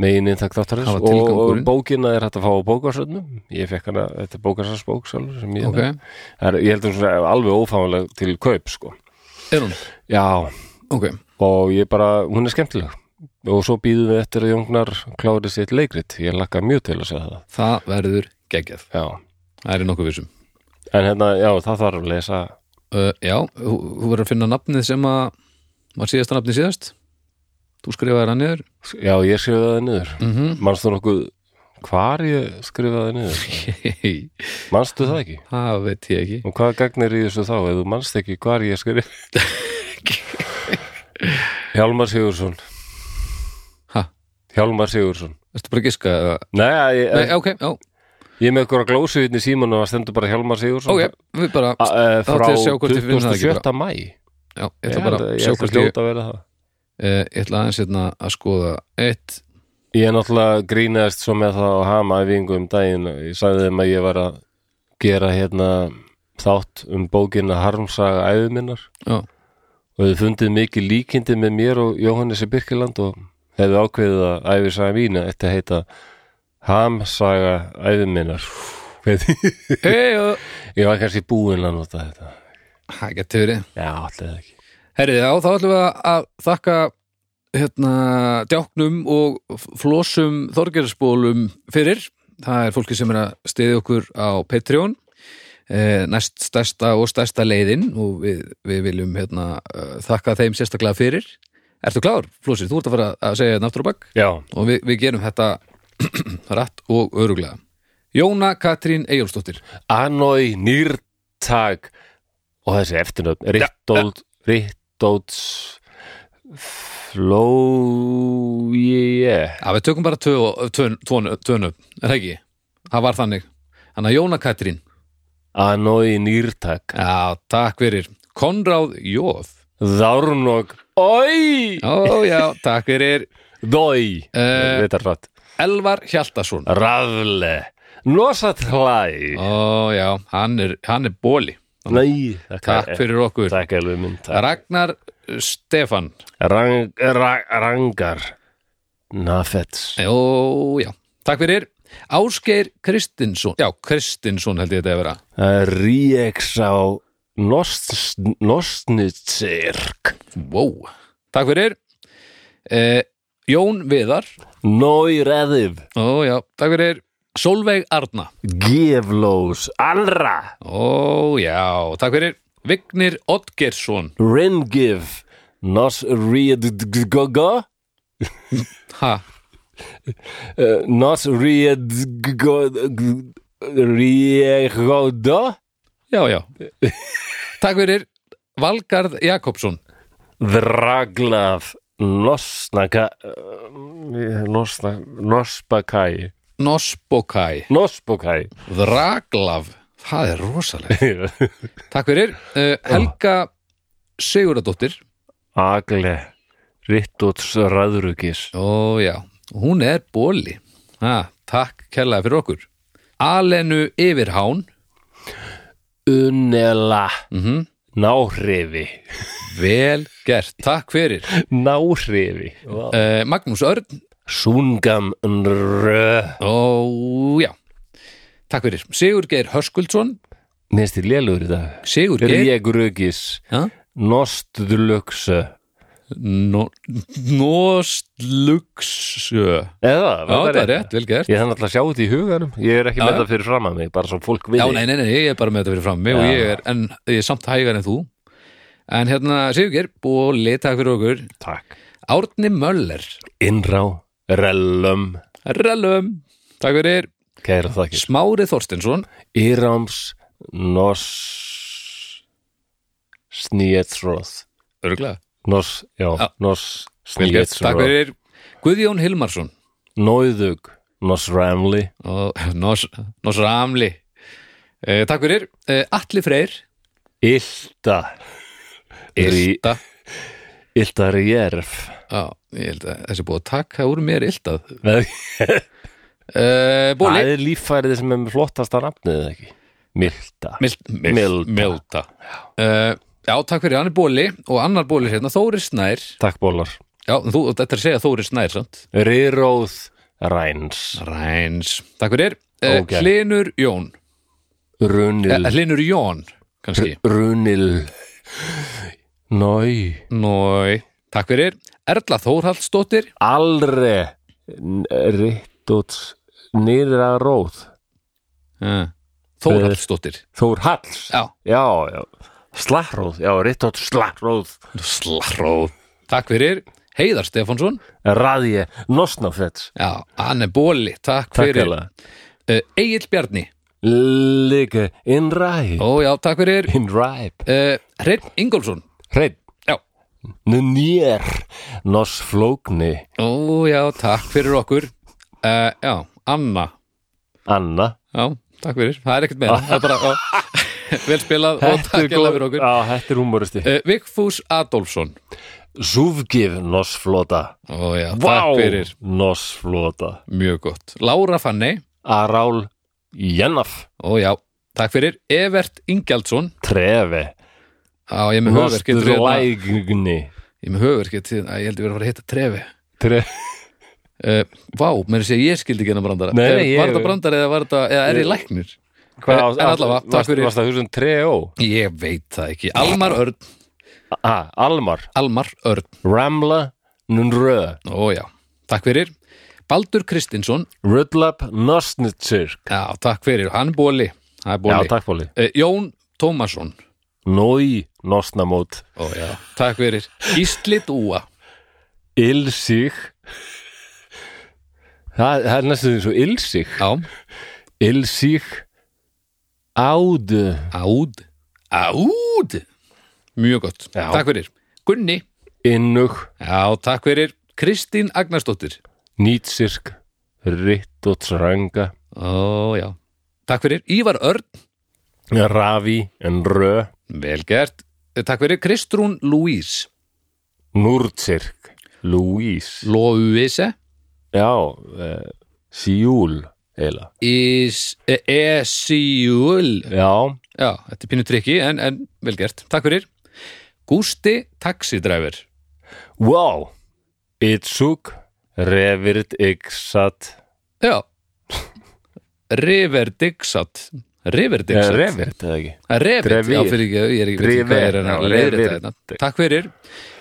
Speaker 1: megin intak þáttarins
Speaker 2: Það var
Speaker 1: og, og
Speaker 2: tilgangurinn.
Speaker 1: bókina er hægt að fá á bókarsöndum, ég fekk hana, þetta er bókarsöndbók sjálfur sem ég,
Speaker 2: ok,
Speaker 1: það er, ég held um svona alveg ófáanleg til kaup, sko.
Speaker 2: er hún?
Speaker 1: Já,
Speaker 2: ok,
Speaker 1: og ég bara, hún er skemmtileg og svo býðum við eftir að Jóngnar klári sitt leikrit, ég lakka mjög til að segja það
Speaker 2: það verður geggjað
Speaker 1: já,
Speaker 2: það er í nokkuð vissum
Speaker 1: en hérna, já, það þarf að lesa
Speaker 2: Uh, já, þú þú verður að finna nafnið sem að var síðasta nafnið síðast Þú skrifaðir hann niður
Speaker 1: já, ég skrifaði það niður
Speaker 2: mm
Speaker 1: manstu nokkuð, hvar ég skrifaði það niður manstu það ekki
Speaker 2: Það veit ég ekki
Speaker 1: og hvað gagnir í þessu þá, ef þú manst ekki hvar ég skrifaði Hjálmar Sigursson
Speaker 2: Ha?
Speaker 1: Hjálmar Sigursson
Speaker 2: Ertu bara að giska? eða?
Speaker 1: Nei, ég,
Speaker 2: Nei, ok, já,
Speaker 1: ég er með ykkur að glósu hérna í síman og það stendur bara Hjálmar Sigursson
Speaker 2: ok, við bara
Speaker 1: A, uh,
Speaker 2: Þá
Speaker 1: frá
Speaker 2: ætla ég að sjá hvort ég finn það ekki
Speaker 1: 27. mæ
Speaker 2: Já, ég
Speaker 1: Ég
Speaker 2: ætla bara
Speaker 1: held
Speaker 2: að
Speaker 1: að- ég
Speaker 2: sjá
Speaker 1: held að
Speaker 2: hvort ég
Speaker 1: hljóta að vera það
Speaker 2: eh, Ég ætla aðeins hérna að skoða Eitt,
Speaker 1: Ég er náttúrulega grínaðist svo með það á hama æfingu um daginn ég sagði þeim að ég var að gera hérna þátt um bókina Harmsaga æðu minnar
Speaker 2: já,
Speaker 1: og þau fundið mikið líkindi með mér og Jóhannes í Birkiland og hefðu ákveðið að æfisaga mína eftir að heita Hamsaga æðu minnar Veit-
Speaker 2: hei,
Speaker 1: oh.
Speaker 2: já
Speaker 1: Ég var kannski búinn að nota þetta
Speaker 2: Það getur verið
Speaker 1: Já, allir það ekki
Speaker 2: Herrið, já, þá ætlum við að- að þakka hérna, djáknum og f- flósum þorgerðsbólum fyrir. Það er fólki sem er að stiði okkur á Patreon eh, næst stærsta og stærsta leiðin og við, við viljum hérna, eh, þakka þeim sérstaklega fyrir. Ertu klár, Flósir? Þú ert að fara að segja hérna náttúr og bakk
Speaker 1: Já,
Speaker 2: og við, við gerum þetta rætt og öruglega. Jóna Katrín Eyjólfsdóttir.
Speaker 1: Anói Nýrtag og þessi eftirnöfn Rittóld, Rittóts Flóje
Speaker 2: Já, við tökum bara tvö, tvö, tvö, tvö nöfn, er það ekki? Það var þannig. Þannig að Jóna Katrín,
Speaker 1: Anói Nýrtag
Speaker 2: já, takk fyrir. Konráð Jóð,
Speaker 1: Þárnog Ói
Speaker 2: ó já, takk fyrir.
Speaker 1: Dói
Speaker 2: Eh.
Speaker 1: Þetta er rætt
Speaker 2: Elvar Hjaltason,
Speaker 1: Rafle Nosatlæ
Speaker 2: ó já, hann er, hann er bóli.
Speaker 1: Nei,
Speaker 2: Takk fyrir okkur.
Speaker 1: Eh, Takk alveg minn takk.
Speaker 2: Ragnar Stefan,
Speaker 1: Rang, ra, Rangar Nafets
Speaker 2: ó já, takk fyrir. Ásgeir Kristinsson, já, Kristinsson held ég þetta að vera.
Speaker 1: Ríeks á Nostnitsirk
Speaker 2: Wow, takk fyrir. Eh, Jón Viðar,
Speaker 1: Nóireðif
Speaker 2: ó já, takk fyrir. Solveig Arna.
Speaker 1: Geflós Alra
Speaker 2: Ó, já, takk fyrir Vignir Oddgersson
Speaker 1: Ringif Nosriedgogo
Speaker 2: Ha,
Speaker 1: Nosriedgogo Ríegodo
Speaker 2: já, já Takk fyrir Valgarð Jakobsson
Speaker 1: Draglaf Nosnaka eh, Nosna Nosbakai
Speaker 2: Nosbokai
Speaker 1: Nosbokai
Speaker 2: Draglav Það er rosalega Takk fyrir uh, Helga Siguradóttir
Speaker 1: Agle Rittóts Ræðrugis
Speaker 2: Ó, já, hún er bóli ha, Takk kærlega fyrir okkur Alenu Yfirhán
Speaker 1: Unela
Speaker 2: Mhm.
Speaker 1: Náhrifi
Speaker 2: Vel gert, takk fyrir
Speaker 1: Náhrifi
Speaker 2: uh, Magnús Örn
Speaker 1: Súngam Rö
Speaker 2: Ó, já Takk fyrir Sigurgeir Höskuldsson
Speaker 1: Minnst þið lélugur í dag
Speaker 2: Sigurgeir
Speaker 1: Ríegrugis
Speaker 2: Ha?
Speaker 1: Nostlugsu
Speaker 2: No- Noslugsu
Speaker 1: Eða,
Speaker 2: Já, það er rétt, vel gert
Speaker 1: Ég þannig alltaf að sjá þetta í huganum Ég er ekki
Speaker 2: Já,
Speaker 1: með
Speaker 2: já.
Speaker 1: þetta fyrir fram að mig Bara svo fólk við
Speaker 2: Já, nei, nei, nei, ég er bara með þetta fyrir fram mig og
Speaker 1: Já.
Speaker 2: ég er, en ég er samt hægar en þú En hérna, Sigurgeir, búli, takk fyrir okkur
Speaker 1: Takk
Speaker 2: Árni Möller,
Speaker 1: Innrá Rellum
Speaker 2: rellum, takk fyrir
Speaker 1: Kæra þakkir
Speaker 2: Smári Þorstinsson,
Speaker 1: Írams Nos Sníetsróð
Speaker 2: örgulega,
Speaker 1: Nos, já,
Speaker 2: Já.
Speaker 1: Nos
Speaker 2: vel gert, takk
Speaker 1: Sníetsróð
Speaker 2: fyrir Guðjón Hilmarsson,
Speaker 1: Nóðug Nos Ramli
Speaker 2: og Nos, Nos Ramli eh, Takk fyrir, eh, Atli Freyr
Speaker 1: Ylta Rí-
Speaker 2: Ylta,
Speaker 1: Ylta Rjerf
Speaker 2: já, ég held að þessi er búið að taka úr mér Yltað
Speaker 1: Nei,
Speaker 2: eh, Búli,
Speaker 1: Það er líffærið sem er með flottasta nafnið eða ekki Milta
Speaker 2: Mild, mild,
Speaker 1: Milda.
Speaker 2: milda. Uh, já, takk fyrir, hann er bóli og annar bóli hérna, Þóri Snær
Speaker 1: Takk bólar
Speaker 2: Já, þú, þetta er að segja Þóri Snær, sant?
Speaker 1: Riróð Ræns
Speaker 2: Ræns, takk fyrir uh,
Speaker 1: Ógeð.
Speaker 2: Hlinur Jón
Speaker 1: Runil
Speaker 2: uh, Hlinur Jón, kannski
Speaker 1: Runil Nói
Speaker 2: Nói, takk fyrir Erla Þórhaldsdóttir
Speaker 1: Alre Rittóts Nýra Róð
Speaker 2: uh, Þórhaldsdóttir
Speaker 1: Þór Halls
Speaker 2: Já,
Speaker 1: Já, já Slagróð, já, Rittóts Slagróð
Speaker 2: slarróð Takk fyrir, Heiðar Stefánsson
Speaker 1: Raðje, Nosnafets
Speaker 2: Já, hann er bóli, takk
Speaker 1: Takk
Speaker 2: fyrir
Speaker 1: hella
Speaker 2: uh, Egil Bjarni
Speaker 1: Líka Inræ
Speaker 2: Ó já, takk fyrir
Speaker 1: Inræp
Speaker 2: uh, Hreinn Ingólfsson
Speaker 1: Hreinn
Speaker 2: Já,
Speaker 1: Nunjér Nos flókni
Speaker 2: Ó, já, takk fyrir okkur uh, Já, Anna
Speaker 1: Anna
Speaker 2: Já, takk fyrir, það er ekkert meira Það er bara, já, vel spilað og takk
Speaker 1: góð-
Speaker 2: hérna fyrir okkur
Speaker 1: á, þetta er humoristi
Speaker 2: uh, Vigfús Adolfsson
Speaker 1: Zúfgif Nosflota
Speaker 2: Ó, já,
Speaker 1: Vá,
Speaker 2: takk fyrir,
Speaker 1: Nosflota
Speaker 2: mjög gott Lára Fanny,
Speaker 1: Arál Jennaf
Speaker 2: ó já, takk fyrir Evert Ingjaldsson
Speaker 1: Trefi
Speaker 2: Já, ég er með hérna. höfverkið Ég
Speaker 1: Nostrægni
Speaker 2: er með höfverkið til að ég held ég verið að fara að hitta trefi
Speaker 1: Tre...
Speaker 2: Uh, vá, mér sé ég skildi ekki hennar brandara
Speaker 1: Nei,
Speaker 2: Eh,
Speaker 1: nei, ég-
Speaker 2: Var þetta brandari eða, var þetta, eða er ég læknir?
Speaker 1: Hvað á-
Speaker 2: En allavega, takk
Speaker 1: varst-
Speaker 2: fyrir.
Speaker 1: Varst það þúsund treo?
Speaker 2: Ég veit það ekki Almar Örn,
Speaker 1: Ah, Almar
Speaker 2: Almar Örn
Speaker 1: Ramla Nunrö
Speaker 2: Ó já, takk fyrir Baldur Kristinsson
Speaker 1: Rudlap Nostnitsirk
Speaker 2: Já, takk fyrir, hann er bóli, hann er
Speaker 1: Já,
Speaker 2: bóli.
Speaker 1: takk Bóli
Speaker 2: Eh, Jón Tómasson
Speaker 1: Nói Nostnamót
Speaker 2: Ó já, takk fyrir Gísli Dúa
Speaker 1: Ilsig Það, það er næstum eins og Ilsig
Speaker 2: Já,
Speaker 1: Ilsig Ádu
Speaker 2: ád Ád Mjög gott,
Speaker 1: Já.
Speaker 2: takk fyrir Gunni,
Speaker 1: Innug
Speaker 2: já, takk fyrir Kristín Agnarsdóttir
Speaker 1: Nýtsirk Ritt og Tranga
Speaker 2: Ó já, takk fyrir Ívar Örn
Speaker 1: Ravi en Rö
Speaker 2: Vel gert. Takk fyrir Kristrún Louise.
Speaker 1: Núrtsirk Louise
Speaker 2: Louise
Speaker 1: Já, eh, Sjúl eila
Speaker 2: is esjúl.
Speaker 1: Já,
Speaker 2: Já, þetta er pínu trikki en, en vel gert. Takk fyrir. Gústi taxidræfur.
Speaker 1: wow Itsug Revirt Yksat
Speaker 2: Já. River Dixat. River
Speaker 1: Eh,
Speaker 2: Dixat.
Speaker 1: Revirt eða ekki
Speaker 2: Eh, Revit,
Speaker 1: Drevir.
Speaker 2: já fyrir ekki, ég er ekki veit ekki hvað
Speaker 1: Driver,
Speaker 2: er hérna
Speaker 1: já,
Speaker 2: að leiðrétta
Speaker 1: Revir.
Speaker 2: hérna. Takk fyrir.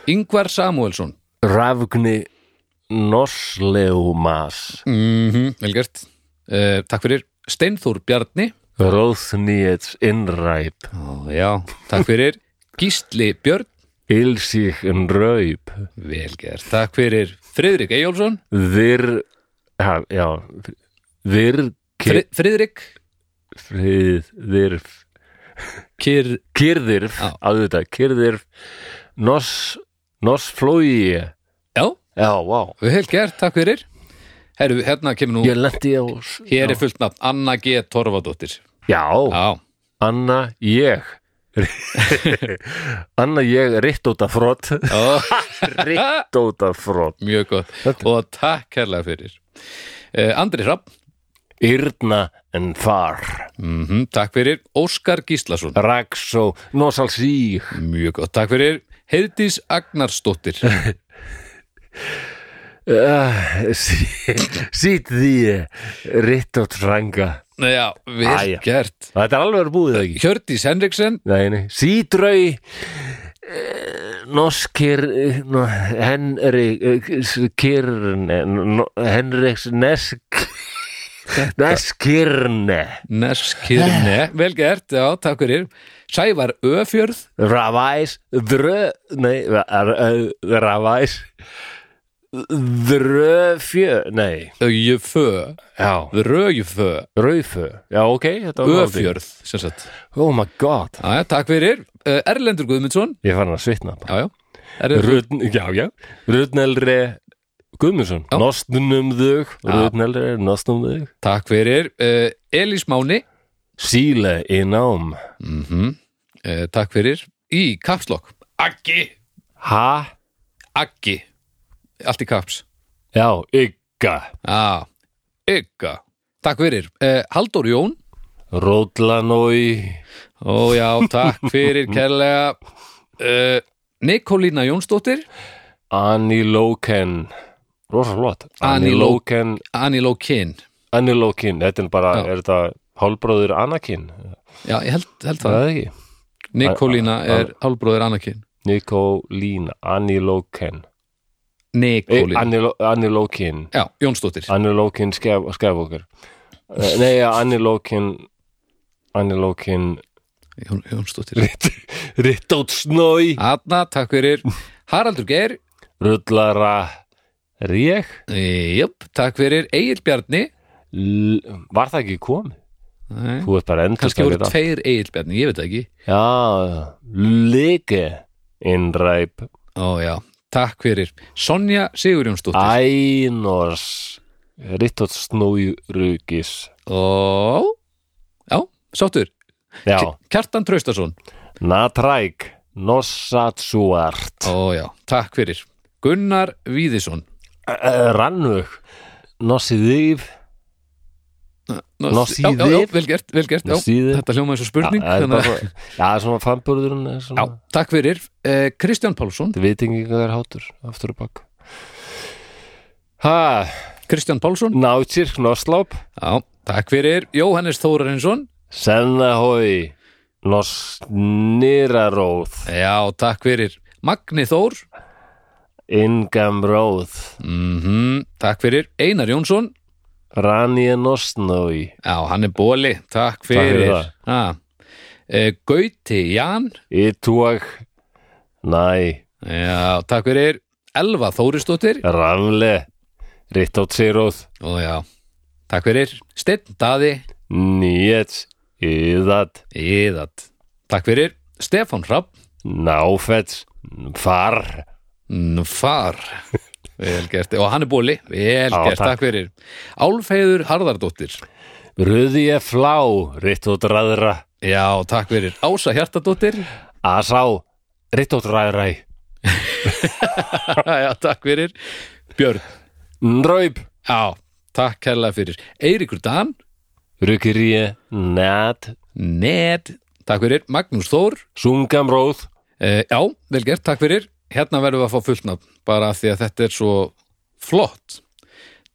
Speaker 2: Ingvar Samuelsson.
Speaker 1: Rafgni Nosleumas
Speaker 2: Mm Vel gert. Uh, takk fyrir. Steinþór Bjarni.
Speaker 1: Róðnýjets innræp
Speaker 2: Ó, já. Takk fyrir. Gísli Björn.
Speaker 1: Ilsík en raup
Speaker 2: Vel gert, takk fyrir Friðrik Eyjólfsson,
Speaker 1: Þir ha, Já Þir
Speaker 2: Fri, Friðrik
Speaker 1: Frið Þirf
Speaker 2: Kyr,
Speaker 1: Kyrðirf
Speaker 2: Já.
Speaker 1: Áður þetta Kyrðirf Nos Nosflói
Speaker 2: já,
Speaker 1: Já, vá
Speaker 2: vel gert, takk fyrir Herru, hérna kemur nú,
Speaker 1: Ég lendi á
Speaker 2: hér er fullt nafn Anna G. Torfadóttir
Speaker 1: Já,
Speaker 2: Já,
Speaker 1: Anna ég Anna ég Rittóta frott
Speaker 2: ó,
Speaker 1: Rittóta frott
Speaker 2: mjög gott
Speaker 1: Þetta-
Speaker 2: og takk herrlega fyrir uh, Andri Hrapp,
Speaker 1: Yrna en far
Speaker 2: mm takk fyrir Óskar Gíslason,
Speaker 1: Raxo, Nosalsí
Speaker 2: mjög gott, takk fyrir Heiðdís Agnarsdóttir
Speaker 1: uh, Sýt því Ritt og tranga
Speaker 2: Já, vel
Speaker 1: Æja.
Speaker 2: gert
Speaker 1: Þetta er alveg búið ekki
Speaker 2: Hjördís Henriksen,
Speaker 1: Nei, nei. Sídrau Norskir eh, no, Henrik eh, s- Kirn eh, no- Henriks Nesk Neskirne
Speaker 2: Neskirne, vel gert, já, takk fyrir Sævar Öfjörð
Speaker 1: Ravæs Drö Nei, eh, ra- ra- Ravæs Dröfjö Nei,
Speaker 2: Öjufö
Speaker 1: já
Speaker 2: Röjufö,
Speaker 1: Rauðfö Já, ok, þetta var náttúrulega-
Speaker 2: Öfjörð sem sagt.
Speaker 1: Oh my god,
Speaker 2: Já, já, takk fyrir, uh, Erlendur Guðmundsson
Speaker 1: ég fann að svitna bara.
Speaker 2: Já, já, Erlendur
Speaker 1: Rudn, já, já Rudnelre Guðmundsson
Speaker 2: Já.
Speaker 1: Nostnum þug,
Speaker 2: Já.
Speaker 1: Rudnelre Nostnum þug
Speaker 2: Takk fyrir, uh, Elís Máni
Speaker 1: Síle í nám
Speaker 2: mm Eh, Takk fyrir Í kapslokk, Aggi
Speaker 1: Ha,
Speaker 2: Aggi, allt í kaps
Speaker 1: já, ygga
Speaker 2: Já, ykka Takk fyrir, uh, Halldór Jón
Speaker 1: Ródlanói
Speaker 2: Ó já, takk fyrir kærlega uh, Nikolína Jónsdóttir
Speaker 1: Anilóken Rosa flott
Speaker 2: Aniló-
Speaker 1: Anilóken,
Speaker 2: Aniló Kinn
Speaker 1: Anilókin Þetta er bara,
Speaker 2: Já.
Speaker 1: er þetta hálbróður Anakin?
Speaker 2: Já, ég held, held
Speaker 1: Það
Speaker 2: það
Speaker 1: er ekki
Speaker 2: Nikolína er hálfbróðir Anakin
Speaker 1: Nikolín, Anilóken Eh,
Speaker 2: Nikolína
Speaker 1: Aniló- Anilókin
Speaker 2: Já, Jónsdóttir
Speaker 1: Annilókin Skæfókar Eh, Nei, Annilókin Annilókin
Speaker 2: Jón, Jónsdóttir
Speaker 1: Rittótt snói
Speaker 2: Anna, takk fyrir Haraldur Geir
Speaker 1: Rullara Rék
Speaker 2: Jöp, takk fyrir Egil Bjarni
Speaker 1: Var það ekki komið?
Speaker 2: Nei,
Speaker 1: Þú ert bara endur
Speaker 2: Kannski voru tveir Egil Bjarni, ég veit það ekki
Speaker 1: Já, líki Innræp
Speaker 2: Ó já, takk fyrir Sonja Sigurjónsdóttir
Speaker 1: Ænors Rittot Snójurugis
Speaker 2: Ó, já, sáttur
Speaker 1: Já,
Speaker 2: Kjartan Traustason
Speaker 1: Natræk Nossatsuart
Speaker 2: Ó já, takk fyrir Gunnar Víðisson
Speaker 1: Eh, Rannug Nossiðýf
Speaker 2: Ná,
Speaker 1: Ná,
Speaker 2: já, já, já,
Speaker 1: síðir.
Speaker 2: vel gert, vel gert
Speaker 1: Ná,
Speaker 2: já,
Speaker 1: síðir.
Speaker 2: Þetta hljóma eins og spurning
Speaker 1: Já, það er
Speaker 2: þannig að-
Speaker 1: bara- já, það er svona framburðurinn er
Speaker 2: Já,
Speaker 1: svona,
Speaker 2: takk fyrir eh, Kristján Pálsson
Speaker 1: Þetta veit ekki hvað er hátur Aftur og bakk Ha,
Speaker 2: Kristján Pálsson,
Speaker 1: Nátsir Nossláp
Speaker 2: já, takk fyrir Jóhannes Þórarinsson,
Speaker 1: Sennahói Nossniraróð
Speaker 2: já, takk fyrir Magni Þór,
Speaker 1: Ingamróð
Speaker 2: mm takk fyrir Einar Jónsson,
Speaker 1: Ranje Nossnói
Speaker 2: já, hann er bóli Takk
Speaker 1: fyrir
Speaker 2: fyrir
Speaker 1: það.
Speaker 2: Ha. Eh, Gauti Jan
Speaker 1: Ítúag Næ
Speaker 2: já, takk fyrir Elva Þórisdóttir,
Speaker 1: Rafle Rittótsiróð
Speaker 2: og já Takk fyrir Steinn Daði
Speaker 1: Nýjets Íðat
Speaker 2: Íðat, takk fyrir Stefán Hrapp
Speaker 1: Náfets Far
Speaker 2: Nú, Far Vel gert, og hann er bóli Vel
Speaker 1: Já,
Speaker 2: gert,
Speaker 1: takk.
Speaker 2: takk fyrir Álfeiður Harðardóttir
Speaker 1: Röðje Flá Rittótraðra
Speaker 2: Já, takk fyrir Ása Hjartadóttir
Speaker 1: Asá Rittótraðræ
Speaker 2: Já, takk fyrir Björn,
Speaker 1: Ndraub
Speaker 2: já, takk kærlega fyrir Eiríkur Dan,
Speaker 1: Rukiríe Nat
Speaker 2: Ned Takk fyrir, Magnús Þór
Speaker 1: Sungamróð
Speaker 2: e, Já, vel gert, takk fyrir Hérna verðum við að fá fullnafn bara af því að þetta er svo flott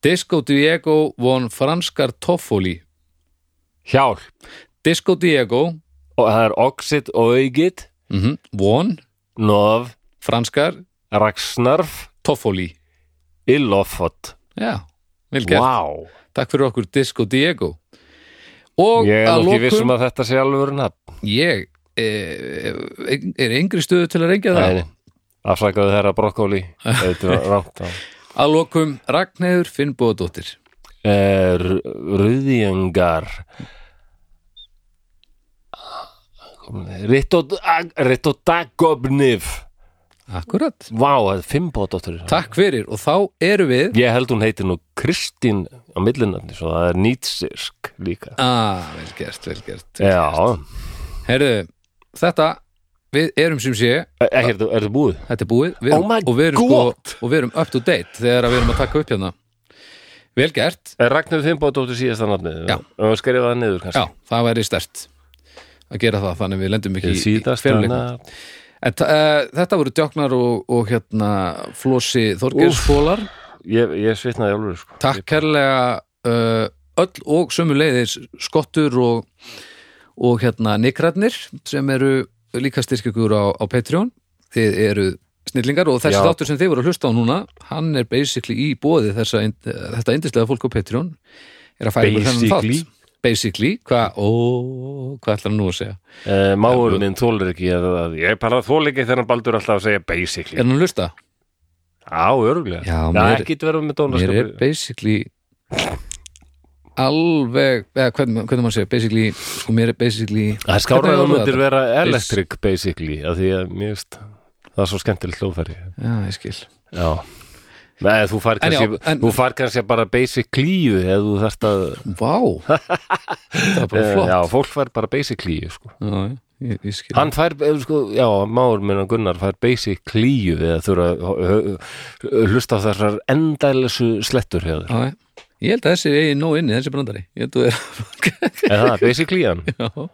Speaker 2: Disco Diego von Franskar Toffoli
Speaker 1: Hjálp
Speaker 2: Disco Diego
Speaker 1: og það er Oxid Oigit
Speaker 2: mm von
Speaker 1: Nov
Speaker 2: Franskar
Speaker 1: Raksnarf
Speaker 2: Toffoli
Speaker 1: Illofot
Speaker 2: Já, vel gert.
Speaker 1: Vá
Speaker 2: Takk fyrir okkur Disco Diego. Og
Speaker 1: Ég er
Speaker 2: að
Speaker 1: nú ekki um
Speaker 2: lokum,
Speaker 1: vissum að þetta sé alveg nafn
Speaker 2: ég eh, er engri stöðu til að rengja það.
Speaker 1: Nei, nei. Afsakaðu þeirra brokkóli Þetta var rámt á
Speaker 2: Að lokum Ragnheður Finnbóðdóttir. Eh,
Speaker 1: Rúðingar Rittodagobnif
Speaker 2: Akkurat.
Speaker 1: Vá, það er fimm bóðdóttur
Speaker 2: Takk fyrir og þá eru við
Speaker 1: Ég held hún heitir nú Kristín á millinafni svo það er nýtsirk líka
Speaker 2: Ah, vel gert, vel gert.
Speaker 1: Eh. Já,
Speaker 2: Herðu, þetta við erum sem sé,
Speaker 1: ekki, E, er þetta búið?
Speaker 2: þetta er búið við erum,
Speaker 1: Oh my
Speaker 2: og, við erum sko-
Speaker 1: God.
Speaker 2: og við erum up to date þegar að við erum að taka upp hérna. Vel gert.
Speaker 1: Er Ragnar Fimboðdóttir Eh, síðasta nafnið?
Speaker 2: Já.
Speaker 1: Og skrifa það niður
Speaker 2: Já,
Speaker 1: kannski.
Speaker 2: það væri stert að gera það, þannig við lendum ekki í- í
Speaker 1: Síðast
Speaker 2: feluleikum.
Speaker 1: nafn.
Speaker 2: En uh, þetta voru djáknar og, og hérna Flósi Þorgeirsfólar
Speaker 1: Ég, ég svitnaði alveg, sko.
Speaker 2: Takk kærlega uh, öll og sömuleiðis Skottur og, og hérna Nikrarnir sem eru líka styrkjökur á, á Patreon Þið eru snillingar og þessi
Speaker 1: Já.
Speaker 2: þáttur sem þið voru að hlusta á núna hann er basically í bóði þessa, ynd- þetta yndislega fólk á Patreon er að færa ykkur þennan
Speaker 1: Basically?
Speaker 2: þátt Basically, hvað, ó, hvað ætlar hann nú að segja?
Speaker 1: Uh, Máur minn þólir ekki að, að ég bara þól ekki þegar hann baldur alltaf að segja
Speaker 2: Er
Speaker 1: basically.
Speaker 2: hann að hlusta?
Speaker 1: Já, örgulega.
Speaker 2: Já,
Speaker 1: Já,
Speaker 2: mér-
Speaker 1: ekki verðum með
Speaker 2: mér er
Speaker 1: dónaskapur.
Speaker 2: basically alveg eða hvernig, hvernig maður segja, basically sko mér er basically
Speaker 1: Það er skárað að
Speaker 2: Hvernig
Speaker 1: þú
Speaker 2: orðað
Speaker 1: myndir
Speaker 2: þetta?
Speaker 1: vera electric basically, af því að mér veist, það er svo skemmtileg hljóðfæri.
Speaker 2: já, ég skil
Speaker 1: Já. Nei, þú far
Speaker 2: En já,
Speaker 1: kannski,
Speaker 2: en-
Speaker 1: þú far kannski bara basically eða þú þarft að,
Speaker 2: vá, það er bara
Speaker 1: Eh,
Speaker 2: flott
Speaker 1: já, fólk fær bara basically, sko.
Speaker 2: já, ég, ég skil
Speaker 1: Hann fær, eh, sko, já, máur minn og Gunnar fær basic klíu við að þurfa að h- h- hlusta á þessar endælisu slettur hjá þér.
Speaker 2: já, já. ég held að þessi er nóg inni, þessi brandari ég held að það er
Speaker 1: Er það basic klían?
Speaker 2: Já.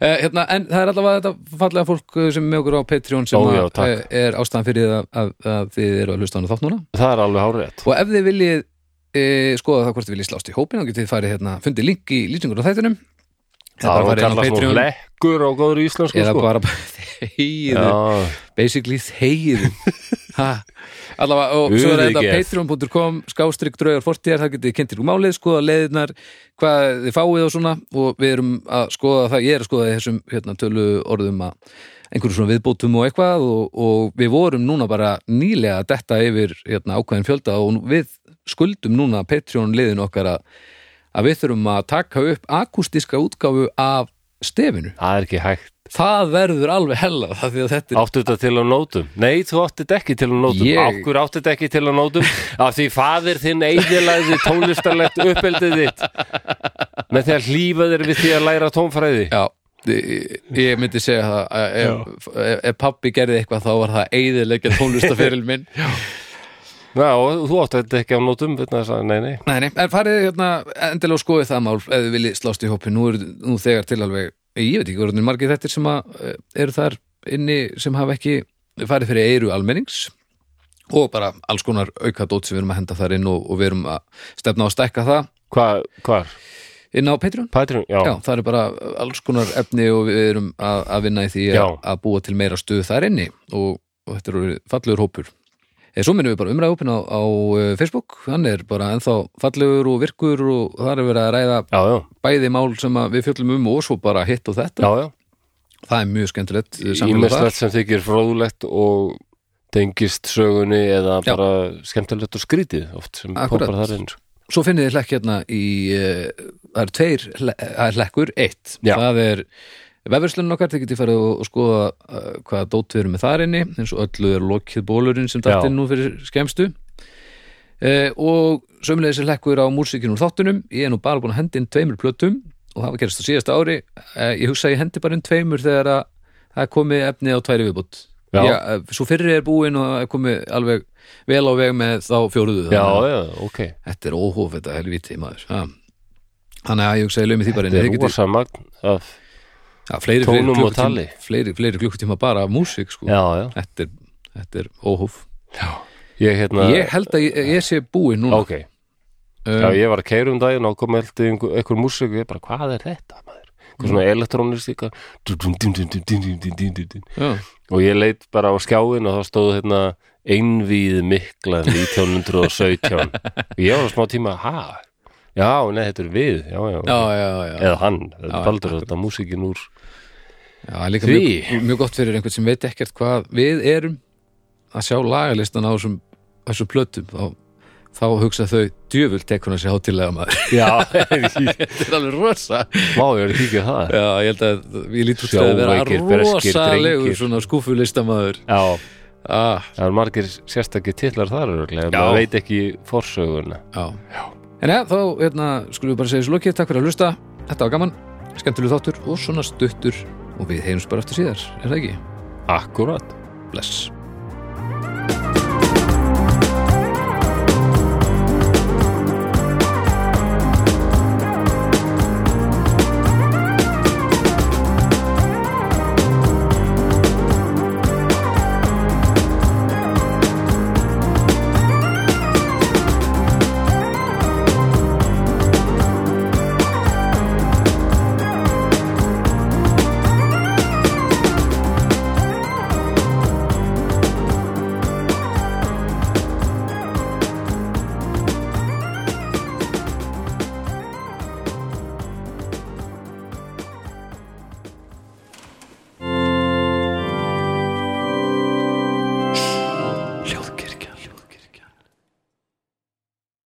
Speaker 2: Eh, hérna, en það er allavega þetta fallega fólk eh, sem er með okkur á Patreon sem
Speaker 1: Ó, já,
Speaker 2: að,
Speaker 1: takk.
Speaker 2: eh, er ástæðan fyrir að, að, að þið eru að hlusta á hana þátt núna
Speaker 1: Það er alveg hárétt.
Speaker 2: og ef þið viljið e, skoða það hvort þið viljið slást í hópin þá getið þið farið hérna, fundið link í lýsingur á þættinum Eða
Speaker 1: Það
Speaker 2: bara
Speaker 1: var
Speaker 2: farið inn á
Speaker 1: kallast nú
Speaker 2: Patreon.
Speaker 1: hlekkur á góður íslensku,
Speaker 2: eða
Speaker 1: sko.
Speaker 2: bara þegiðu,
Speaker 1: Já,
Speaker 2: basically þegiðu Ha, allavega, og svo er þetta
Speaker 1: Urðugerð.
Speaker 2: patreon.com skástrygg draugar fortíðar, það getið kynntir um málið skoða leiðirnar, hvað þið fáið og svona og við erum að skoða það ég er að skoða í þessum hérna, tölu orðum að einhverjum svona viðbótum og eitthvað og, og við vorum núna bara nýlega að detta yfir hérna, ákveðin fjölda og við skuldum núna Patreon liðin okkar að, að við þurfum að taka upp akústíska útgáfu af stefinu
Speaker 1: það er ekki hægt.
Speaker 2: það verður alveg hella það því að þetta er
Speaker 1: Áttu þetta til á nótum? Nei, þú áttu þetta ekki til á nótum
Speaker 2: Ég-
Speaker 1: Akkur áttu þetta ekki til á nótum Af því faðir þinn eidilaði tónlistarlegt uppeldið þitt Með því að hlýfa þér við því að læra tónfræði
Speaker 2: já, ég, ég myndi segja það að ef, ef, ef pabbi gerði eitthvað þá var það eiðilegja tónlistaferil minn
Speaker 1: Já, og þú áttu þetta ekki á nótum vegna þess að, Nei, nei
Speaker 2: nei, nei, en farið hérna endilega skoðið það mál ef þið viljið slást í hópi, nú er nú þegar til alveg ég veit ekki, voru margir þettir sem að, eh, eru þar inni sem hafa ekki farið fyrir eiru almennings og bara alls konar aukadót sem við erum að henda þar inn og, og við erum að stefna á að stækka það
Speaker 1: Hvað, hvar?
Speaker 2: inn á Patreon
Speaker 1: Patreon? Já,
Speaker 2: Já, það er bara alls konar efni og við erum að, að vinna í því
Speaker 1: Já.
Speaker 2: að, að búa til meira stuð þar inni og, og þetta eru fallegur hópur eða svo minnum við bara umræðhópin á, á eh, Facebook, hann er bara ennþá fallegur og virkur og þar er verið að ræða
Speaker 1: já, já,
Speaker 2: bæði mál sem að við fjöllum um og svo bara hitt og þetta,
Speaker 1: já, já.
Speaker 2: það er mjög skemmtilegt eh, samfélag þar.
Speaker 1: Ímislegt sem þykir fróðlegt og tengist sögunni eða
Speaker 2: Já.
Speaker 1: bara skemmtilegt og skrítið oft sem
Speaker 2: Akkurat.
Speaker 1: poppar þar eins
Speaker 2: Svo finnið þið hlekk hérna í eh, það eru tveir hle- það er hlekkur, eitt
Speaker 1: Já.
Speaker 2: það er vefverslunin okkar, þið getið farið og, og skoða uh, hvaða dót við erum með þar inni eins og öllu er lokið bólurinn sem
Speaker 1: Já.
Speaker 2: dætti nú fyrir skemmstu eh, og sömulegis er hlekkur á músikinu úr þáttunum, ég er nú bara búin að hendi inn tveimur plötum og það var gerist á síðasta ári eh, ég hugsa að ég hendi bara inn tveimur þegar að það er komið efni á tværi viðbútt
Speaker 1: Já.
Speaker 2: Já, eh, svo fyrri er búin og það er komið alveg vel á veg með þá fjóruðu
Speaker 1: Já, já, ok
Speaker 2: þetta er óhóf þetta helviti maður ha. þannig að ég hugsaði lögum í því bara
Speaker 1: Þetta er rosa magn af,
Speaker 2: ja, fleiri, fleiri,
Speaker 1: tónum og
Speaker 2: klukkutíma-
Speaker 1: tali.
Speaker 2: fleiri, fleiri klukkutíma bara af músík sko.
Speaker 1: Já, já
Speaker 2: þetta, er- þetta er óhóf
Speaker 1: Ég hérna
Speaker 2: ég held að ég, ég sé búinn núna
Speaker 1: Ok,
Speaker 2: um,
Speaker 1: já, ég var að keyra um daginn og kom held í einhver, einhver músík og ég bara, hvað er þetta, maður? Eitthvað svona elektrónistika
Speaker 2: já.
Speaker 1: og ég leit bara á skjáin og þá stóð hérna einvíð mikla 1917 og ég var smá tíma, ha? Já, nei, þetta er við, já, já,
Speaker 2: Já, já, já,
Speaker 1: eða hann, þetta
Speaker 2: Já,
Speaker 1: er baldur þetta músíkin úr
Speaker 2: já, líka
Speaker 1: Því.
Speaker 2: mjög, mjög gott fyrir einhvern sem veit ekkert hvað við erum að sjá lagalistan á þessum, þessum plötum þá, þá hugsa þau djöfull tekur hann sér hátilega maður
Speaker 1: Já,
Speaker 2: þetta er alveg rosa
Speaker 1: má ég er ekki að það
Speaker 2: já, ég held að ég lít út til að
Speaker 1: Sjóveikir,
Speaker 2: vera
Speaker 1: breskir drengir.
Speaker 2: rosalegur svona skúfulistamaður
Speaker 1: Já,
Speaker 2: ah,
Speaker 1: það er margir sérstakir titlar þar örugglega,
Speaker 2: Já.
Speaker 1: maður veit ekki forsöguna
Speaker 2: Já. En eða, þá hérna, skulum við bara segja svo lokið, takk fyrir að hlusta, þetta var gaman, skemmtilegu þáttur og svona stuttur og við heyrums bara eftir síðar, er það ekki?
Speaker 1: Akkurat
Speaker 2: Bless.